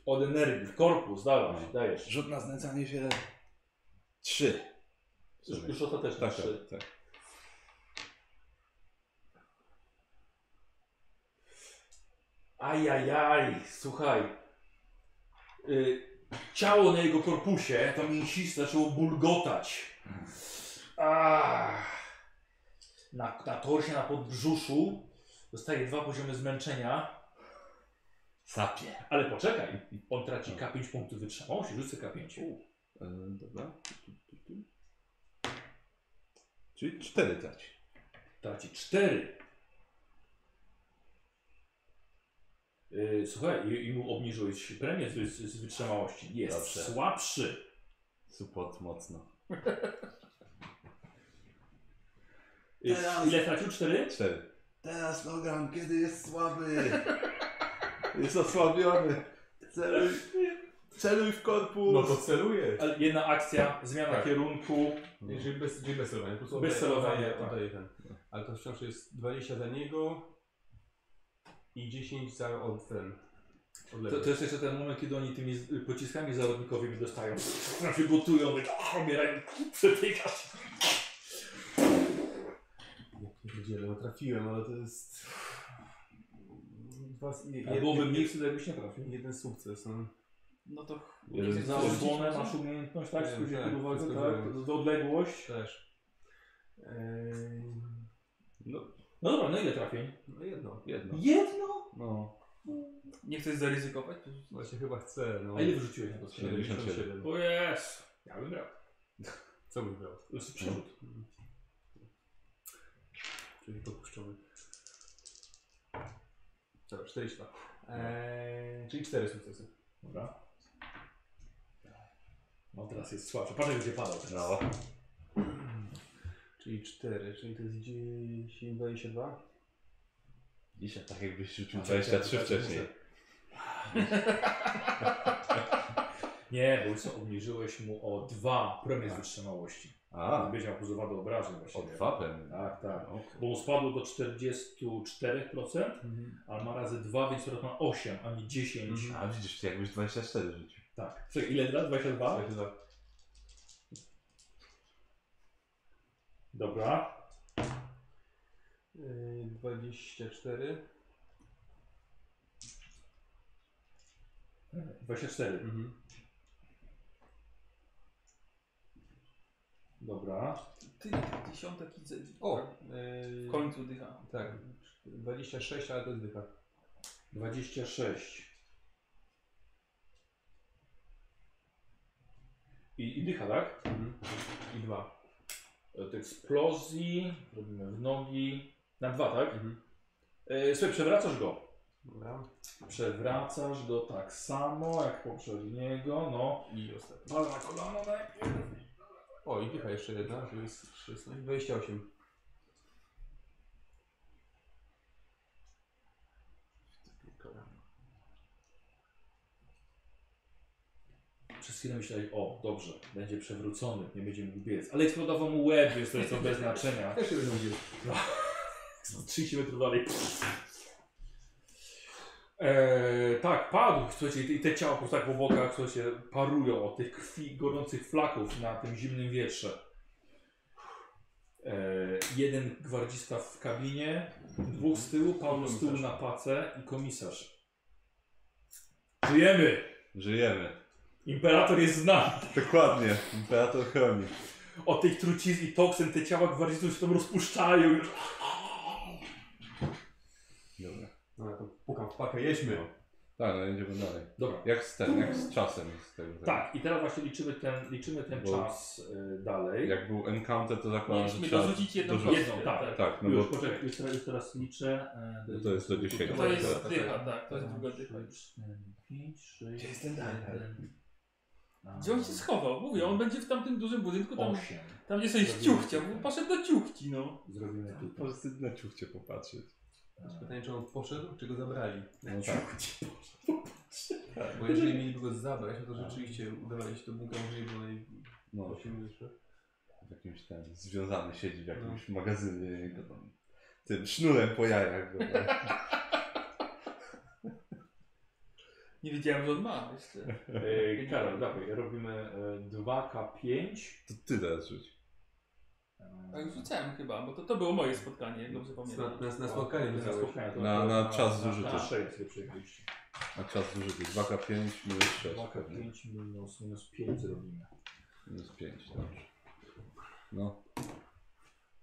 Speaker 1: Od energii. Korpus,
Speaker 2: No.
Speaker 1: dawaj, dajesz.
Speaker 2: Rzut na znęcanie się. Trzy.
Speaker 1: Już, już ostateczne
Speaker 2: Tak,
Speaker 1: tak, trzy.
Speaker 2: tak, tak.
Speaker 1: Ajajaj, słuchaj. Y, ciało na jego korpusie, to mięsiste, zaczęło bulgotać. Ach. Na, na torsie, na podbrzuszu dostaje dwa poziomy zmęczenia. Sapie. Ale poczekaj, on traci K5 punktów wytrzymałości, rzucę K5.
Speaker 2: E, dobra. Tu, tu, tu. Czyli cztery traci.
Speaker 1: Traci 4. Yy, słuchaj, i, i mu obniżyłeś premię z, wy- z wytrzymałości. Jest
Speaker 2: Dobrze.
Speaker 1: słabszy.
Speaker 2: Support mocno.
Speaker 1: Yy, ile tracił? 4?
Speaker 2: Cztery. Teraz Logan, kiedy jest słaby? jest osłabiony. Celuj, celuj w korpus.
Speaker 6: No to celuję.
Speaker 1: Ale Jedna akcja, zmiana
Speaker 6: Tak.
Speaker 1: kierunku.
Speaker 6: Jeżeli Znaczy, bez, czyli bez celowania, po prostu
Speaker 1: No. Bez
Speaker 6: oddaję-
Speaker 1: celowania,
Speaker 6: oddaję-
Speaker 1: tak.
Speaker 6: oddaję ten. Ale to wciąż jest 20 za niego i 10 za od ten. Od
Speaker 1: To,
Speaker 6: lewej.
Speaker 1: to jest jeszcze ten moment, kiedy oni tymi z- pociskami zarodnikowymi dostają. Tam się gotują, a, umierają, przetykasz.
Speaker 6: Ja pierdzielę, no trafiłem, ale to jest... Dwa, nie,
Speaker 1: A byłoby mniej wtedy, jakbyś nie trafił.
Speaker 6: jeden sukces, no.
Speaker 3: No to...
Speaker 2: Jeden
Speaker 3: chcesz
Speaker 2: za
Speaker 1: Za
Speaker 3: zarzucić
Speaker 1: osłonę
Speaker 3: może?
Speaker 1: masz umiejętność, tak?
Speaker 6: Nie,
Speaker 1: Skrócie
Speaker 6: tak,
Speaker 1: tak, uwagę,
Speaker 6: skończyłem.
Speaker 1: tak? Z odległość.
Speaker 6: Też. Eee,
Speaker 2: No,
Speaker 1: No dobra, no ile trafień?
Speaker 6: no jedno.
Speaker 2: jedno.
Speaker 1: Jedno?
Speaker 2: No.
Speaker 3: Nie chcesz zaryzykować?
Speaker 6: Właśnie chyba chcę, no.
Speaker 1: A ile wyrzuciłeś na to strzelanie?
Speaker 6: 77.
Speaker 1: O jest! Ja bym brał.
Speaker 6: Co bym brał?
Speaker 1: To jest przerzut.
Speaker 5: Mm.
Speaker 6: Czyli dopuszczony. Dobra, 42.
Speaker 5: No. E,
Speaker 6: Eee, czyli 4 sukcesy.
Speaker 1: Dobra. No teraz jest słabszy. Patrz, jak będzie padał teraz.
Speaker 2: No.
Speaker 5: Czyli 4, czyli to jest 10, 22?
Speaker 2: Dzisiaj tak jakbyś rzucił
Speaker 1: A, czekaj,
Speaker 2: 23
Speaker 1: czekaj,
Speaker 2: wcześniej.
Speaker 1: Nie, bo już co, obniżyłeś mu o dwa premię z wytrzymałości.
Speaker 2: A,
Speaker 1: Będzie miał kuzowa do obrażeń właśnie.
Speaker 2: o dwa pewnie.
Speaker 1: Tak, tak.
Speaker 2: O,
Speaker 1: Bo mu spadło do 44%,
Speaker 5: Mhm.
Speaker 1: ale ma razy dwa, więc teraz ma 8, a nie 10.
Speaker 2: kur- A widzisz, ty jakbyś 24 rzucił.
Speaker 1: Tak. Czekaj, ile lat? 22? Dobra.
Speaker 5: Yy, 24.
Speaker 1: 24.
Speaker 5: Mhm.
Speaker 1: Dobra.
Speaker 3: Ty, dziesiątek i ze-
Speaker 5: O!
Speaker 3: W
Speaker 5: Yy,
Speaker 3: końcu dycha.
Speaker 5: Tak, 26, ale to jest dycha.
Speaker 1: 26. I, I dycha, tak?
Speaker 5: Mhm. I 2.
Speaker 1: Od eksplozji, robimy w nogi. Na dwa, tak?
Speaker 5: Mhm.
Speaker 1: E, Słuchaj, przewracasz go.
Speaker 5: Dobra.
Speaker 1: Przewracasz go tak samo jak poprzedniego, no.
Speaker 5: I ostatni.
Speaker 1: Ale na kolano najpierw.
Speaker 5: O, i dycha jeszcze jedna, to jest 16. 28.
Speaker 1: Przez chwilę myślałeś, o, dobrze, będzie przewrócony, nie będzie mógł biec. Ale eksplodował mu łeb, więc to jest to bez znaczenia.
Speaker 5: Też się będzie
Speaker 1: Z 30 metrów dalej. Eee, tak, padł, słuchajcie, i te ciała po prostu tak po bokach, słuchajcie, parują od tych krwi, gorących flaków na tym zimnym wietrze. Eee, jeden gwardzista w kabinie, dwóch z tyłu, Paweł z tyłu na pace i komisarz. Żyjemy!
Speaker 2: Żyjemy.
Speaker 1: Imperator jest z nami!
Speaker 2: Dokładnie. Imperator chroni.
Speaker 1: Od tej trucizny i toksyn te ciała gwardzistów się tam rozpuszczają. już.
Speaker 2: Dobra.
Speaker 5: No, to pukam w pakę, jedźmy.
Speaker 2: Tak, no jedziemy dalej.
Speaker 1: Dobra.
Speaker 2: Jak z ten, jak z czasem z tego.
Speaker 1: Tak, i teraz właśnie liczymy ten, liczymy ten
Speaker 2: Bo-
Speaker 1: czas y, dalej.
Speaker 2: Jak był encounter, to zakładam, że
Speaker 3: Mieliśmy
Speaker 2: trzeba...
Speaker 3: dorzucić jedną
Speaker 2: dorzucić.
Speaker 3: kostkę.
Speaker 1: Jedną, tak.
Speaker 2: Tak, no
Speaker 1: już,
Speaker 2: bo...
Speaker 1: poczekaj, już teraz, już teraz liczę. e,
Speaker 2: No to jest do 10.
Speaker 3: To jest dycha, tak. To jest druga dycha.
Speaker 1: 5, 6,
Speaker 10: Gdzie jest ten dalej?
Speaker 3: Gdzie on się schował? Mówię, on będzie w tamtym dużym budynku, tam,
Speaker 1: 8.
Speaker 3: tam gdzie sobie z ciuchcia, bo poszedł do ciuchci, no.
Speaker 1: Zrobimy tutaj. Tak.
Speaker 2: prostu na ciuchcie popatrzeć.
Speaker 5: Pytanie, czy on poszedł, czy go zabrali?
Speaker 2: No tak.
Speaker 5: Bo jeżeli mieliby go zabrać, no to rzeczywiście udawali się do bunkra, może nie było naj...
Speaker 2: No, w jakimś ten, związany siedzi w
Speaker 3: No.
Speaker 2: jakimś magazynie i go tam tym sznurem po jajach go tam-
Speaker 3: Nie wiedziałem, że on ma jeszcze.
Speaker 1: E, Karol, dawaj, robimy e, 2K5.
Speaker 2: To ty teraz rzuć.
Speaker 3: Tak już rzucałem chyba, bo to, to było moje spotkanie, jak dobrze
Speaker 5: Na,
Speaker 3: pamiętam.
Speaker 5: na, na spotkanie
Speaker 1: Na
Speaker 5: wyzwałeś.
Speaker 1: spotkanie to
Speaker 2: Na- na czas zużyty.
Speaker 1: Na 6 sobie przejechaliście.
Speaker 2: A czas zużyty. 2K5 minus 6. 2K5.
Speaker 1: 2K5 minus, minus 5 zrobimy.
Speaker 2: Minus 5, dobrze. No,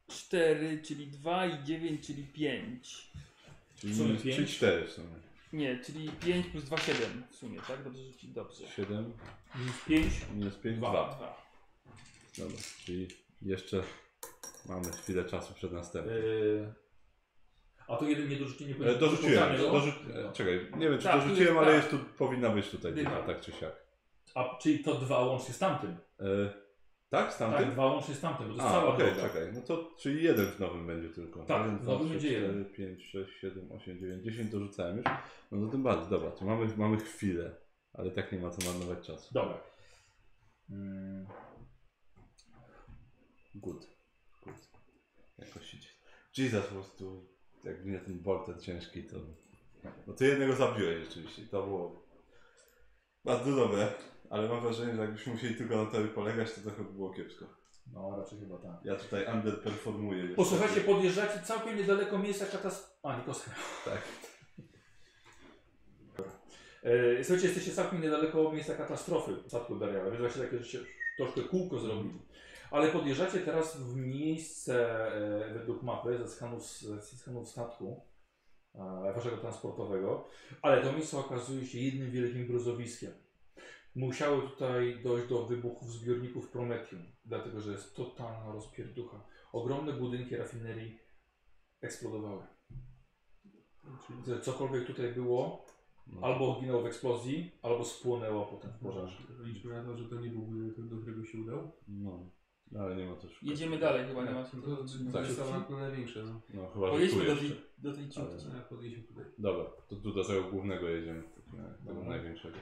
Speaker 3: 4, czyli 2 i 9, czyli 5.
Speaker 2: czyli,
Speaker 1: W sumie
Speaker 2: minus, czyli
Speaker 1: pięć?
Speaker 2: 4 w sumie.
Speaker 3: Nie, czyli 5 plus 2, 7 w sumie, tak? Dobrze rzucić, dobrze.
Speaker 2: 7
Speaker 1: Minus 5.
Speaker 2: minus 5,
Speaker 1: Dwa.
Speaker 2: 2.
Speaker 3: 2.
Speaker 2: Dobra, czyli jeszcze mamy chwilę czasu przed następnym.
Speaker 1: Yy, a to jeden nie dorzuci, nie no?
Speaker 2: E,
Speaker 1: powinien-
Speaker 2: dorzuciłem.
Speaker 1: Rzucamy go?
Speaker 2: Dorzu... e, Czekaj, nie wiem czy
Speaker 3: Tak, tu
Speaker 2: dorzuciłem,
Speaker 3: jest
Speaker 2: ale
Speaker 3: tak.
Speaker 2: jest tu, powinna być tutaj
Speaker 3: Dycha.
Speaker 2: dycha, tak czy siak.
Speaker 1: A czyli to dwa łącznie z tamtym.
Speaker 2: E, tak, z
Speaker 1: Tak,
Speaker 2: tamtym?
Speaker 1: dwa łącznie z tamtym, bo to jest
Speaker 2: A,
Speaker 1: cała
Speaker 2: okej,
Speaker 1: droga.
Speaker 2: czekaj. No to czyli jeden w nowym będzie tylko.
Speaker 1: Tak,
Speaker 2: Jeden,
Speaker 1: w nowym będzie jeden.
Speaker 2: 5, 6, 7, 8, 9, 10 dorzucałem już. No to tym bardziej, dobra, to mamy, mamy chwilę, ale tak nie ma co marnować czasu.
Speaker 1: Dobra. Mm,
Speaker 2: Good. Good. Jakoś idzie. Jesus po prostu, jak mnie ten vortex ciężki, to... No ty jednego zabiłeś rzeczywiście, to było bardzo dobre, ale mam wrażenie, że jakbyśmy musieli tylko na tobie polegać, to trochę by było kiepsko.
Speaker 1: no, raczej chyba tak.
Speaker 2: Ja tutaj underperformuję. niestety.
Speaker 1: Posłuchajcie, podjeżdżacie całkiem niedaleko miejsca katastrofy. A, nie kostka.
Speaker 2: Tak.
Speaker 1: E, Słuchajcie, jesteście całkiem niedaleko miejsca katastrofy statku Dariala, więc właśnie takie, że się troszkę kółko zrobili. Ale podjeżdżacie teraz w miejsce e, według mapy ze skanu, ze skanu statku e, waszego transportowego, ale to miejsce okazuje się jednym wielkim gruzowiskiem. Musiało tutaj dojść do wybuchów zbiorników Prometium, dlatego że jest totalna rozpierducha. Ogromne budynki rafinerii eksplodowały. Czyli Cokolwiek tutaj było, Albo ginęło w eksplozji, albo spłonęło potem w pożarze.
Speaker 5: Liczmy na to, że to nie był budynek, do którego się udał.
Speaker 2: No, ale nie ma to szukać.
Speaker 3: Jedziemy dalej, chyba nie ma
Speaker 5: To,
Speaker 3: sensu.
Speaker 5: to, to
Speaker 2: Tak.
Speaker 5: jest to największe. No.
Speaker 2: No chyba, że tu
Speaker 3: Pojedźmy do
Speaker 2: jeszcze.
Speaker 3: tej, do tej
Speaker 2: Ale-
Speaker 3: ciutki.
Speaker 5: A, Podjedźmy tutaj.
Speaker 2: Dobra, to tu do tego głównego jedziemy. Tego
Speaker 1: Dobra.
Speaker 2: największego.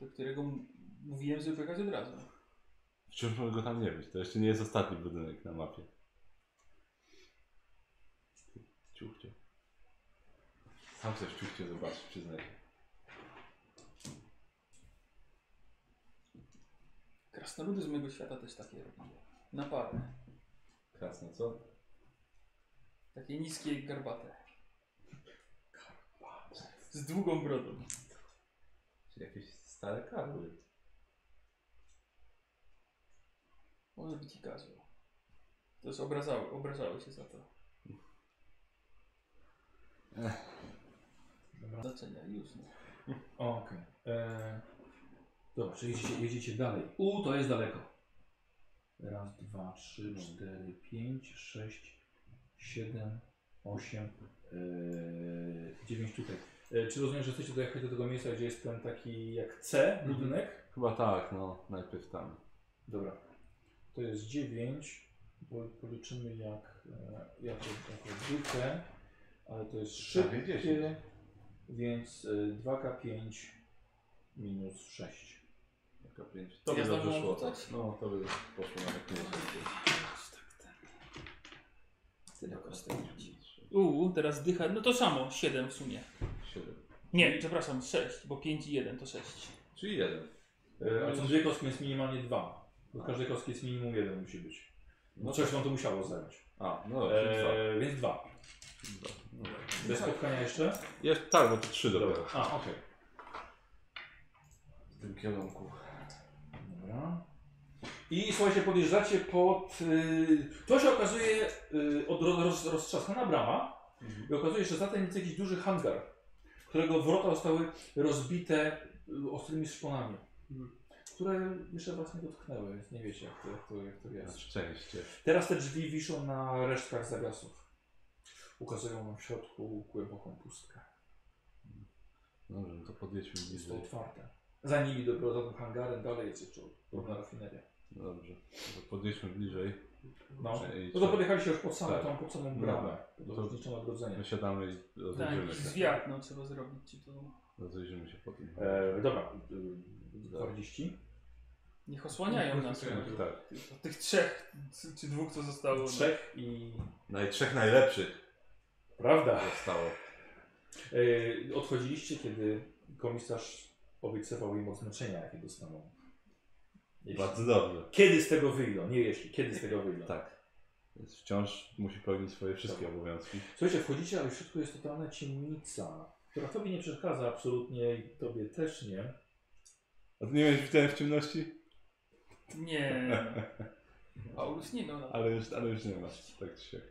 Speaker 3: do którego m- mówiłem, żeby pojechać od razu.
Speaker 2: Wciąż mogę go tam nie być. To jeszcze nie jest ostatni budynek na mapie. Ciuchcie. Sam coś ciuchcie zobaczyć, przyznaję.
Speaker 3: Krasnoludy z mojego świata też takie robiły. Na parę.
Speaker 2: Krasno, co?
Speaker 3: Takie niskie, garbate. Z długą brodą.
Speaker 2: Czyli jakieś stare karły.
Speaker 3: Może być i kazał. To jest obrazały, obrazały się za to.
Speaker 1: Dobra.
Speaker 3: Zaczenia, już. No.
Speaker 1: Okej. E, Dobra, czyli jedziecie, jedziecie dalej. U, to jest daleko. Raz, dwa, trzy, cztery, pięć, sześć, siedem, osiem, e, dziewięć tutaj. E, czy rozumiem, że chcecie dojechać do tego miejsca, gdzie jest ten taki jak C budynek?
Speaker 2: Chyba tak, no. Najpierw tam.
Speaker 1: Dobra. To jest dziewięć, bo policzymy jak, e, jako, jako dwójkę, ale to jest
Speaker 2: Tak,
Speaker 11: Prawie
Speaker 1: szybkie,
Speaker 11: dziesięć.
Speaker 1: więc e, 2K5 minus 6.
Speaker 2: Jako pięć.
Speaker 3: To by dobrze szło, tak?
Speaker 2: No, to by poszło nawet nie
Speaker 3: tak. Tyle kostek Uuu, teraz dycha. No to samo, 7 w sumie.
Speaker 2: Siedem.
Speaker 3: Nie, przepraszam, 6, bo 5 i 1 to 6.
Speaker 2: Czyli jeden.
Speaker 1: E, A są dwie kostki, jest minimalnie dwa. Do każdej kostki jest minimum jeden musi być. No coś wam to musiało zająć.
Speaker 2: A, no dobra, czyli dwa.
Speaker 1: E, więc dwa.
Speaker 2: Dwa. No dobra.
Speaker 1: Bez spotkania jeszcze?
Speaker 2: Jeszcze, tak, bo to trzy dopiero.
Speaker 1: A, okej.
Speaker 11: W tym kierunku.
Speaker 1: Dobra. I słuchajcie, podjeżdżacie pod... Y, to się okazuje y, od, roz, roztrzaskana brama i okazuje się, że za tym jest jakiś duży hangar, którego wrota zostały rozbite y, ostrymi szponami, które jeszcze was nie dotknęły, więc nie wiecie jak to, jak to, jak to
Speaker 2: Na
Speaker 1: jest.
Speaker 2: szczęście.
Speaker 1: Teraz te drzwi wiszą na resztkach zawiasów. Ukazują nam w środku głęboką pustkę.
Speaker 2: Dobrze, no to podjedźmy
Speaker 1: Jest to
Speaker 2: bliżej.
Speaker 1: otwarte. Za nimi dopiero za tym hangarem dalej jest jeszcze drobna rafineria.
Speaker 2: Dobrze. To podjedźmy bliżej.
Speaker 1: No,
Speaker 2: I
Speaker 1: no to
Speaker 2: co?
Speaker 1: podjechaliście już pod samą,
Speaker 2: Tak.
Speaker 1: tam pod samą
Speaker 2: No
Speaker 1: bramę.
Speaker 2: No
Speaker 1: Pod
Speaker 2: to-
Speaker 1: lotniczym odrodzeniem.
Speaker 2: Wysiadamy i
Speaker 3: Tak,
Speaker 2: rozejrzymy
Speaker 3: jakiś
Speaker 2: się.
Speaker 3: zwiat, no trzeba zrobić, czy to...
Speaker 2: Rozejrzymy się po tym.
Speaker 1: E, dobra, y, gwardziści.
Speaker 3: Niech osłaniają nas.
Speaker 2: Tak.
Speaker 3: Od tych trzech, c- czy dwóch, co zostało. no.
Speaker 1: Trzech i...
Speaker 2: No i trzech najlepszych
Speaker 1: Prawda.
Speaker 2: zostało.
Speaker 1: E, odchodziliście, kiedy komisarz obiecywał im odznaczenia, jakie dostaną. Jeśli-
Speaker 2: Bardzo dobrze.
Speaker 1: Kiedy z tego wyjdą, nie jeśli, kiedy z tego wyjdą.
Speaker 2: Tak. Więc wciąż musi pełnić swoje wszystkie obowiązki.
Speaker 1: Słuchajcie, wchodzicie, ale w środku jest totalna ciemnica, która tobie nie przeszkadza absolutnie i tobie też nie.
Speaker 2: A ty nie miałeś widziałem w ciemności?
Speaker 3: Nie. Paulus nie no. miał na
Speaker 2: Ale już, ale już nie masz. Tak czy siak.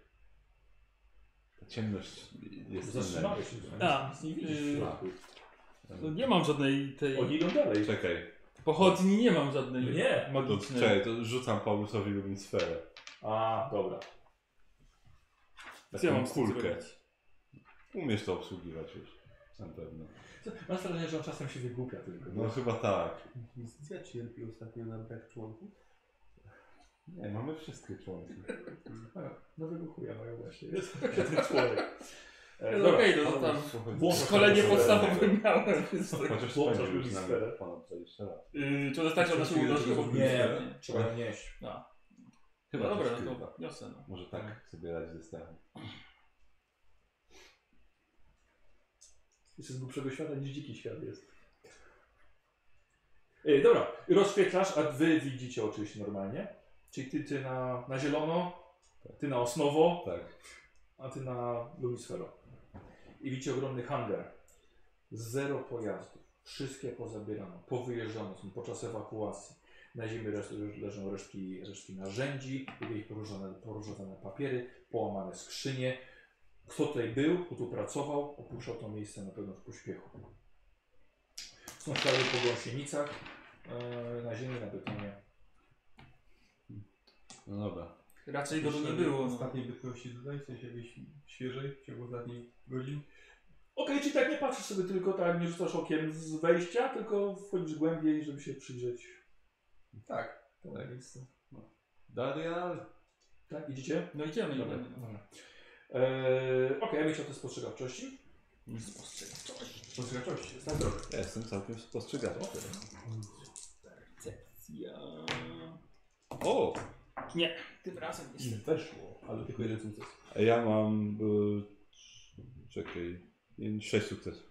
Speaker 2: Ta ciemność jest inna.
Speaker 1: Zatrzymałeś się,
Speaker 3: A,
Speaker 1: nic nie widzisz w
Speaker 3: yy,
Speaker 1: środku.
Speaker 3: No nie mam żadnej tej.
Speaker 1: Oni idą dalej.
Speaker 2: Czekaj,
Speaker 3: Pochodni nie mam żadnej.
Speaker 1: Nie.
Speaker 2: to,
Speaker 3: Magicznej.
Speaker 2: czekaj, to rzucam Paulusowi lubin sferę.
Speaker 1: A, dobra.
Speaker 3: Co ja mam
Speaker 2: Taką
Speaker 3: z tym
Speaker 2: kulkę.
Speaker 3: zrobić?
Speaker 2: Umiesz to obsługiwać już. Na pewno.
Speaker 1: Co- Mam wrażenie, że on czasem się wygłupia tylko.
Speaker 2: No chyba tak.
Speaker 5: Instytucja cierpi ostatnio na brak członków.
Speaker 2: Nie, mamy wszystkie członki.
Speaker 1: No wygłupia mają właśnie. Jest ten człowiek. E,
Speaker 3: No okej, no to tam.
Speaker 1: Włącz-
Speaker 3: Szkolenie
Speaker 1: Włącz-
Speaker 3: podstawowe miałem. więc tak.
Speaker 2: Chociaż
Speaker 1: Włączasz
Speaker 2: spędził już
Speaker 1: lubin
Speaker 2: nawet
Speaker 1: sferę.
Speaker 2: ponad 20 lat.
Speaker 3: Yy, to
Speaker 1: Znaczy,
Speaker 3: Tak. zostać na siłę
Speaker 1: Nie, nie, trzeba ją nieść.
Speaker 3: No
Speaker 2: coś
Speaker 3: dobra, no
Speaker 2: skrywa.
Speaker 3: to niosę. No.
Speaker 2: Może tak sobie radzi ze Stachem.
Speaker 1: Jest z głupszego świata niż dziki świat jest. E, dobra, rozświetlasz, a wy widzicie oczywiście normalnie. Czyli ty, ty na, na zielono, ty na osnowo,
Speaker 2: Tak.
Speaker 1: a ty na lumisfero. I widzicie ogromny hangar. Zero pojazdów. Wszystkie pozabierano, powyjeżdżano są podczas ewakuacji. Na ziemi reszt, leżą resztki, resztki narzędzi, jakieś porozrzucane, porozrzucane papiery, połamane skrzynie. Kto tutaj był, kto tu pracował, opuszczał to miejsce na pewno w pośpiechu. Są ślady po gąsienicach, e, na ziemi, na betonie.
Speaker 2: No dobra.
Speaker 3: Raczej go tu nie było. No.
Speaker 5: Ostatniej bytności tutaj, w sensie jakiejś świeżej, w ciągu ostatnich godzin.
Speaker 1: Okej, czyli tak nie patrzysz sobie tylko tak, nie rzucasz okiem z wejścia, tylko wchodzisz głębiej, żeby się przyjrzeć.
Speaker 5: Tak.
Speaker 1: temu
Speaker 2: Tak.
Speaker 1: miejscu.
Speaker 2: Darial?
Speaker 1: Tak, idziecie?
Speaker 3: No idziemy,
Speaker 1: Dobra.
Speaker 3: idziemy.
Speaker 1: Dobra. Eee, Okej, ja bym chciał te spostrzegawczości. Spostrzegawczości, tak. jest na zdrowie.
Speaker 2: Ja jestem całkiem spostrzegawczy.
Speaker 3: Ja...
Speaker 2: O!
Speaker 3: Nie, tym razem niestety.
Speaker 5: Weszło, ale tylko jeden sukces.
Speaker 2: A ja mam... Y, czekaj... 6 sukcesów.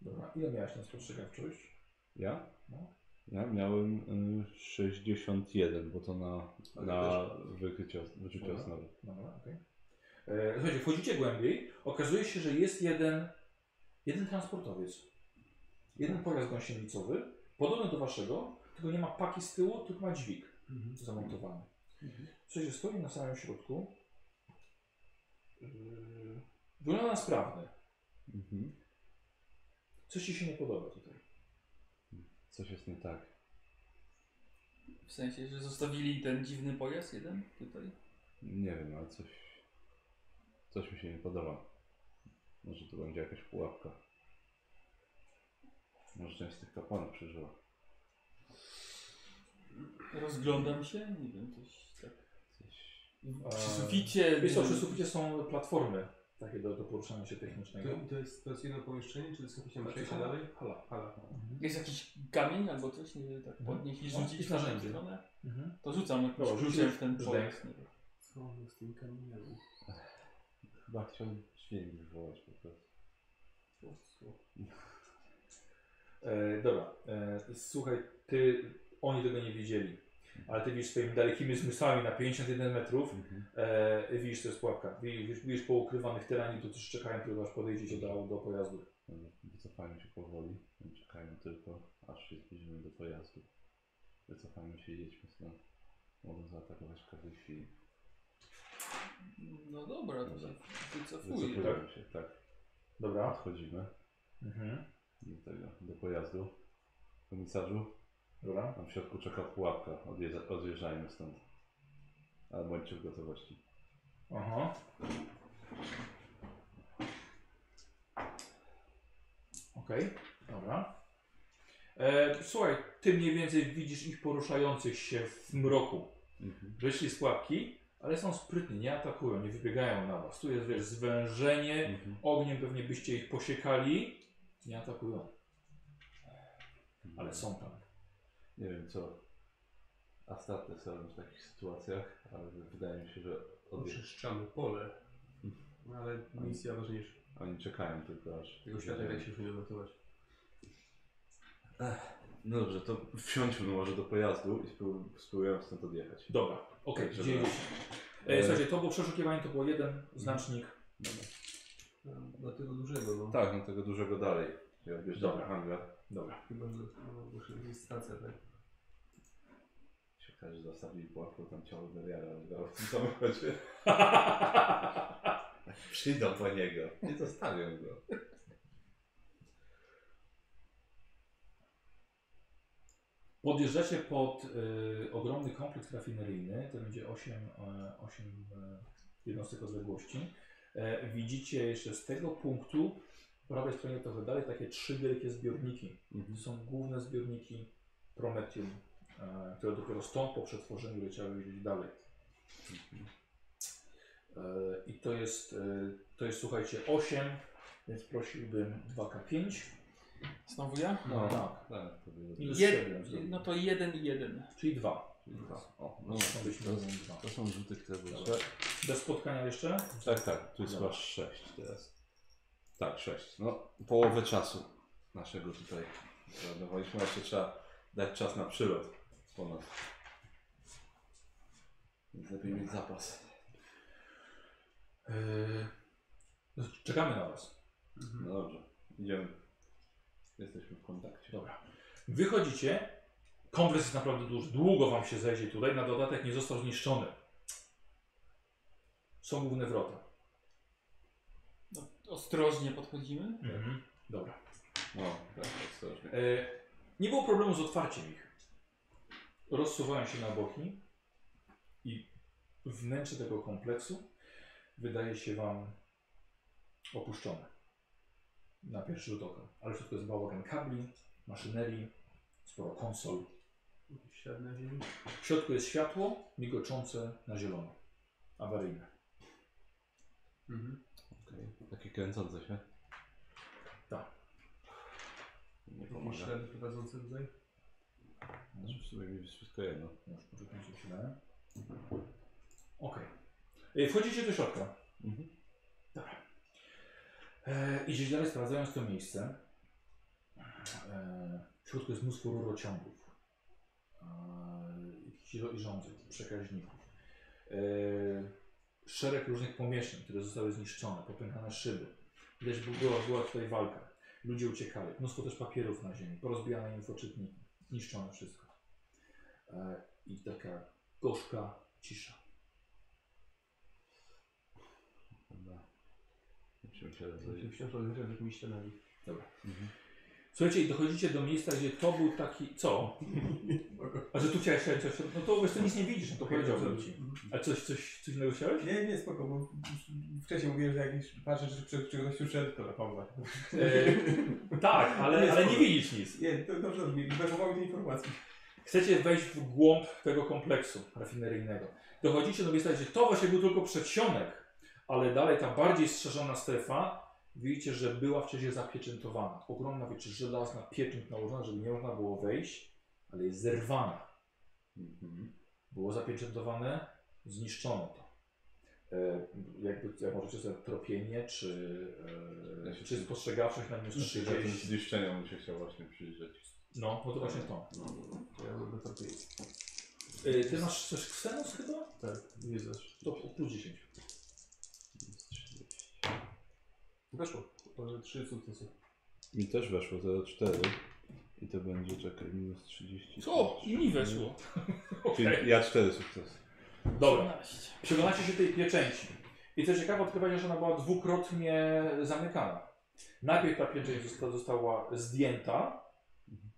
Speaker 1: Dobra, ile miałeś na spostrzegawczość?
Speaker 2: Ja?
Speaker 1: No.
Speaker 2: Ja miałem y, 61, bo to na,
Speaker 5: Ale
Speaker 2: na wykrycie, os- wyczucie
Speaker 1: Dobra.
Speaker 2: osnowy.
Speaker 1: Dobra, okej. Eee, Słuchajcie, wchodzicie głębiej, okazuje się, że jest jeden, jeden transportowiec. Jeden pojazd gąsienicowy, podobny do waszego, tylko nie ma paki z tyłu, tylko ma dźwig
Speaker 5: Mhm.
Speaker 1: zamontowany. Słuchajcie, stoi na samym środku. Yy, Wygląda na sprawny.
Speaker 2: Mhm.
Speaker 1: Coś ci się nie podoba tutaj.
Speaker 2: Coś jest nie tak.
Speaker 3: W sensie, że zostawili ten dziwny pojazd jeden tutaj.
Speaker 2: Nie wiem, ale coś... Coś mi się nie podoba. Może to będzie jakaś pułapka. Może część z tych kapłanów przeżyła.
Speaker 3: Rozglądam się, nie wiem, coś tak.
Speaker 2: Coś...
Speaker 3: Przy suficie.
Speaker 1: Wiesz co,
Speaker 3: nie
Speaker 1: przy
Speaker 3: wiem.
Speaker 1: suficie są platformy takie do, do poruszania się technicznego.
Speaker 5: To, to, jest, to jest jedno pomieszczenie, czy to jest jakieś tam
Speaker 1: Znaczy,
Speaker 5: przejście dalej?
Speaker 1: Hala.
Speaker 5: Hala.
Speaker 3: Jest jakiś kamień albo coś, nie wiem, tak
Speaker 1: Mhm.
Speaker 3: podnieść i
Speaker 1: No,
Speaker 3: rzucić
Speaker 1: i narzędzie.
Speaker 3: w tą stronę?
Speaker 1: Mhm.
Speaker 3: To rzucam jak
Speaker 1: Dobra,
Speaker 3: rzuciłem
Speaker 1: rzuciłeś
Speaker 3: w ten
Speaker 1: brzdęk.
Speaker 3: pojazd. Nie wiem.
Speaker 6: Co on z tym kamieniem?
Speaker 2: Chyba chciałem dźwięk wywołać po prostu.
Speaker 1: E, dobra, e, słuchaj, ty, oni tego nie widzieli, ale ty widzisz swoimi dalekimi zmysłami na 51 metrów,
Speaker 2: Mhm.
Speaker 1: e, widzisz, to jest pułapka. Widzisz, widzisz po ukrywanych terenie, to też czekają, tylko aż podejdziecie do, do pojazdu.
Speaker 2: Dobra, Wycofajmy się powoli. Czekajmy tylko, aż się zbliżymy do pojazdu. Wycofajmy się i jedźmy stąd. Mogą zaatakować w każdej chwili.
Speaker 3: No dobra, to się
Speaker 2: Dobra.
Speaker 3: wycofuję.
Speaker 2: Wycofujemy się, tak.
Speaker 1: Dobra.
Speaker 2: Odchodzimy
Speaker 1: Mhm.
Speaker 2: do tego, do pojazdu. Komisarzu,
Speaker 1: Dobra.
Speaker 2: tam w środku czeka pułapka. Odjeżdża, odjeżdżajmy stąd. Ale bądźcie w gotowości.
Speaker 1: Aha. Okej, dobra. E, słuchaj, ty mniej więcej widzisz ich poruszających się w mroku.
Speaker 2: Mhm,
Speaker 1: Wyszli z pułapki, ale są sprytni, nie atakują, nie wybiegają na was. Tu jest wiesz, zwężenie,
Speaker 2: Mhm.
Speaker 1: ogniem pewnie byście ich posiekali. Nie atakują, ale są tam.
Speaker 2: Nie wiem co Astates robią w takich sytuacjach, ale wydaje mi się, że odjeżdżają.
Speaker 6: Oczyszczamy pole. No, ale misja ważniejsza.
Speaker 2: Oni czekają tylko aż.
Speaker 6: Tego świata jak się już nie uratować.
Speaker 2: No dobrze, to wsiądźmy może do pojazdu i spró- spróbujemy stąd odjechać.
Speaker 1: Dobra, okej,
Speaker 2: Także
Speaker 1: gdzie
Speaker 2: dobra.
Speaker 1: jedziecie? E, słuchajcie, to było przeszukiwanie, to było jeden znacznik.
Speaker 5: No, Dla tego dużego, no.
Speaker 2: Tak, no tego dużego dalej. Ja odjeżdżam
Speaker 1: Dobra.
Speaker 2: na hangar.
Speaker 1: Dobra.
Speaker 5: Chyba, że no, bo to jest stacja, tak?
Speaker 2: Się okaże, że zostawili pułapkę tam ciało Dariala oddało w tym samochodzie. Przyjdą po niego. Nie zostawią go.
Speaker 1: Podjeżdżacie pod y, ogromny kompleks rafineryjny, to będzie 8, e, 8 e, jednostek odległości. E, widzicie jeszcze z tego punktu, po prawej stronie trochę dalej, takie trzy wielkie zbiorniki. To są główne zbiorniki Prometium, e, które dopiero stąd po przetworzeniu leciały gdzieś dalej. E, I to jest, e, to jest słuchajcie 8, więc prosiłbym 2K5.
Speaker 3: Znowu ja?
Speaker 2: No.
Speaker 1: Tak.
Speaker 2: Tak, to było.
Speaker 1: Minus
Speaker 3: Jed-
Speaker 1: 7 zrobię.
Speaker 3: No to jeden i jeden.
Speaker 1: Czyli 2.
Speaker 2: O, no,
Speaker 1: Są być
Speaker 2: to,
Speaker 1: może dwa.
Speaker 2: to są rzuty, które były.
Speaker 1: Dobra. Bez spotkania jeszcze?
Speaker 2: Tak, tak, tu jest
Speaker 1: Dobra.
Speaker 2: chyba 6 teraz. Tak, 6. No, połowę czasu naszego tutaj planowaliśmy, jeszcze trzeba dać czas na przylot ponad. Więc lepiej mieć zapas.
Speaker 1: Yy, no, czekamy na Was.
Speaker 2: No dobrze, idziemy. Jesteśmy w kontakcie.
Speaker 1: Dobra. Wychodzicie. Kompleks jest naprawdę duży. Długo Wam się zejdzie tutaj. Na dodatek nie został zniszczony. Są główne wrota.
Speaker 3: No, ostrożnie podchodzimy.
Speaker 1: Mhm. Dobra.
Speaker 2: No, tak, ostrożnie.
Speaker 1: E, nie było problemu z otwarciem ich. Rozsuwają się na boki i wnętrze tego kompleksu wydaje się wam opuszczone. Na pierwszy rzut oka. Ale wszystko jest bałagan kabli, maszynerii, sporo konsol.
Speaker 6: Siadnę ziemi.
Speaker 1: W środku jest światło migoczące na zielono. Awaryjne.
Speaker 6: Mhm.
Speaker 2: Takie kręcące się.
Speaker 1: Tak.
Speaker 2: Nie
Speaker 6: Jakieś
Speaker 2: pomaga.
Speaker 6: ślady prowadzące tutaj?
Speaker 2: W sumie mi jest wszystko jedno.
Speaker 1: Już poczekam się chwilę. Okej. E, Wchodzicie do środka.
Speaker 2: Mhm.
Speaker 1: Dobra. E, idziecie dalej sprawdzając to miejsce. E, w środku jest mnóstwo rurociągów. E, jakichś ro- rządzeń, przekaźników. E, szereg różnych pomieszczeń, które zostały zniszczone, popękane szyby. Widać by- była, była tutaj walka. Ludzie uciekali. Mnóstwo też papierów na ziemi, porozbijane infoczytniki, zniszczone wszystko. E, I taka gorzka cisza.
Speaker 2: Dobra. Musimy się
Speaker 5: Się
Speaker 2: rozejrzeć.
Speaker 5: wciąż odrywa jakimiś ścianami.
Speaker 1: Słuchajcie, i dochodzicie do miejsca, gdzie to był taki. Co? A że tu chciałeś chciałeś coś. No to wiesz, to nic nie widzisz, no to powiedziałbym ci. A coś, coś, coś innego chciałeś?
Speaker 5: Mhm. Nie, nie, spoko, bo wcześniej mówiłem, że jakieś patrzę, czy przed czegoś uszedł, to Rafał
Speaker 1: E, tak, ale,
Speaker 5: Nie,
Speaker 1: ale nie
Speaker 5: spoko.
Speaker 1: widzisz nic.
Speaker 5: Nie, to dobrze brzmi, brakowało tej informacji.
Speaker 1: Chcecie wejść w głąb tego kompleksu rafineryjnego. Dochodzicie do miejsca, gdzie to właśnie był tylko przedsionek, ale dalej ta bardziej strzeżona strefa. Widzicie, że była wcześniej zapieczętowana. Ogromna, wiecie, żelazna pieczęć nałożona, żeby nie można było wejść, ale jest zerwana.
Speaker 2: Mhm.
Speaker 1: było zapieczętowane, zniszczono to. E, jakby, jak możecie sobie tropienie, czy,
Speaker 2: Ja
Speaker 1: e,
Speaker 2: się
Speaker 1: czy spostrzegawczość na minus
Speaker 2: Czy jakieś
Speaker 1: 30.
Speaker 2: zniszczenia mu się chciał właśnie przyjrzeć.
Speaker 1: No, no to właśnie to.
Speaker 5: Ja mam to lepiej.
Speaker 1: E, ty masz coś ksenos chyba?
Speaker 5: Tak, nie znasz.
Speaker 1: To plus 10.
Speaker 5: Weszło. To Trzy sukcesy.
Speaker 2: Mi też weszło 0,4. I to będzie, czekaj, minus 30.
Speaker 3: Co? I mi weszło.
Speaker 2: Czyli ja 4 sukcesy.
Speaker 1: Dobra.
Speaker 3: 12.
Speaker 1: Przeglądacie się tej pieczęci. I co ciekawe, odkrywacie, że ona była dwukrotnie zamykana. Najpierw ta pieczęć została, została zdjęta,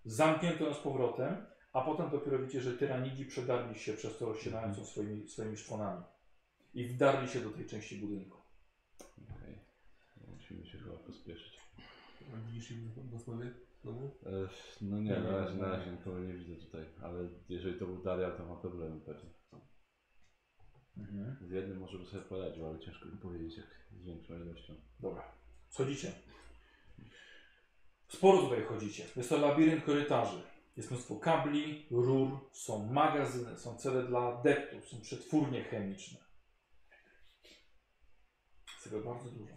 Speaker 1: zamknięto ją z powrotem, a potem dopiero widzicie, że tyranidzi przedarli się przez to rozcinając ją swoimi, swoimi szponami. I wdarli się do tej części budynku.
Speaker 2: Okej. Musimy się chyba pospieszyć.
Speaker 6: A widzisz ich w Bosmanie? Znowu?
Speaker 2: E, No nie, na razie, na razie nikogo nie widzę tutaj. Ale jeżeli to był Daria, to ma problemy pewnie. Z jednym może by sobie poradził, ale ciężko mi powiedzieć jak z większą ilością.
Speaker 1: Dobra. Schodzicie. Sporo tutaj chodzicie. Jest to labirynt korytarzy. Jest mnóstwo kabli, rur, są magazyny, są cele dla adeptów, są przetwórnie chemiczne. Jest tego bardzo dużo.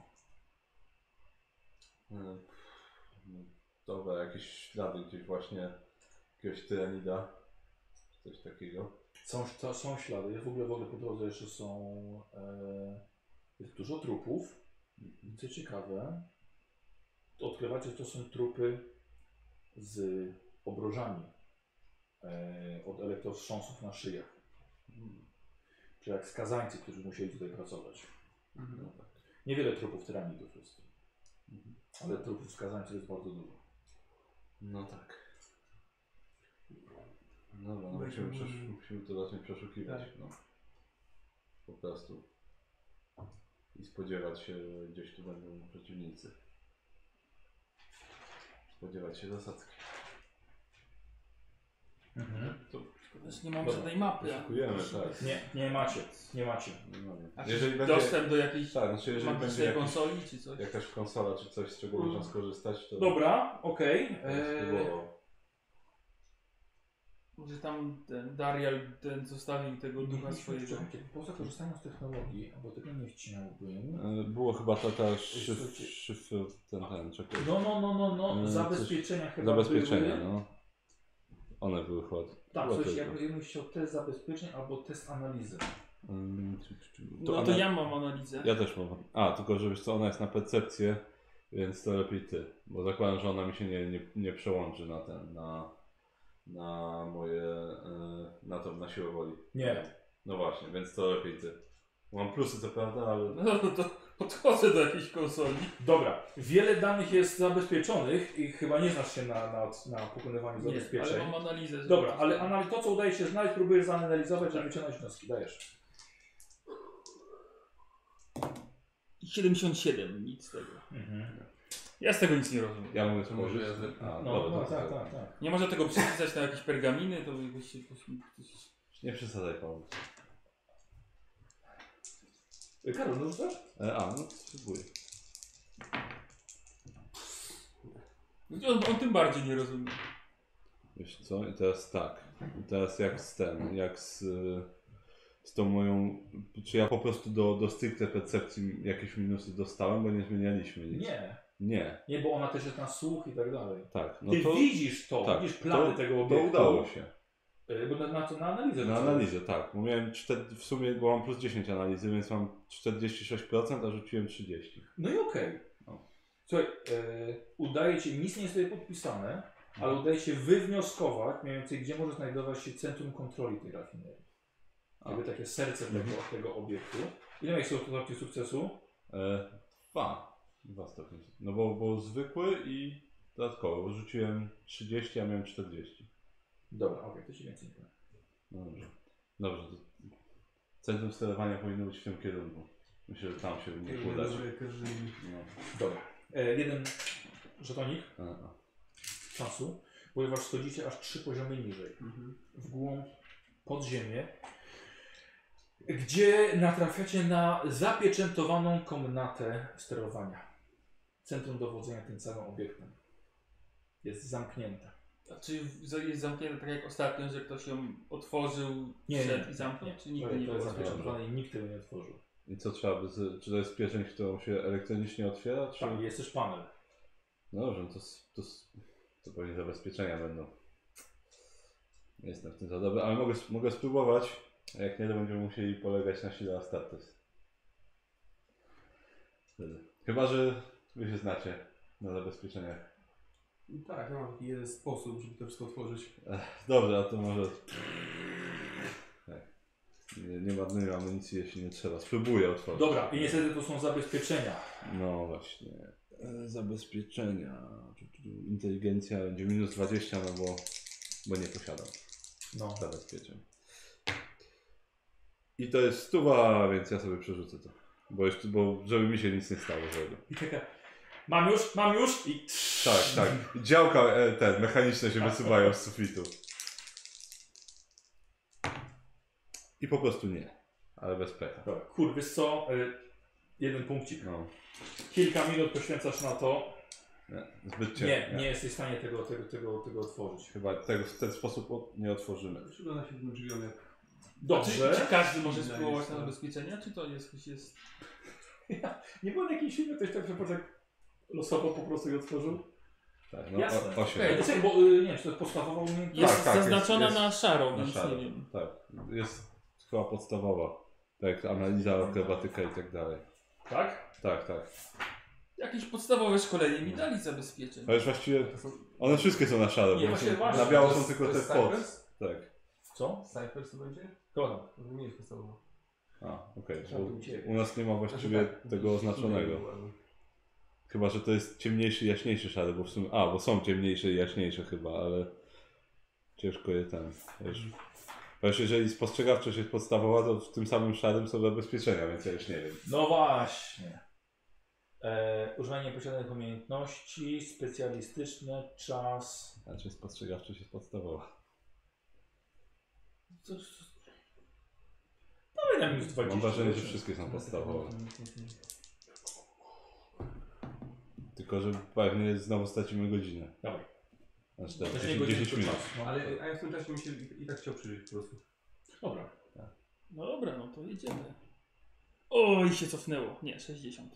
Speaker 2: No, no, Dobra, jakieś ślady gdzieś właśnie jakiegoś tyranida, czy coś takiego.
Speaker 1: Są, to, są ślady. W ogóle, w ogóle po drodze jeszcze są... E, jest dużo trupów. I Co ciekawe, odkrywacie, że to są trupy z obrożami e, od elektrostrząsów na szyjach. Czy jak skazańcy, którzy musieli tutaj pracować.
Speaker 5: Mhm.
Speaker 2: No tak.
Speaker 1: Niewiele trupów tyranidów jest. Ale trupów skazańców jest bardzo dużo.
Speaker 2: No tak. Dobra, no
Speaker 5: Weźmy-
Speaker 2: musimy, przesz- musimy to zacząć przeszukiwać, no. Po prostu. I spodziewać się, że gdzieś tu będą przeciwnicy. Spodziewać się zasadzki. To
Speaker 3: Też nie mam
Speaker 1: Dobra.
Speaker 3: żadnej mapy. a-
Speaker 2: szukujemy, tak.
Speaker 1: Nie, nie macie. Nie macie.
Speaker 2: Nie mamy.
Speaker 3: A
Speaker 2: No, Jeżeli będzie,
Speaker 3: Dostęp do jakiejś
Speaker 2: tak, znaczy jeżeli będzie
Speaker 3: magicznej
Speaker 2: jakiś,
Speaker 3: konsoli czy coś?
Speaker 2: jakaś konsola czy coś, z czego można skorzystać, to...
Speaker 1: Mm. Dobra, okej.
Speaker 2: to
Speaker 1: e,
Speaker 2: spróbował.
Speaker 3: Może tam ten Darial ten zostawił tego
Speaker 1: Mhm.
Speaker 3: ducha swojego.
Speaker 1: Poza korzystaniem z technologii, bo tego nie wcinałbym.
Speaker 2: E, Było chyba ta, ta szyf,
Speaker 1: Słuchajcie.
Speaker 2: szyf, ten, ten, czekaj.
Speaker 1: No, no, no, no, no.
Speaker 2: Mm, coś-
Speaker 1: zabezpieczenia chyba
Speaker 2: Zabezpieczenia,
Speaker 1: były.
Speaker 2: no. One były chyba.
Speaker 1: Tak,
Speaker 2: chyba
Speaker 1: coś
Speaker 2: tylko.
Speaker 1: jakby bym chciał test zabezpieczeń albo test analizy.
Speaker 2: Mm, czy- czy- czy-
Speaker 3: No to
Speaker 2: ona-
Speaker 3: ja mam analizę.
Speaker 2: Ja też mam. A, tylko że wiesz co, ona jest na percepcję, więc to lepiej ty. Bo zakładam, że ona mi się nie, nie, nie przełączy na ten, na, na moje, e, na to, na siłę woli.
Speaker 1: Nie.
Speaker 2: No właśnie, więc to lepiej ty. Mam plusy co prawda, ale...
Speaker 3: No to podchodzę do jakiejś konsoli.
Speaker 1: Dobra, wiele danych jest zabezpieczonych i chyba nie znasz się na, na, na pokonywaniu
Speaker 3: Nie, ale
Speaker 1: zabezpieczeń.
Speaker 3: mam analizę. że-
Speaker 1: Dobra, ale anal- to co udaje się znaleźć, próbujesz zanalizować, żeby wyciągnąć wnioski. Dajesz.
Speaker 3: 77, nic z tego. Ja z tego nic nie rozumiem.
Speaker 2: Ja mogę
Speaker 6: To może ja
Speaker 2: spojrzeć.
Speaker 6: zepnę.
Speaker 2: A,
Speaker 1: Mhm. No,
Speaker 2: dobra,
Speaker 1: no
Speaker 2: to-
Speaker 1: tak, tak, tak.
Speaker 3: Nie można tego przepisać na jakieś pergaminy, to jakoś się...
Speaker 2: Nie przesadzaj pan.
Speaker 1: Y, Karol, no rzucasz?
Speaker 2: E, a, no spróbuję.
Speaker 3: No, On, on tym bardziej nie rozumie.
Speaker 2: Wiesz co? I teraz tak. I teraz jak z ten, jak z, y, z tą moją... Czy ja po prostu do, do stricte percepcji jakieś minusy dostałem, bo nie zmienialiśmy nic?
Speaker 1: Nie.
Speaker 2: Nie,
Speaker 1: Nie, bo ona też jest na słuch i tak dalej.
Speaker 2: tak. No
Speaker 1: Ty
Speaker 2: to,
Speaker 1: widzisz to,
Speaker 2: tak,
Speaker 1: widzisz plany
Speaker 2: to-
Speaker 1: tego
Speaker 2: to
Speaker 1: obiektu.
Speaker 2: udało się.
Speaker 1: Y, Bo na, na, co- na analizę.
Speaker 2: Na
Speaker 1: rzucałeś.
Speaker 2: analizę, tak. Bo miałem czter, w sumie, bo mam plus 10 analizy, więc mam 46%, a rzuciłem 30.
Speaker 1: No i okej. Słuchaj, e, udaje ci, nic nie jest tutaj podpisane, ale
Speaker 2: No.
Speaker 1: udaje się wywnioskować mniej więcej, gdzie może znajdować się centrum kontroli tej rafinerii. Jakby takie serce
Speaker 2: Mhm.
Speaker 1: tego, tego obiektu. Ile miałeś sobie stopni sukcesu?
Speaker 2: E, dwa. Dwa stopnie. No bo, bo zwykły i dodatkowy, bo rzuciłem 30, a miałem 40.
Speaker 1: Dobra, okej, to ci więcej nie powiem.
Speaker 2: No Dobrze. Dobrze. To centrum sterowania powinno być w tym kierunku. Myślę, że tam się nie uda. No.
Speaker 1: Dobra. E, jeden żetonik
Speaker 2: A, a.
Speaker 1: czasu, ponieważ schodzicie aż trzy poziomy niżej.
Speaker 5: Mhm.
Speaker 1: w głąb podziemie, gdzie natrafiacie na zapieczętowaną komnatę sterowania. Centrum dowodzenia tym samym obiektem. Jest zamknięte.
Speaker 3: A czy w- jest zamknięte tak jak ostatnio, że ktoś ją otworzył,
Speaker 1: Nie,
Speaker 3: wszedł
Speaker 1: nie,
Speaker 3: i zamknął? Czy nigdy
Speaker 1: To-
Speaker 3: nie
Speaker 1: to
Speaker 3: było
Speaker 1: jest
Speaker 3: zamknięte?
Speaker 1: zapieczętowane i nikt tego nie otworzył.
Speaker 2: I co trzeba by... z- Czy to jest pieczęć, którą się elektronicznie otwiera?
Speaker 3: Tak.
Speaker 2: Czy...
Speaker 1: Tam jest też panel.
Speaker 2: No dobrze, no to, s- to, s- to pewnie zabezpieczenia będą. Nie jestem w tym za dobry, ale mogę, s- mogę spróbować. A jak nie, to będziemy musieli polegać na sile Astartes. Wtedy. Chyba, że wy się znacie na zabezpieczeniach.
Speaker 6: Tak,
Speaker 5: no,
Speaker 6: ja mam taki jeden sposób, żeby to wszystko otworzyć.
Speaker 2: Dobrze, a to może... Tak. Nie, nie marnuję amunicji, jeśli nie trzeba. Spróbuję otworzyć.
Speaker 1: Dobra, i niestety to są zabezpieczenia.
Speaker 2: No właśnie. E, Zabezpieczenia. Tu, tu, tu. Inteligencja będzie minus 20, no bo, bo nie posiadam.
Speaker 1: No.
Speaker 3: Tak.
Speaker 2: zabezpieczeń. I to jest stuwa, więc ja sobie przerzucę to. Bo, jeszcze, bo żeby mi się nic nie stało złego.
Speaker 1: I taka, mam już, mam już i
Speaker 2: Tak, tak. Działka e, ten, mechaniczne się wysuwają z sufitu. I po prostu nie. Ale bez pecha.
Speaker 1: Dobra, kur, wiesz co, y, jeden punkcik.
Speaker 2: No.
Speaker 1: Kilka minut poświęcasz na to.
Speaker 2: Nie, zbyt
Speaker 1: Nie,
Speaker 2: ciężko.
Speaker 1: nie, jesteś w stanie tego, tego, tego, tego otworzyć.
Speaker 2: Chyba tego w ten sposób o- nie otworzymy.
Speaker 6: Przygląda się tym drzwiom jak...
Speaker 3: Czy, czy
Speaker 1: Dobrze.
Speaker 3: każdy może
Speaker 6: Inna
Speaker 3: spróbować
Speaker 6: jest,
Speaker 3: na
Speaker 6: tak.
Speaker 3: zabezpieczenia, czy to jest, ktoś jest...
Speaker 1: Nie było na jakimś filmie ktoś tak, że po- tak losowo po prostu je otworzył?
Speaker 2: Tak, no
Speaker 1: Jasne.
Speaker 2: o, osiem.
Speaker 1: Ej, to jest, bo y, nie wiem, czy to jest podstawowa umiejętność.
Speaker 3: Jest
Speaker 2: tak, jest-
Speaker 3: zaznaczona
Speaker 2: jest
Speaker 3: na szaro,
Speaker 2: Na
Speaker 3: więc
Speaker 2: szaro.
Speaker 3: nie wiem.
Speaker 2: Tak, jest chyba podstawowa. Tak, analiza akrobatyka i tak dalej.
Speaker 1: Tak?
Speaker 2: Tak, tak.
Speaker 3: Jakieś podstawowe szkolenie mi dali zabezpieczeń.
Speaker 2: Ale już właściwie one wszystkie są na szaro,
Speaker 1: Nie,
Speaker 2: bo
Speaker 1: właśnie,
Speaker 2: są-
Speaker 1: właśnie.
Speaker 2: na biało
Speaker 5: To
Speaker 2: są
Speaker 5: jest-
Speaker 2: tylko
Speaker 5: to
Speaker 2: te
Speaker 5: jest
Speaker 2: pod.
Speaker 5: Cypress?
Speaker 2: Tak.
Speaker 1: Co?
Speaker 5: Cyphers to będzie?
Speaker 1: Kocham.
Speaker 5: Może nie jest podstawowo.
Speaker 2: A, okej.
Speaker 1: Trzeba
Speaker 2: bo
Speaker 1: tu Znaczy, uciekać.
Speaker 2: U nas nie ma właściwie
Speaker 5: Tak.
Speaker 1: tak,
Speaker 2: tego oznaczonego.
Speaker 5: No.
Speaker 2: Chyba, że to jest ciemniejszy, jaśniejszy szary, bo w sumie... A, bo są ciemniejsze i jaśniejsze chyba, ale ciężko je ten, wiesz. Wiesz, jeżeli spostrzegawczość jest podstawowa, to w tym samym szarym są zabezpieczenia, więc ja już nie wiem.
Speaker 1: No właśnie. E, używanie posiadanych umiejętności, specjalistyczne, czas.
Speaker 2: Znaczy spostrzegawczość jest podstawowa.
Speaker 1: Co- co- co- Pamiętam No, już 20.
Speaker 2: Mam wrażenie, że wszystkie są podstawowe. Tylko, że pewnie znowu stracimy godzinę.
Speaker 1: Dobra.
Speaker 2: Znaczy,
Speaker 1: To
Speaker 2: tak,
Speaker 1: jest
Speaker 2: 10, 10 minut.
Speaker 1: Ale...
Speaker 5: Ale a ja w tym czasie mi się i tak chciał przeżyć po prostu.
Speaker 1: Dobra.
Speaker 3: No dobra, no to jedziemy. O, i się cofnęło. Nie, 60.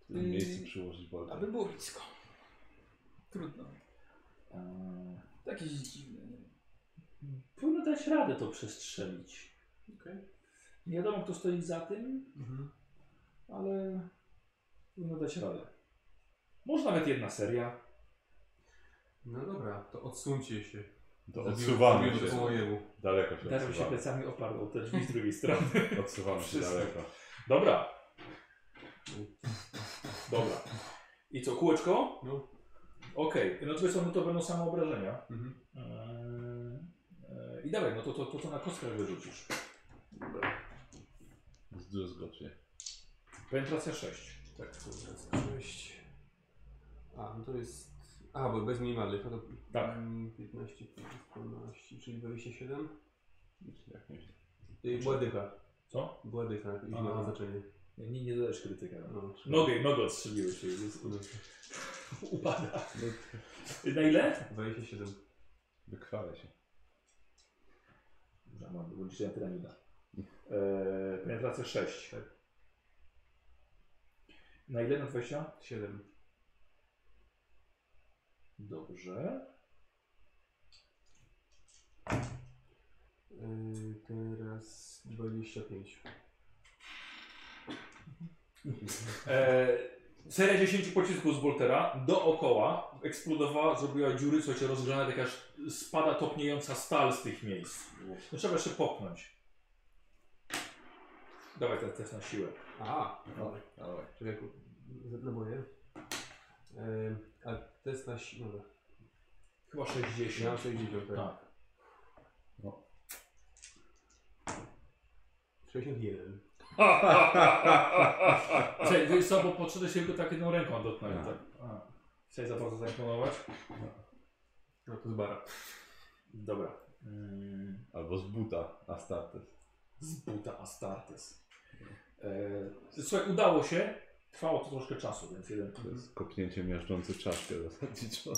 Speaker 2: W tym miejscu przyłożyć bolę.
Speaker 3: Aby było blisko. Trudno.
Speaker 1: Eee,
Speaker 3: Jakieś dziwne. nie wiem.
Speaker 1: powinno dać radę to przestrzelić.
Speaker 6: Okej.
Speaker 1: Nie wiadomo, kto stoi za tym,
Speaker 5: Mhm.
Speaker 1: ale powinno dać radę. Może nawet jedna seria.
Speaker 6: No dobra, to odsuńcie się.
Speaker 2: To
Speaker 6: Zrobiłem-
Speaker 2: odsuwamy
Speaker 6: zrobiłem to po
Speaker 2: się.
Speaker 6: mojemu.
Speaker 2: Daleko się
Speaker 1: Darem się
Speaker 2: odsuwamy.
Speaker 1: plecami oparł o te drzwi z drugiej strony.
Speaker 2: Odsuwamy się
Speaker 1: Wszystko.
Speaker 2: daleko.
Speaker 1: Dobra. Dobra. I co, kółeczko?
Speaker 6: No.
Speaker 1: Okej, no to są no to będą same obrażenia.
Speaker 6: Mhm.
Speaker 1: Eee, eee, I dawaj, no to, to, to, co na kostkę wyrzucisz.
Speaker 2: Zdruzgot się.
Speaker 1: Penetracja 6.
Speaker 5: Tak, to jest 6. A, no to jest... A, bo bez minimalnych, no to...
Speaker 1: Tak.
Speaker 5: mm, 15, 12, czyli 27.
Speaker 2: Jak nie wiem.
Speaker 5: Yy, Była dycha.
Speaker 1: Co?
Speaker 5: Była dycha, jeśli ma
Speaker 1: Aha.
Speaker 5: to znaczenie.
Speaker 12: Nie, nie dajesz krytyka. No.
Speaker 5: No.
Speaker 1: Nogę, nogę odstrzeliłeś. się, więc Upada.
Speaker 12: No.
Speaker 1: Na ile?
Speaker 5: 27.
Speaker 2: Wykrwawia się.
Speaker 12: Dobra, mam wyłączenia tyranida.
Speaker 1: E,
Speaker 12: Eee, penetracja 6. Na ile na 20?
Speaker 5: 7.
Speaker 12: Dobrze.
Speaker 5: Yy, teraz 25.
Speaker 1: Eee, seria 10 pocisków z Boltera dookoła eksplodowała, zrobiła dziury, co się rozgrzana, taka sz- spada topniejąca stal z tych miejsc. No, trzeba jeszcze popchnąć. Dawaj ten test na siłę.
Speaker 5: A,
Speaker 2: No, dawaj.
Speaker 5: czekaj, ku- na moje. Yy, a test na siłę.
Speaker 1: Chyba
Speaker 5: Ja mam
Speaker 1: 60.
Speaker 5: 60, tak.
Speaker 1: Tak.
Speaker 2: No.
Speaker 5: 61.
Speaker 1: Cześć, wiesz co, bo podszedłeś się tylko tak jedną ręką dotknąłem.
Speaker 2: A.
Speaker 1: Tak. A. Chciałeś za bardzo zaimponować?
Speaker 5: No to z bara.
Speaker 1: Dobra. Mm,
Speaker 2: Albo z buta Astartes.
Speaker 1: Z buta Astartes. E, słuchaj, udało się. Trwało to troszkę czasu, więc jeden.
Speaker 2: To jest kopnięcie miażdżące czaszkę zasadniczo.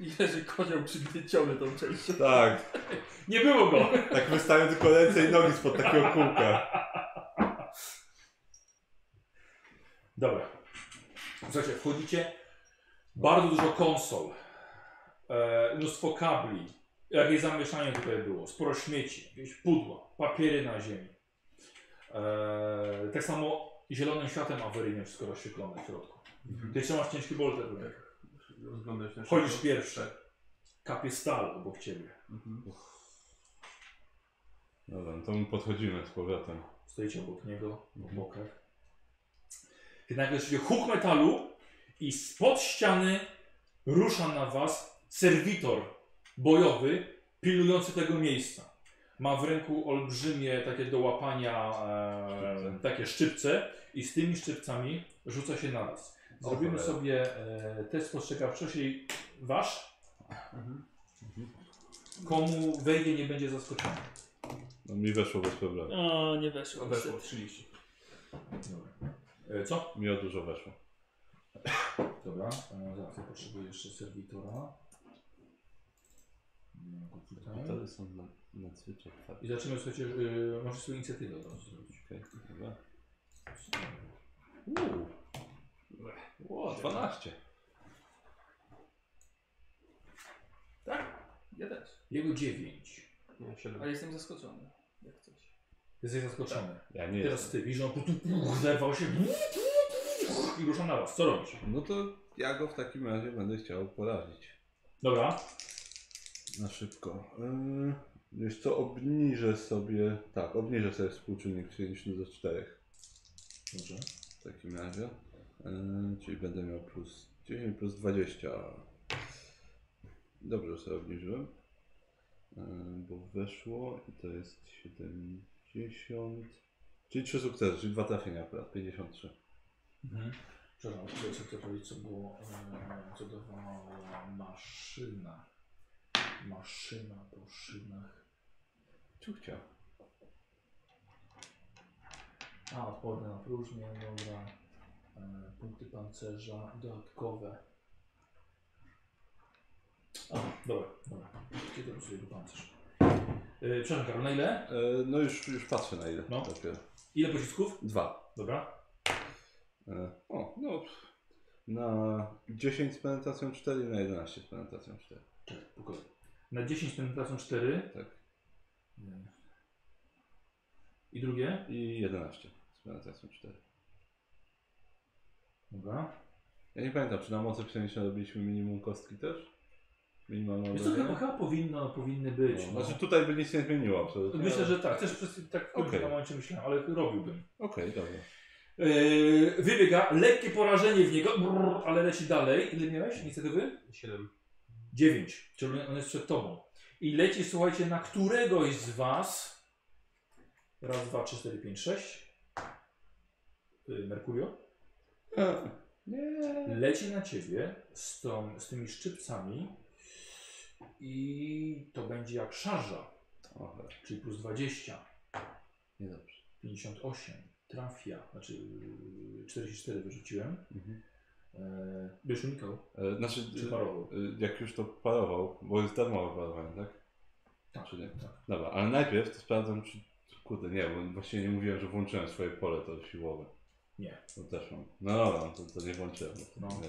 Speaker 3: Ile, że kozioł przygnieciony tą częścią.
Speaker 2: Tak,
Speaker 1: Nie było go!
Speaker 2: tak wystają tylko ręce i nogi spod takiego kółka.
Speaker 1: Dobra. Słuchajcie, wchodzicie. Bardzo dużo konsol. E, mnóstwo kabli. Jakieś zamieszanie tutaj było. Sporo śmieci, jakieś pudła, papiery na ziemi. E, tak samo zielonym światem awaryjnym wszystko rozświetlone w środku. Ty trzymasz ciężki bolter. w ręku.
Speaker 5: Rozglądać na
Speaker 1: Wchodzisz pierwszy. Kapie stal obok ciebie.
Speaker 5: Mhm.
Speaker 2: Dobra, no to my podchodzimy z powrotem.
Speaker 1: Stoicie obok niego, w bokach. I nagle słyszycie huk metalu i spod ściany rusza na was serwitor bojowy, pilnujący tego miejsca. Ma w ręku olbrzymie takie do łapania e, takie szczypce i z tymi szczypcami rzuca się na was. Zrobimy
Speaker 2: cholera.
Speaker 1: sobie e, test spostrzegawczości wasz. Komu wejdzie, nie będzie zaskoczony.
Speaker 2: No mi weszło bez problemu.
Speaker 3: O, nie weszło.
Speaker 5: Odeszło
Speaker 3: niestety.
Speaker 5: 30.
Speaker 1: E, co?
Speaker 2: Mi o dużo weszło.
Speaker 1: Dobra, e, zaraz ja potrzebuję jeszcze serwitora. Mam go tutaj.
Speaker 2: są na, na cwyczek.
Speaker 1: I zaczynamy, słuchajcie, y, możesz sobie inicjatywę od razu zrobić.
Speaker 2: Okej, dobra. Ło, 12.
Speaker 3: Ja też.
Speaker 1: Jego 9.
Speaker 5: Nie, 7.
Speaker 3: Ale jestem zaskoczony. Jak coś.
Speaker 1: Jesteś zaskoczony.
Speaker 2: Ja nie jestem.
Speaker 1: Teraz ty widzisz, on tu, tu, tu zerwał się i rusza na was. Co robisz?
Speaker 2: No to ja go w takim razie będę chciał porazić.
Speaker 1: Dobra,
Speaker 2: Na szybko. Yy, wiesz co, obniżę sobie, tak, obniżę sobie współczynnik kliniczny do 4
Speaker 1: dobrze.
Speaker 2: w takim razie. Yy, czyli będę miał plus 10, plus 20. Dobrze, że sobie obniżyłem. Yy, bo weszło i to jest 70. Czyli 3 sukcesy, czyli 2 trafienia akurat, 53.
Speaker 1: Mhm. Przepraszam, chciałem sobie powiedzieć, co było, e, co dawała maszyna. Maszyna po szynach.
Speaker 2: Ciuchcia.
Speaker 1: A, odporne na próżnię, dobra. E, punkty pancerza dodatkowe. A, dobra, dobra. Gdzie to sobie jego pancerz? E, przepraszam, Karol, na ile?
Speaker 2: Yy, no już, już patrzę na ile.
Speaker 1: No.
Speaker 2: Dopiero.
Speaker 1: Ile pocisków?
Speaker 2: Dwa.
Speaker 1: Dobra.
Speaker 2: E, O, no. pff, Na 10 z penetracją 4 i na 11 z penetracją 4.
Speaker 1: Czekaj, po kolei. Na 10 penetracją 4.
Speaker 2: Tak.
Speaker 1: I drugie?
Speaker 2: I 11 z penetracją 4.
Speaker 1: Dobra.
Speaker 2: Ja nie pamiętam, czy na mocy przeniesienia robiliśmy minimum kostki też? Minimalną
Speaker 1: Jest to chyba,
Speaker 2: obrażenia?
Speaker 1: chyba powinno, powinny być.
Speaker 2: No,
Speaker 1: no.
Speaker 2: Znaczy tutaj by nic nie zmieniło absolutnie.
Speaker 1: Myślę,
Speaker 2: ale-
Speaker 1: że tak. Też przez, tak w
Speaker 2: Okej.
Speaker 1: okay. momencie myślałem, ale robiłbym.
Speaker 2: Okej, dobra.
Speaker 1: Yy, wybiega, lekkie porażenie w niego, brrr, ale leci dalej. Ile miałeś inicjatywy?
Speaker 5: 7.
Speaker 1: 9, czyli on jest przed tobą. I leci, słuchajcie, na któregoś z was. Raz, dwa, trzy, cztery, pięć, sześć. y, Merkurio,
Speaker 2: Nie.
Speaker 1: leci na ciebie z, tą, z tymi szczypcami i to będzie jak szarża,
Speaker 2: Aha,
Speaker 1: czyli plus 20,
Speaker 2: niedobrze.
Speaker 1: 58, trafia, znaczy y, 44 wyrzuciłem.
Speaker 2: Mhm.
Speaker 1: E, Byś unikał,
Speaker 2: E, Znaczy,
Speaker 1: czy parował?
Speaker 2: e, jak już to parował, bo jest darmowe parowanie, tak?
Speaker 1: Tak,
Speaker 2: czy nie?
Speaker 1: tak.
Speaker 2: Dobra, ale najpierw to sprawdzam, czy... Kurde, nie, bo właśnie nie mówiłem, że włączyłem swoje pole to siłowe.
Speaker 1: Nie.
Speaker 2: No też mam. No dobra, no to, to nie włączyłem. No.
Speaker 1: No.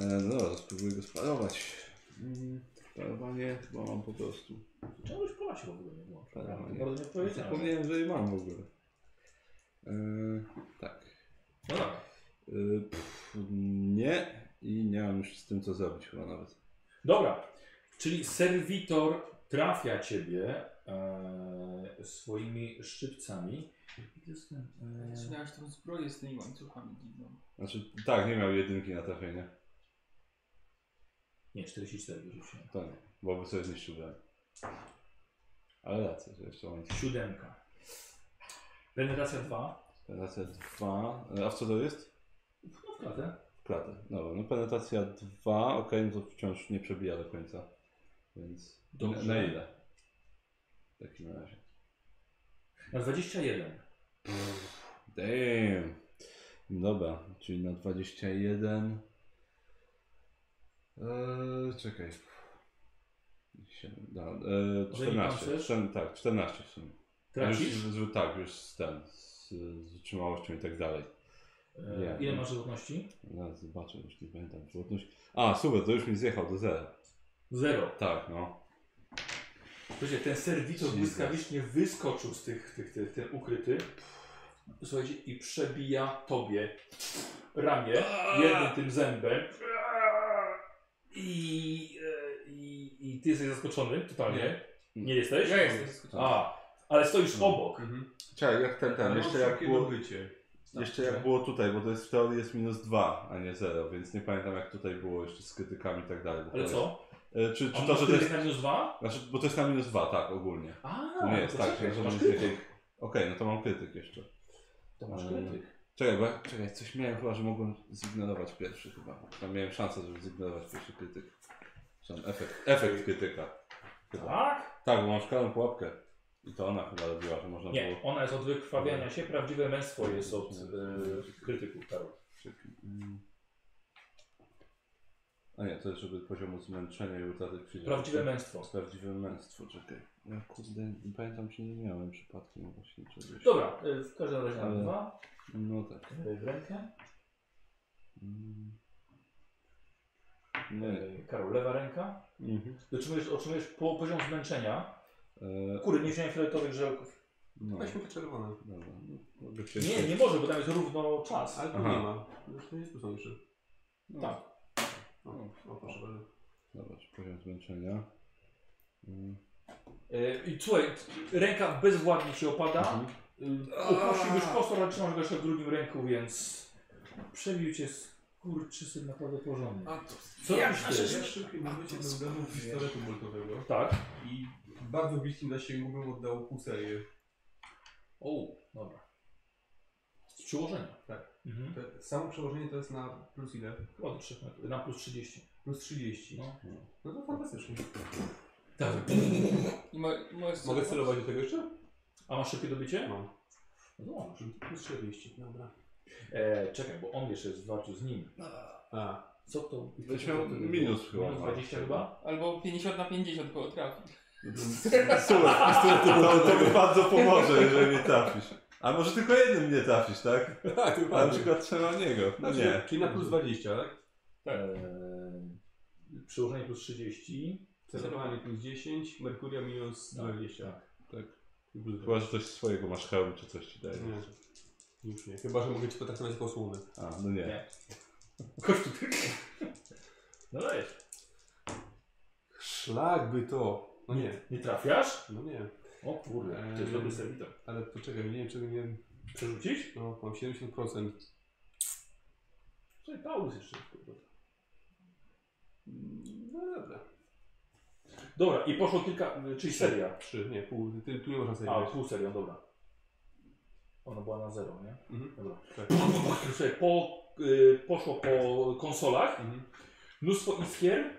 Speaker 2: E, no dobra, spróbuję go sparować. Mm, Parowanie chyba mam po prostu.
Speaker 1: Czegoś pola się w ogóle nie Tak. włączył.
Speaker 2: Parowanie.
Speaker 1: Bardzo nie powiedziałem.
Speaker 2: Zapomniałem, że je mam w ogóle. E, tak.
Speaker 1: No dobra.
Speaker 2: E, pff, nie. I nie mam już z tym co zrobić chyba nawet.
Speaker 1: Dobra, czyli serwitor trafia ciebie e, swoimi szczypcami. E,
Speaker 3: Miałeś tą zbroję z tymi łańcuchami dziwną.
Speaker 2: Znaczy, tak, nie miał jedynki na trafienie.
Speaker 1: nie, 44 wyrzuciłem.
Speaker 2: To nie, bo by sobie zniszczył broń. Ale racja, że jeszcze mam
Speaker 1: Siódemka. Penetracja 2.
Speaker 2: penetracja 2. A w co to jest?
Speaker 1: No w klatę.
Speaker 2: W klatę. Dobra, no penetracja 2, okej, no to wciąż nie przebija do końca. Więc
Speaker 1: Dobrze.
Speaker 2: Na, na ile? W takim razie.
Speaker 1: Na 21.
Speaker 2: Damn. Dobra, czyli na 21. Eee, czekaj. Siedem, Da, eee,
Speaker 1: Jeżeli pan
Speaker 2: 14,
Speaker 1: chcesz?
Speaker 2: czter- tak, 14 w sumie. Już,
Speaker 1: Tracisz.
Speaker 2: z, z, tak, już z ten, z, z wytrzymałością i tak dalej.
Speaker 1: E,
Speaker 2: nie.
Speaker 1: ile masz żywotności?
Speaker 2: Zaraz zobaczę, już nie pamiętam żywotność. A, super, to już mi zjechał do zera.
Speaker 1: Zero.
Speaker 2: Tak, no.
Speaker 1: Słuchajcie, ten serwitor
Speaker 2: Jesus.
Speaker 1: błyskawicznie wyskoczył z tych, tych, tych, ten ukryty. Słuchajcie, i przebija tobie ramię jednym tym zębem. I, e, i, i ty jesteś zaskoczony totalnie.
Speaker 2: Nie.
Speaker 1: Nie, jesteś?
Speaker 3: Ja jestem zaskoczony.
Speaker 1: A, ale stoisz obok.
Speaker 6: Mhm.
Speaker 2: Czekaj, jak ten, ten, jeszcze jak było...
Speaker 6: bycie.
Speaker 1: tak,
Speaker 2: Jeszcze jak było tutaj, bo to jest w teorii jest minus 2, a nie 0, więc nie pamiętam jak tutaj było jeszcze z krytykami i tak dalej. bo
Speaker 1: Ale
Speaker 2: to
Speaker 1: co?
Speaker 2: jest- E, Czy,
Speaker 1: A
Speaker 2: czy to, że to jest...
Speaker 1: na minus dwa?
Speaker 2: Znaczy, bo to jest na minus 2, tak, ogólnie.
Speaker 1: A,
Speaker 2: To nie jest
Speaker 1: to
Speaker 2: tak,
Speaker 1: czekaj,
Speaker 2: że
Speaker 1: to masz
Speaker 2: masz
Speaker 1: krytyk.
Speaker 2: krytyk. Okej, no to mam krytyk jeszcze.
Speaker 1: To masz
Speaker 2: Mm.
Speaker 1: krytyk.
Speaker 2: Czekaj, bo ja, czekaj, coś miałem chyba, że mogłem zignorować pierwszy chyba. Tam miałem szansę, żeby zignorować pierwszy krytyk. Czy tam efekt, efekt krytyka. Chyba.
Speaker 1: Tak?
Speaker 2: Tak, bo mam szklaną pułapkę. I to ona chyba robiła, że można było...
Speaker 1: Nie, ona jest od wykrwawiania się, prawdziwe męstwo jest od e, krytyków. tak.
Speaker 2: Mm. A nie, to jest, żeby poziomu zmęczenia i utraty przyjaciół.
Speaker 1: Prawdziwe męstwo.
Speaker 2: Prawdziwe męstwo, czekaj. Ja kurde, nie pamiętam czy nie miałem przypadkiem właśnie czegoś.
Speaker 1: Dobra, y, w każdym razie na
Speaker 2: Ale-
Speaker 1: dwa
Speaker 2: No tak.
Speaker 1: y, w rękę.
Speaker 2: Mm. Nie.
Speaker 1: Y, Karol, lewa ręka.
Speaker 2: Mhm.
Speaker 1: Otrzymujesz, otrzymujesz po, poziom zmęczenia.
Speaker 2: E,
Speaker 1: Kurde, nie wziąłem fioletowych żelków.
Speaker 2: no,
Speaker 5: Weźmy te czerwone.
Speaker 2: dobra. No, mogę się
Speaker 1: Nie, nie może, bo tam jest równo czas.
Speaker 5: Ale tu
Speaker 2: Aha.
Speaker 5: nie ma. Zresztą jest tu są jeszcze.
Speaker 2: No,
Speaker 1: tak.
Speaker 5: O, o proszę bardzo.
Speaker 2: Zobacz, poziom zmęczenia. Mm.
Speaker 1: Y, I słuchaj, ręka bezwładnie się opada.
Speaker 2: Mhm.
Speaker 1: Uprosił już kostor, ale trzymasz go jeszcze w drugim ręku, więc przebił cię z kurczysem naprawdę porządnie.
Speaker 3: A to
Speaker 1: Co
Speaker 3: ja
Speaker 1: robisz
Speaker 3: nasze
Speaker 1: ty?
Speaker 3: rzeczy.
Speaker 6: Szybkim momencie
Speaker 3: to
Speaker 6: do
Speaker 3: skąd
Speaker 6: pistoletu boltowego
Speaker 1: Tak.
Speaker 6: i bardzo bliski zasięgowym oddało pół serię.
Speaker 1: O, dobra. Z przyłożenia.
Speaker 6: Tak.
Speaker 1: Mhm.
Speaker 5: Te- Samo przełożenie to jest na plus ile?
Speaker 1: Chyba do 3 metrów. Na plus 30.
Speaker 5: Plus 30.
Speaker 1: No.
Speaker 5: No to fantastycznie.
Speaker 1: Tak.
Speaker 3: I mo i możesz
Speaker 6: Mogę
Speaker 3: celować?
Speaker 6: celować do tego jeszcze?
Speaker 1: A masz szybkie dobycie?
Speaker 5: Mam.
Speaker 1: No to możesz.
Speaker 5: Plus 40, dobra.
Speaker 1: E, czekaj, bo on jeszcze jest w walce z nim.
Speaker 5: A,
Speaker 1: Co to?
Speaker 2: Byś miał minus chyba.
Speaker 1: Minus 20 chyba?
Speaker 3: Albo 50 na 50 koło trafi.
Speaker 2: Super, to, to, to mi bardzo pomoże, jeżeli mnie trafisz. A może tylko jednym nie trafisz, tak?
Speaker 6: Tak, ty
Speaker 2: A na przykład trzeba niego. No nie.
Speaker 6: Znaczy, Czyli na plus 20, tak?
Speaker 1: E, przyłożenie plus 30.
Speaker 6: Celowanie plus 10, Merkuria minus 20.
Speaker 2: Tak.
Speaker 6: I plus
Speaker 2: Chyba, że coś swojego masz hełm czy coś ci daje.
Speaker 6: Nie. Już nie. Chyba, że mogę cię potraktować jako osłonę.
Speaker 2: A, no nie.
Speaker 1: Nie. Kość tu tylko. No dajesz.
Speaker 6: Szlak by to. No nie,
Speaker 1: Nie trafiasz?
Speaker 6: no nie.
Speaker 1: O kurde, to jest
Speaker 6: Eee.
Speaker 1: dobry serwitor.
Speaker 6: Ale poczekaj, nie wiem czego nie.
Speaker 1: Przerzucić?
Speaker 6: No, mam 70%.
Speaker 1: Słuchaj, Paulus jeszcze. kurde.
Speaker 6: No dobra.
Speaker 1: Dobra, i poszło kilka, czyli seria.
Speaker 6: 3, nie, pół. Ty, tu nie można sobie
Speaker 1: A,
Speaker 6: grać.
Speaker 1: pół serią, dobra. Ona była na zero, nie?
Speaker 5: Mhm.
Speaker 1: Dobra.
Speaker 2: Tak.
Speaker 1: Słuchaj, po, y, poszło po konsolach,
Speaker 5: Mhm.
Speaker 1: mnóstwo iskier.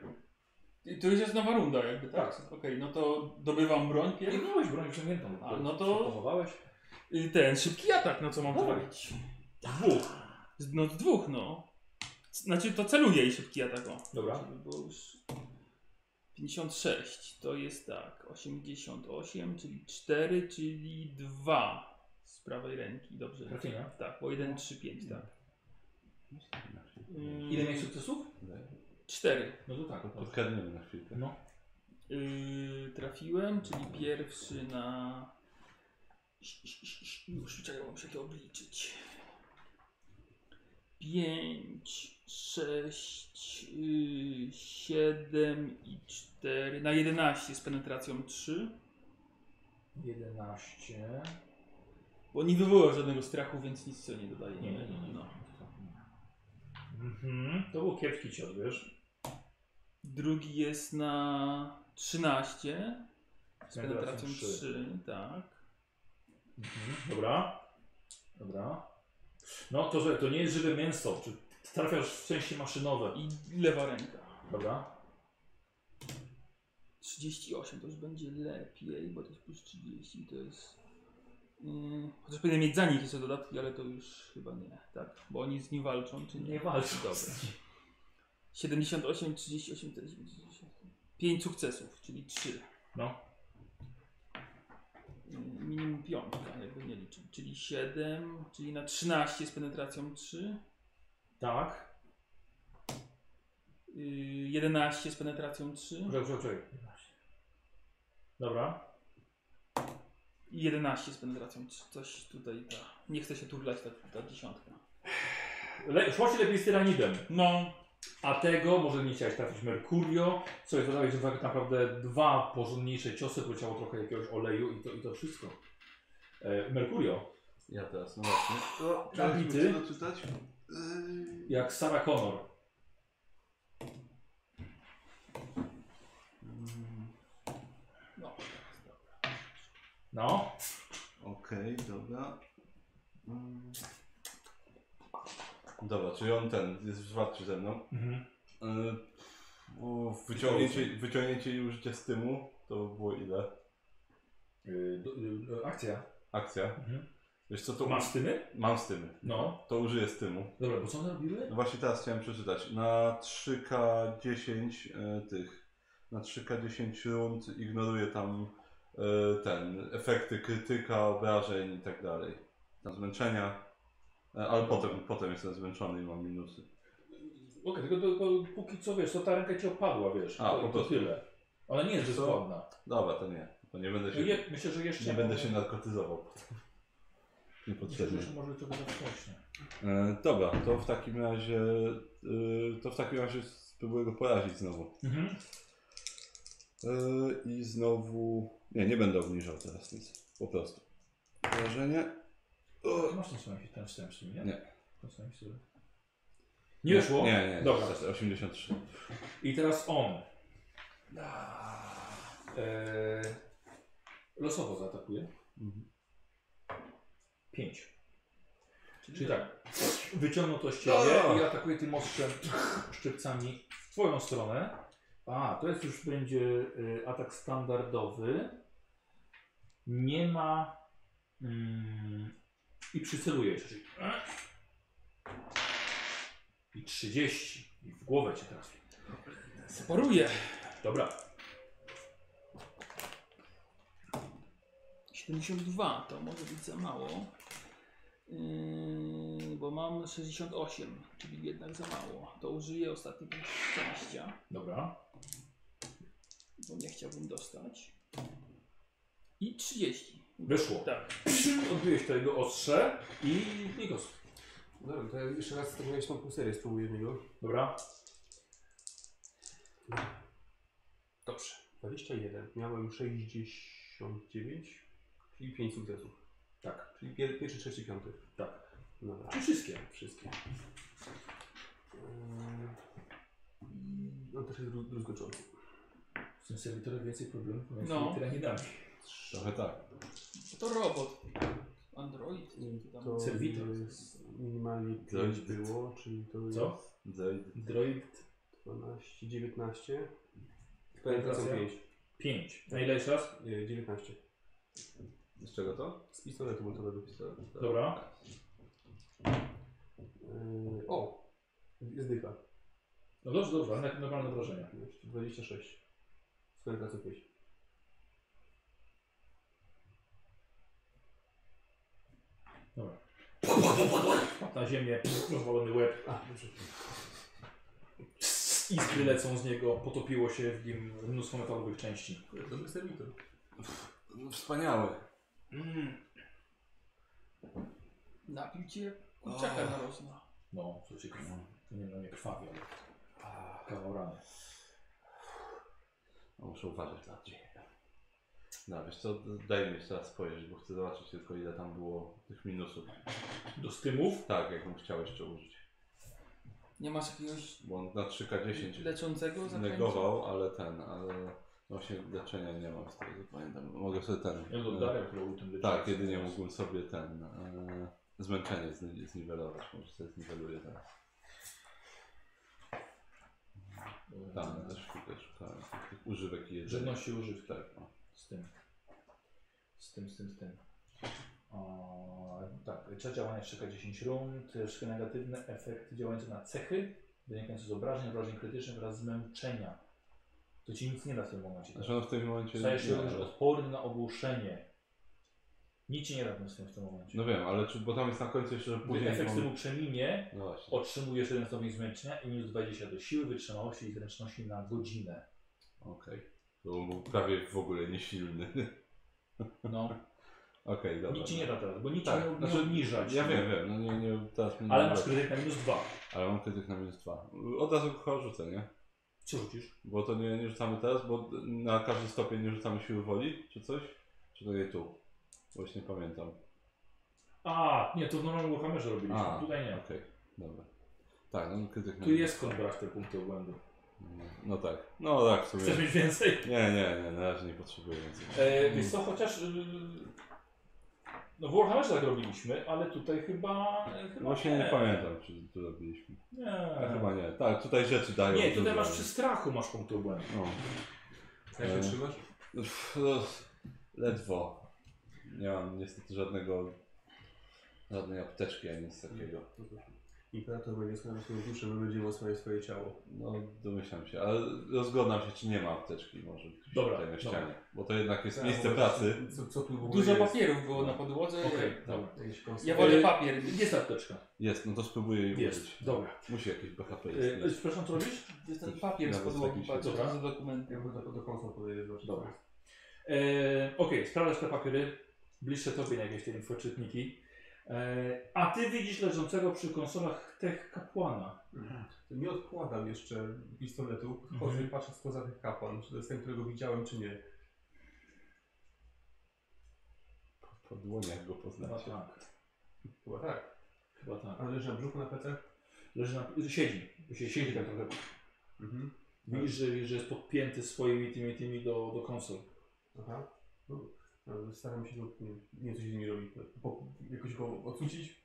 Speaker 3: I Tu już jest nowa runda jakby, tak? Okej, no to dobywam broń
Speaker 1: Nie
Speaker 3: pierw.
Speaker 1: miałeś broń wyciągniętą.
Speaker 3: A, no to-
Speaker 1: Się Pochowałeś?
Speaker 3: I Ten, szybki atak, no co mam
Speaker 1: Dawaj.
Speaker 3: zrobić? Tak.
Speaker 1: Dwóch.
Speaker 3: Z- No z dwóch, no. Znaczy to celuję i szybki atak, o.
Speaker 1: Dobra.
Speaker 3: Żeby było już 56, to jest tak, 88, czyli 4, czyli 2 z prawej ręki, dobrze.
Speaker 1: Trafienia.
Speaker 3: Tak, bo 1, 3, 5, tak.
Speaker 1: Ile miałeś sukcesów?
Speaker 3: 4.
Speaker 1: No to tak. dobrze.
Speaker 2: Podkradniemy na chwilkę.
Speaker 1: No.
Speaker 3: Yy, trafiłem, czyli pierwszy na. Już czekaj, bo muszę to obliczyć. 5, 6, 7 yy, i 4. Na 11 z penetracją 3.
Speaker 1: 11.
Speaker 3: Bo nie wywołał żadnego strachu, więc nic co nie dodaje.
Speaker 1: Nie, nie, nie.
Speaker 3: No.
Speaker 1: Mhm. To był kiepski cios, wiesz?
Speaker 3: Drugi jest na 13 z penetracją
Speaker 1: trzy.
Speaker 3: 3, tak.
Speaker 1: Mhm. Dobra. Dobra. No to, że to nie jest żywe mięso. Czy trafiasz w części maszynowe?
Speaker 3: I lewa ręka.
Speaker 1: Dobra.
Speaker 3: 38 to już będzie lepiej, bo to jest plus 30 to jest. Yy, chociaż powinien mieć za nich jeszcze dodatki, ale to już chyba nie, tak? Bo oni z nim walczą, czy nie?
Speaker 1: Nie walczą z
Speaker 3: Dobra. 78, 38, 48. 5 sukcesów, czyli 3.
Speaker 1: No.
Speaker 3: Yy, Minimum piątka, jakby nie liczył. Czyli 7, czyli na 13 z penetracją 3.
Speaker 1: Tak.
Speaker 3: Yy, 11 z penetracją 3.
Speaker 1: Czekaj, czekaj, czekaj. Dobra.
Speaker 3: I 11 z penetracją. C- Coś tutaj ta. Nie chce się turlać tak ta, ta dziesiątka.
Speaker 1: Le szło ci lepiej z tyranidem.
Speaker 3: No.
Speaker 1: A tego może nie chciałeś trafić Mercurio, co jest dodałeś, że tak naprawdę dwa porządniejsze ciosy, poleciało trochę jakiegoś oleju i to, i to wszystko. E, Mercurio,
Speaker 2: Ja teraz, no właśnie.
Speaker 13: To,
Speaker 1: Kapity?
Speaker 13: czy to czytać? Yy,
Speaker 1: jak Sarah Connor.
Speaker 3: No.
Speaker 1: No,
Speaker 13: Okej, dobra. Mm,
Speaker 2: Dobra, czyli on ten jest zwarty ze mną.
Speaker 1: mhm.
Speaker 2: Yy, uf, wyciągnięcie, wyciągnięcie i użycie stymu to było ile?
Speaker 1: Y, do- y, y, akcja.
Speaker 2: Akcja.
Speaker 1: Mhm.
Speaker 2: Wiesz co,
Speaker 1: To
Speaker 2: to
Speaker 1: masz stymy?
Speaker 2: Mam stymy.
Speaker 1: No.
Speaker 2: To użyję stymu.
Speaker 1: Dobra, bo co one robiły?
Speaker 2: No właśnie teraz chciałem przeczytać. Na 3K10 e, tych. Na 3K10 rund ignoruję tam e, ten. Efekty krytyka, obrażeń i tak dalej. Tam zmęczenia. E, ale potem, potem jestem zmęczony i mam minusy.
Speaker 1: Okej, tylko, tylko póki co wiesz, to ta ręka ci opadła, wiesz.
Speaker 2: A,
Speaker 1: to,
Speaker 2: po
Speaker 1: to
Speaker 2: prostu.
Speaker 1: tyle. Ona nie jest
Speaker 2: Co?
Speaker 1: bezwładna.
Speaker 2: Dobra, to nie. To nie będę się,
Speaker 1: Je, myślę, że jeszcze.
Speaker 2: nie będę się narkotyzował potem.
Speaker 1: Myślę, że
Speaker 2: Niepotrzebnie.
Speaker 1: jeszcze może trochę za wcześnie.
Speaker 2: E, dobra, to w takim razie. E, to w takim razie spróbuję go porazić znowu.
Speaker 1: Mhm.
Speaker 2: Yy, I znowu. Nie, nie będę obniżał teraz nic. Po prostu. Wrażenie.
Speaker 1: Ty Masz ten swoim ten wstęp, nie?
Speaker 2: Nie.
Speaker 1: Ten wstęp, nie? Nie wyszło?
Speaker 2: Nie, nie. Znaczy,
Speaker 1: Dobra.
Speaker 2: Dobra. 83.
Speaker 1: I teraz on. Eee, losowo zaatakuje.
Speaker 2: Mhm.
Speaker 1: Pięć. Czyli tak, wyciągnął to z ciebie i atakuje tym ostrzem szczypcami w twoją stronę. A, to jest już będzie y, atak standardowy. Nie ma... Mm, I przyceluje jeszcze. czyli- I 30. I w głowę cię trafi.
Speaker 3: Separuję.
Speaker 1: Dobra.
Speaker 3: 72 to może być za mało. Yy, bo mam 68, czyli jednak za mało. To użyję ostatni punkt szczęścia,
Speaker 1: Dobra.
Speaker 3: bo nie chciałbym dostać. I 30.
Speaker 1: Wyszło.
Speaker 3: Tak.
Speaker 1: Odbiłeś to jego ostrze i Nikos.
Speaker 5: Dobra, to ja jeszcze raz zrobiłeś tą półserię, spróbuję niego.
Speaker 1: Dobra.
Speaker 5: Dobrze. 21. Miałem 69, czyli 5 sukcesów.
Speaker 1: Tak.
Speaker 5: Czyli pier pierwszy, trzeci, piąty.
Speaker 1: Tak.
Speaker 5: Dobra.
Speaker 1: Czy wszystkie?
Speaker 5: Wszystkie. Yy, On też jest dru- druzgoczący.
Speaker 1: W sensie wy trochę więcej problemów pomiędzy
Speaker 3: No.
Speaker 1: tymi tyranidami.
Speaker 2: Trochę tak.
Speaker 3: To robot. Android.
Speaker 5: Nie wiem,
Speaker 1: Serwitor.
Speaker 14: jest minimalnie 5
Speaker 2: Droid.
Speaker 14: było, czyli to jest
Speaker 1: Co? Droid
Speaker 14: 12, 19.
Speaker 5: Penetracja
Speaker 1: Penetracja?
Speaker 5: 5.
Speaker 1: 5. Na ile jeszcze raz?
Speaker 5: Nie, 19.
Speaker 2: Z czego to?
Speaker 5: Z pistoletu motorowego.
Speaker 1: Dobra.
Speaker 5: Yy, o! Jest dycha.
Speaker 1: No dobrze, dobrze, ale jak normalne wrażenia.
Speaker 5: 26. Z penetracją 5.
Speaker 1: Dobra. Padł Na ziemię, rozwalony łeb.
Speaker 5: A, dobrze.
Speaker 1: Iskry lecą z niego, potopiło się w nim mnóstwo metalowych części.
Speaker 5: Dobry serwitor.
Speaker 2: No, wspaniały.
Speaker 3: Mm. Napicie kurczaka
Speaker 2: O.
Speaker 3: na rożna.
Speaker 1: No, co się krwa. To nie, no nie krwawi, ale kawał rany.
Speaker 2: A muszę uważać na ciebie. No wiesz co, daj mi jeszcze raz spojrzeć, bo chcę zobaczyć tylko ile tam było tych minusów.
Speaker 1: Do stymów?
Speaker 2: Tak, jakbym chciał jeszcze użyć.
Speaker 3: Nie masz jakiegoś
Speaker 2: Bo on na 3K10
Speaker 3: leczącego zaklęcia?
Speaker 2: negował, ale ten, ale właśnie leczenia nie mam z tego, co pamiętam. Mogę sobie ten...
Speaker 1: Ja do Daria, którą u tym
Speaker 2: Tak, jedynie mógłbym sobie ten... E, zmęczenie zni- zniwelować. Może sobie zniweluję teraz. Tam też chwilkę szukałem tych używek i jedzenia.
Speaker 1: Żywności używ, tak.
Speaker 2: Tak, no.
Speaker 1: Z tym. Z tym, z tym, z tym. O, tak, czas działania czeka 10 rund. Wszystkie negatywne efekty działające na cechy, wynikające z obrażeń, obrażeń krytycznych oraz zmęczenia. To ci nic nie da w tym momencie.
Speaker 2: Znaczy on w tym momencie...
Speaker 1: Stajesz się
Speaker 2: nie,
Speaker 1: również
Speaker 2: ale-
Speaker 1: odporny na ogłuszenie. Nic ci nie da w tym, w tym momencie.
Speaker 2: No wiem, ale czy, bo tam jest na końcu jeszcze, że
Speaker 1: Gdy
Speaker 2: No, później...
Speaker 1: efekt
Speaker 2: mam-
Speaker 1: stylu przeminie,
Speaker 2: No właśnie.
Speaker 1: otrzymujesz jeden stopień zmęczenia i minus 20 do siły, wytrzymałości i zręczności na godzinę.
Speaker 2: Okej. Bo on był prawie w ogóle niesilny.
Speaker 1: No,
Speaker 2: Okej, dobra.
Speaker 1: nic ci nie da teraz, bo nic
Speaker 2: Tak,
Speaker 1: ci nie, nie
Speaker 2: znaczy,
Speaker 1: obniża ci.
Speaker 2: Ja wiem, wiem, no nie, nie, teraz nie
Speaker 1: Ale masz kredyt na minus 2.
Speaker 2: Ale mam krytyk na minus dwa. Od razu chyba rzucę, nie?
Speaker 1: Co rzucisz?
Speaker 2: Bo to nie, nie rzucamy teraz, bo na każdy stopień nie rzucamy siły woli, czy coś? Czy to nie tu? Właśnie pamiętam.
Speaker 1: A, nie, to w normalnym Warhammerze robiliśmy,
Speaker 2: A,
Speaker 1: tutaj nie.
Speaker 2: Okej, dobra. Tak, no krytyk na
Speaker 1: Tu jest skąd brać te punkty obłędu.
Speaker 2: No tak, no tak w
Speaker 1: Chcesz
Speaker 2: sumie.
Speaker 1: mieć więcej?
Speaker 2: Nie, nie, nie, na razie nie potrzebuję więcej.
Speaker 1: E, Więc to chociaż... e, No w Warhammerze tak robiliśmy, ale tutaj chyba... e, chyba
Speaker 2: No, Właśnie nie pamiętam, czy tu robiliśmy. A
Speaker 1: Nie.
Speaker 2: chyba nie. Tak, tutaj rzeczy dają.
Speaker 1: Nie, tutaj
Speaker 2: dużo.
Speaker 1: masz przy strachu masz punkty obłędu.
Speaker 2: No.
Speaker 5: Jak
Speaker 2: E,
Speaker 5: się trzymasz?
Speaker 2: Pff, no, Ledwo. Nie mam niestety żadnego. żadnej apteczki ani nic takiego.
Speaker 5: Tak, Imperator będzie słuchał swoją duszę, bo będzie osłaniał swoje ciało.
Speaker 2: No, domyślam się, ale rozglądam się, czy nie ma apteczki może gdzieś
Speaker 1: Dobra,
Speaker 2: tutaj na
Speaker 1: dobra.
Speaker 2: ścianie. Bo to jednak jest
Speaker 5: Tak,
Speaker 2: miejsce
Speaker 5: bo-
Speaker 2: pracy.
Speaker 5: Co, co tu w ogóle
Speaker 3: Dużo
Speaker 5: jest?
Speaker 3: papierów było na podłodze.
Speaker 1: Okej, dobra.
Speaker 5: Jakiś konstrukt.
Speaker 3: Ja wolę
Speaker 1: E,
Speaker 3: papier.
Speaker 1: Gdzie jest apteczka?
Speaker 2: Jest, no to spróbuję jej użyć.
Speaker 1: Jest, dobra.
Speaker 2: Musi jakieś BHP
Speaker 1: E,
Speaker 2: istnieć.
Speaker 1: przepraszam, co robisz?
Speaker 3: Jest ten papier z
Speaker 2: Nawet z
Speaker 3: podłogi,
Speaker 2: jakimś-
Speaker 3: patrz,
Speaker 1: Dobra.
Speaker 3: za dokumenty.
Speaker 5: Ja bym do, do konsul powiedział, zobaczyć.
Speaker 1: Dobra. E, Okej, sprawdzasz te papiery, bliższe tobie jakieś te infoczytniki. E, a ty widzisz leżącego przy konsolach tech kapłana.
Speaker 5: Nie odkładam jeszcze pistoletu. Chodzę i patrzę, co za tych kapłan. Czy to jest ten, którego widziałem, czy nie.
Speaker 2: Po- Po dłoniach go
Speaker 1: Chyba
Speaker 2: poznacie.
Speaker 1: tak,
Speaker 5: Chyba tak.
Speaker 1: chyba tak.
Speaker 5: A leży na brzuchu na plecach?
Speaker 1: Leży na, siedzi, Sie- siedzi tak trochę.
Speaker 5: Mhm.
Speaker 1: Widzisz, że, że jest podpięty swoimi tymi, tymi do, do konsol.
Speaker 5: Aha. No, ale staram się go, nie, nie coś z nimi robić. no, Po, jakoś go odrzucić.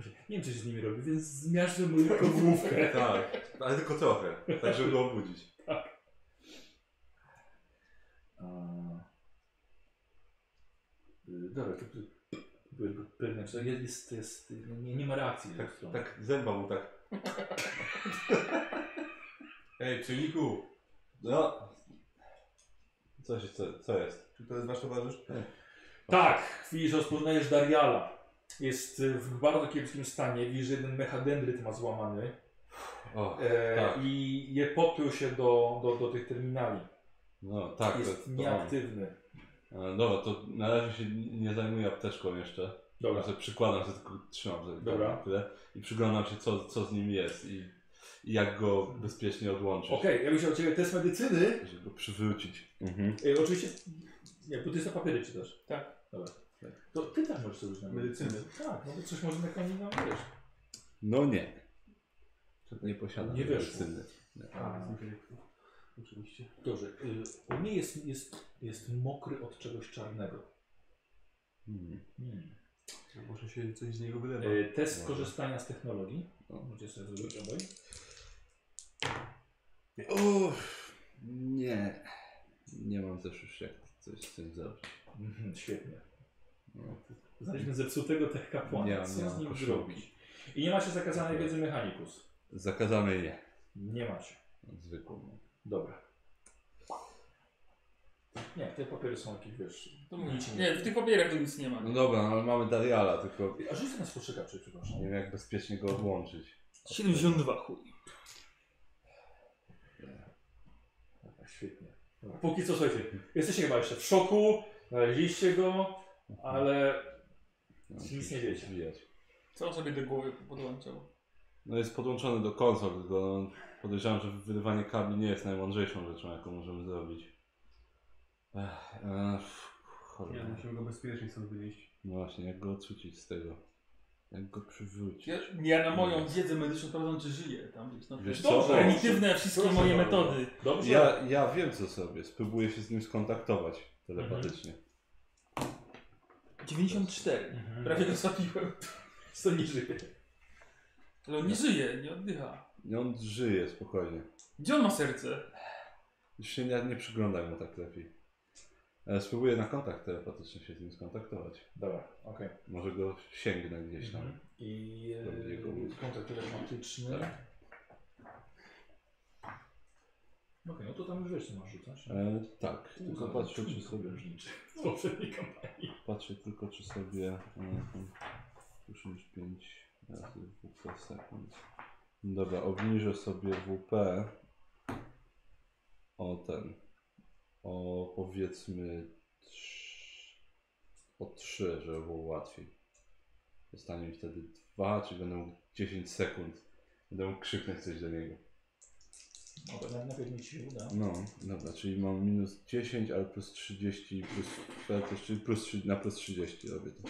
Speaker 1: Nie wiem, co się z nimi robi, więc zmiażdżę mu tylko główkę.
Speaker 2: Tak, ale tylko trochę, tak żeby go obudzić.
Speaker 1: A... Y, Dobra, to ty- by- by- pewnie, że jest, jest, jest, nie, nie ma reakcji. z tej strony.
Speaker 2: Tak zęba mu tak.
Speaker 5: Ej, psioniku!
Speaker 2: No. Co, się, co, co jest?
Speaker 5: Czy to jest wasz towarzysz?
Speaker 1: Tak, widzisz, rozpoznajesz Dariala. Jest y, w bardzo kiepskim stanie, widzisz, że jeden mechadendryt ma złamany
Speaker 2: O,
Speaker 1: e,
Speaker 2: tak.
Speaker 1: i je podpiął się do, do, do tych terminali.
Speaker 2: No tak, to,
Speaker 1: jest
Speaker 2: to on.
Speaker 1: nieaktywny.
Speaker 2: E, Dobra, to na razie się nie zajmuję apteczką jeszcze.
Speaker 1: Dobra,
Speaker 2: Ja sobie przykładam, że tylko trzymam za
Speaker 1: Dobra.
Speaker 2: tyle i przyglądam się, co, co z nim jest i, i jak go bezpiecznie odłączyć.
Speaker 1: okej, ja bym chciał od Ciebie test medycyny.
Speaker 2: Żeby go przywrócić. Mhm.
Speaker 1: E, oczywiście, nie, bo Ty sobie papiery czytasz.
Speaker 3: Tak.
Speaker 1: Dobra. To Ty też możesz sobie uznać
Speaker 5: Medycyny.
Speaker 1: Tak, no bo coś może na koniec nam wiesz.
Speaker 2: No nie. Czego nie posiadam.
Speaker 1: Nie wiesz.
Speaker 2: medycyny.
Speaker 5: A, jest intelektu. Oczywiście.
Speaker 1: Dobrze, y, on nie jest, jest, jest mokry od czegoś czarnego.
Speaker 2: Hmm.
Speaker 1: Hmm.
Speaker 6: Może się coś z niego wylewa.
Speaker 1: E, Test korzystania z technologii. O,
Speaker 2: No.
Speaker 1: Możecie sobie zrobić obaj.
Speaker 2: Uff, nie. Nie mam też już jak coś z tym zrobić.
Speaker 1: Mhm, Świetnie.
Speaker 2: No.
Speaker 1: Znaleźliśmy zepsutego tech
Speaker 2: Nie
Speaker 1: kapłana.
Speaker 2: mam,
Speaker 1: Co
Speaker 2: nie
Speaker 1: z
Speaker 2: mam
Speaker 1: nim
Speaker 2: koszulki.
Speaker 1: zrobić? I nie macie zakazanej wiedzy mechanikus.
Speaker 2: Zakazany nie.
Speaker 1: Nie macie.
Speaker 2: Zwykłą.
Speaker 1: Dobra. Nie, te papiery są jakieś, wiesz...
Speaker 3: To mówicie. Nie, w tych papierach to nic nie ma.
Speaker 2: No dobra, no ale mamy Dariala, tylko
Speaker 1: A rzuć na spostrzegawczy, przepraszam.
Speaker 2: nie wiem jak bezpiecznie go odłączyć.
Speaker 3: 72 chuj.
Speaker 1: Dobra, świetnie. Dobra. Póki co, słuchajcie, jesteście chyba jeszcze w szoku, znaleźliście go, ale
Speaker 2: No,
Speaker 1: Nic nie wiecie.
Speaker 2: Zwijać.
Speaker 3: Co sobie do głowy podłączał?
Speaker 2: No jest podłączony do konsol, tylko no, podejrzewam, że wyrywanie kabli nie jest najmądrzejszą rzeczą, jaką możemy zrobić. Ech, e, pff,
Speaker 6: Nie,
Speaker 2: cholera.
Speaker 6: musimy go bezpiecznie stąd wynieść.
Speaker 2: No właśnie, jak go odrzucić z tego? Jak go przywrócić?
Speaker 3: Ja, ja na moją wiedzę medyczną sprawdzam, czy żyje tam gdzieś. No,
Speaker 2: No. Wiesz
Speaker 1: Dobrze,
Speaker 2: co?
Speaker 3: Prymitywne wszystkie
Speaker 1: Proszę
Speaker 3: moje
Speaker 1: bardzo.
Speaker 3: metody.
Speaker 1: dobrze.
Speaker 2: Ja, ja wiem co sobie, spróbuję się z nim skontaktować telepatycznie.
Speaker 3: 94.
Speaker 1: Mhm.
Speaker 3: Prawie go zabiłem.
Speaker 1: Co nie żyje.
Speaker 3: Ale on nie żyje, nie oddycha.
Speaker 2: I on żyje spokojnie.
Speaker 3: Gdzie on ma serce?
Speaker 2: Już się nie, nie przyglądaj mu tak lepiej. Ale spróbuję na kontakt telepatyczny się z nim skontaktować.
Speaker 1: Dobra, okej.
Speaker 2: Może go sięgnę gdzieś tam.
Speaker 1: Mhm. I
Speaker 2: Dobrze, jego
Speaker 1: e,
Speaker 2: mówić.
Speaker 1: kontakt telefonatyczny. Okej, no to tam już wiesz, co masz rzucać.
Speaker 2: E, tak, tylko patrzę czy sobie,
Speaker 1: różniczy z poprzedniej kampanii.
Speaker 2: patrzę tylko czy sobie e, już już 5 razy WP sekund. Dobra, obniżę sobie WP o ten, o powiedzmy trz- o 3, żeby było łatwiej. Zostanie mi wtedy 2, czy będę mógł 10 sekund, będę mógł krzyknąć coś do niego.
Speaker 1: No to na- na pewno ci się uda.
Speaker 2: No, dobra, czyli mam minus 10, ale plus 30, i plus 40, czyli plus 3, na plus 30 robię to.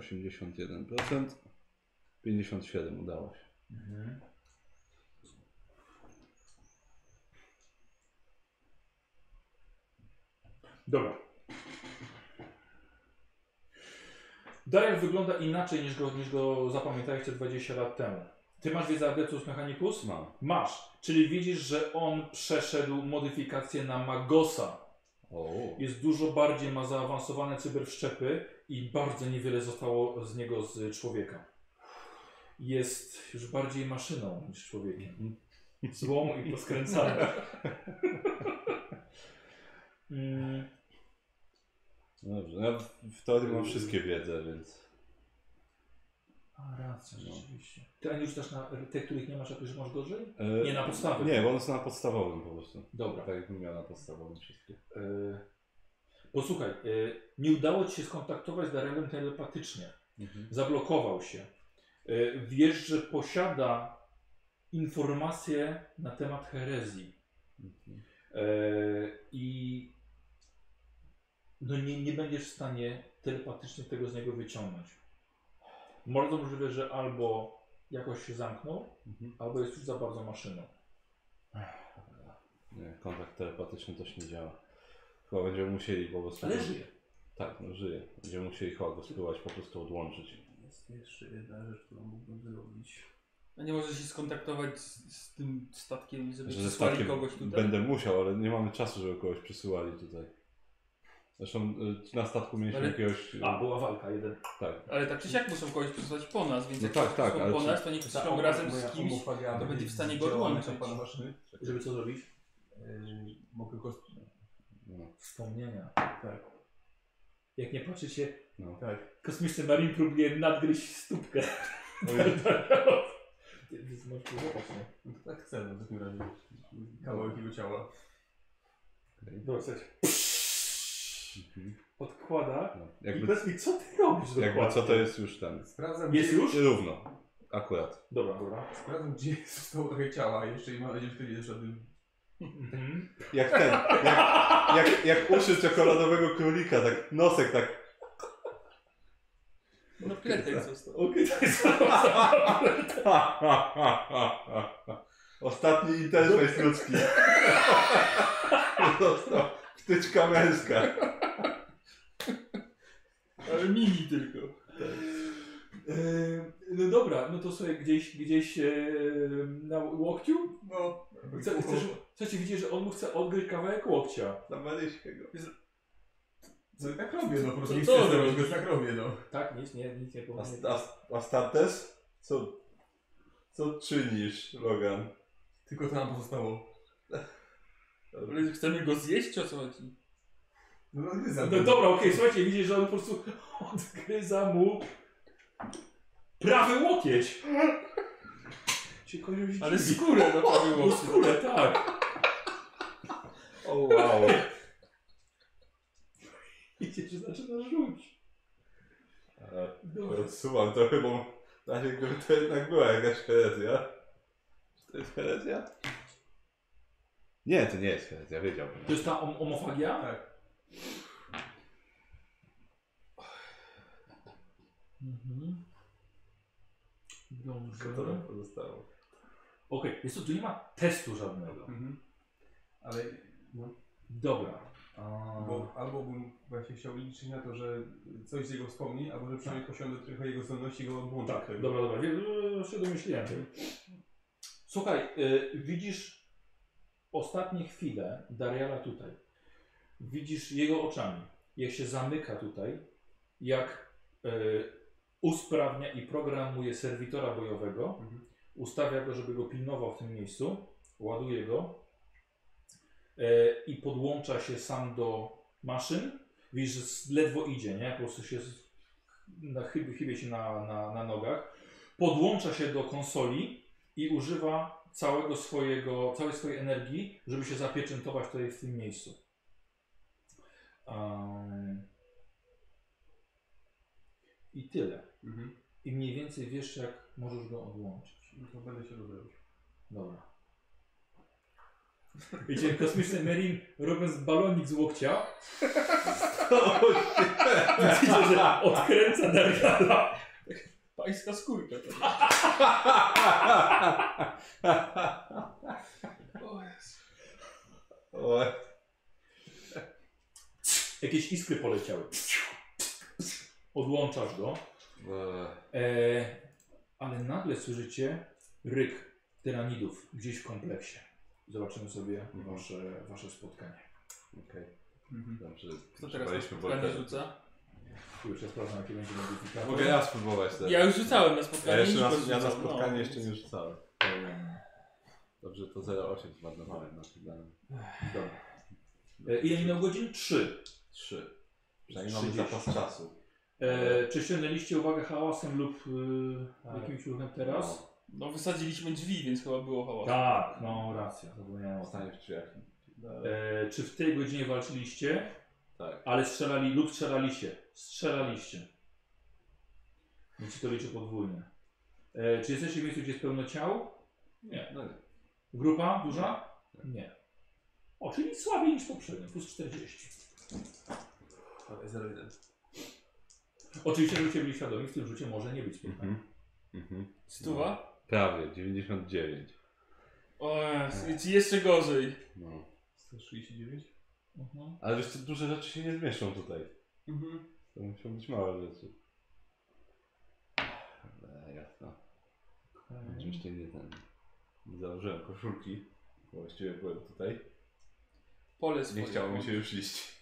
Speaker 2: 81%, 57 udało się.
Speaker 1: Mhm. Dobra. Darial wygląda inaczej niż go, niż go zapamiętaliście 20 lat temu. Ty masz wiedzę Adeptus Mechanicus?
Speaker 2: Mam.
Speaker 1: Masz. Czyli widzisz, że on przeszedł modyfikację na Magosa.
Speaker 2: O,
Speaker 1: Jest dużo bardziej, ma zaawansowane cyberszczepy i bardzo niewiele zostało z niego z człowieka. Jest już bardziej maszyną niż człowiekiem.
Speaker 2: Mhm.
Speaker 1: Złą i poskręcaną. Mm,
Speaker 2: no dobrze, ja w- w teorii mam wszystkie wiedzę, więc
Speaker 1: A racja,
Speaker 2: No.
Speaker 1: rzeczywiście. Ty ani już też na te, których nie masz, jakoś że masz gorzej?
Speaker 2: E,
Speaker 1: Nie, na podstawy.
Speaker 2: Nie, bo one są na podstawowym po prostu.
Speaker 1: Dobra.
Speaker 2: Tak jakbym miał na podstawowym wszystkie.
Speaker 1: Y, Posłuchaj, y, nie udało ci się skontaktować z Darelem telepatycznie. Mhm. zablokował się. E, Wiesz, że posiada informacje na temat herezji.
Speaker 2: Mhm.
Speaker 1: E, I no nie, nie będziesz w stanie telepatycznie tego z niego wyciągnąć. Bardzo możliwe, że albo jakoś się zamknął,
Speaker 2: Mhm.
Speaker 1: albo jest już za bardzo maszyną.
Speaker 2: Nie, kontakt telepatyczny też nie działa. Chyba będziemy musieli po prostu...
Speaker 1: Ale żyje.
Speaker 2: Tak, no żyje. Będziemy musieli chyba go spływać, po prostu odłączyć.
Speaker 6: Jest jeszcze jedna rzecz, którą mógłbym zrobić.
Speaker 3: A nie może się skontaktować z, z tym statkiem, żeby
Speaker 2: Że ze
Speaker 3: przysłali
Speaker 2: statkiem
Speaker 3: kogoś tutaj?
Speaker 2: będę musiał, ale nie mamy czasu, żeby kogoś przysyłali tutaj. Zresztą y, na statku mieliśmy
Speaker 3: Ale-
Speaker 2: jakiegoś... y,
Speaker 1: A, była walka, jeden.
Speaker 2: Tak.
Speaker 3: Ale tak czy siak muszą kogoś przysłać po nas, więc
Speaker 2: No
Speaker 3: jak
Speaker 2: tak,
Speaker 3: tak,
Speaker 2: tak, ale
Speaker 3: po
Speaker 2: czy-
Speaker 3: nas, to niech przyślą razem z kimś.
Speaker 5: to
Speaker 3: będzie w stanie go odłączyć.
Speaker 1: Żeby co zrobić?
Speaker 5: tak, Mogę go...
Speaker 2: No,
Speaker 1: Wspomnienia.
Speaker 5: Tak,
Speaker 1: Jak nie patrzycie,
Speaker 2: no.
Speaker 5: tak.
Speaker 1: kosmiczny marin próbuje nadgryźć stópkę. Więc masz dużo opcji.
Speaker 5: No to tak chcę no, w takim razie. Kawałek jego ciała.
Speaker 1: Dosyć.
Speaker 2: Mhm.
Speaker 1: Odkłada.
Speaker 2: no.
Speaker 1: I
Speaker 2: Jakby,
Speaker 1: powiedz mi, co ty robisz
Speaker 2: jakby
Speaker 1: dokładnie?
Speaker 2: co to jest już ten.
Speaker 5: Sprawdzam,
Speaker 1: Jest
Speaker 5: gdzie,
Speaker 1: już?
Speaker 2: Równo. Akurat.
Speaker 1: Dobra, dobra.
Speaker 5: sprawdzam, gdzie zostało jego ciała jeszcze i mam nadzieję, że to nie jest żadnym...
Speaker 1: Mhm.
Speaker 2: Jak ten. Jak, jak, jak uszy czekoladowego królika, tak nosek tak.
Speaker 3: No kletek został.
Speaker 1: Okej, to jest
Speaker 2: Ha, ha, ha, ha, ha, ha. Ostatni interfejs ludzki. Został wtyczka męska.
Speaker 3: Ale mini tylko.
Speaker 1: E, Mam no to sobie gdzieś, gdzieś e, na łokciu?
Speaker 5: No.
Speaker 1: Chce, chcesz, chcecie widzieć, że on mu chce odgryźć kawałek łokcia.
Speaker 2: Zawaliście go.
Speaker 5: Co ja tak robię, no po prostu
Speaker 1: Co-
Speaker 5: nie
Speaker 1: co
Speaker 5: chcę zrobić,
Speaker 1: robisz?
Speaker 5: więc tak robię, no.
Speaker 1: Tak, nic nie, nic nie powiem.
Speaker 2: Ast- Ast- Astartes? Co, co czynisz, Logan?
Speaker 5: Tylko to nam pozostało.
Speaker 3: Chcemy go zjeść, o co chodzi?
Speaker 5: No, no, nie
Speaker 1: No
Speaker 5: znam.
Speaker 1: dobra, okej, słuchajcie, widzisz, że on po prostu odgryza mu prawy łokieć. Się kojarzysz
Speaker 3: Ale skórę no to było.
Speaker 1: skórę, tak.
Speaker 2: O wow.
Speaker 1: Widzisz, że zaczyna rzuć.
Speaker 2: E,
Speaker 1: Dobra.
Speaker 2: Odsuwam to chyba. Na razie gdyby to jednak była jakaś herezja. Czy to jest herezja? Nie, to nie jest herezja, wiedziałbym.
Speaker 1: To jest ta om homofagia?
Speaker 5: Tak.
Speaker 1: Mhm.
Speaker 5: No,
Speaker 2: To
Speaker 1: Dobrze.
Speaker 2: nam pozostało.
Speaker 1: Okej, jest to tu nie ma testu żadnego.
Speaker 5: Mhm. Ale
Speaker 1: Dobra. A...
Speaker 5: bo, albo bym właśnie chciał liczyć na to, że coś z jego wspomni, albo że przynajmniej posiądę trochę jego zdolności i go odłączę. od
Speaker 1: Tak,
Speaker 5: tego.
Speaker 1: dobra, dobra, wiem, że się domyśliłem. Słuchaj, y, widzisz ostatnie chwile Dariala tutaj. Widzisz jego oczami, jak się zamyka tutaj, jak y, usprawnia i programuje serwitora bojowego,
Speaker 5: Mhm.
Speaker 1: ustawia go, żeby go pilnował w tym miejscu, ładuje go y, i podłącza się sam do maszyn. Widzisz, że s- ledwo idzie, nie? Po prostu się z- na, chybie, chybie się na, na, na nogach. Podłącza się do konsoli i używa całego swojego, całej swojej energii, żeby się zapieczętować tutaj w tym miejscu. Ehm. I tyle.
Speaker 5: Mhm.
Speaker 1: I mniej więcej wiesz, jak możesz go odłączyć.
Speaker 5: No To będę się rozwijał.
Speaker 1: Dobra. Widzicie, kosmiczny Merin robiąc balonik z łokcia. Widzicie, że odkręca Dariala.
Speaker 3: Pańska skórka.
Speaker 2: O,
Speaker 1: Jakieś iskry poleciały. Odłączasz go.
Speaker 2: e,
Speaker 1: E, ale nagle słyszycie ryk tyranidów gdzieś w kompleksie. Zobaczymy sobie wasze, wasze spotkanie.
Speaker 2: Okej.
Speaker 5: Mhm.
Speaker 2: Dobrze.
Speaker 3: Kto teraz
Speaker 2: przebraliśmy
Speaker 3: spotkanie
Speaker 2: wojnę.
Speaker 3: rzuca?
Speaker 1: Już ja sprawdzam, jakie będzie modyfikator.
Speaker 2: Mogę ja spróbować teraz.
Speaker 3: Ja już rzucałem na
Speaker 2: Ja
Speaker 3: spotkanie.
Speaker 2: jeszcze na,
Speaker 3: Nikos
Speaker 2: ja na
Speaker 3: rzucał, no.
Speaker 2: spotkanie jeszcze nie rzucałem.
Speaker 1: Ehm,
Speaker 2: Dobrze, to 0,8 zmarnowałem na tym
Speaker 1: Dobra. E, ile minęło godzin? Trzy.
Speaker 2: 3. Przynajmniej mamy
Speaker 1: 30.
Speaker 2: zapas czasu.
Speaker 1: E, czy ściągnęliście uwagę hałasem lub y,
Speaker 5: Tak.
Speaker 1: jakimś ruchem teraz?
Speaker 3: No wysadziliśmy drzwi, więc chyba było hałas.
Speaker 1: Tak, no racja, zapomniałem
Speaker 2: No,
Speaker 1: o tym.
Speaker 2: Stanie w drzwiach.
Speaker 1: E, czy w tej godzinie walczyliście?
Speaker 2: Tak.
Speaker 1: Ale strzelali lub strzelaliście. Strzelaliście. Więc ci to liczy podwójnie. E, czy jesteście w miejscu, gdzie jest pełno ciał? Nie.
Speaker 2: No nie.
Speaker 1: Grupa duża? Nie. O, czyli słabiej niż poprzednio, plus 40.
Speaker 5: Ale 0,1.
Speaker 1: Oczywiście, żebyście byli świadomi, w tym rzucie może nie być spotkania.
Speaker 2: Mhm.
Speaker 3: Stuwa?
Speaker 2: Prawie, 99.
Speaker 1: No.
Speaker 3: O, Jezu, i ci jeszcze gorzej.
Speaker 2: No.
Speaker 5: 139?
Speaker 1: Mhm.
Speaker 2: Ale wiesz co, duże rzeczy się nie zmieszczą tutaj.
Speaker 5: Mhm.
Speaker 2: To muszą być małe rzeczy. Ale jasno.
Speaker 1: E,
Speaker 2: Oczywiście nie ten. Nie założyłem koszulki. bo Właściwie byłem tutaj.
Speaker 3: Pole
Speaker 2: Nie
Speaker 3: swoje.
Speaker 2: chciało mi się już iść.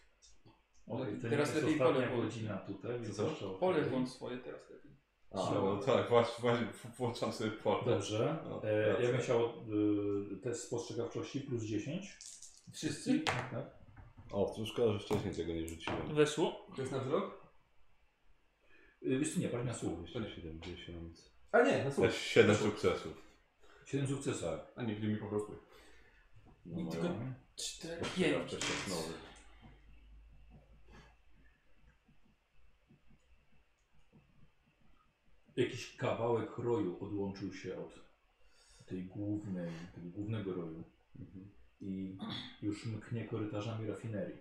Speaker 1: Okej, to
Speaker 3: Teraz
Speaker 1: teraz jest
Speaker 3: lepiej
Speaker 1: ostatnia
Speaker 3: pole
Speaker 1: godzina tutaj, więc
Speaker 2: co?
Speaker 1: proszę o-
Speaker 3: Pole włącz swoje teraz lepiej.
Speaker 2: A,
Speaker 1: Siła.
Speaker 2: no tak, właśnie, właśnie włączam sobie portal.
Speaker 1: Dobrze.
Speaker 2: No,
Speaker 1: E, ja
Speaker 2: racja.
Speaker 1: bym chciał y, test spostrzegawczości plus 10.
Speaker 3: Wszyscy?
Speaker 1: Tak, tak.
Speaker 2: O, to szkoda, że wcześniej tego nie rzuciłem.
Speaker 3: Weszło.
Speaker 5: To jest na wzrok?
Speaker 1: Y, Wiesz co, nie, patrz na słów.
Speaker 2: 70.
Speaker 5: A nie, na słuch.
Speaker 2: Też 7 sukcesów.
Speaker 1: 7 sukcesów.
Speaker 5: A nie, gdzie mi po prostu.
Speaker 2: No,
Speaker 3: I
Speaker 2: no,
Speaker 3: tylko
Speaker 2: no.
Speaker 3: cztery, pięć.
Speaker 2: Wcześniej nowy.
Speaker 1: Jakiś kawałek roju odłączył się od tej głównej, tego głównego roju
Speaker 2: Mhm.
Speaker 1: i już mknie korytarzami rafinerii.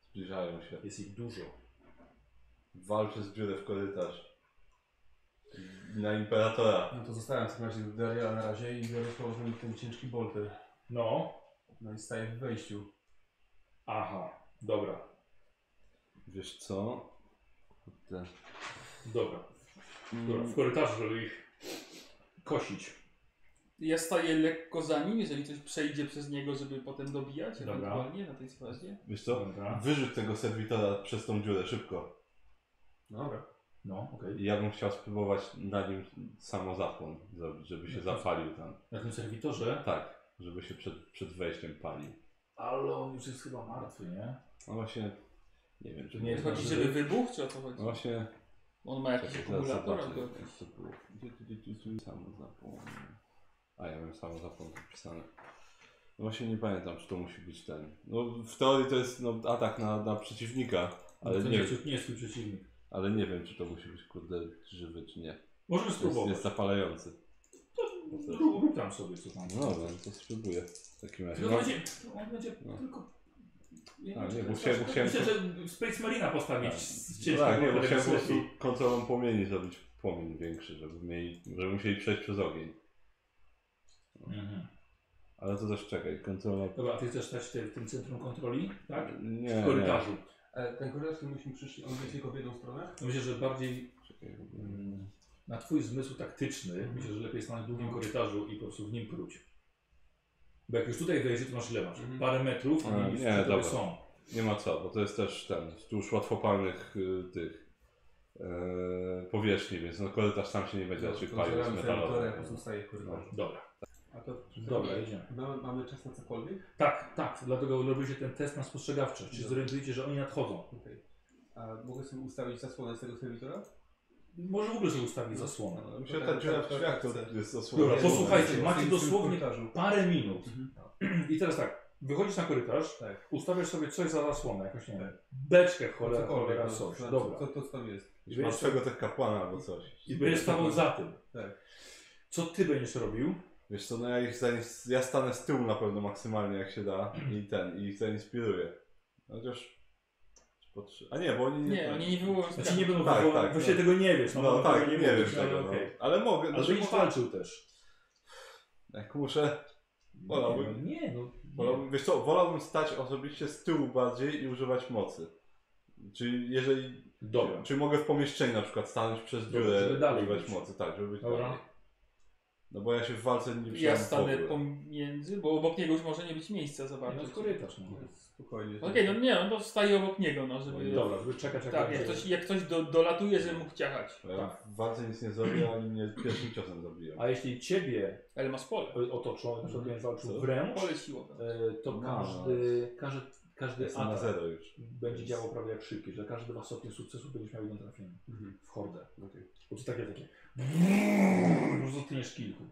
Speaker 2: Zbliżają się.
Speaker 1: Jest ich dużo.
Speaker 2: Walczę z dziurę w korytarz. Na imperatora.
Speaker 5: No to zostawiam w takim razie Daria na razie i biorę z powrotem ten ciężki bolter.
Speaker 1: No,
Speaker 5: No i staję w wejściu.
Speaker 1: aha, dobra,
Speaker 2: Wiesz co? Te-
Speaker 1: dobra.
Speaker 2: Mm,
Speaker 1: Dobra, w korytarzu żeby ich kosić.
Speaker 3: Ja staję lekko za nim, jeżeli coś przejdzie przez niego, żeby potem dobijać
Speaker 1: Dobra.
Speaker 3: ewentualnie na tej spadzie.
Speaker 2: Wiesz co?
Speaker 1: Dobra.
Speaker 2: Wyrzuć tego serwitora przez tą dziurę szybko.
Speaker 5: Dobra.
Speaker 1: No, okej.
Speaker 2: I ja bym chciał spróbować na nim samozapłon zrobić, żeby się zapalił tam.
Speaker 1: Na tym serwitorze.
Speaker 2: Tak, żeby się przed, przed wejściem palił.
Speaker 1: Ale on już jest chyba martwy, nie?
Speaker 2: No właśnie, nie wiem, czy
Speaker 1: Nie
Speaker 3: Chodzi,
Speaker 1: znaczy-
Speaker 3: żeby wybuch, czy o co
Speaker 2: No
Speaker 3: chodzi?
Speaker 2: właśnie,
Speaker 3: On ma jakiś
Speaker 2: czekaj, teraz
Speaker 3: akumulator
Speaker 2: zobaczę,
Speaker 3: albo
Speaker 2: jak to było. Gdzie tu, gdzie tu, tu, samozapłon. A ja miałem samozapłon podpisane. No właśnie nie pamiętam, czy to musi być ten. No w teorii to jest no, atak na, na przeciwnika, ale
Speaker 1: to
Speaker 2: No nie,
Speaker 1: nie,
Speaker 2: wiem-
Speaker 1: nie jest twój przeciwnik.
Speaker 2: ale nie wiem, czy to musi być kurde żywy, czy nie.
Speaker 1: Możemy
Speaker 2: To jest,
Speaker 1: spróbować.
Speaker 2: jest zapalający.
Speaker 1: Rób, rób tam sobie co tam.
Speaker 2: No dobra, no to spróbuję w takim razie.
Speaker 1: Tylko
Speaker 2: No,
Speaker 1: będzie, on będzie
Speaker 2: No.
Speaker 1: tylko...
Speaker 2: A, nie,
Speaker 1: czy
Speaker 2: bo
Speaker 1: to-
Speaker 2: chciałem-
Speaker 1: to-
Speaker 2: bo chciałem-
Speaker 1: Myślę, że Space Marina postawić
Speaker 2: Tak.
Speaker 1: z
Speaker 2: no
Speaker 1: ciężkim
Speaker 2: tak, nie, bo
Speaker 1: motorem
Speaker 2: chciałem po prostu
Speaker 1: lepiej.
Speaker 2: kontrolą płomieni zrobić płomień większy, żeby, mieli, żeby musieli przejść przez ogień.
Speaker 1: Mhm.
Speaker 2: Ale to też czekaj, kontrola...
Speaker 1: Dobra, a ty chcesz stać w tym centrum kontroli, tak?
Speaker 2: Nie,
Speaker 1: W
Speaker 2: nie.
Speaker 1: korytarzu.
Speaker 5: Ale E, ten korytarz, który musimy przyjść, on będzie tylko w jedną stronę?
Speaker 1: Myślę, że bardziej
Speaker 2: Czekaj,
Speaker 1: Mm, Na twój zmysł taktyczny myślę, że lepiej stanąć w długim korytarzu i po prostu w nim próć. Bo jak już tutaj wejdziesz, to masz ile masz?
Speaker 5: Mhm.
Speaker 1: Parę metrów,
Speaker 2: A,
Speaker 1: oni już
Speaker 2: nie,
Speaker 1: przy tobie
Speaker 2: dobra.
Speaker 1: są.
Speaker 2: Nie ma co, bo to jest też ten, tuż łatwopalnych y, tych e, powierzchni, więc no korytarz sam się nie będzie raczej palił, jest
Speaker 5: Zabieramy serwitora, jak
Speaker 2: metalowy.
Speaker 5: pozostaje w korytarzu.
Speaker 1: Dobra,
Speaker 5: A to
Speaker 1: No. dobra, idziemy.
Speaker 5: Mamy, mamy czas na cokolwiek?
Speaker 1: Tak, tak, dlatego robicie ten test na spostrzegawczość. Czy
Speaker 5: Dobra.
Speaker 1: zorientujecie, że oni nadchodzą?
Speaker 5: Okej. A mogę sobie ustawić zasłonę z tego serwitora?
Speaker 1: Może w ogóle sobie ustawić
Speaker 5: No.
Speaker 1: zasłonę.
Speaker 2: Myślę, że ta dziura
Speaker 5: tak
Speaker 2: w drzwiach to jest osłona.
Speaker 1: Dobra,
Speaker 5: Nie,
Speaker 1: posłuchajcie,
Speaker 5: zobaczcie,
Speaker 1: macie
Speaker 5: w tym
Speaker 1: dosłownie-
Speaker 5: korytarzu.
Speaker 1: Parę minut. I teraz tak, wychodzisz na korytarz,
Speaker 5: Tak.
Speaker 1: ustawiasz sobie coś za zasłonę, jakąś, nie wiem, beczkę cholera,
Speaker 5: Cokolwiek,
Speaker 1: cholera,
Speaker 5: no,
Speaker 1: coś.
Speaker 5: co-
Speaker 1: Dobra.
Speaker 5: Co, co, co tam jest?
Speaker 1: I
Speaker 2: Masz
Speaker 1: będziesz
Speaker 2: swego tych kapłana albo coś.
Speaker 1: I będziesz stawał za tym.
Speaker 5: Tak.
Speaker 1: Co ty będziesz robił?
Speaker 2: Wiesz co, no ja, ich zains- ja stanę z tyłu na pewno maksymalnie jak się da i ten, i ich zainspiruję. Chociaż... Potrzy... A nie, bo oni
Speaker 3: Nie, oni nie wywołują
Speaker 1: Znaczy nie
Speaker 3: sprawy.
Speaker 1: będą
Speaker 2: Tak,
Speaker 1: tak,
Speaker 2: tak,
Speaker 1: właśnie
Speaker 2: tak.
Speaker 1: tego nie wiesz.
Speaker 2: No,
Speaker 1: bo
Speaker 2: tak,
Speaker 1: tego
Speaker 2: nie wiem
Speaker 1: mówisz,
Speaker 2: tego,
Speaker 1: ale
Speaker 2: no.
Speaker 1: okej.
Speaker 2: Ale mogę,
Speaker 1: Ale
Speaker 2: znaczy,
Speaker 1: będziesz
Speaker 2: mogę,
Speaker 1: walczył też.
Speaker 2: jak muszę, Wolałbym.
Speaker 1: Nie, no. Nie.
Speaker 2: Wolałbym, wiesz co, wolałbym stać osobiście z tyłu bardziej i używać mocy. Czyli jeżeli.
Speaker 1: Dobra.
Speaker 2: Czy mogę w pomieszczeniu na przykład stanąć przez
Speaker 1: Dobra,
Speaker 2: dziurę
Speaker 1: żeby dalej
Speaker 2: używać
Speaker 1: być.
Speaker 2: mocy, tak, żeby być
Speaker 1: Dobra.
Speaker 2: dalej. No bo ja się w walce nie
Speaker 3: Ja
Speaker 2: przyjąłem w
Speaker 3: stanę
Speaker 2: ogóle.
Speaker 3: pomiędzy, bo obok niego już może nie być miejsca za
Speaker 1: Nie,
Speaker 3: bardzo.
Speaker 1: No korytarz. No.
Speaker 5: Spokojnie.
Speaker 3: Okej, no nie, no to staję obok niego, no żeby...
Speaker 1: Dobra, żeby czekać
Speaker 3: Tak, jak ktoś, jak ktoś do, dolatuje, żeby mógł ciachać.
Speaker 2: Bo Ja w walce nic nie zrobię, oni mnie pierwszym ciosem zabiją.
Speaker 1: Tak. A jeśli ciebie
Speaker 3: Ale ma spole.
Speaker 1: otoczą, na przykład będziesz walczył
Speaker 2: Co?
Speaker 1: wręcz,
Speaker 3: Pole siłowe.
Speaker 1: e, to
Speaker 2: No.
Speaker 1: każdy, każdy, każdy
Speaker 2: Jestem na
Speaker 1: atak
Speaker 2: zero już.
Speaker 1: będzie działał prawie jak szybki, że każdy dwa stopnie sukcesu będziesz miał jedno trafienie
Speaker 5: Mhm.
Speaker 1: w hordę.
Speaker 5: Okej.
Speaker 1: Bo to takie takie. Zostaniesz kilku.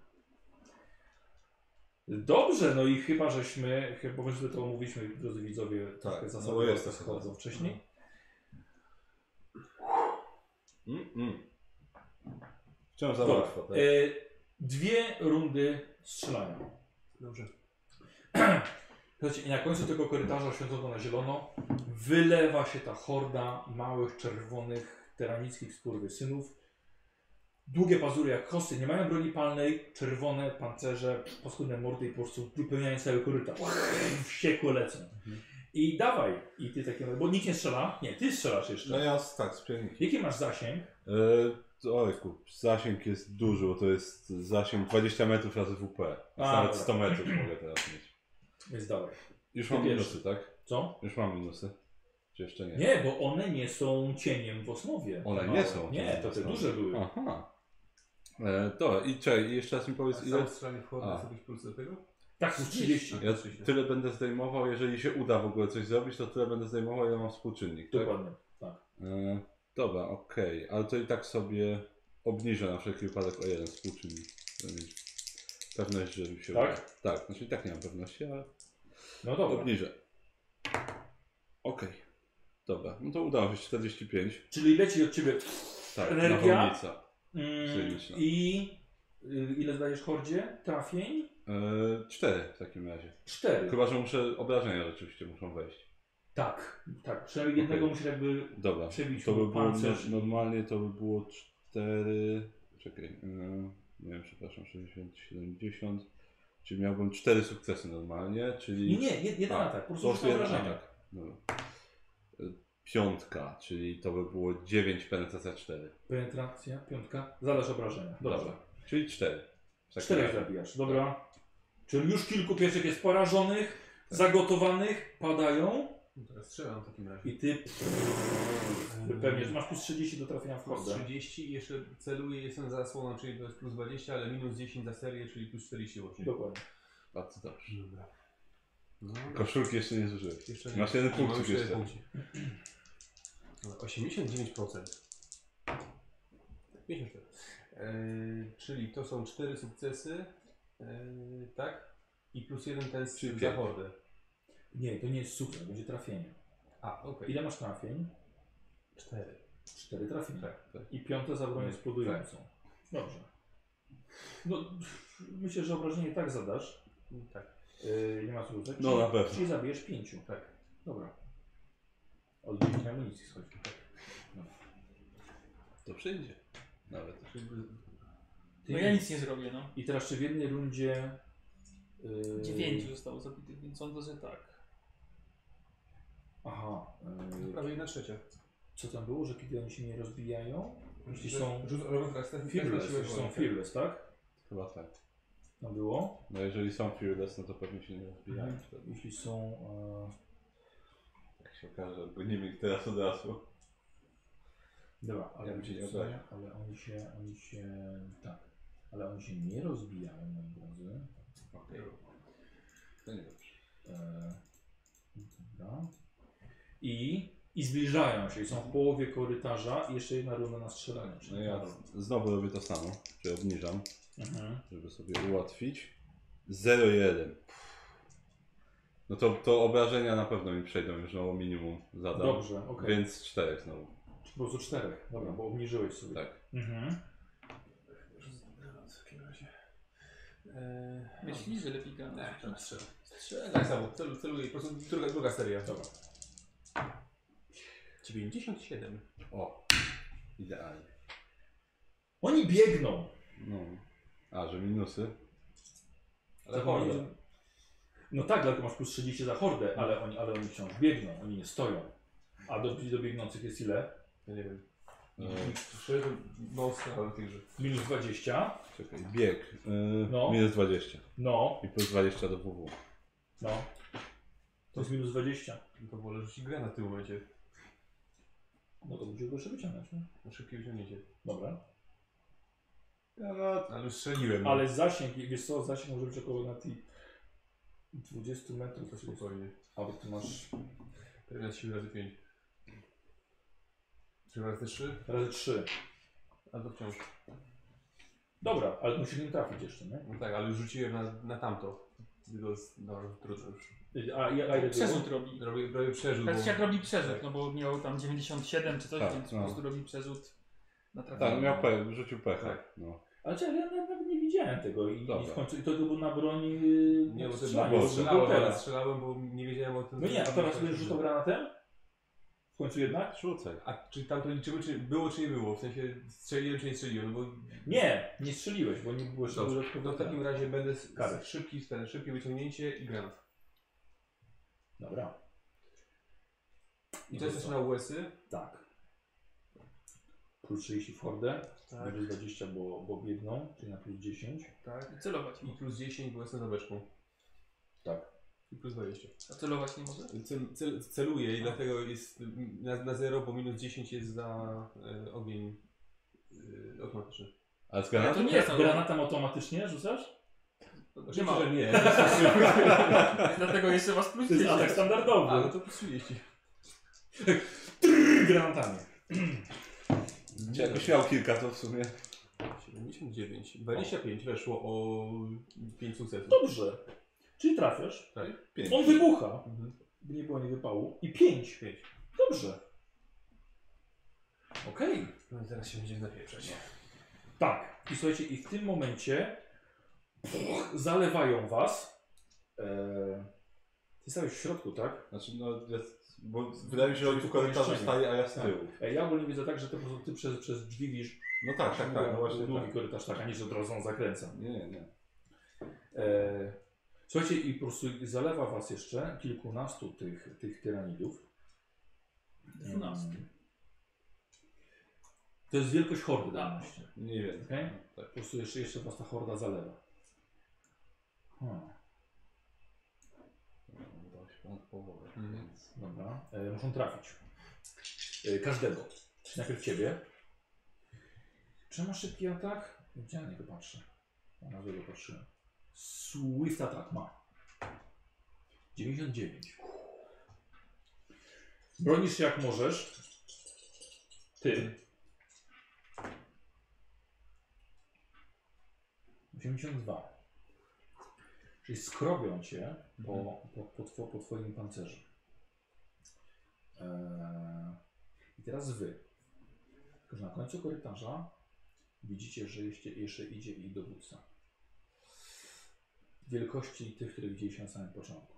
Speaker 1: Dobrze, no i chyba żeśmy, chyba że to omówiliśmy, drodzy widzowie, troszkę
Speaker 2: no
Speaker 1: zasobowo
Speaker 2: bo jest to
Speaker 1: schodzą
Speaker 2: chyba.
Speaker 1: wcześniej.
Speaker 2: Mm, mm. Wciąż za
Speaker 1: Dobra.
Speaker 2: łatwo, tak?
Speaker 1: E, dwie rundy strzelania.
Speaker 5: Dobrze.
Speaker 1: Słuchajcie, i na końcu tego korytarza oświetlonego na zielono wylewa się ta horda małych, czerwonych, teranickich skurwysynów. Długie pazury jak kosy, nie mają broni palnej, czerwone pancerze, paskudne mordy i po prostu wypełniają cały korytarz. Wściekłe lecą.
Speaker 2: Mhm.
Speaker 1: I dawaj, i ty takie, bo nikt nie strzela. Nie, ty strzelasz jeszcze.
Speaker 2: No ja z- tak, z pierniki.
Speaker 1: Jaki masz zasięg?
Speaker 2: E, Ojku, zasięg jest duży, bo to jest zasięg 20 metrów razy WP. Więc
Speaker 1: A,
Speaker 2: nawet
Speaker 1: dobra.
Speaker 2: 100 metrów mogę teraz mieć.
Speaker 1: Więc dawaj.
Speaker 2: Już
Speaker 1: Ty
Speaker 2: mam
Speaker 1: wiesz.
Speaker 2: minusy, tak?
Speaker 1: Co?
Speaker 2: Już mam minusy. Czy jeszcze nie?
Speaker 1: Nie, bo one nie są cieniem w osmowie.
Speaker 2: One
Speaker 1: Małe.
Speaker 2: nie są.
Speaker 1: Nie, to te
Speaker 2: Są.
Speaker 1: duże były.
Speaker 2: Aha. E, to i czekaj, i jeszcze raz mi powiedz ile.
Speaker 5: Sam strzelanie w
Speaker 2: A.
Speaker 5: hordę sobie plus do tego?
Speaker 1: Tak, plus 30.
Speaker 2: Ja tyle będę zdejmował, jeżeli się uda w ogóle coś zrobić, to tyle będę zdejmował, ile mam współczynnik. Tak?
Speaker 1: Dokładnie.
Speaker 2: E, dobra, okej, ale to i tak sobie obniżę na wszelki wypadek o jeden współczynnik. Żeby mieć Pewność, że mi się
Speaker 1: Tak?
Speaker 2: uda. Tak, znaczy i tak nie mam pewności, ale
Speaker 1: No dobra.
Speaker 2: obniżę. Okej. Dobra, no to udało się 45.
Speaker 1: Czyli leci od ciebie.
Speaker 2: Tak,
Speaker 1: Energia?
Speaker 2: nawałnica.
Speaker 1: Mm,
Speaker 2: Psychiczna.
Speaker 1: I y, ile zdajesz hordzie? Trafień?
Speaker 2: E, 4 w takim razie.
Speaker 1: Cztery.
Speaker 2: Chyba, że muszę obrażenia rzeczywiście muszą wejść.
Speaker 1: Tak, tak. Przynajmniej jednego
Speaker 2: Okej.
Speaker 1: musisz jakby
Speaker 2: Dobra.
Speaker 1: przebić
Speaker 2: To by
Speaker 1: mu
Speaker 2: było
Speaker 1: pancerz.
Speaker 2: no- normalnie to by było 4. Czekaj. e, Nie wiem, przepraszam, 60, 70. Czyli miałbym 4 sukcesy normalnie,
Speaker 1: Nie,
Speaker 2: czyli.
Speaker 1: nie, jed- jeden
Speaker 2: A,
Speaker 1: atak. Po prostu rzuć na
Speaker 2: jeden
Speaker 1: obrażenia.
Speaker 2: atak. Dobra. E, Piątka, czyli to by było 9 penetracja 4.
Speaker 1: Penetracja, piątka. Zależy obrażenia. Dobrze.
Speaker 2: Czyli Tak 4. W takim
Speaker 1: Czterech
Speaker 2: razie.
Speaker 1: zabijasz, dobra. Czyli już kilku pieszek jest porażonych,
Speaker 2: Tak.
Speaker 1: zagotowanych, padają
Speaker 6: No teraz strzelam w takim razie.
Speaker 1: i ty
Speaker 2: Mm.
Speaker 1: pewnie masz plus 30 do trafienia w
Speaker 5: Ehm, Plus
Speaker 1: hordę.
Speaker 5: 30 i jeszcze celuję, jestem za zasłoną, czyli to jest plus 20, ale minus 10 za serię, czyli plus 40 łącznie.
Speaker 1: Dokładnie.
Speaker 2: Bardzo dobrze.
Speaker 5: Dobra. No,
Speaker 2: Koszulki jeszcze nie zużyłeś.
Speaker 5: jeszcze
Speaker 2: Masz jeden
Speaker 5: I
Speaker 2: punkcik
Speaker 5: mam cztery
Speaker 2: jeszcze.
Speaker 5: punkci. No, 89%. 54. Yy, czyli to są 4 sukcesy, yy, tak? I plus jeden ten z
Speaker 2: Czyli
Speaker 5: za
Speaker 2: pięć.
Speaker 5: hordę.
Speaker 1: Nie, to nie jest sukces, będzie trafienie.
Speaker 5: A, okej.
Speaker 1: Ile masz trafień?
Speaker 5: Cztery.
Speaker 1: Cztery trafienia.
Speaker 2: Tak, tak.
Speaker 1: I piąte za broń eksplodującą. Dobrze. No, myślę, że obrażenie i tak zadasz.
Speaker 5: Tak,
Speaker 1: Yy, nie ma co rzucać.
Speaker 2: No, na pewno.
Speaker 1: Czyli zabijesz pięciu.
Speaker 5: tak.
Speaker 1: Dobra. Odbić amunicji schodzi.
Speaker 2: To przyjdzie. Nawet.
Speaker 1: Ty
Speaker 3: No ja nic nie zrobię, no.
Speaker 1: I teraz czy w jednej rundzie... Yy...
Speaker 3: Dziewięciu zostało zabitych, więc sądzę, że tak.
Speaker 1: Aha. Yy...
Speaker 5: Prawie jedna trzecia.
Speaker 1: Co tam było, że kiedy oni się nie rozbijają? Jeśli są
Speaker 5: Rzut, robię teraz ten
Speaker 1: fearless, jeśli są fearless, tak?
Speaker 2: Chyba tak.
Speaker 1: Tam było.
Speaker 2: No jeżeli są fearless, no to pewnie się nie rozbijają
Speaker 1: Mhm.
Speaker 2: wtedy.
Speaker 1: Jeśli są... e,
Speaker 2: Jak się okaże, bo nie mieli teraz od razu.
Speaker 1: E... Dobra, ale,
Speaker 2: Ja bym się nie
Speaker 1: wiecie co?
Speaker 2: obraził.
Speaker 1: ale oni się, oni się... Tak. Ale oni się nie rozbijają, moi drodzy.
Speaker 2: Okej. To nie dobrze.
Speaker 1: E, Dobra. I, I zbliżają się, i są w połowie korytarza i jeszcze jedna runda na strzelanie. czyli
Speaker 2: No ja
Speaker 1: dwa rundy.
Speaker 2: znowu robię to samo, czyli obniżam.
Speaker 1: Mhm.
Speaker 2: żeby sobie ułatwić. 0,1. No to, to obrażenia na pewno mi przejdą już na minimum zadam.
Speaker 1: Dobrze, okej.
Speaker 2: Więc 4 znowu.
Speaker 1: Po prostu czterech, dobra, bo obniżyłeś sobie.
Speaker 2: Tak.
Speaker 1: Mhm.
Speaker 5: No, W takim razie. Eee,
Speaker 3: Myślisz, że lepiej gra?
Speaker 5: tak, teraz strzelam.
Speaker 3: Strzelaj.
Speaker 5: Tak samo, celu, celuję, po prostu druga, druga seria. Dobra. 97.
Speaker 2: O, idealnie.
Speaker 1: Oni biegną!
Speaker 2: No. A, że minusy?
Speaker 1: Zapomnij, że- No tak, dlatego masz plus 30 za hordę, ale oni, ale oni wciąż biegną, oni nie stoją. A do, do biegnących jest ile?
Speaker 5: Ja nie wiem. No.
Speaker 2: E,
Speaker 5: Trzy mocne, ale tychże.
Speaker 1: Minus 20.
Speaker 2: czekaj, bieg. E,
Speaker 1: No.
Speaker 2: Minus 20.
Speaker 1: No,
Speaker 2: I plus 20 do WW.
Speaker 1: no. To jest minus 20.
Speaker 5: To wolę rzucić grę na tym momencie.
Speaker 1: No to będzie go jeszcze wyciągnąć, nie?
Speaker 5: Na szybkie wyciągnięcie.
Speaker 1: Dobra.
Speaker 5: Ale już strzeliłem. no.
Speaker 1: Ale zasięg, wiesz co, zasięg może być około na tej 20 metrów.
Speaker 5: To spokojnie.
Speaker 1: A bo ty masz
Speaker 5: Pewnie na siły razy 5. 3 razy 3,
Speaker 1: razy 3.
Speaker 5: ale to wciąż.
Speaker 1: Dobra, ale musisz nim trafić jeszcze, nie?
Speaker 5: No tak, ale już rzuciłem na, na tamto. Tylko z... No, trudno już.
Speaker 1: A, i- a ile było?
Speaker 3: Przerzut robi.
Speaker 5: Robię, robię przerzut,
Speaker 3: Znaczy
Speaker 5: bo...
Speaker 3: jak robi przerzut, no bo miał tam 97 czy coś,
Speaker 2: Tak,
Speaker 3: więc
Speaker 2: no.
Speaker 3: po prostu robi przerzut na trafienie.
Speaker 2: Tak, miał pech, rzucił pecha.
Speaker 5: Tak.
Speaker 2: No.
Speaker 1: Ale czekaj, ja nawet nie widziałem tego i, i
Speaker 2: Dobra.
Speaker 1: w końcu i to było na broni
Speaker 5: Nie, bo sobie
Speaker 1: strzelania.
Speaker 5: bo
Speaker 2: było
Speaker 5: strzelałem, ale
Speaker 1: teraz.
Speaker 5: strzelałem, bo nie wiedziałem o tym.
Speaker 1: No nie, a teraz będziesz rzucał granatem? W końcu jednak?
Speaker 2: Rzucaj.
Speaker 5: A czy tamto liczymy, czy było, czy nie było? W sensie strzeliłem, czy nie strzeliłem, no bo...
Speaker 1: Nie, nie strzeliłeś, bo nie było jeszcze
Speaker 5: Dobrze,
Speaker 1: dodatkowo.
Speaker 5: No w takim razie będę s-
Speaker 1: Karę.
Speaker 5: s- szybki, ten, szybkie wyciągnięcie i granat.
Speaker 1: Dobra.
Speaker 5: I No to jest też na y? łysy.
Speaker 1: Tak. Plus 30 w hordę, minus 20, bo, bo biedną, czyli na plus 10.
Speaker 5: Tak.
Speaker 3: I celować.
Speaker 5: I plus 10, bo jestem zabeczką.
Speaker 1: Tak.
Speaker 5: I plus Tak. 20.
Speaker 3: A celować nie może?
Speaker 5: Cel, cel, celuję i dlatego jest mm, na, na 0, bo minus 10 jest za e, ogień e, automatyczny.
Speaker 2: A z
Speaker 3: Ale
Speaker 2: granatu?
Speaker 3: to nie jest automat,
Speaker 1: Granatem automatycznie rzucasz?
Speaker 5: Oczywiście,
Speaker 3: ma.
Speaker 5: że nie.
Speaker 3: dlatego jeszcze was plus
Speaker 1: To jest tak.
Speaker 3: 10.
Speaker 1: atak standardowy.
Speaker 5: A, no to plus 30.
Speaker 1: Tak. Granatami.
Speaker 2: Jakbyś miał kilka to w sumie.
Speaker 5: 79. 25 weszło o 5 sukcesów.
Speaker 1: Dobrze. Czyli trafiasz.
Speaker 5: Tak.
Speaker 2: Pięć.
Speaker 1: On wybucha.
Speaker 5: Mhm.
Speaker 1: By nie było nie wypału. I 5.
Speaker 5: Pięć.
Speaker 1: Dobrze. Okej.
Speaker 5: No i teraz się będziemy napieprzać.
Speaker 1: Tak. I słuchajcie, i w tym momencie zalewają was. Eee, ty stałeś w środku, tak?
Speaker 2: Znaczy no jest, bo wydaje mi się, że oni w korytarzu
Speaker 1: Pomieszczenie.
Speaker 2: stali, a ja z
Speaker 1: Tak.
Speaker 2: tyłu.
Speaker 1: E, ja ogólnie widzę tak, że ty po prostu ty przez, przez drzwi widzisz
Speaker 2: No tak, tak, tak, no właśnie
Speaker 1: długi
Speaker 2: tak.
Speaker 1: korytarz, tak, a nie, że od razu on zakręca.
Speaker 2: Nie, nie, nie.
Speaker 1: E, słuchajcie, i po prostu zalewa was jeszcze kilkunastu tych, tych tyranidów.
Speaker 3: Dwunastu.
Speaker 1: Mm. To jest wielkość hordy danej.
Speaker 2: Mniej więcej.
Speaker 1: Okej.
Speaker 2: Tak.
Speaker 1: Po prostu jeszcze, jeszcze was ta horda zalewa. Hmm,
Speaker 2: Udało No, się ponad połowę,
Speaker 5: Mhm.
Speaker 2: więc...
Speaker 1: dobra. E, muszą trafić. E, każdego. Czyli Najpierw ciebie. Czy ma szybki atak? Gdzie na niego patrzę? Ja na niego patrzyłem. Swift atak ma. 99. Bronisz się jak możesz. Ty. 82. Czyli skrobią cię po, po, po, two, po twoim pancerzu. Eee, I teraz wy. Tylko, że na końcu korytarza widzicie, że jeszcze, jeszcze idzie i dowódca. Wielkości tych, które widzieliście na samym początku.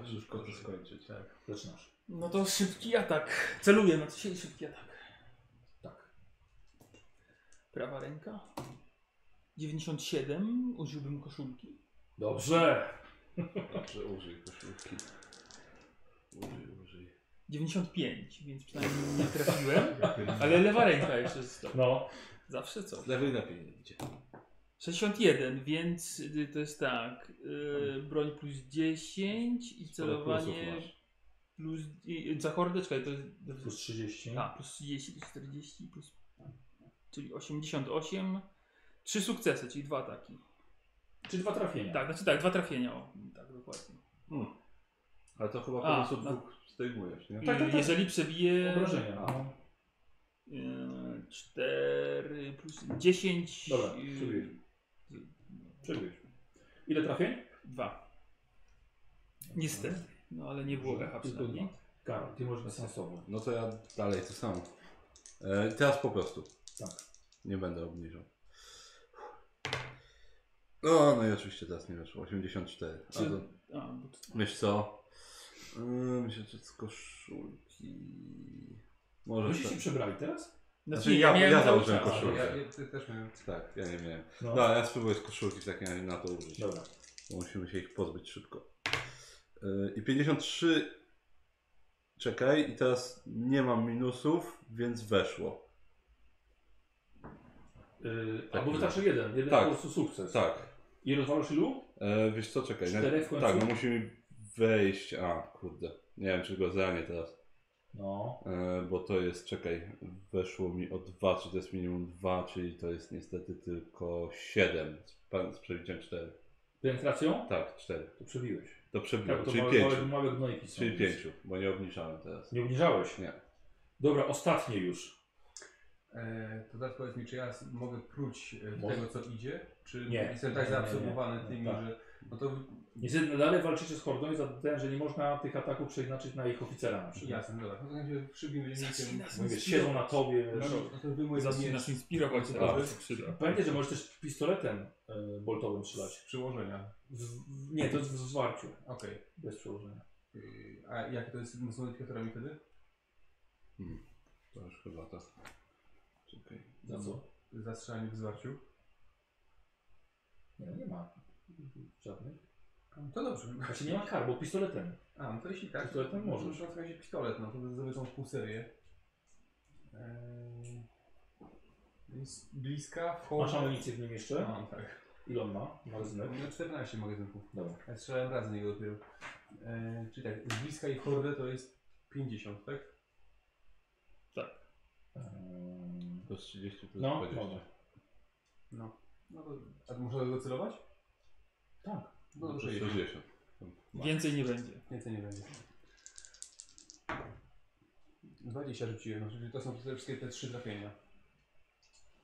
Speaker 2: Aż już go to skończyć. Tak.
Speaker 1: Zaczynasz.
Speaker 3: No to szybki atak. Celuję na coś szybki atak.
Speaker 1: Tak.
Speaker 3: Prawa ręka. 97. Użyłbym koszulki.
Speaker 1: Dobrze.
Speaker 2: Dobrze, użyj koszulki. Użyj, użyj.
Speaker 3: 95, więc przynajmniej nie trafiłem. Ale lewa ręka jeszcze jest dobra.
Speaker 1: No.
Speaker 3: Zawsze co?
Speaker 2: Z lewej na pięć idzie.
Speaker 3: 61, więc y, to jest tak. Yy, broń plus 10 i celowanie plus. Yy, za hordę, czekaj, to jest.
Speaker 1: Plus 30.
Speaker 3: A, plus 30, plus 40, plus. Czyli 88. Trzy sukcesy, czyli dwa ataki.
Speaker 1: Czy dwa trafienia.
Speaker 3: Tak, znaczy tak, dwa trafienia. O, tak, dokładnie.
Speaker 2: Ale to chyba
Speaker 3: A,
Speaker 2: po prostu
Speaker 3: no.
Speaker 2: dwóch zdejmujesz, nie?
Speaker 1: tak,
Speaker 3: Yy,
Speaker 1: tak.
Speaker 3: Jeżeli przebije.
Speaker 1: Obrażenia. No.
Speaker 3: 4 plus 10.
Speaker 1: Dobra,
Speaker 3: yy,
Speaker 1: przebiję. Przebiłeś. Ile trafień?
Speaker 3: Dwa. Niestety. No ale nie było echa
Speaker 1: Tylko
Speaker 3: przynajmniej.
Speaker 1: dwa. Karol, ty możesz sensowo.
Speaker 2: No to ja dalej to samo. E, teraz po prostu.
Speaker 1: Tak.
Speaker 2: Nie będę obniżał. No, no i oczywiście teraz nie weszło. 84. A
Speaker 3: Czy-
Speaker 2: to,
Speaker 3: A, bo to-
Speaker 2: wiesz co? Yy, myślę, że z koszulki... Może
Speaker 1: Byście
Speaker 2: tak.
Speaker 1: się przebrali teraz?
Speaker 3: Znaczy,
Speaker 2: Znaczy, ja-
Speaker 3: miałem
Speaker 2: ja
Speaker 3: cały
Speaker 2: założyłem
Speaker 3: czas.
Speaker 2: koszulkę.
Speaker 5: Ja, ja ty też miałem.
Speaker 2: Tak, ja nie wiem.
Speaker 1: No.
Speaker 2: No, a ja spróbuję z koszulki w takim razie na to użyć.
Speaker 1: Dobra.
Speaker 2: Bo musimy się ich pozbyć szybko. Yy, I 53. Czekaj, i teraz nie mam minusów, więc weszło.
Speaker 1: Yy,
Speaker 2: Tak,
Speaker 1: albo
Speaker 2: tak.
Speaker 1: wystarczy jeden. Jeden
Speaker 2: Tak.
Speaker 1: po prostu sukces.
Speaker 2: Tak.
Speaker 1: I rozwalasz ilu?
Speaker 2: E, wiesz co, czekaj.
Speaker 1: Czterech w końcu?
Speaker 2: tak, no musi mi wejść. A, kurde. Nie wiem, czy go zranię teraz.
Speaker 1: No.
Speaker 2: E, bo to jest, czekaj, weszło mi o 2, czy to jest minimum 2, czyli to jest niestety tylko 7. Z, pan- z przebiciem 4.
Speaker 1: Penetracją?
Speaker 2: Tak, 4.
Speaker 1: To przebiłeś.
Speaker 2: To przebiło,
Speaker 1: Tak, to
Speaker 2: czyli
Speaker 1: małe,
Speaker 2: 5.
Speaker 1: małe, małe gnojki są.
Speaker 2: Czyli
Speaker 1: więc
Speaker 2: 5, bo nie obniżałem teraz.
Speaker 1: Nie obniżałeś?
Speaker 2: Nie.
Speaker 1: Dobra, ostatnie już.
Speaker 5: E, to teraz powiedz mi, czy ja s- mogę pruć e,
Speaker 1: Może.
Speaker 5: tego, co idzie? Czy
Speaker 1: Nie.
Speaker 5: jestem tak
Speaker 1: Nie, nie, nie.
Speaker 5: zaabsorbowany
Speaker 1: Nie,
Speaker 5: tymi,
Speaker 1: tak.
Speaker 5: że... No to
Speaker 1: Niestety dalej walczycie z hordą i zadałem, że nie można tych ataków przeznaczyć na ich oficera na przykład.
Speaker 5: jasne, dobra. No to będzie szybkim wynikiem...
Speaker 3: Zasina
Speaker 1: Mówię, siedzą na tobie.
Speaker 5: No
Speaker 1: wiesz.
Speaker 5: to- no to wy moje
Speaker 3: Zacznij
Speaker 5: miecz
Speaker 3: nas inspirować, to
Speaker 5: Tak.
Speaker 3: bardzo się przyda.
Speaker 1: Pamiętaj, że możesz też pistoletem y, boltowym strzelać.
Speaker 5: z przyłożenia.
Speaker 1: W, w, nie, to jest w zwarciu.
Speaker 5: Okej.
Speaker 1: Bez przełożenia.
Speaker 5: Y, A jakie to jest z modyfikatorami wtedy?
Speaker 2: To już chyba tak. Czekaj.
Speaker 1: Za co?
Speaker 5: Zastrzelanie w zwarciu?
Speaker 1: Nie, nie ma żadnych.
Speaker 5: To dobrze.
Speaker 1: Znaczy nie ma kar, bo pistoletem.
Speaker 5: A, no to jeśli tak,
Speaker 1: Pistoletem
Speaker 5: to
Speaker 1: możesz.
Speaker 5: W takim razie pistolet, no to zobaczą pół serię. Eee, Jest bliska, wchodzi...
Speaker 1: Masz amunicję w nim jeszcze?
Speaker 5: Mam, tak.
Speaker 1: Ile on ma? Magazynek?
Speaker 5: Na 14 magazynków.
Speaker 1: Dobra.
Speaker 5: Ja strzelałem raz z niego dopiero. Eee, czyli tak, z bliska i w hordę to jest 50, tak?
Speaker 1: Ehm,
Speaker 2: To jest 30 plus
Speaker 1: No,
Speaker 2: 20.
Speaker 1: dobra.
Speaker 5: No. No to... A to można do tego celować?
Speaker 1: Tak.
Speaker 5: No
Speaker 2: To
Speaker 5: dobrze,
Speaker 2: jest 60.
Speaker 3: Więcej nie będzie.
Speaker 5: Więcej nie będzie. 20 rzuciłem, no, czyli to są te wszystkie te trzy trafienia.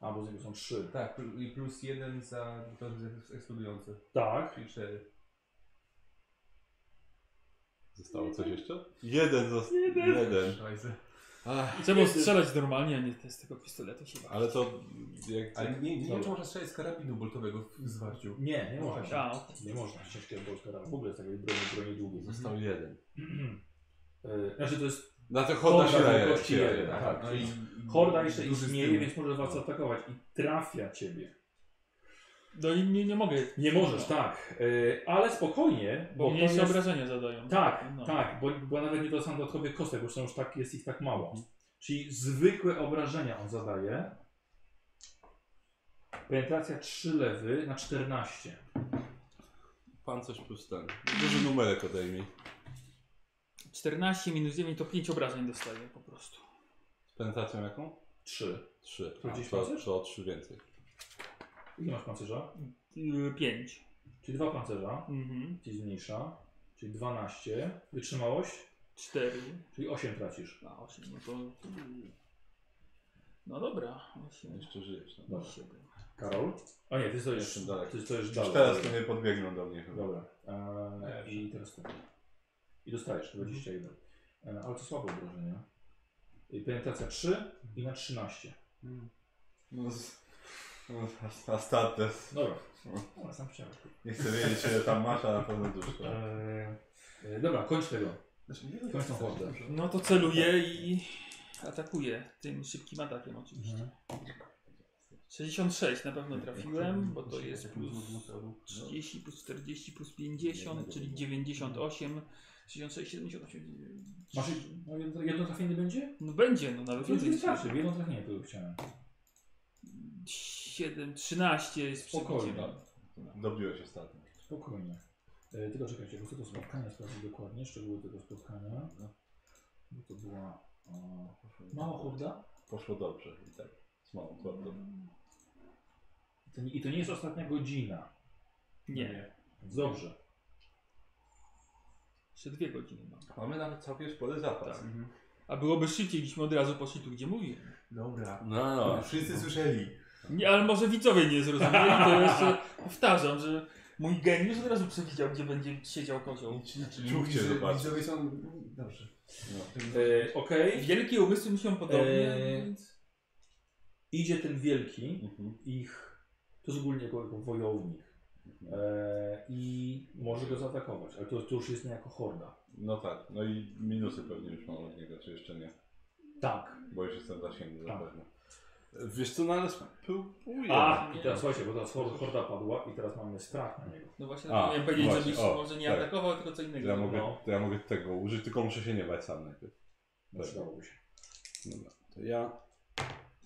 Speaker 1: A, bo z niego są trzy.
Speaker 5: Tak, pl- i plus jeden za to jest eksplodujący,
Speaker 1: Tak.
Speaker 5: czyli cztery.
Speaker 2: Zostało coś jeszcze? Jeden został. Jeden.
Speaker 5: Szajse.
Speaker 2: Ach,
Speaker 3: Trzeba strzelać normalnie, a nie te- z tego pistoletu się bawić.
Speaker 2: ale to jak... tak-
Speaker 5: Ale nie, nie wiem, czy
Speaker 1: Dobra.
Speaker 5: można strzelać z karabinu boltowego w w zwarciu.
Speaker 1: Nie,
Speaker 3: No
Speaker 1: nie można.
Speaker 3: A, okej.
Speaker 1: Nie można. Ciężkiego boltera. W ogóle z takiej broni, broni długiej.
Speaker 2: Został jeden.
Speaker 1: Ehm, Znaczy to jest
Speaker 2: Na to choda się
Speaker 1: Dobra,
Speaker 2: daje.
Speaker 1: wielkości
Speaker 2: się
Speaker 1: jeden.
Speaker 2: daje.
Speaker 1: tak,
Speaker 5: no i
Speaker 1: horda jeszcze
Speaker 5: duży
Speaker 1: istnieje,
Speaker 5: styl.
Speaker 1: więc może was atakować i trafia ciebie.
Speaker 3: No i nie, nie mogę.
Speaker 1: Nie możesz, tak. Ehm, Ale spokojnie,
Speaker 3: Bo
Speaker 1: bo
Speaker 3: mnie
Speaker 1: to
Speaker 3: jeszcze
Speaker 1: jest...
Speaker 3: obrażenia zadają.
Speaker 1: Tak,
Speaker 3: No. Mhm.
Speaker 1: tak, bo, bo nawet nie dostaną dodatkowych kostek, bo są już tak, jest ich tak mało. Czyli zwykłe obrażenia on zadaje. Penetracja 3 lewy na 14.
Speaker 2: Pan coś plus ten. Duży numerek odejmij.
Speaker 3: 14 minus 9 to 5 obrażeń dostaje po prostu.
Speaker 2: Z penetracją jaką?
Speaker 1: 3.
Speaker 2: Trzy.
Speaker 1: To gdzieś
Speaker 2: To,
Speaker 1: pancerz?
Speaker 2: to o trzy więcej.
Speaker 1: Ile masz pancerza?
Speaker 3: Yy, 5.
Speaker 1: Czyli dwa pancerza.
Speaker 3: Mhm.
Speaker 1: Ci zmniejsza. Czyli 12. Wytrzymałość?
Speaker 3: 4.
Speaker 1: Czyli 8 tracisz.
Speaker 3: A 8, no to... No dobra, 8,
Speaker 2: Jeszcze żyjesz. No.
Speaker 1: Dobra.
Speaker 3: 7.
Speaker 1: Karol? A nie, ty stoisz
Speaker 2: Jestem dalej.
Speaker 1: Ty stoisz
Speaker 2: Już
Speaker 1: dalej.
Speaker 2: teraz to nie podbiegną do mnie chyba.
Speaker 1: Dobra. Eee, I teraz tak. I dostajesz 21. Eee, ale to słabe obrażenia. I penetracja 3 i na 13.
Speaker 2: No, z... no, a- a Startes.
Speaker 1: Dobra. O, sam chciałem.
Speaker 2: Nie chcę wiedzieć ile tam masz, a na pewno dużo.
Speaker 1: Eee, e, dobra, kończ tego. Kończ tą hordę.
Speaker 3: No to celuję i atakuję tym szybkim atakiem oczywiście. 66 na pewno trafiłem, bo to jest plus 30, plus 40, plus 50, czyli 98, 66, 78.
Speaker 1: Masz no, jedno, jedno trafienie będzie?
Speaker 3: No będzie, no nawet
Speaker 1: To już
Speaker 3: więcej.
Speaker 1: wystarczy. Jedno trafienie tylko chciałem.
Speaker 3: 7, 13 jest
Speaker 1: Spokojnie.
Speaker 3: przebiciem.
Speaker 2: Dobiłeś ostatnio.
Speaker 1: Spokojnie. E, tylko czekajcie, bo chcę to spotkanie sprawdzić dokładnie, szczegóły tego spotkania. Bo to była o, mała horda.
Speaker 2: Poszło dobrze i tak. Z małą kładą.
Speaker 1: I to nie- I to nie jest ostatnia godzina.
Speaker 3: Nie,
Speaker 1: Więc Dobrze.
Speaker 3: jeszcze dwie godziny mam.
Speaker 2: Mamy nawet całkiem spory
Speaker 1: Tak.
Speaker 2: zapas.
Speaker 1: Mhm.
Speaker 3: A byłoby szybciej, gdyśmy od razu poszli tu, gdzie mówiłem.
Speaker 6: Dobra.
Speaker 2: No, no.
Speaker 13: Wszyscy słyszeli.
Speaker 3: Nie, ale może widzowie nie zrozumieli, to jeszcze powtarzam, że mój geniusz od razu przewidział, gdzie będzie siedział kozioł.
Speaker 13: Czyli
Speaker 2: Czuł
Speaker 13: mówi,
Speaker 2: cię,
Speaker 13: że
Speaker 2: zobacz.
Speaker 13: Widzowie są... Dobrze.
Speaker 1: E, Okej.
Speaker 3: Wielkie umysły myślą podobnie,
Speaker 1: Eee.
Speaker 3: więc...
Speaker 1: Idzie ten wielki,
Speaker 2: Mhm.
Speaker 1: ich, to jest ogólnie jako, jako wojownik.
Speaker 2: Mhm.
Speaker 1: E, I może go zaatakować, ale to, to już jest nie jako horda.
Speaker 2: No tak, no i minusy pewnie już mam od niego, czy jeszcze nie.
Speaker 1: Tak.
Speaker 2: Bo już jestem w zasięgu
Speaker 1: Tak.
Speaker 2: zapewne. Wiesz co, no ale spróbuję.
Speaker 1: A, i teraz słuchajcie, bo teraz hor- horda padła i teraz mamy strach na niego.
Speaker 3: No właśnie,
Speaker 2: A,
Speaker 3: tak miałem powiedzieć,
Speaker 2: właśnie,
Speaker 3: żebyś
Speaker 2: o,
Speaker 3: może nie
Speaker 2: tak.
Speaker 3: atakował, tylko co innego.
Speaker 2: Ja mogę,
Speaker 1: No.
Speaker 2: to ja mogę tego użyć, tylko muszę się nie bać sam najpierw. Tak.
Speaker 1: No, Przydałoby się.
Speaker 2: Dobra, to ja...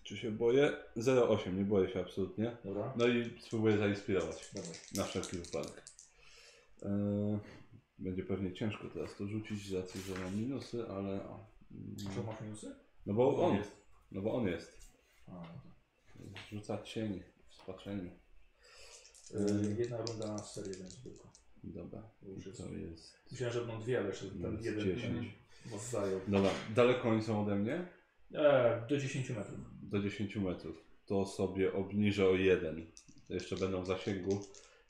Speaker 2: Czy się boję? 0,8, nie boję się absolutnie.
Speaker 1: Dobra?
Speaker 2: No i spróbuję zainspirować.
Speaker 1: Dobra.
Speaker 2: Na wszelki wypadek. Eee, będzie pewnie ciężko teraz to rzucić, z racji, że mam minusy, ale... o,
Speaker 1: Czy
Speaker 2: mm,
Speaker 1: masz minusy?
Speaker 2: No bo on jest. No bo on jest.
Speaker 1: A, no tak.
Speaker 2: Rzuca cień w spaczeniu. Mhm.
Speaker 1: E, jedna runda na serię będzie tylko.
Speaker 2: Dobra,
Speaker 1: To już jest.
Speaker 2: to jest...
Speaker 1: Myślałem, że będą dwie, ale jeszcze ten
Speaker 2: Jest
Speaker 1: jeden
Speaker 2: 10.
Speaker 1: was zajął.
Speaker 2: Dobra, daleko oni są ode mnie?
Speaker 1: E, do 10 metrów.
Speaker 2: do 10 metrów, to sobie obniżę o 1. To jeszcze będą w zasięgu,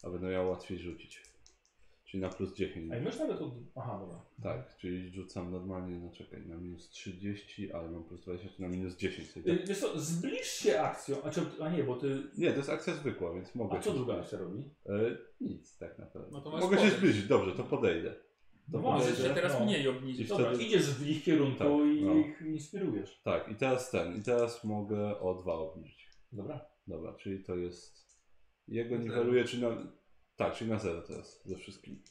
Speaker 2: a będę miał łatwiej rzucić. Czyli na plus 10.
Speaker 1: A i możesz nawet od... Aha, dobra.
Speaker 2: Tak, czyli rzucam normalnie, no czekaj, na minus 30, ale mam plus 20, czyli na minus 10.
Speaker 1: E,
Speaker 2: Sobie. tak-
Speaker 1: wiesz co, zbliż się akcją, a, czy, a nie, bo ty...
Speaker 2: Nie, to jest akcja zwykła, więc mogę.
Speaker 1: A co
Speaker 2: się
Speaker 1: druga
Speaker 2: zbliżyć.
Speaker 1: akcja robi?
Speaker 2: E, nic, tak naprawdę.
Speaker 3: No to masz
Speaker 2: mogę się
Speaker 3: podejść.
Speaker 2: zbliżyć, dobrze, to podejdę.
Speaker 1: No
Speaker 3: Możesz
Speaker 1: właśnie,
Speaker 3: się teraz
Speaker 1: no.
Speaker 3: mniej
Speaker 2: I
Speaker 3: obniżyć.
Speaker 2: wtedy-
Speaker 1: Dobra, idziesz w ich kierunku
Speaker 2: Tak,
Speaker 1: i
Speaker 2: no.
Speaker 1: ich inspirujesz.
Speaker 2: Tak, i teraz ten, i teraz mogę o 2 obniżyć.
Speaker 1: Dobra.
Speaker 2: Dobra, czyli to jest. Jego niweluje, czy na. Tak, czyli na 0 teraz ze wszystkim.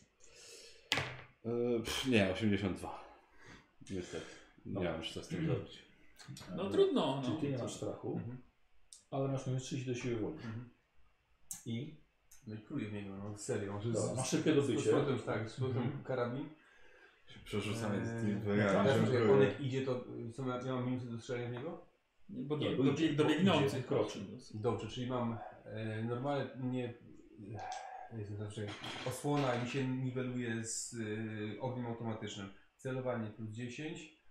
Speaker 2: Yy, pff, nie, 82. Niestety. Nie
Speaker 1: Dobra.
Speaker 2: wiem, już co z tym zrobić.
Speaker 3: No trudno,
Speaker 1: Czyli
Speaker 3: no.
Speaker 1: ty nie masz strachu, ale masz minus 30 do siły woli.
Speaker 3: Mhm.
Speaker 1: I
Speaker 5: No i pluję w niego, no serio. Że
Speaker 1: Dobra, masz szybkie dobycie.
Speaker 5: Z powrotem, tak, z powrotem karabin.
Speaker 2: Przerzucanie z
Speaker 5: Eee,
Speaker 2: tymi
Speaker 5: tak,
Speaker 2: dwojami.
Speaker 5: tak, że jak
Speaker 2: żongluję.
Speaker 5: Onek idzie, to y, co ja, ja mam minusy do strzelania w niego?
Speaker 3: Nie, Bo do,
Speaker 1: Nie,
Speaker 3: nie,
Speaker 1: bo
Speaker 3: do,
Speaker 1: idzie, bo idzie,
Speaker 3: biegnących
Speaker 1: kroczy.
Speaker 3: kroczy.
Speaker 5: Dobrze, czyli mam e, normalnie... e, Jezu, znaczy, osłona mi się niweluje z e, ogniem automatycznym. Celowanie plus 10.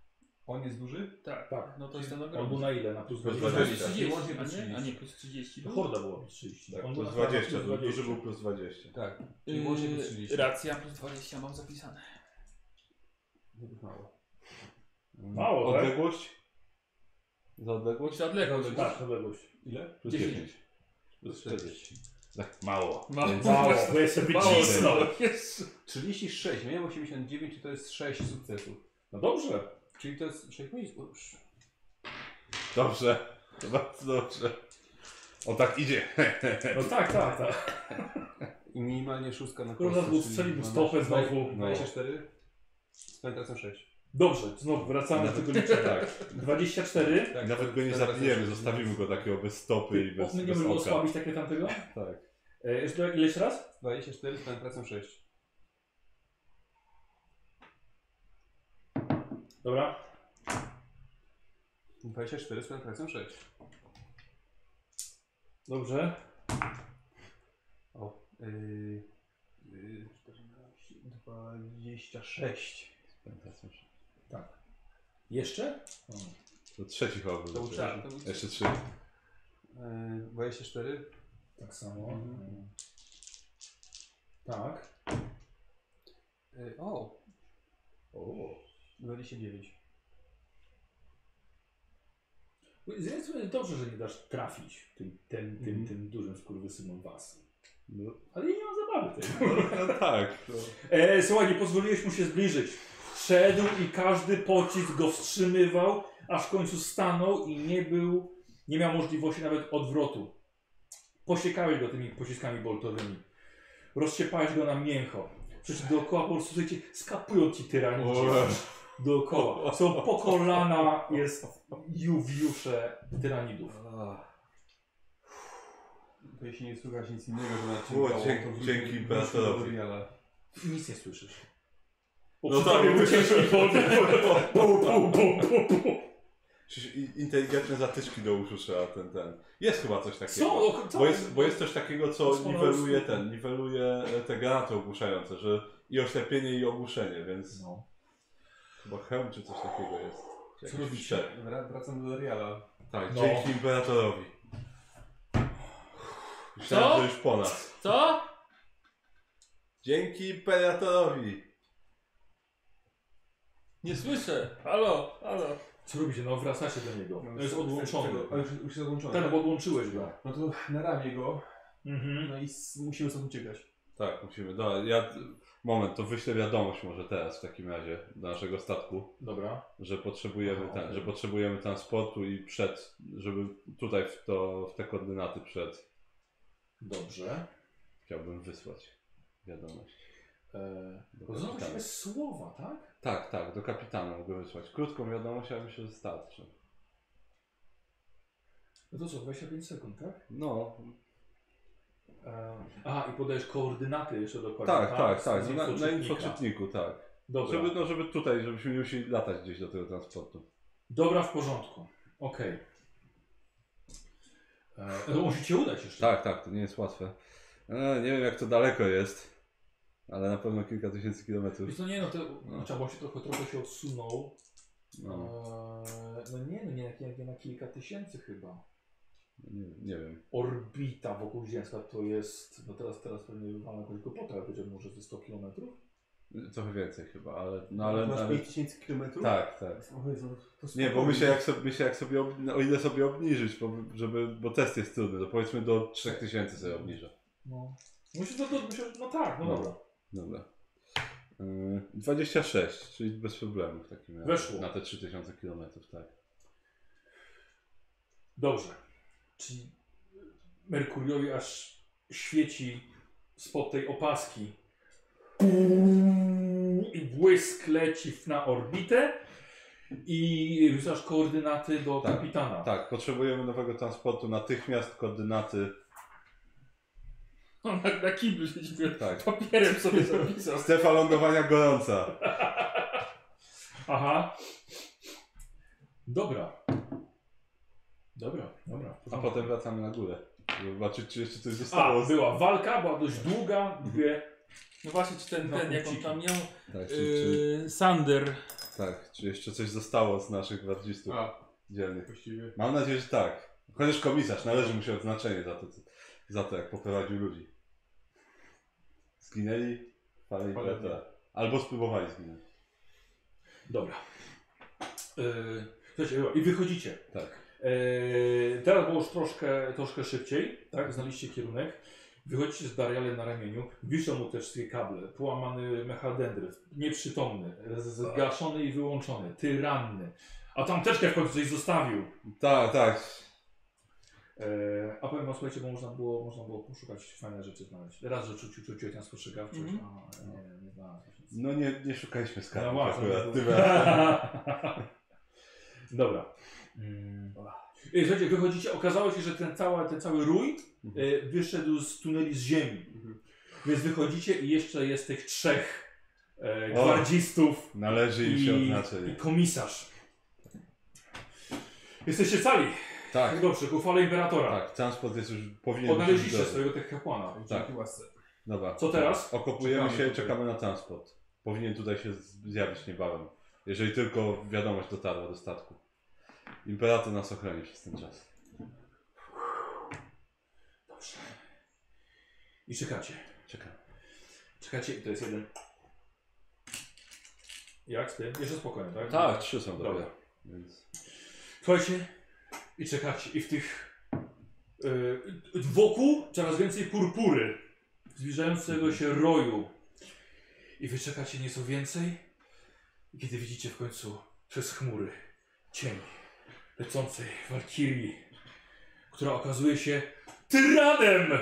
Speaker 5: On jest duży?
Speaker 3: Tak,
Speaker 1: Tak.
Speaker 3: no to jest ten
Speaker 1: on był
Speaker 3: ogromny.
Speaker 1: na ile? Na plus
Speaker 2: Plus
Speaker 1: 20?
Speaker 2: 20.
Speaker 3: 30,
Speaker 5: Łącznie
Speaker 3: a
Speaker 5: plus
Speaker 3: nie, a
Speaker 5: 30.
Speaker 3: nie plus 30.
Speaker 1: To horda była plus 30.
Speaker 2: Tak,
Speaker 1: On
Speaker 2: plus
Speaker 1: był na- na
Speaker 2: 20,
Speaker 1: plus
Speaker 2: duży był plus 20.
Speaker 5: Tak. Czyli łącznie plus
Speaker 3: Yy,
Speaker 5: 30.
Speaker 3: racja, plus 20 mam zapisane.
Speaker 5: Mało. No,
Speaker 1: Mało, tak?
Speaker 2: Odległość? Za odległość?
Speaker 3: Muszę odlegać.
Speaker 1: Tak, odległość.
Speaker 2: Ile? Plus 10.
Speaker 3: 10.
Speaker 2: Plus 40. Tak, mało.
Speaker 3: Mało.
Speaker 2: Więc-
Speaker 1: Mało, bo ja sobie
Speaker 3: Mało
Speaker 1: cisnął.
Speaker 3: tego jest.
Speaker 5: 36, miałem 89, czyli to jest 6 sukcesów.
Speaker 1: No dobrze.
Speaker 5: Czyli to jest 6 miejsc. O, sz-
Speaker 2: Dobrze. To bardzo dobrze. O tak idzie.
Speaker 1: No tak, tak, tak.
Speaker 5: I minimalnie szóstka na
Speaker 1: Kurwa,
Speaker 5: kostce,
Speaker 1: znowu
Speaker 5: czyli
Speaker 1: strzelił
Speaker 5: 12,
Speaker 1: stopę znowu.
Speaker 5: 24 z penetracją 6.
Speaker 1: Dobrze, znowu wracamy do tego liczenia.
Speaker 2: Tak.
Speaker 1: 24.
Speaker 2: tak. Nawet go nie zabijemy, zostawimy go
Speaker 5: tak.
Speaker 2: takiego bez stopy i bez,
Speaker 1: Bez, nie
Speaker 2: bez
Speaker 1: możemy
Speaker 2: oka.
Speaker 1: osłabić takie tamtego?
Speaker 2: Tak.
Speaker 1: E, jeszcze ileś raz?
Speaker 5: 24 z penetracją 6.
Speaker 1: Dobra.
Speaker 5: 24 z penetracją 6.
Speaker 1: Dobrze.
Speaker 5: O. Yy, yy, 14, 26.
Speaker 1: Jeszcze?
Speaker 2: To No, trzeci chyba był.
Speaker 5: To
Speaker 2: Tak.
Speaker 5: był trzeci. To był trzeci.
Speaker 2: Jeszcze trzy.
Speaker 5: Yy, 24.
Speaker 1: Tak samo. E, Tak.
Speaker 5: Yy, o.
Speaker 2: O.
Speaker 5: 29.
Speaker 1: Z jednej strony dobrze, że nie dasz trafić tym, tym, tym, tym dużym skurwysynom was.
Speaker 2: No,
Speaker 1: Ale ja nie mam zabawy tej.
Speaker 2: no tak. To...
Speaker 1: E, słuchaj, nie pozwoliłeś mu się zbliżyć. Szedł i każdy pocisk go wstrzymywał, aż w końcu stanął i nie był, nie miał możliwości nawet odwrotu. Posiekałeś go tymi pociskami boltowymi. Rozciepałeś go na mięcho. Przecież dookoła po prostu słuchajcie, skapują ci tyrani.
Speaker 2: O.
Speaker 1: Dookoła. Są po kolana, jest juwiusze tyranidów.
Speaker 5: To jeśli nie słuchasz nic innego, to na
Speaker 2: O, dzięki- dzięki Bertolowi.
Speaker 1: Nic nie słyszysz.
Speaker 2: No tak, bo
Speaker 1: ucieczki Pum, pum, pum, pum, pum.
Speaker 2: Przecież i- inteligentne zatyczki do uszu trzeba ten, ten. Jest chyba coś takiego.
Speaker 1: Są, o,
Speaker 2: Bo jest, bo jest coś takiego, co
Speaker 1: Sporo
Speaker 2: niweluje
Speaker 1: usług.
Speaker 2: ten, niweluje e, te granaty ogłuszające, że i oślepienie i ogłuszenie, więc
Speaker 1: No.
Speaker 2: chyba hełm czy coś takiego jest. Czy jakiś przep.
Speaker 5: Wra- Wracam do Doriala.
Speaker 2: Tak,
Speaker 1: No.
Speaker 2: dzięki imperatorowi. Myślałem,
Speaker 3: Co?
Speaker 2: że już po nas.
Speaker 3: Co?
Speaker 2: Dzięki imperatorowi.
Speaker 3: Nie słyszę. Halo, halo.
Speaker 1: Co robicie? No wracacie do niego.
Speaker 5: No,
Speaker 1: To jest odłączony.
Speaker 5: A już, już jest odłączony.
Speaker 2: Tak,
Speaker 1: Ten, bo odłączyłeś go.
Speaker 5: No to naramię go,
Speaker 1: Mhm.
Speaker 5: no i s- musimy stąd uciekać.
Speaker 2: Tak, musimy. Dobra, ja. Moment, to wyślę wiadomość może teraz w takim razie do naszego statku,
Speaker 1: Dobra.
Speaker 2: że potrzebujemy ten, że potrzebujemy transportu i przed, żeby tutaj w, to, w te koordynaty przed
Speaker 1: Dobrze.
Speaker 2: chciałbym wysłać wiadomość.
Speaker 1: Eee,
Speaker 2: Do
Speaker 1: to są
Speaker 2: kapitana.
Speaker 1: właściwie słowa, tak?
Speaker 2: Tak, tak, do kapitana mogę wysłać. Krótką wiadomość, ale myślę, że starczy.
Speaker 1: No to co, 25 sekund, tak?
Speaker 2: No,
Speaker 1: Eee, a, i podajesz koordynaty jeszcze dokładnie.
Speaker 2: tak, tak, tak,
Speaker 1: Z
Speaker 2: na, na
Speaker 1: infoczytnika.
Speaker 2: infoczytniku, tak.
Speaker 1: Dobra.
Speaker 2: Żeby, no, żeby tutaj, żebyśmy nie musieli latać gdzieś do tego transportu.
Speaker 1: Dobra, w porządku. Okej. Eee, no, musi cię udać jeszcze.
Speaker 2: Tak, tak, to nie jest łatwe. E, nie wiem, jak to daleko jest, ale na pewno kilka tysięcy kilometrów.
Speaker 1: Wiesz, no nie no, to
Speaker 2: No.
Speaker 1: no. trzeba było się trochę, trochę się odsunął.
Speaker 2: No,
Speaker 1: Eee, no nie, no nie, nie, nie na kilka tysięcy chyba.
Speaker 2: nie, nie wiem.
Speaker 1: orbita wokół Ziemska to jest, no teraz, teraz pewnie mam jakąś głupotę, ale powiedziałbym może ze 100 km.
Speaker 2: Trochę więcej chyba, ale... No, ale,
Speaker 5: Masz
Speaker 2: ale
Speaker 5: 5000 km?
Speaker 2: tak, tak.
Speaker 5: O Jezu, no to
Speaker 2: Nie, bo
Speaker 5: spokojnie.
Speaker 2: myślę jak sobie, myślę, jak sobie ob... o ile sobie obniżyć, bo, żeby, bo test jest trudny, to powiedzmy do 3000 sobie obniżę.
Speaker 1: No. Myślę, że to, myślę, że- no tak, no,
Speaker 2: No.
Speaker 1: dobra.
Speaker 2: Dobra. Yy, 26, czyli bez problemu w takim razie.
Speaker 1: Weszło.
Speaker 2: Na te 3000 km, tak.
Speaker 1: Dobrze. Czyli Merkuriowi aż świeci spod tej opaski Pum! i błysk leci w- na orbitę i rzucasz koordynaty do
Speaker 2: Tak,
Speaker 1: kapitana.
Speaker 2: Tak, potrzebujemy nowego transportu, natychmiast koordynaty.
Speaker 3: No, na, na kiblu się
Speaker 2: Tak.
Speaker 3: papierem sobie zapisał.
Speaker 2: Strefa lądowania gorąca.
Speaker 1: Aha. Dobra. Dobra, dobra.
Speaker 2: A potem wracamy na górę. Żeby zobaczyć, czy jeszcze coś zostało.
Speaker 1: A, była walka, była dość długa, dwie.
Speaker 3: No właśnie, czy ten, ten, jak on tam miał,
Speaker 2: Tak, czy,
Speaker 1: Y-
Speaker 2: czy,
Speaker 3: yy, Sander.
Speaker 2: tak, czy jeszcze coś zostało z naszych gwardzistów
Speaker 6: A,
Speaker 2: dzielnych.
Speaker 6: właściwie.
Speaker 2: Mam nadzieję, że tak. Chociaż komisarz należy mu się odznaczenie za to, co- za to jak poprowadził ludzi. Zginęli parę imperatora. Albo spróbowali zginąć.
Speaker 1: Dobra. Yy, słuchajcie, dobra, i wychodzicie.
Speaker 2: Tak.
Speaker 1: Yy, teraz było już troszkę, troszkę szybciej, tak? Znaliście kierunek. Wychodzicie z Darialem na ramieniu. Wiszą mu te wszystkie kable. Połamany mechadendryt, nieprzytomny, z- zgaszony i wyłączony, ty ranny. A tam teczkę w końcu coś zostawił.
Speaker 2: Tak, tak.
Speaker 1: E, a powiem wam, słuchajcie, bo można było, można było poszukać fajne rzeczy znaleźć. Raz, że czuć, czuć, czuć tę spostrzegawczość,
Speaker 3: Mhm.
Speaker 1: a nie, nie znalazłem nic.
Speaker 2: No nie, nie szukaliśmy skarbów
Speaker 1: No właśnie,
Speaker 2: Tak, akurat
Speaker 1: no.
Speaker 2: tym razem.
Speaker 1: Dobra. Mm. Ej, Słuchajcie, wychodzicie, okazało się, że ten, cała, ten cały rój
Speaker 2: Mhm.
Speaker 1: e, wyszedł z tuneli z ziemi. Więc wychodzicie i jeszcze jest tych trzech e,
Speaker 2: O.
Speaker 1: gwardzistów
Speaker 2: Należy im
Speaker 1: i,
Speaker 2: się
Speaker 1: i
Speaker 2: odznaczyć.
Speaker 1: komisarz. Jesteście cali.
Speaker 2: Tak,
Speaker 1: Dobrze, ku chwale imperatora.
Speaker 2: tak, transport jest już powinien być.
Speaker 1: Odnaleźliście
Speaker 2: już dobry.
Speaker 1: swojego tych kapłana.
Speaker 2: Tak. Dobra.
Speaker 1: Co teraz?
Speaker 2: Okopujemy
Speaker 1: Czekamy
Speaker 2: się,
Speaker 1: tutaj.
Speaker 2: czekamy na transport. Powinien tutaj się z- zjawić niebawem. Jeżeli tylko wiadomość dotarła do statku. Imperator nas ochroni przez ten czas.
Speaker 1: Dobrze. I czekacie.
Speaker 2: Czekamy.
Speaker 1: Czekacie i to jest jeden. Jak z tym? Jeszcze spokojnie, tak?
Speaker 2: Tak, trzy są
Speaker 1: Dobra.
Speaker 2: dobre. Więc...
Speaker 1: Słuchajcie, i czekacie, i w tych. Yy, wokół coraz więcej purpury, zbliżającego się roju. I wy czekacie nieco więcej, i kiedy widzicie w końcu przez chmury cień lecącej walkirii, która okazuje się tyranem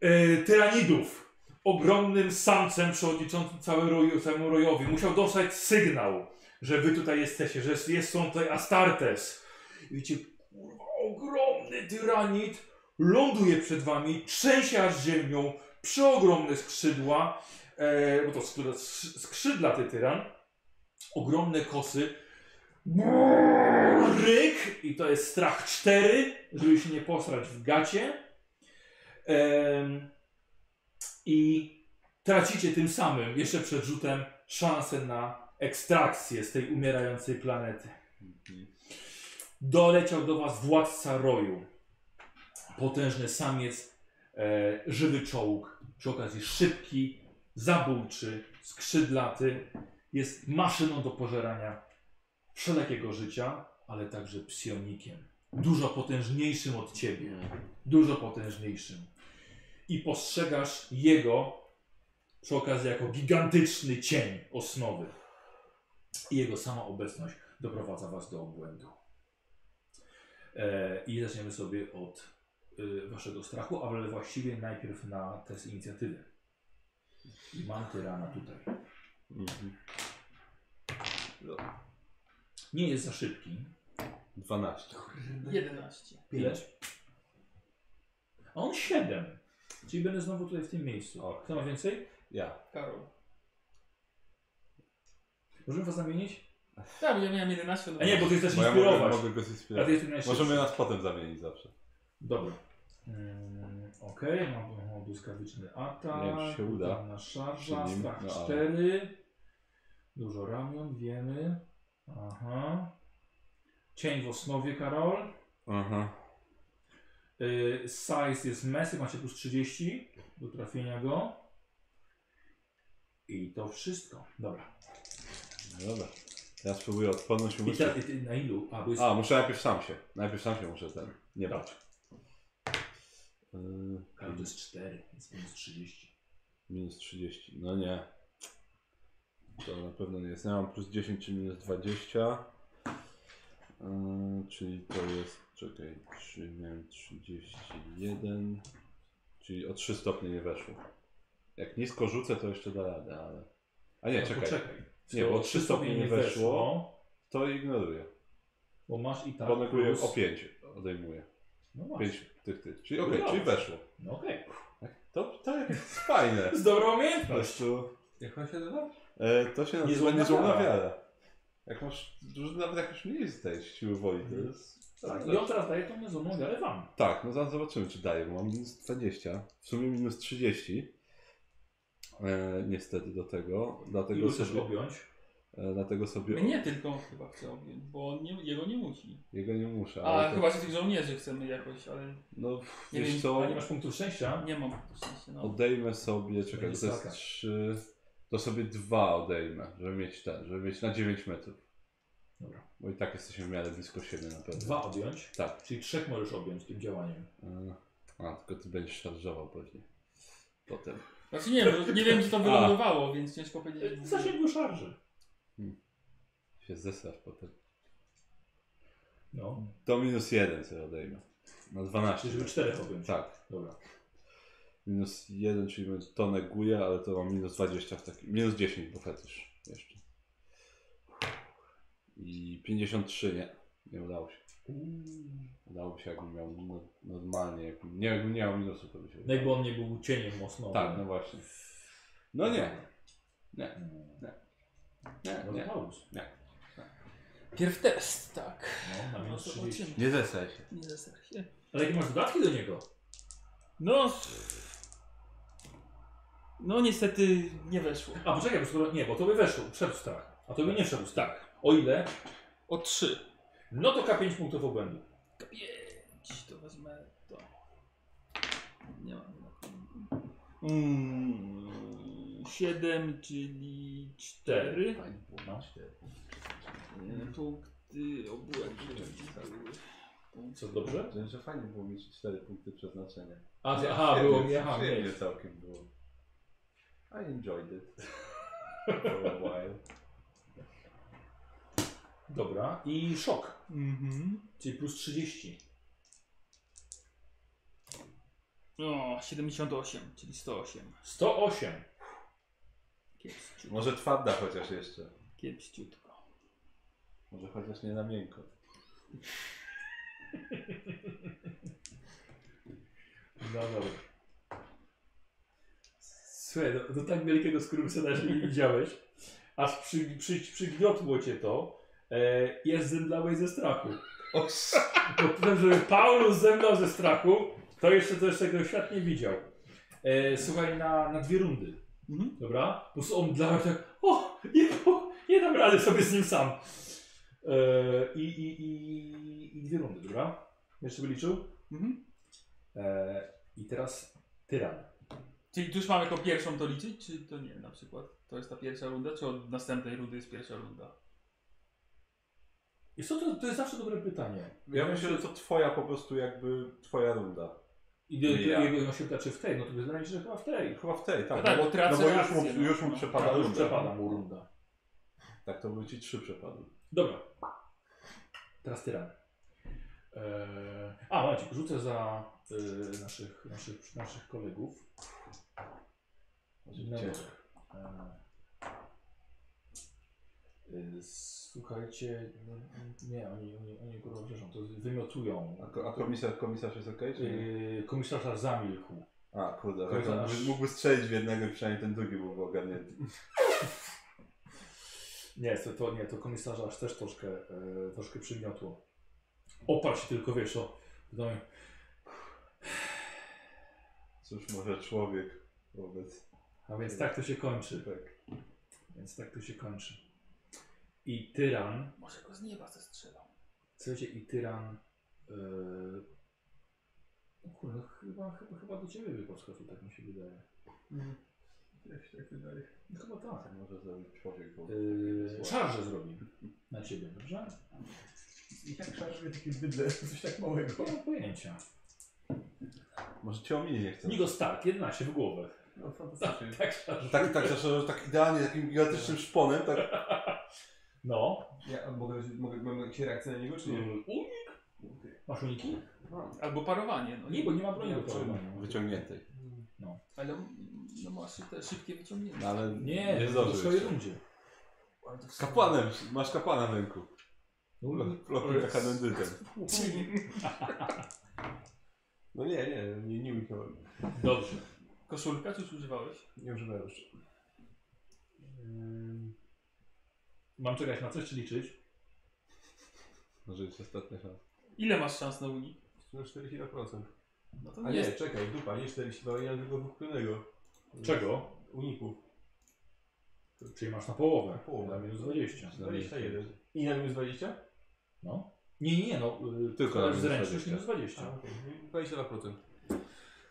Speaker 1: yy, tyranidów. Ogromnym samcem przewodniczącym cały roju, całemu rojowi. Musiał dostać sygnał że wy tutaj jesteście, że jest, są tutaj Astartes. I widzicie, kurwa, ogromny tyranit ląduje przed wami, trzęsie aż ziemią, przeogromne skrzydła, e, bo to skrzydła, skrzydła ty tyran, ogromne kosy, ryk i to jest strach cztery, żeby się nie posrać w gacie. Em, I tracicie tym samym, jeszcze przed rzutem, szansę na ekstrakcję z tej umierającej planety. Doleciał do was władca roju. Potężny samiec, e, żywy czołg, przy okazji szybki, zabójczy, skrzydlaty. Jest maszyną do pożerania wszelkiego życia, ale także psionikiem. Dużo potężniejszym od ciebie. Dużo potężniejszym. I postrzegasz jego przy okazji jako gigantyczny cień osnowy. I jego sama obecność doprowadza was do obłędu. E, I zaczniemy sobie od y, waszego strachu, ale właściwie najpierw na test inicjatywy. I mam tyrana tutaj. Nie jest za szybki.
Speaker 2: 12.
Speaker 3: 11.
Speaker 1: Ileś? A on 7. Czyli będę znowu tutaj w tym miejscu.
Speaker 2: O.
Speaker 1: Kto ma więcej?
Speaker 2: Ja.
Speaker 3: Karol.
Speaker 1: Możemy was zamienić?
Speaker 3: Tak, ja miałem 11.
Speaker 1: A E, nie, bo ty chcesz
Speaker 2: Bo ja mogę,
Speaker 1: inspirować.
Speaker 2: mogę go
Speaker 1: A ty
Speaker 2: zinspirować.
Speaker 1: jesteś najszybszy.
Speaker 2: Możemy nas potem zamienić zawsze.
Speaker 1: Dobra. Mm, Okej, mam, mam błyskawiczny atak.
Speaker 2: Nie wiem, czy się uda.
Speaker 1: Na szarża,
Speaker 2: Przy nim,
Speaker 1: strach
Speaker 2: no ale-
Speaker 1: 4. Dużo ramion, wiemy. Aha. Cień w osnowie, Karol.
Speaker 2: Aha.
Speaker 1: Y, size jest messy, macie plus 30 do trafienia go. I to wszystko. Dobra.
Speaker 2: No dobra. Ja spróbuję odpłynąć
Speaker 1: I
Speaker 2: umysł.
Speaker 1: teraz, i- i- na ilu? A, bo jest...
Speaker 2: A, muszę najpierw sam się. Najpierw sam się muszę ten. Nie
Speaker 1: Dobra.
Speaker 2: bać. Yy,
Speaker 1: Karol to jest 4, więc minus 30.
Speaker 2: minus 30. No nie. To na pewno nie jest. Ja mam plus 10 czy minus 20. Yy, czyli to jest. Czekaj, 3, miałem 31. Czyli o 3 stopnie nie weszło. Jak nisko rzucę, to jeszcze da radę, ale. A nie,
Speaker 1: No,
Speaker 2: czekaj.
Speaker 1: poczekaj.
Speaker 2: Nie, bo trzy stopnie nie weszło. To ignoruję.
Speaker 1: Bo masz i tak
Speaker 2: Poneguję
Speaker 1: plus-
Speaker 2: o 5 odejmuję.
Speaker 1: No właśnie.
Speaker 2: 5 tych tych. Czyli okej,
Speaker 1: Dobra.
Speaker 2: czyli weszło.
Speaker 1: No okej.
Speaker 2: To, to jest fajne.
Speaker 1: Z dobrą
Speaker 2: Po
Speaker 1: umiejętność.
Speaker 2: prostu,
Speaker 5: Jak on się nazywa?
Speaker 2: e, to się nazywa
Speaker 1: Niezłomna
Speaker 2: niezłomna
Speaker 1: wiara.
Speaker 2: wiara. Jak masz, dużo- nawet jak już mniej zdajesz siły woli, to jest...
Speaker 1: Tak, I on teraz daje tą niezłomną wiarę wam.
Speaker 2: Tak, no zaraz zobaczymy czy daje, bo mam minus 20, w sumie minus 30. E, niestety do tego,
Speaker 1: Ilu
Speaker 2: dlatego
Speaker 1: chcesz
Speaker 2: sobie,
Speaker 1: objąć?
Speaker 2: e, dlatego sobie
Speaker 3: Nie tylko on chyba chce objąć, bo on nie, jego nie musi.
Speaker 2: jego nie muszę.
Speaker 3: A
Speaker 2: ale to-
Speaker 3: chyba, że tych żołnierzy chcemy jakoś, ale
Speaker 2: No pff,
Speaker 3: Nie wiem,
Speaker 2: wiesz
Speaker 1: A
Speaker 2: co,
Speaker 1: nie masz punktu szczęścia?
Speaker 3: nie mam w sensie, no.
Speaker 2: odejmę sobie, czekaj,
Speaker 1: Będzie
Speaker 2: to jest
Speaker 1: sraka.
Speaker 2: 3, to sobie 2 odejmę, żeby mieć ten, żeby mieć na 9 metrów.
Speaker 1: Dobra.
Speaker 2: Bo i tak jesteśmy w miarę blisko siebie na pewno.
Speaker 1: Dwa objąć.
Speaker 2: Tak.
Speaker 1: Czyli trzech możesz objąć tym działaniem.
Speaker 2: E, A, tylko ty będziesz szarżował później. Potem.
Speaker 3: Znaczy nie wiem, nie wiem gdzie to wylądowało, więc ciężko
Speaker 1: Yy, E,
Speaker 3: powiedzieć.
Speaker 1: Zasięgu szarży.
Speaker 2: Się zesrasz potem.
Speaker 1: No.
Speaker 2: To minus jeden sobie odejmę. Na 12.
Speaker 1: Czyli żeby czterech objąć.
Speaker 2: Tak.
Speaker 1: Dobra.
Speaker 2: Minus 1, czyli będzie to neguje, ale to mam minus 20 w takim. Minus 10, bo fetysz jeszcze. I 53, nie. Nie udało się. Udało się, jakbym miał no- normalnie. Jakbym, nie, jakbym nie miał minusu, to by się.
Speaker 1: No jakby on nie był cieniem mocno.
Speaker 2: Tak, no właśnie. No nie. Nie. Nie. Nie,
Speaker 1: No to
Speaker 2: nie.
Speaker 1: Mm, Paulus.
Speaker 3: Pierw test, tak.
Speaker 1: No, na minus 30.
Speaker 3: Zobaczymy.
Speaker 2: Nie zesaj się.
Speaker 3: Nie zesraj się.
Speaker 1: Ale jakie masz dodatki do niego?
Speaker 3: No. No niestety nie weszło.
Speaker 1: A poczekaj, bo skoro- nie, bo to by weszło, wszedł strach. A to by nie wszedł strach. O ile?
Speaker 3: O 3.
Speaker 1: No to K5 punktów obłędu.
Speaker 3: 5. To wezmę to. Nie mam. na tym.
Speaker 2: Mm.
Speaker 3: 7, czyli 4.
Speaker 2: Tak,
Speaker 3: Mm. Punkty obłędu.
Speaker 1: Co dobrze?
Speaker 2: Że, że fajnie było mieć 4 punkty przeznaczenia.
Speaker 1: A, ty, aha, było mi, aha,
Speaker 2: przyjemnie
Speaker 1: nie.
Speaker 2: całkiem było. I enjoyed it. For a while.
Speaker 1: Dobra. I szok,
Speaker 3: Mhm.
Speaker 1: czyli plus 30.
Speaker 3: O, 78, czyli 108.
Speaker 1: 108.
Speaker 3: Kiepsciutko.
Speaker 2: Może twarda chociaż jeszcze.
Speaker 3: Kiepsciutko.
Speaker 2: Może chociaż nie na miękko.
Speaker 1: No dobra. Słuchaj, do, do tak wielkiego skurwysyna się nie widziałeś, aż przy, przy, przygniotło cię to e, i aż zemdlałeś ze strachu.
Speaker 2: O,
Speaker 1: Bo to, żeby Paulus zemdlał ze strachu, to jeszcze, to jeszcze tego świat nie widział. E, słuchaj, na, na dwie rundy,
Speaker 3: Mhm.
Speaker 1: dobra? Po prostu on dlał tak, o, nie, po- nie dam rady sobie z nim sam. E, i, i, i, I dwie rundy, dobra? Jeszcze by liczył?
Speaker 3: Mhm.
Speaker 1: E, I teraz tyran.
Speaker 3: Czyli tu już mamy jako pierwszą to liczyć, czy to nie na przykład? To jest ta pierwsza runda, czy od następnej rundy jest pierwsza runda?
Speaker 1: I co to, to jest zawsze dobre pytanie.
Speaker 2: Ja myślę, że to twoja po prostu jakby twoja runda.
Speaker 1: I do, do,
Speaker 2: Ja.
Speaker 1: jego no się pyta, czy w tej, no to wydaje mi się, że chyba w tej.
Speaker 2: Chyba w tej,
Speaker 3: No
Speaker 2: tak.
Speaker 3: tak,
Speaker 2: no
Speaker 3: bo tracę
Speaker 2: no bo już
Speaker 3: rację,
Speaker 2: mu,
Speaker 3: no.
Speaker 2: już mu
Speaker 3: No.
Speaker 2: przepada
Speaker 1: A Tak, już
Speaker 2: runda.
Speaker 1: przepada mu runda.
Speaker 2: Tak, to były ci trzy przepady.
Speaker 1: Dobra. Teraz tyran. Eee, a, Maciek, rzucę za y, naszych, naszych, naszych kolegów. E, Na
Speaker 2: Cię.
Speaker 1: bok. Eee, y, słuchajcie, no, nie, oni, oni, oni kurwa wierzą, to wymiotują.
Speaker 2: A, ko- a komisarz, komisarz jest okej? czy nie?
Speaker 1: Yy, komisarz aż zamilkł.
Speaker 2: A, kurde, ale to
Speaker 1: komisarz.
Speaker 2: mógłby- mógłby strzelić w jednego i przynajmniej ten drugi byłby ogarnięty.
Speaker 1: Nie, to, to nie, to komisarza aż też troszkę, e, troszkę przygniotło. Oparł się tylko, wiesz, o, no,
Speaker 2: Cóż może człowiek wobec...
Speaker 1: a więc tak to się kończy,
Speaker 2: Tak.
Speaker 1: więc tak to się kończy. I tyran,
Speaker 3: Może go z nieba zestrzelą.
Speaker 1: słuchajcie, i tyran, e, no kurde, chyba, chyba, chyba do ciebie wyposkoczył, tak mi się wydaje.
Speaker 2: Mhm.
Speaker 6: Jak się tak wydaje.
Speaker 1: No, chyba tak.
Speaker 2: Co może zrobić człowiek wobec...
Speaker 1: E, szarże zrobi na ciebie, dobrze?
Speaker 13: I tak szarżuje takie bydle, coś tak małego.
Speaker 1: Nie mam pojęcia. Y-
Speaker 2: Może cię ominie nie chcę.
Speaker 1: Nigo Stark, 11 w głowę.
Speaker 6: No fantastycznie.
Speaker 1: Tak szarże.
Speaker 2: Tak, tak, że tak idealnie, takim gigantycznym szponem, tak.
Speaker 1: No.
Speaker 5: Ja a mogę, mogę, mam jakieś reakcje na niego, czy nie?
Speaker 1: Mm, Unik? Masz uniki?
Speaker 3: Albo parowanie, no
Speaker 1: Nie, bo nie ma broni
Speaker 5: Nie,
Speaker 1: do
Speaker 5: przy-
Speaker 1: parowania.
Speaker 2: Wyciągniętej.
Speaker 3: Ale mm, no ma szybkie, szybkie wyciągnięcie.
Speaker 2: No, ale
Speaker 1: Nie,
Speaker 2: nie
Speaker 1: nie to w
Speaker 2: zdążył
Speaker 1: swojej
Speaker 2: jeszcze.
Speaker 1: rundzie.
Speaker 3: Ale to w sumie-
Speaker 2: Kapłanem, masz kapłana w ręku.
Speaker 1: No,
Speaker 2: Florida Hanendytem.
Speaker 5: No nie, nie, nie, nie uniknąłem.
Speaker 1: Dobrze.
Speaker 3: Koszulka czy już używałeś?
Speaker 5: Nie używałem jeszcze.
Speaker 1: Mam czekać na coś czy liczyć?
Speaker 2: Może jest ostatnia szansa.
Speaker 3: Ile masz szans na unik?
Speaker 5: No 40%.
Speaker 3: No to
Speaker 5: A
Speaker 3: nie
Speaker 5: nie,
Speaker 3: jest.
Speaker 5: czekaj, dupa, nie 40, bo ja mam tylko wykupionego.
Speaker 1: Czego?
Speaker 5: Uników.
Speaker 1: Czyli masz na połowę.
Speaker 5: Na połowę.
Speaker 1: Na minus 20.
Speaker 5: 21. I na minus 20?
Speaker 1: No. Nie, nie, no. y,
Speaker 2: Tylko na minus
Speaker 1: zręczność
Speaker 2: 20.
Speaker 1: minus 20.
Speaker 5: okej. 22%.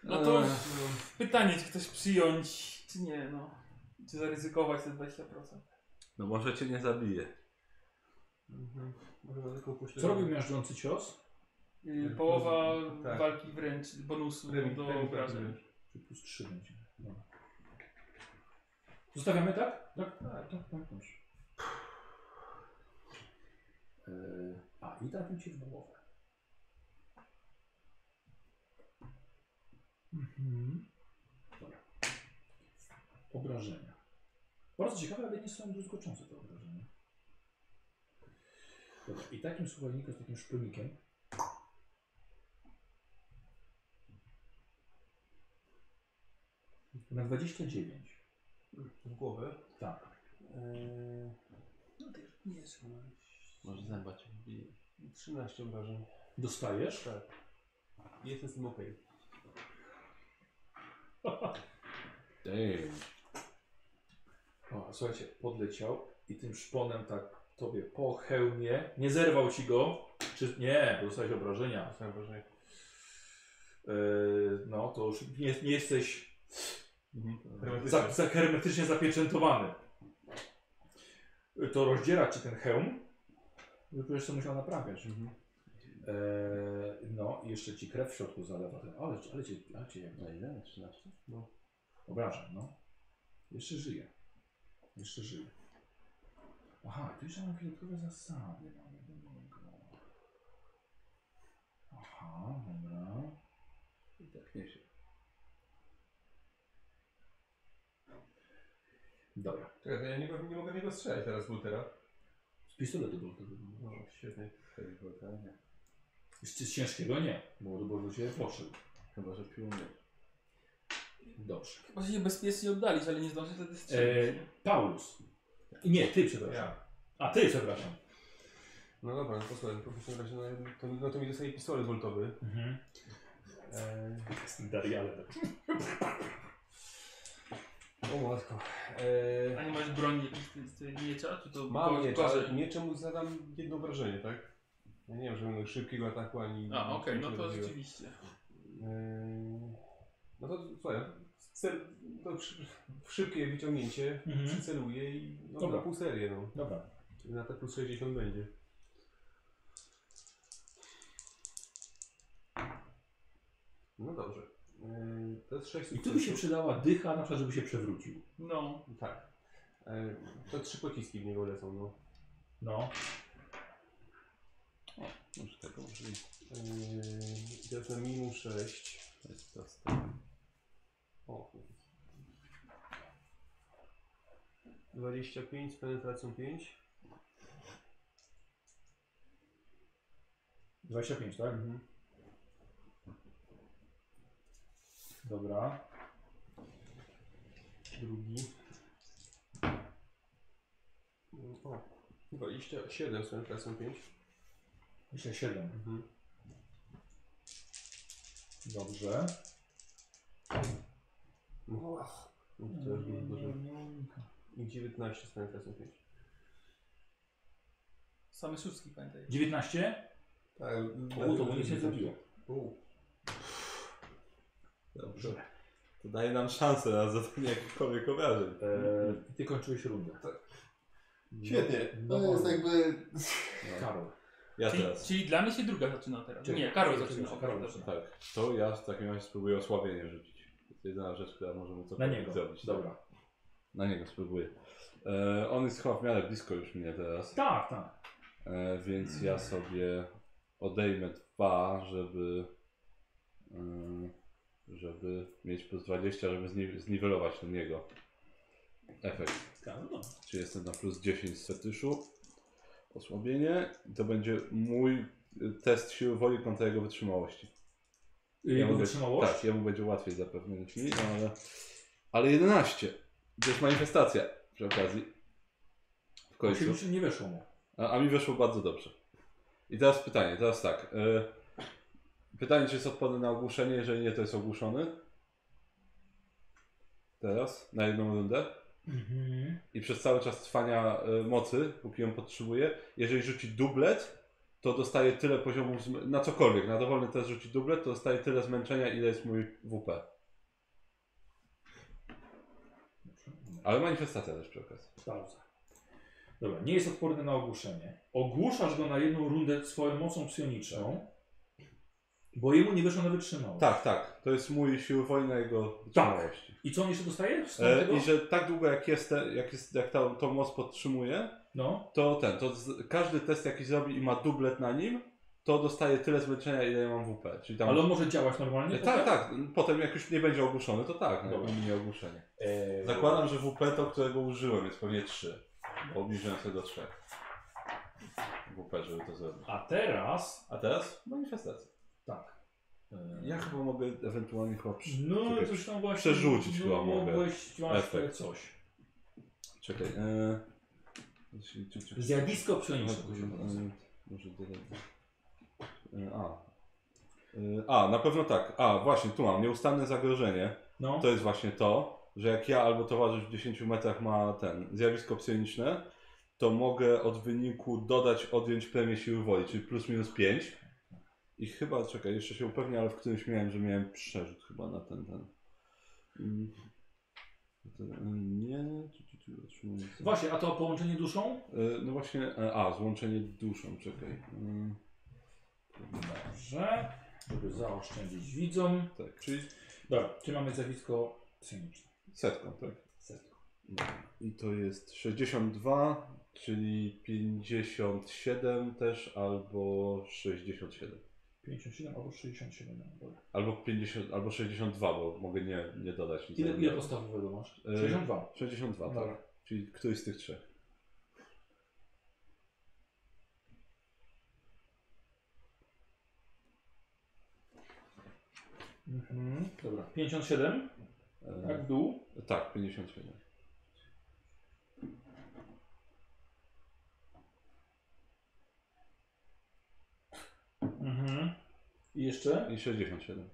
Speaker 3: No to pytanie, czy ktoś przyjąć, czy nie, no. Czy zaryzykować te 20%?
Speaker 2: No może cię nie zabije.
Speaker 5: Mhm. Może na tylko pośle...
Speaker 1: Co robił miażdżący cios?
Speaker 3: Yy, Połowa
Speaker 5: Tak.
Speaker 3: walki wręcz, bonusu
Speaker 5: Remi-
Speaker 3: do
Speaker 5: remi-
Speaker 3: obrażeń.
Speaker 1: Czy plus 3 będzie? Dobra. Zostawiamy tak? Tak, tak, tak, tak. dobrze. E, Y, A, i trafił cię w głowę. Mhm. Dobra. Obrażenia. Bardzo ciekawe, ale nie są druzgoczące te obrażenia. Dobra. I takim słuchajnikiem, z takim szpilnikiem Na 29.
Speaker 5: W głowę.
Speaker 1: Tak.
Speaker 5: Eee,
Speaker 3: No ty nie jest chyba.
Speaker 2: Może zęba cię
Speaker 5: 13 obrażeń.
Speaker 1: Dostajesz?
Speaker 5: Tak. Jestem z tym okej.
Speaker 2: Damn.
Speaker 1: O, słuchajcie, podleciał i tym szponem tak tobie po hełmie. Nie zerwał ci go. Czy nie, bo dostałeś obrażenia.
Speaker 5: Dostałem obrażenia.
Speaker 1: Yy, no to już nie, nie jesteś
Speaker 5: Hermetycznie.
Speaker 1: za, za hermetycznie zapieczętowany. Yy, To rozdziera ci ten hełm. Już to musiał naprawiać. Yy, no i jeszcze ci krew w środku zalewa. Ale, ale cię, ale cię jak
Speaker 2: Na ile? Na 13?
Speaker 1: Obrażam, no. Jeszcze żyje. Jeszcze żyje. Aha, tu jeszcze mam dodatkowe zasady. Mamy do niego. Aha, dobra.
Speaker 2: I tak nie się.
Speaker 1: Dobra.
Speaker 5: Czekaj, to ja nie, nie mogę w niego strzelać teraz, Lutera.
Speaker 1: Z pistoletu było to było.
Speaker 5: No, świetnie.
Speaker 2: Teleportanie.
Speaker 1: Z, z ciężkiego nie, bo to było cię poszedł.
Speaker 2: Chyba, że pił mnie.
Speaker 1: Dobrze.
Speaker 3: Chyba się bezpiecznie oddalić, ale nie zdążę wtedy
Speaker 1: E,
Speaker 3: strzelić.
Speaker 1: Paulus. Nie, ty przepraszam. A ty przepraszam.
Speaker 5: No dobra, no to słuchaj, to w takim razie, no, to, no to mi dostaje pistolet woltowy.
Speaker 1: Mhm. E,
Speaker 5: Eee,
Speaker 1: Z tym Darialem.
Speaker 5: o matko. Eee,
Speaker 3: A nie masz broni z miecza? Czy to
Speaker 5: mam
Speaker 3: kogoś-
Speaker 5: miecz,
Speaker 3: kogoś-
Speaker 5: ale mieczem mu zadam jedno obrażenie, tak? Ja nie wiem, że będę szybkiego ataku, ani...
Speaker 3: A, okej, no to
Speaker 5: robiłem.
Speaker 3: rzeczywiście.
Speaker 5: Eee, No to słuchaj, cel, to przy, szybkie wyciągnięcie,
Speaker 1: Mhm.
Speaker 5: przyceluję i no,
Speaker 1: Dobra.
Speaker 5: na pół serię, no.
Speaker 1: Dobra.
Speaker 5: Na te plus 60 będzie. No dobrze. Eee, To jest 6
Speaker 1: I tu by się przydała dycha, na przykład, żeby się przewrócił.
Speaker 3: No,
Speaker 5: Tak. Eee, To trzy pociski w niego lecą, no.
Speaker 1: No.
Speaker 2: Już tego może nie.
Speaker 5: Eee, Teraz na minimum 6.
Speaker 2: To jest proste.
Speaker 5: O. 25 z penetracją 5.
Speaker 1: 25, tak?
Speaker 5: Mhm.
Speaker 1: Dobra.
Speaker 5: Drugi. No, O. 27 z penetracją 5.
Speaker 1: Jeszcze 7.
Speaker 5: Mhm.
Speaker 1: Dobrze.
Speaker 5: No, ach. No, to już było dużo. I 19 z penetracją 5.
Speaker 3: same szóstki pamiętaj.
Speaker 1: 19?
Speaker 5: Tak,
Speaker 1: O, to mu nic nie zrobiło.
Speaker 2: Dobrze. To daje nam szansę na zadanie jakichkolwiek obrażeń.
Speaker 1: Eee, ty kończyłeś rundę.
Speaker 13: Świetnie.
Speaker 1: No,
Speaker 13: To
Speaker 5: E.
Speaker 13: jest
Speaker 1: no,
Speaker 13: jakby...
Speaker 1: Karol.
Speaker 2: Ja
Speaker 3: Czyli,
Speaker 2: teraz.
Speaker 3: czyli dla mnie się druga zaczyna teraz.
Speaker 1: Czekaj,
Speaker 3: Nie, Karol
Speaker 1: czekaj,
Speaker 3: zaczyna.
Speaker 1: czekaj, Karol
Speaker 3: Dobrze.
Speaker 1: zaczyna.
Speaker 2: Tak. To ja w takim razie spróbuję osłabienie rzucić. To jest jedyna rzecz, która może mu
Speaker 1: Na
Speaker 2: cokolwiek
Speaker 1: niego.
Speaker 2: zrobić. tak?
Speaker 1: Dobra.
Speaker 2: Na niego spróbuję. E, on jest chyba w miarę blisko już mnie teraz.
Speaker 1: Tak, tak.
Speaker 2: E, więc ja sobie odejmę dwa, żeby, e, żeby mieć plus 20, żeby zni zniwelować ten jego efekt.
Speaker 1: Karol, no.
Speaker 2: Czyli jestem na plus 10 z fetyszu. Osłabienie. I To będzie mój e, test siły woli kontra jego wytrzymałości.
Speaker 1: Jego
Speaker 2: mogę-
Speaker 1: wytrzymałość?
Speaker 2: Tak, jemu będzie łatwiej zapewne niż mi, no ale, ale 11. To jest manifestacja przy okazji. W końcu.
Speaker 1: Oczywiście nie weszło mu.
Speaker 2: A, a mi weszło bardzo dobrze. I teraz pytanie, teraz tak. y, pytanie, czy jest odporny na ogłuszenie, jeżeli nie, to jest ogłuszony. Teraz, na jedną rundę.
Speaker 1: Mhm.
Speaker 2: I przez cały czas trwania y, mocy, póki ją potrzebuje. Jeżeli rzuci dublet, to dostaje tyle poziomów, zm- na cokolwiek, na dowolny test rzuci dublet, to dostaje tyle zmęczenia, ile jest mój WP.
Speaker 1: Dobrze.
Speaker 2: Ale manifestacja też przy okazji.
Speaker 1: Sprawdza. Dobra, nie jest odporny na ogłuszenie. Ogłuszasz go na jedną rundę swoją mocą psioniczną, bo jemu nie weszło na wytrzymałość.
Speaker 2: Tak, tak. To jest mój siły wojny, jego wytrzymałości.
Speaker 1: I co on jeszcze dostaje? Z
Speaker 2: E,
Speaker 1: tego?
Speaker 2: I że tak długo jak, jest, te- jak, jest, jak tą, tą moc podtrzymuje,
Speaker 1: No.
Speaker 2: to ten, to z, każdy test jaki zrobi i ma dublet na nim, to dostaje tyle zmęczenia, ile ja mam WP. Czyli tam...
Speaker 1: Ale on może działać normalnie?
Speaker 2: Tak, tak. Potem jak już nie będzie ogłuszony, to tak, no,
Speaker 1: Dobra.
Speaker 2: minie ogłuszenie.
Speaker 1: E,
Speaker 2: E,
Speaker 13: Eee,
Speaker 2: Zakładam, że WP to, którego użyłem, jest pewnie 3. Bo obniżyłem sobie do 3. WP, żeby to zrobić.
Speaker 1: A teraz...
Speaker 2: A teraz manifestacja.
Speaker 1: Tak. Eee,
Speaker 2: Ja chyba mogę ewentualnie chyba przy...
Speaker 1: No,
Speaker 2: czekaj,
Speaker 1: coś tam właśnie...
Speaker 2: przerzucić
Speaker 1: no,
Speaker 2: chyba mogę.
Speaker 1: Mogłeś, masz
Speaker 2: Efekt.
Speaker 1: coś.
Speaker 2: Czekaj. E... jeśli- czy- czy-
Speaker 1: Zjawisko
Speaker 2: Może-
Speaker 1: psioniczego. się nazywa.
Speaker 2: e, Może dodać. E, A. E, A, na pewno tak. A, właśnie, tu mam. Nieustanne zagrożenie.
Speaker 1: No.
Speaker 2: To jest właśnie to, że jak ja albo towarzysz w 10 metrach ma ten zjawisko psioniczne, to mogę od wyniku dodać, odjąć premię siły woli, czyli plus minus 5. I chyba, czekaj, jeszcze się upewnię, ale w którymś miałem, że miałem przerzut chyba na ten, ten. Mm. To, y, Nie, tu, tu, tu, otrzymuję-
Speaker 1: Właśnie, a to połączenie duszą?
Speaker 2: Y, No właśnie, e, a, złączenie duszą, czekaj. Y,
Speaker 1: Dobrze. Żeby zaoszczędzić widzom.
Speaker 2: Tak, czyli
Speaker 1: Dobra, czy mamy zjawisko psioniczne?
Speaker 2: setką, tak?
Speaker 1: Setko.
Speaker 2: I to jest 62, czyli 57 też, albo 67.
Speaker 1: 57 albo 67. no, Dobra.
Speaker 2: Albo 50, albo 62, bo mogę nie, nie dodać nic.
Speaker 1: Ile, ile podstawowego masz?
Speaker 2: Y,
Speaker 1: 62.
Speaker 2: 62, tak.
Speaker 1: No Dobra.
Speaker 2: Czyli któryś z tych trzech.
Speaker 1: Mhm. Dobra. 57, tak
Speaker 2: E,
Speaker 1: w dół.
Speaker 2: tak, 57.
Speaker 1: Mhm. I jeszcze?
Speaker 2: I 67.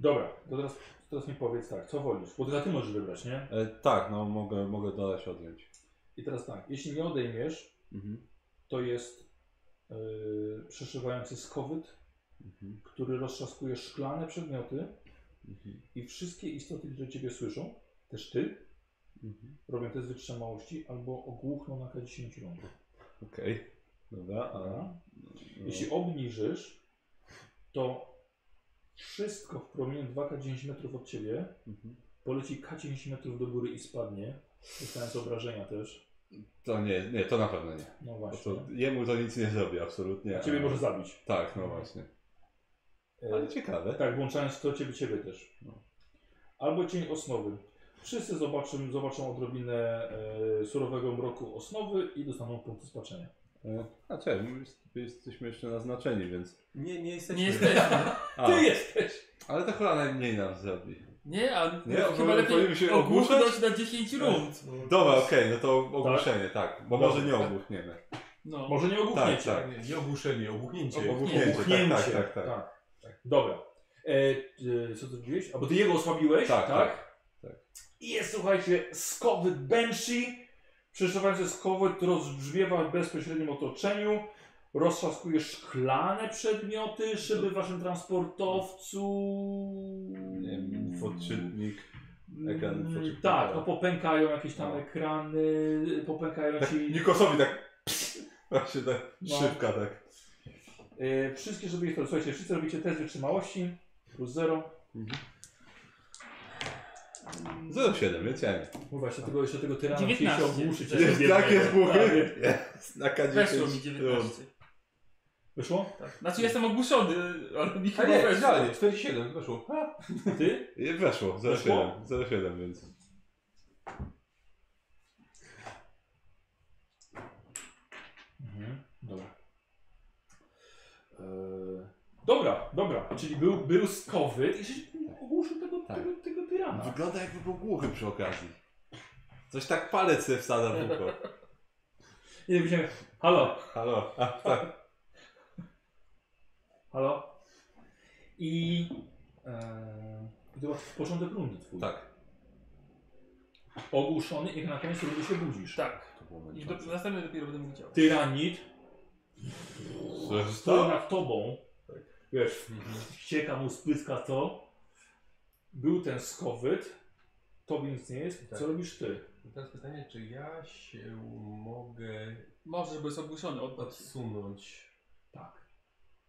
Speaker 1: Dobra, to teraz, teraz mi powiedz tak, co wolisz? Bo teraz ty możesz wybrać, nie?
Speaker 2: E, tak, no mogę, mogę dodać, odjąć.
Speaker 1: I teraz tak, jeśli nie odejmiesz,
Speaker 2: Mhm.
Speaker 1: to jest yy, przeszywający skowyt,
Speaker 2: Mhm.
Speaker 1: który roztrzaskuje szklane przedmioty
Speaker 2: Mhm.
Speaker 1: i wszystkie istoty, które ciebie słyszą, też ty,
Speaker 2: Mhm.
Speaker 1: robią test wytrzymałości albo ogłuchną na K10 rund.
Speaker 2: Okej. Dobra, a...
Speaker 1: Dobra.
Speaker 2: no.
Speaker 1: Jeśli obniżysz, to wszystko w promieniu 2K10 metrów od ciebie
Speaker 2: Mhm.
Speaker 1: poleci K10 metrów do góry i spadnie, dostając obrażenia też.
Speaker 2: To nie, nie, to na pewno nie.
Speaker 1: No
Speaker 2: Bo
Speaker 1: właśnie.
Speaker 2: to, jemu to nic nie zrobi, absolutnie.
Speaker 1: A ciebie
Speaker 2: a-
Speaker 1: może zabić.
Speaker 2: Tak, no właśnie. Ale ciekawe.
Speaker 1: Tak, włączając to ciebie, ciebie też.
Speaker 2: E, No.
Speaker 1: Albo cień osnowy. Wszyscy zobaczą, zobaczą odrobinę e, surowego mroku osnowy i dostaną punkty spaczenia.
Speaker 2: E, A czekaj, my jest- jesteśmy jeszcze naznaczeni, więc...
Speaker 5: Nie, nie jesteśmy.
Speaker 3: Nie jesteśmy.
Speaker 2: A,
Speaker 1: Ty jesteś!
Speaker 2: ale to chyba najmniej nam zrobi.
Speaker 3: Nie, a no,
Speaker 2: Nie,
Speaker 3: chyba
Speaker 2: bo powinien
Speaker 3: lepiej
Speaker 2: się
Speaker 3: ogłuchnąć
Speaker 2: ogłuszać?
Speaker 3: na 10
Speaker 1: Tak.
Speaker 3: rund.
Speaker 2: Dobra, okej, no to ogłoszenie, tak. Bo
Speaker 1: Dobra.
Speaker 2: może nie ogłuchniemy.
Speaker 3: No.
Speaker 1: Może nie ogłuchniecie.
Speaker 2: Tak, tak.
Speaker 5: Nie, nie ogłuszenie, ogłuchnięcie.
Speaker 2: Ogłuchnięcie,
Speaker 1: Ogłuchnięcie.
Speaker 2: tak, tak, tak, tak.
Speaker 1: Dobra. E, e, co ty zrobiłeś? Albo ty jego osłabiłeś, tak?
Speaker 2: Tak, tak.
Speaker 1: I jest, słuchajcie, skowyt Banshee. Przeszywający skowyt rozbrzmiewa w bezpośrednim otoczeniu. Roztrzaskuje szklane przedmioty, szyby w waszym transportowcu.
Speaker 2: Nie wiem, Podczytnik.
Speaker 1: Mm,
Speaker 2: ekran przeczytany.
Speaker 1: Tak, no popękają jakieś tam
Speaker 2: No.
Speaker 1: ekrany, popękają
Speaker 2: Tak,
Speaker 1: ci...
Speaker 2: Nikosowi tak... Właśnie tak,
Speaker 1: No.
Speaker 2: szybka tak.
Speaker 1: E, wszystkie, żeby je... Słuchajcie, wszyscy robicie test wytrzymałości, plus zero.
Speaker 2: 07, więc ja nie.
Speaker 1: No właśnie, tego, jeszcze tego tyrana
Speaker 3: 19.
Speaker 1: musieliście ogłuszyć.
Speaker 3: Jest
Speaker 1: jeszcze
Speaker 2: Tak Jest
Speaker 1: biednego.
Speaker 2: takie zbuchy.
Speaker 1: Tak.
Speaker 2: Jest, na K10
Speaker 3: Weszło mi
Speaker 2: rund.
Speaker 3: 19.
Speaker 1: Wyszło?
Speaker 3: Tak. Znaczy jestem ogłuszony, ale mi
Speaker 5: A
Speaker 3: chyba
Speaker 5: nie,
Speaker 3: weszło.
Speaker 5: idealnie, 47, weszło. Ha,
Speaker 1: Ty?
Speaker 2: I Weszło,
Speaker 1: Weszło?
Speaker 2: 07, 07, więc...
Speaker 1: Mhm, dobra. E, dobra, dobra, czyli był, był skowy i żeś ogłuszył tego,
Speaker 2: Tak.
Speaker 1: tego, tego tyrana.
Speaker 2: Wygląda jakby był głuchy przy okazji. Coś tak palec sobie wsadza w ucho.
Speaker 1: I myślałem, halo,
Speaker 2: Halo. A, tak.
Speaker 1: halo. I... E, i to był początek rundy twój.
Speaker 2: tak.
Speaker 1: Ogłuszony i na koniec rundy się budzisz.
Speaker 3: Tak.
Speaker 2: To było
Speaker 3: I
Speaker 2: męczące.
Speaker 3: do, następny dopiero będę widział.
Speaker 1: Tyranit stoi
Speaker 2: To?
Speaker 1: nad tobą. Tak. Mhm. Wiesz, ścieka mu, spłyska to. Był ten skowyt. Tobie nic nie jest.
Speaker 5: Tak.
Speaker 1: Co robisz ty?
Speaker 5: I teraz pytanie, czy ja się mogę
Speaker 3: Może, bo jest ogłuszony. Od...
Speaker 5: odsunąć?
Speaker 1: Tak.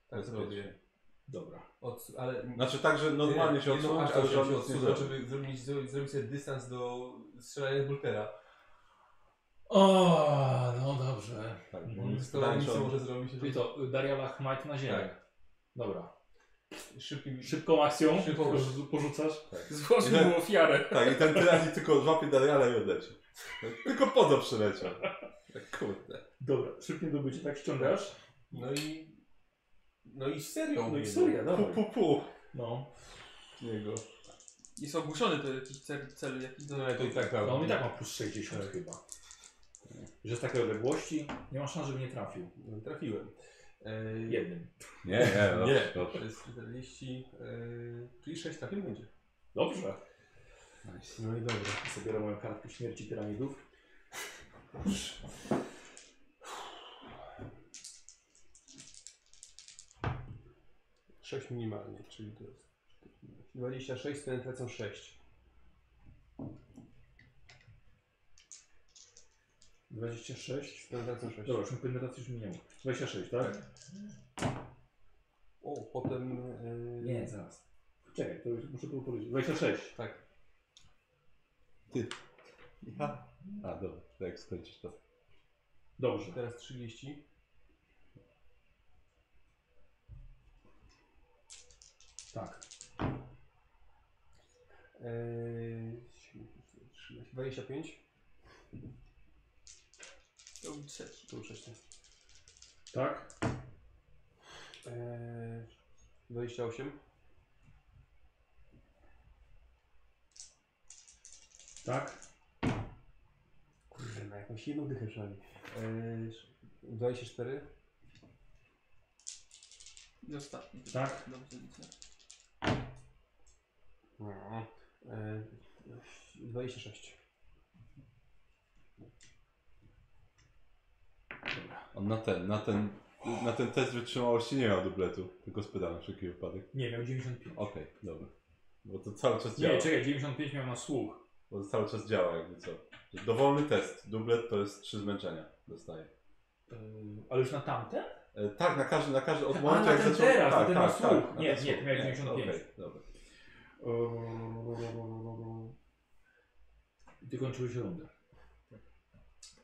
Speaker 5: Tak zrobię.
Speaker 1: Dobra.
Speaker 5: Od, ale
Speaker 2: Znaczy tak, że normalnie się
Speaker 5: nie, no,
Speaker 2: odsunąć,
Speaker 5: aż
Speaker 2: ale
Speaker 5: tak
Speaker 2: żeby
Speaker 5: się
Speaker 2: się
Speaker 5: odsunąć,
Speaker 2: odsunąć.
Speaker 5: żeby zrobić, zrobić, zrobić sobie dystans do strzelania z bultera.
Speaker 1: O, no dobrze.
Speaker 2: Tak, bo
Speaker 1: Mhm.
Speaker 2: on
Speaker 5: Z
Speaker 2: jest
Speaker 5: to nic
Speaker 2: tańczą.
Speaker 5: nie może zrobić,
Speaker 1: Czyli
Speaker 5: żeby
Speaker 1: to Dariala Chmajt na ziemię. Dobra.
Speaker 5: szybkim...
Speaker 1: Szybką akcją
Speaker 5: Szybką.
Speaker 1: porzu- porzucasz.
Speaker 3: Złożył mu ofiarę.
Speaker 2: Tak, i ten tyranik tylko złapie Dariala i odleci. Tak, Tylko po to przyleciał. Tak, kurde.
Speaker 1: Dobra, szybkie dobycie, tak ściągasz.
Speaker 5: No i... No i serią.
Speaker 1: No i seria,
Speaker 2: Pu,
Speaker 1: dawaj.
Speaker 2: pu, pu.
Speaker 1: No,
Speaker 2: Niego.
Speaker 3: Jest ogłuszony do jakichś cel, celu. Jakiś...
Speaker 5: No ale to i tak prawda.
Speaker 1: no on i tak ma plus 60 chyba. Że z takiej odległości nie ma szans, żeby nie trafił.
Speaker 5: No, Trafiłem. E,
Speaker 1: Jednym.
Speaker 2: Nie, nie, no.
Speaker 5: Nie.
Speaker 2: Dobrze.
Speaker 5: To jest 40, e, czyli 6 trafień będzie.
Speaker 1: Dobrze.
Speaker 5: No i dobra.
Speaker 1: Zabiorę moją kartkę śmierci piramidów.
Speaker 5: Sześć minimalnie, czyli to jest 26, ten tracą 6.
Speaker 1: 26.
Speaker 5: Ten tracą 6.
Speaker 1: Dobra, już mi penetracji już minęło. 26, tak?
Speaker 5: O, potem... Yy...
Speaker 1: Nie, zaraz. Czekaj, to już muszę tu powiedzieć. 26.
Speaker 5: Tak.
Speaker 2: Ja. A, dobra. Tak, skończysz to.
Speaker 1: Dobrze.
Speaker 5: Teraz 30.
Speaker 1: Tak.
Speaker 5: Yy... 25.
Speaker 3: To był trzeci.
Speaker 5: To już 6.
Speaker 1: Tak?
Speaker 5: Yy... 28.
Speaker 1: Tak?
Speaker 5: Kurde, na jakąś jedną dychę przynajmniej. Yy... 24.
Speaker 3: I ostatni. tylko.
Speaker 1: Tak.
Speaker 3: Dobrze liczę.
Speaker 5: No. Yy... 26.
Speaker 2: On na ten, na ten, na ten test wytrzymałości nie miał dubletu. Tylko spytał na wszelki wypadek.
Speaker 1: Nie, miał 95.
Speaker 2: Okej, dobra. Bo to cały czas działa.
Speaker 1: Nie, czekaj, 95 miał na słuch.
Speaker 2: Bo to cały czas działa, jakby co. Dowolny test. Dublet to jest trzy zmęczenia. Dostaje.
Speaker 1: Yy, ale już na tamten?
Speaker 2: E, tak, na każdy, na każdy, od
Speaker 1: A,
Speaker 2: momentu
Speaker 1: na
Speaker 2: jak
Speaker 1: ten
Speaker 2: zaczął...
Speaker 1: teraz, na
Speaker 2: tak,
Speaker 1: ten
Speaker 2: tak,
Speaker 1: na słuch.
Speaker 2: tak, na
Speaker 1: Nie,
Speaker 2: ten
Speaker 1: nie,
Speaker 2: słuch.
Speaker 1: miałem 95.
Speaker 2: Okej, dobra.
Speaker 1: I Yy, Ty kończyłeś rundę.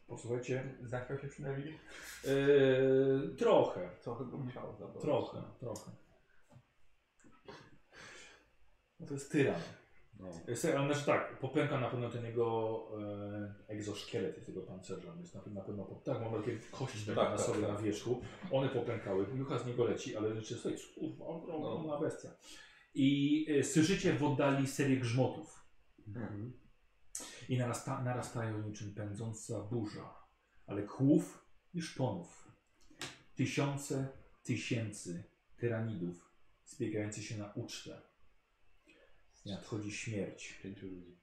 Speaker 1: Posłuchajcie.
Speaker 15: Zachwiał się przynajmniej.
Speaker 1: Yy, trochę,
Speaker 2: Trochę go musiało zabrać.
Speaker 1: trochę, trochę. No to jest tyran.
Speaker 2: No.
Speaker 1: Yy, Słuchaj, ale znaczy tak, popęka na pewno ten jego e, egzoszkielet jest jego pancerza, więc na pewno, na pewno tak, mam takie kości tak,
Speaker 2: Tak,
Speaker 1: na
Speaker 2: tak,
Speaker 1: sobie
Speaker 2: tak.
Speaker 1: na wierzchu, one popękały, jucha z niego leci, ale rzeczy słuchaj, kurwa,
Speaker 2: No.
Speaker 1: ogromna bestia. I e, słyszycie w oddali serię grzmotów
Speaker 2: Mhm.
Speaker 1: i narasta, narastają niczym pędząca burza, ale kłów i szponów. Tysiące tysięcy tyranidów zbiegających się na ucztę. I nadchodzi śmierć.
Speaker 2: Pięciu ludzi.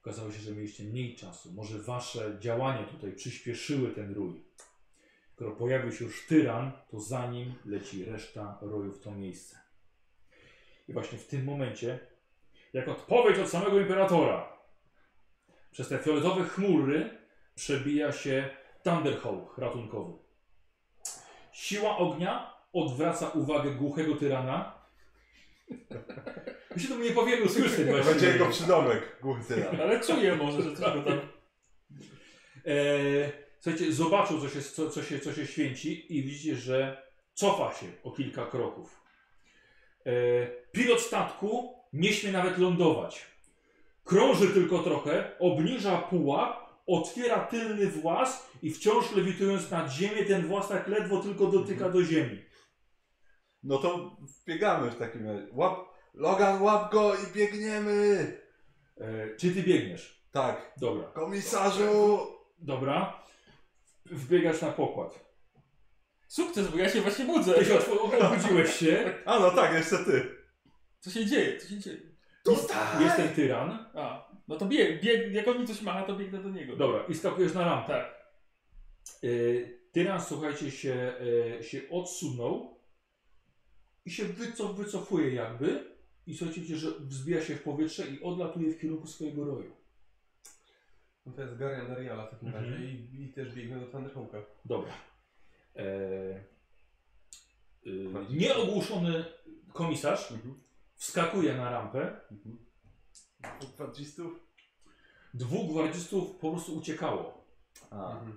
Speaker 1: Okazało się, że mieliście mniej czasu. Może wasze działania tutaj przyspieszyły ten rój. Skoro pojawił się już tyran, to za nim leci reszta roju w to miejsce. I właśnie w tym momencie, jak odpowiedź od samego imperatora, przez te fioletowe chmury przebija się Thunderhawk ratunkowy. Siła ognia odwraca uwagę głuchego tyrana. My się to nie powiemy usłyszeć właśnie.
Speaker 2: Będzie jego przydomek, głuchy tyran.
Speaker 3: Ale czuję może, że coś go tam...
Speaker 1: E, słuchajcie, zobaczył, co się, co, co, się, co się święci i widzicie, że cofa się o kilka kroków. E, pilot statku nie śmie nawet lądować. Krąży tylko trochę, obniża pułap, otwiera tylny włas i wciąż lewitując nad ziemię, ten włas tak ledwo tylko dotyka do ziemi.
Speaker 2: No to wbiegamy w takim razie. Łap, Logan, łap go i biegniemy!
Speaker 1: E, czy ty biegniesz?
Speaker 2: Tak,
Speaker 1: Dobra.
Speaker 2: komisarzu!
Speaker 1: Dobra. Wbiegasz na pokład.
Speaker 3: Sukces, bo ja się właśnie budzę.
Speaker 1: Ty się otw- obudziłeś się.
Speaker 2: A no tak, jeszcze ty.
Speaker 3: Co się dzieje? Co się dzieje?
Speaker 2: Tak.
Speaker 1: Jestem tyran.
Speaker 3: A, no to bieg, bieg, jak on mi coś macha, to biegnę do niego.
Speaker 1: Dobra, i skakujesz na rampę.
Speaker 3: Tak.
Speaker 1: Y, Tyran, słuchajcie, się, y, się odsunął i się wycof, wycofuje jakby. I słuchajcie, widzicie, że wzbija się w powietrze i odlatuje w kierunku swojego roju.
Speaker 5: No to jest Garian Dariala w takim
Speaker 1: Mhm.
Speaker 5: razie i, i też biegnę do Thunderhawka.
Speaker 1: Dobra. E, y, e, nieogłuszony komisarz wskakuje na rampę.
Speaker 2: Gwardzistów?
Speaker 1: Dwóch gwardzistów po prostu uciekało.
Speaker 2: A,
Speaker 5: Mhm.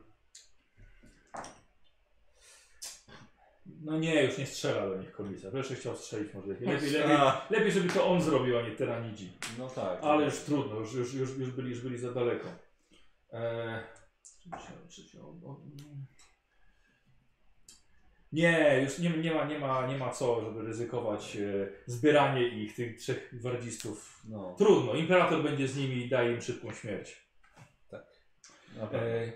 Speaker 1: No nie, już nie strzela do nich komisarz. Jeszcze chciał strzelić może. Lepiej, lepiej,
Speaker 2: a,
Speaker 1: lepiej żeby to on zrobił, a nie tyranidzi.
Speaker 2: no tak.
Speaker 1: Ale już trudno, już, już, już, już, byli, już byli za daleko. Eee, czy się- czy się on- on- nie, już nie, nie, ma, nie, ma, nie ma co, żeby ryzykować e, zbieranie ich, tych trzech gwardzistów.
Speaker 2: No,
Speaker 1: Trudno, imperator będzie z nimi i daje im szybką śmierć.
Speaker 2: Tak. na pewno.
Speaker 1: Eee,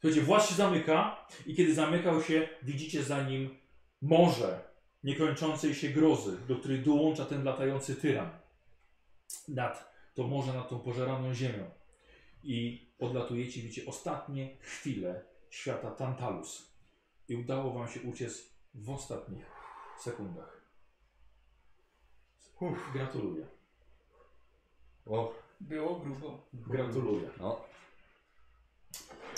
Speaker 1: słuchajcie, władz się zamyka i kiedy zamykał się, widzicie za nim morze niekończącej się grozy, do której dołącza ten latający tyran. Nad to morze, nad tą pożeraną ziemią. I odlatujecie, widzicie ostatnie chwile świata Tantalus. I udało wam się uciec w ostatnich sekundach. Gratuluję.
Speaker 2: O,
Speaker 3: Było grubo.
Speaker 1: Gratuluję.
Speaker 2: No.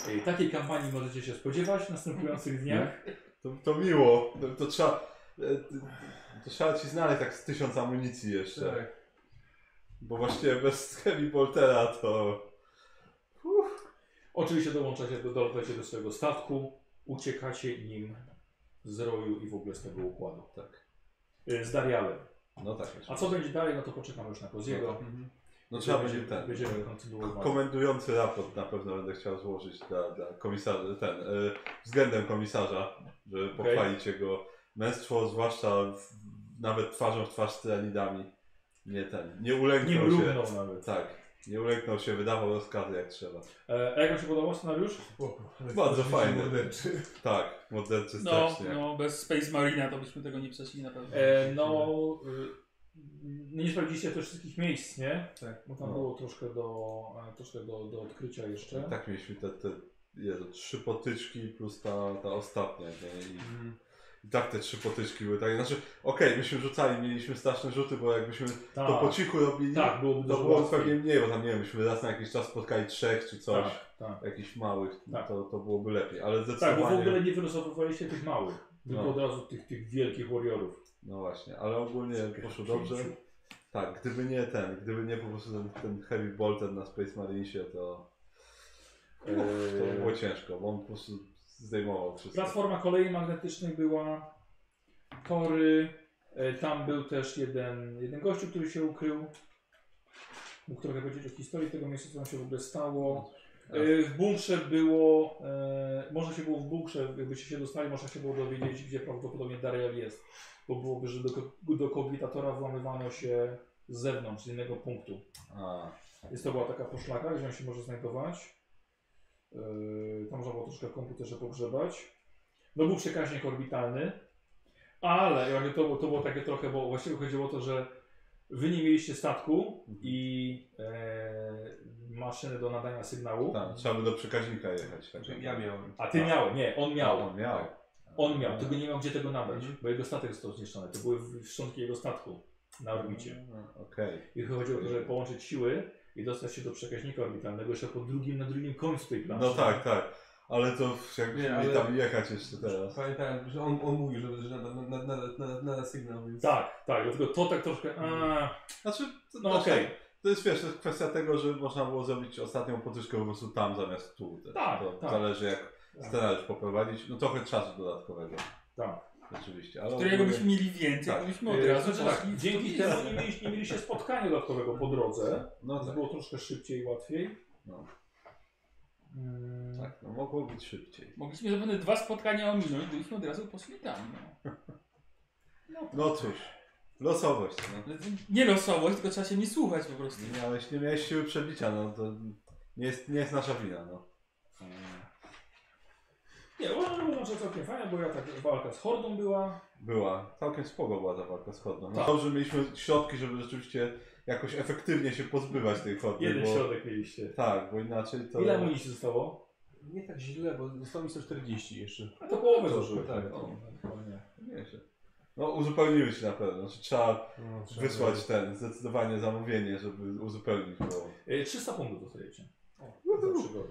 Speaker 1: Ej, Takiej kampanii możecie się spodziewać w następujących dniach.
Speaker 2: to, to miło. To, to trzeba... e, ty- To trzeba ci znaleźć tak z tysiąc amunicji jeszcze.
Speaker 5: Tak.
Speaker 2: Bo właściwie bez heavy boltera to...
Speaker 1: Oczywiście dołączacie do, dołączacie do swojego statku, uciekacie nim z roju i w ogóle z tego układu.
Speaker 2: Tak.
Speaker 1: Y, Z Darialem.
Speaker 2: No tak. jeszcze.
Speaker 1: A co będzie dalej, no to poczekamy już na Koziego.
Speaker 2: No No trzeba będzie ten...
Speaker 1: Będziemy kontynuować.
Speaker 2: Komendujący raport na pewno będę chciał złożyć dla, dla komisarza, ten, y, względem komisarza, żeby pochwalić jego męstwo, zwłaszcza w, nawet twarzą w twarz z tyranidami. Nie ten, nie
Speaker 1: Nie
Speaker 2: ulegnął się.
Speaker 1: mrugnął nawet.
Speaker 2: Tak, nie ulegnął się, wydawał rozkazy jak trzeba.
Speaker 1: E, a jak wam się podobał scenariusz?
Speaker 2: Bardzo fajny.
Speaker 13: Morderczy.
Speaker 2: Tak, morderczy
Speaker 3: No,
Speaker 2: strasznie.
Speaker 3: no, bez Space Marina to byśmy tego nie przeszli na pewno.
Speaker 1: E, no, y, nie sprawdziliście też wszystkich miejsc, nie?
Speaker 5: Tak.
Speaker 1: Bo tam
Speaker 2: No.
Speaker 1: było troszkę, do, e, troszkę do, do odkrycia jeszcze.
Speaker 2: Tak mieliśmy te, te Jezu, trzy potyczki plus ta, ta ostatnia. Nie? I,
Speaker 1: Mhm.
Speaker 2: I tak te trzy potyczki były takie. Znaczy, okej, myśmy rzucali, mieliśmy straszne rzuty, bo jakbyśmy
Speaker 1: tak,
Speaker 2: to po cichu robili,
Speaker 1: tak, było
Speaker 2: To
Speaker 1: dużo
Speaker 2: było
Speaker 1: łatwiej.
Speaker 2: pewnie mniej, bo tam nie wiem, myśmy raz na jakiś czas spotkali trzech czy coś,
Speaker 1: Tak, tak.
Speaker 2: jakichś małych, no
Speaker 1: Tak.
Speaker 2: to, to byłoby lepiej, ale
Speaker 1: Tak,
Speaker 2: zdecydowanie,
Speaker 1: bo w ogóle nie wylosowywaliście tych małych, tylko
Speaker 2: No.
Speaker 1: od razu tych, tych wielkich warriorów.
Speaker 2: no właśnie, ale ogólnie poszło dobrze. Tak, gdyby nie ten, gdyby nie po prostu ten, ten heavy bolter na Space Marinesie, to, to by było ciężko, bo on po prostu zdejmował wszystko.
Speaker 1: Platforma kolei magnetycznej była, tory, e, tam był też jeden, jeden gościu, który się ukrył. Mógł trochę powiedzieć o historii tego miejsca, co tam się w ogóle stało. E, W bunkrze było, e, można się było w bunkrze, jakbyście się dostali, można się było dowiedzieć, gdzie prawdopodobnie Dariel jest. Bo byłoby, że do, ko- do kognitatora włamywano się z zewnątrz, z innego punktu.
Speaker 2: A,
Speaker 1: Jest to była taka poszlaka, gdzie on się może znajdować. Yy, tam można było troszkę w komputerze pogrzebać. No był przekaźnik orbitalny, ale jakby to, było- to było takie trochę, bo właściwie chodziło o to, że wy nie mieliście statku i e, maszyny do nadania sygnału,
Speaker 2: tam, Tak, trzeba by do przekaźnika jechać. Tak
Speaker 5: Znaczy, Ja miałem.
Speaker 1: a ty miał, nie, on miał.
Speaker 2: On miał.
Speaker 1: On miał, tylko nie miał gdzie tego nabrać, bo jego statek został zniszczony. To były w- szczątki jego statku na orbicie.
Speaker 2: A, No, Okej.
Speaker 1: I chodziło o to, żeby połączyć siły i dostać się do przekaźnika orbitalnego jeszcze po drugim, na drugim końcu tej planszy.
Speaker 2: No tak, tak. Ale to jakbyśmy
Speaker 5: Nie,
Speaker 2: mieli
Speaker 5: ale-
Speaker 2: tam jechać jeszcze teraz.
Speaker 5: Tak. Pamiętałem, że on, on mówił, że, że nada, nada, nada, nada, nada sygnał, więc...
Speaker 1: Tak, tak, dlatego to tak troszkę. A,
Speaker 2: Znaczy, to,
Speaker 1: no
Speaker 2: znaczy,
Speaker 1: okej.
Speaker 2: To jest wiesz, to jest kwestia tego, że można było zrobić ostatnią podwyżkę po prostu tam zamiast tu. Też.
Speaker 1: Tak,
Speaker 2: to
Speaker 1: tak.
Speaker 2: zależy jak scenariusz poprowadzić. No trochę czasu dodatkowego.
Speaker 1: Tak.
Speaker 2: Rzeczywiście. Ale
Speaker 3: Którego
Speaker 2: ogólnie-
Speaker 3: byśmy mieli więcej,
Speaker 2: Tak.
Speaker 3: to byśmy od razu
Speaker 1: Znaczy tak,
Speaker 3: poszli w
Speaker 1: dzięki
Speaker 3: to
Speaker 1: temu nie mieliście, nie mieliście spotkania dodatkowego po drodze.
Speaker 2: No
Speaker 1: To
Speaker 2: tak,
Speaker 1: było troszkę szybciej i łatwiej.
Speaker 2: No.
Speaker 1: Mm,
Speaker 2: tak, no mogło być szybciej.
Speaker 3: Mogliśmy zapewne dwa spotkania ominąć, gdybyśmy od razu poszli tam. No.
Speaker 2: No cóż, losowość. No.
Speaker 3: Ale to Nie losowość, tylko trzeba się nie słuchać po prostu.
Speaker 2: Nie miałeś, nie miałeś siły przebicia, no to nie jest, nie jest nasza wina. No.
Speaker 1: Nie, uważam, że może całkiem fajnie, bo ja tak walka z hordą była.
Speaker 2: Była, całkiem spoko była ta walka z chodną. No,
Speaker 1: Tak.
Speaker 2: Dobrze mieliśmy środki, żeby rzeczywiście jakoś efektywnie się pozbywać tej chodny.
Speaker 1: Jeden
Speaker 2: Bo,
Speaker 1: środek mieliście.
Speaker 2: tak, bo inaczej to...
Speaker 1: Ile amunicji zostało?
Speaker 5: Nie tak źle, bo zostało mi 140 jeszcze.
Speaker 1: A to połowę
Speaker 2: To-
Speaker 1: zużyłem.
Speaker 2: tak,
Speaker 1: no, dokładnie.
Speaker 2: Nieźle. No uzupełniły się na pewno. Znaczy, trzeba
Speaker 5: No,
Speaker 2: wysłać ten zdecydowanie zamówienie, żeby uzupełnić, bo
Speaker 1: E, 300 punktów dostajecie. Za przygodę.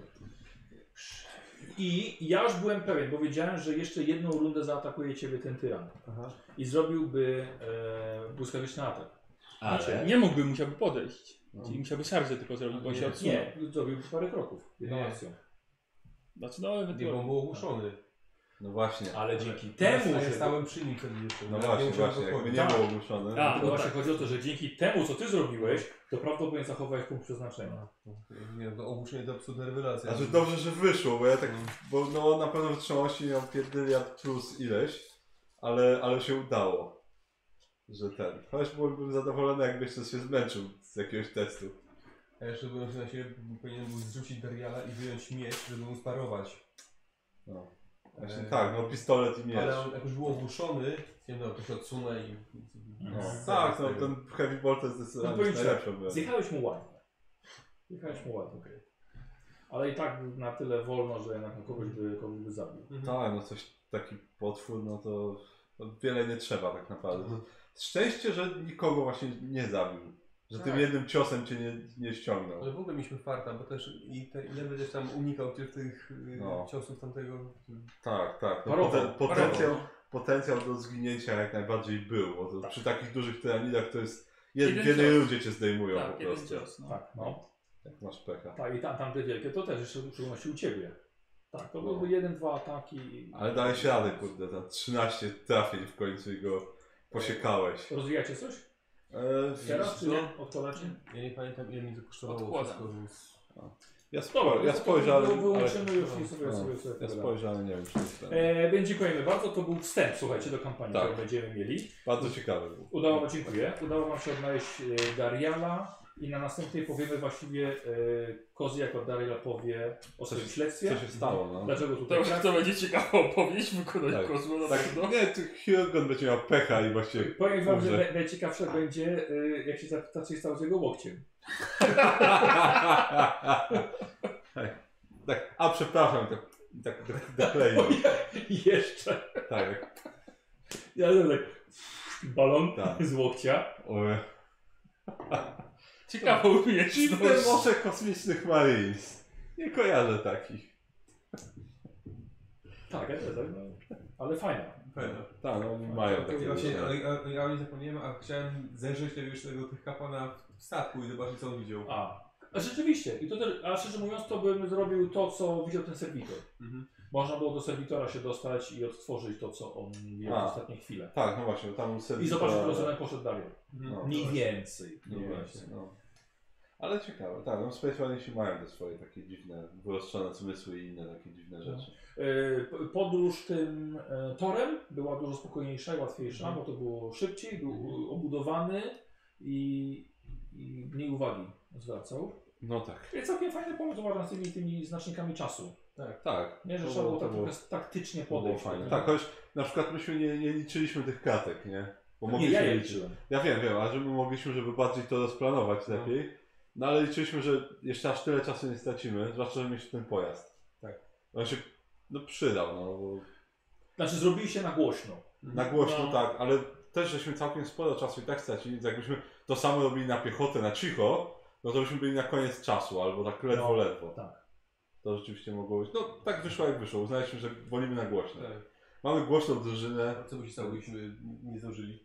Speaker 1: I ja już byłem pewien, bo wiedziałem, że jeszcze jedną rundę zaatakuje ciebie ten tyran. I zrobiłby e, błyskawiczny atak.
Speaker 16: Ale...
Speaker 3: Znaczy, Nie mógłby, musiałby podejść. Czyli musiałby szarżę tylko zrobić, bo on się odsunął.
Speaker 1: Nie, zrobiłby parę kroków. Jedną
Speaker 5: Nie.
Speaker 1: akcją.
Speaker 3: Znaczy, no,
Speaker 5: Nie, bo on
Speaker 3: ewentualnie.
Speaker 5: był ogłuszony.
Speaker 2: No właśnie.
Speaker 1: Ale dzięki
Speaker 5: Temu,
Speaker 1: temu,
Speaker 5: ja
Speaker 1: że...
Speaker 5: stałem przy nim wtedy jeszcze.
Speaker 2: No
Speaker 5: Ja
Speaker 2: właśnie,
Speaker 5: nie musiałem
Speaker 2: właśnie, jakby
Speaker 5: podchodzić.
Speaker 2: nie
Speaker 1: Tak.
Speaker 2: było ogłuszone.
Speaker 3: A,
Speaker 1: No
Speaker 3: no
Speaker 1: właśnie
Speaker 3: tak.
Speaker 1: chodzi o to, że dzięki temu, co ty zrobiłeś, to prawdopodobnie zachowałeś punkt przeznaczenia.
Speaker 5: No, Nie, Tak. to ogłuszenie to absolutna rewelacja.
Speaker 2: Znaczy dobrze, że wyszło, bo ja tak, bo no na pewno wytrzymałości miał pierdyliard plus ileś, ale, ale się udało, że ten. Chociaż byłbym zadowolony, jakbyś też się zmęczył z jakiegoś testu.
Speaker 5: A jeszcze byłem się na siebie, powinien był zrzucić Dariala i wyjąć miecz, żeby mu sparować.
Speaker 2: No. Właśnie
Speaker 5: Eee.
Speaker 2: tak, no pistolet i miecz.
Speaker 5: Ale on, jak już był ogłuszony, nie no, to się odsunę i...
Speaker 2: No,
Speaker 5: z-
Speaker 2: tak,
Speaker 5: z
Speaker 2: no
Speaker 5: tego.
Speaker 2: ten heavy bolt to jest
Speaker 1: No
Speaker 2: zdecydowanie
Speaker 1: powiem ci tak,
Speaker 2: najlepszy. był.
Speaker 1: Zjechałeś mu ładnie. Zjechałeś mu ładnie. Ale i tak na tyle wolno, że jednak no kogoś by, kogoś by zabił.
Speaker 5: Mhm.
Speaker 2: Tak, no coś taki potwór, no to no wiele nie trzeba tak naprawdę. Szczęście, że nikogo właśnie nie zabił. Że tym
Speaker 5: Tak. No.
Speaker 2: jednym ciosem cię nie, nie ściągnął.
Speaker 5: Ale w ogóle mieliśmy farta, bo też i te, ile będziesz tam unikał tych, tych y,
Speaker 2: No.
Speaker 5: ciosów tamtego.
Speaker 2: Tak, tak. No,
Speaker 1: Parowo,
Speaker 2: poten,
Speaker 1: parowo.
Speaker 2: potencjał, potencjał do zginięcia jak najbardziej był, bo to przy takich dużych tyranidach to jest jed,
Speaker 3: Jeden
Speaker 2: jednej
Speaker 3: cios.
Speaker 2: ludzie cię zdejmują
Speaker 3: Tak,
Speaker 2: po
Speaker 3: jeden
Speaker 2: prostu.
Speaker 3: cios, no.
Speaker 1: Tak, no.
Speaker 2: Jak masz pecha.
Speaker 1: Tak, i tam, tamte wielkie to też jeszcze w szczególności u ciebie. Tak, to byłby jeden, dwa ataki. i-
Speaker 2: No. Ale dałeś radę, kurde, tam 13 trafień w końcu i go posiekałeś.
Speaker 1: Rozwijacie coś?
Speaker 2: E,
Speaker 1: Teraz czy nie? Odkładacie?
Speaker 5: Ja nie pamiętam ile mi to kosztowało
Speaker 3: Odkładam.
Speaker 5: wszystko, więc...
Speaker 2: ja, spo, ja spojrzałem,
Speaker 1: To
Speaker 2: ale,
Speaker 1: wyłączymy już i sobie, sobie,
Speaker 2: no,
Speaker 1: sobie
Speaker 2: ja
Speaker 1: wybrałem.
Speaker 2: spojrzałem, nie wiem, czy to jest ten.
Speaker 1: E, więc dziękujemy bardzo. To był wstęp, słuchajcie, do kampanii,
Speaker 2: Tak.
Speaker 1: którą będziemy mieli.
Speaker 2: Bardzo ciekawy był.
Speaker 1: Udało nam, dziękuję. Udało nam się odnaleźć e, Dariala i na następnej powiemy właściwie e, Kozy jako Darial powie o swoim śledztwie.
Speaker 2: Co się stało, no?
Speaker 1: Dlaczego
Speaker 3: To,
Speaker 1: tutaj tak?
Speaker 3: już to będzie ciekawa opowieść, wykonać
Speaker 2: Tak.
Speaker 3: tak. kozło na
Speaker 2: Tak,
Speaker 3: pewno.
Speaker 2: nie, tu Hildgon będzie miał pecha i właśnie
Speaker 1: Powiem wam, że
Speaker 2: Dobrze.
Speaker 1: naj- najciekawsze będzie, y, jak się zapyta, co się stało z jego łokciem.
Speaker 2: tak, a przepraszam, tak, tak, tak dokleiłem.
Speaker 1: Jeszcze.
Speaker 2: Tak,
Speaker 1: Ja tak, balon
Speaker 2: Tak.
Speaker 1: z łokcia.
Speaker 2: Oj.
Speaker 3: Ciekawa
Speaker 2: Dziwne
Speaker 3: umiejętność.
Speaker 2: morze kosmicznych Marines. Nie kojarzę takich.
Speaker 1: Tak, ja też, tak. ale fajna.
Speaker 5: Pewno.
Speaker 2: Tak, no oni mają takie.
Speaker 5: Ja właśnie,
Speaker 2: różne.
Speaker 5: ale, ale ja nie zapomniałem, a chciałem zejrzeć tego już tego tych kapłana w statku i zobaczyć co on widział.
Speaker 1: A. a rzeczywiście, i to też, a szczerze mówiąc, to bym zrobił to, co widział ten serwitor.
Speaker 5: Mhm.
Speaker 1: Można było do serwitora się dostać i odtworzyć to, co on miał
Speaker 2: A.
Speaker 1: w ostatniej chwile.
Speaker 2: Tak, no właśnie, tam sobie.
Speaker 1: I zobaczyć, którą stronę poszedł dalej.
Speaker 2: No,
Speaker 1: Mniej więcej.
Speaker 2: no właśnie, no. Ale ciekawe, tak, no Space Marinesi mają te swoje takie dziwne, wyostrzone zmysły i inne takie dziwne
Speaker 1: No.
Speaker 2: rzeczy.
Speaker 1: Y, p- Podróż tym y, torem była dużo spokojniejsza i łatwiejsza, bo to było szybciej, był y, obudowany i, i mniej uwagi zwracał.
Speaker 2: No tak.
Speaker 1: Jest całkiem fajny pomysł uważam z tymi, tymi znacznikami czasu.
Speaker 2: Tak.
Speaker 1: Nie, że
Speaker 2: To
Speaker 1: trzeba było
Speaker 2: to
Speaker 1: tak trochę taktycznie
Speaker 2: to było
Speaker 1: podejść.
Speaker 2: fajne. Tak, choć na przykład myśmy nie, nie liczyliśmy tych kratek, nie? Bo
Speaker 1: nie, ja
Speaker 2: mogliśmy
Speaker 1: je
Speaker 2: liczyć.
Speaker 1: liczyłem.
Speaker 2: Ja wiem, wiem, a żeby mogliśmy, żeby bardziej to rozplanować lepiej. No ale liczyliśmy, że jeszcze aż tyle czasu nie stracimy, zwłaszcza, że mieliśmy ten pojazd.
Speaker 5: Tak.
Speaker 2: On się no, przydał, no bo
Speaker 1: Znaczy zrobili się na głośno.
Speaker 2: na głośno
Speaker 3: No.
Speaker 2: tak, ale też żeśmy całkiem sporo czasu i tak stracili, więc jakbyśmy to samo robili na piechotę, na cicho, no to byśmy byli na koniec czasu, albo tak ledwo,
Speaker 1: No,
Speaker 2: ledwo.
Speaker 1: tak.
Speaker 2: To rzeczywiście mogło być. No tak wyszło jak wyszło, uznaliśmy, że wolimy na głośno.
Speaker 5: Tak.
Speaker 2: Mamy głośną drużynę.
Speaker 5: A co by się stało, gdybyśmy nie zdążyli?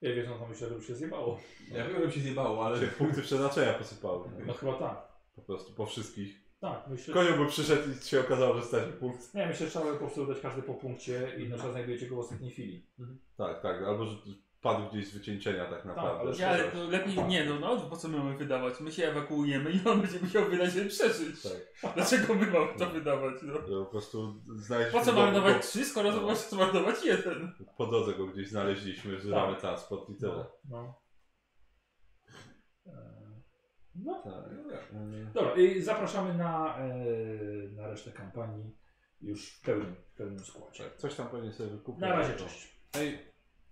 Speaker 1: Ja wiesz, no to myślę, że by się zjebało.
Speaker 5: Ja wiem, że się zjebało, ale...
Speaker 2: Się punkty przeznaczenia posypały.
Speaker 1: No
Speaker 2: nie?
Speaker 1: chyba tak.
Speaker 2: Po prostu, po wszystkich.
Speaker 1: Tak, myślę.
Speaker 2: Konio by przyszedł i się okazało, że stracił punkt.
Speaker 1: Nie, myślę, że trzeba było po prostu dać każdy po punkcie i na przykład znajdujecie go w ostatniej chwili.
Speaker 2: Tak, tak, albo że padł gdzieś z wycieńczenia tak naprawdę.
Speaker 1: ale-
Speaker 3: Nie, ale to lepiej nie, no, no po co my mamy wydawać? My się ewakuujemy i on będzie musiał wydać, żeby przeżyć. Dlaczego my mamy to wydawać? No?
Speaker 2: Tak, Że Po prostu znaleźliśmy
Speaker 3: Po co
Speaker 2: go-
Speaker 3: marnować trzy, skoro
Speaker 2: No.
Speaker 3: no. można marnować jeden?
Speaker 2: go- Po drodze go gdzieś znaleźliśmy, wzywamy transport i tyle.
Speaker 1: Tak. No. E, No.
Speaker 2: Tak.
Speaker 1: Dobra, i zapraszamy na, e, na resztę kampanii już w pełnym, w pełnym składzie.
Speaker 2: Tak, Coś tam pewnie sobie wykupił.
Speaker 1: Na razie, cześć.
Speaker 2: Hej.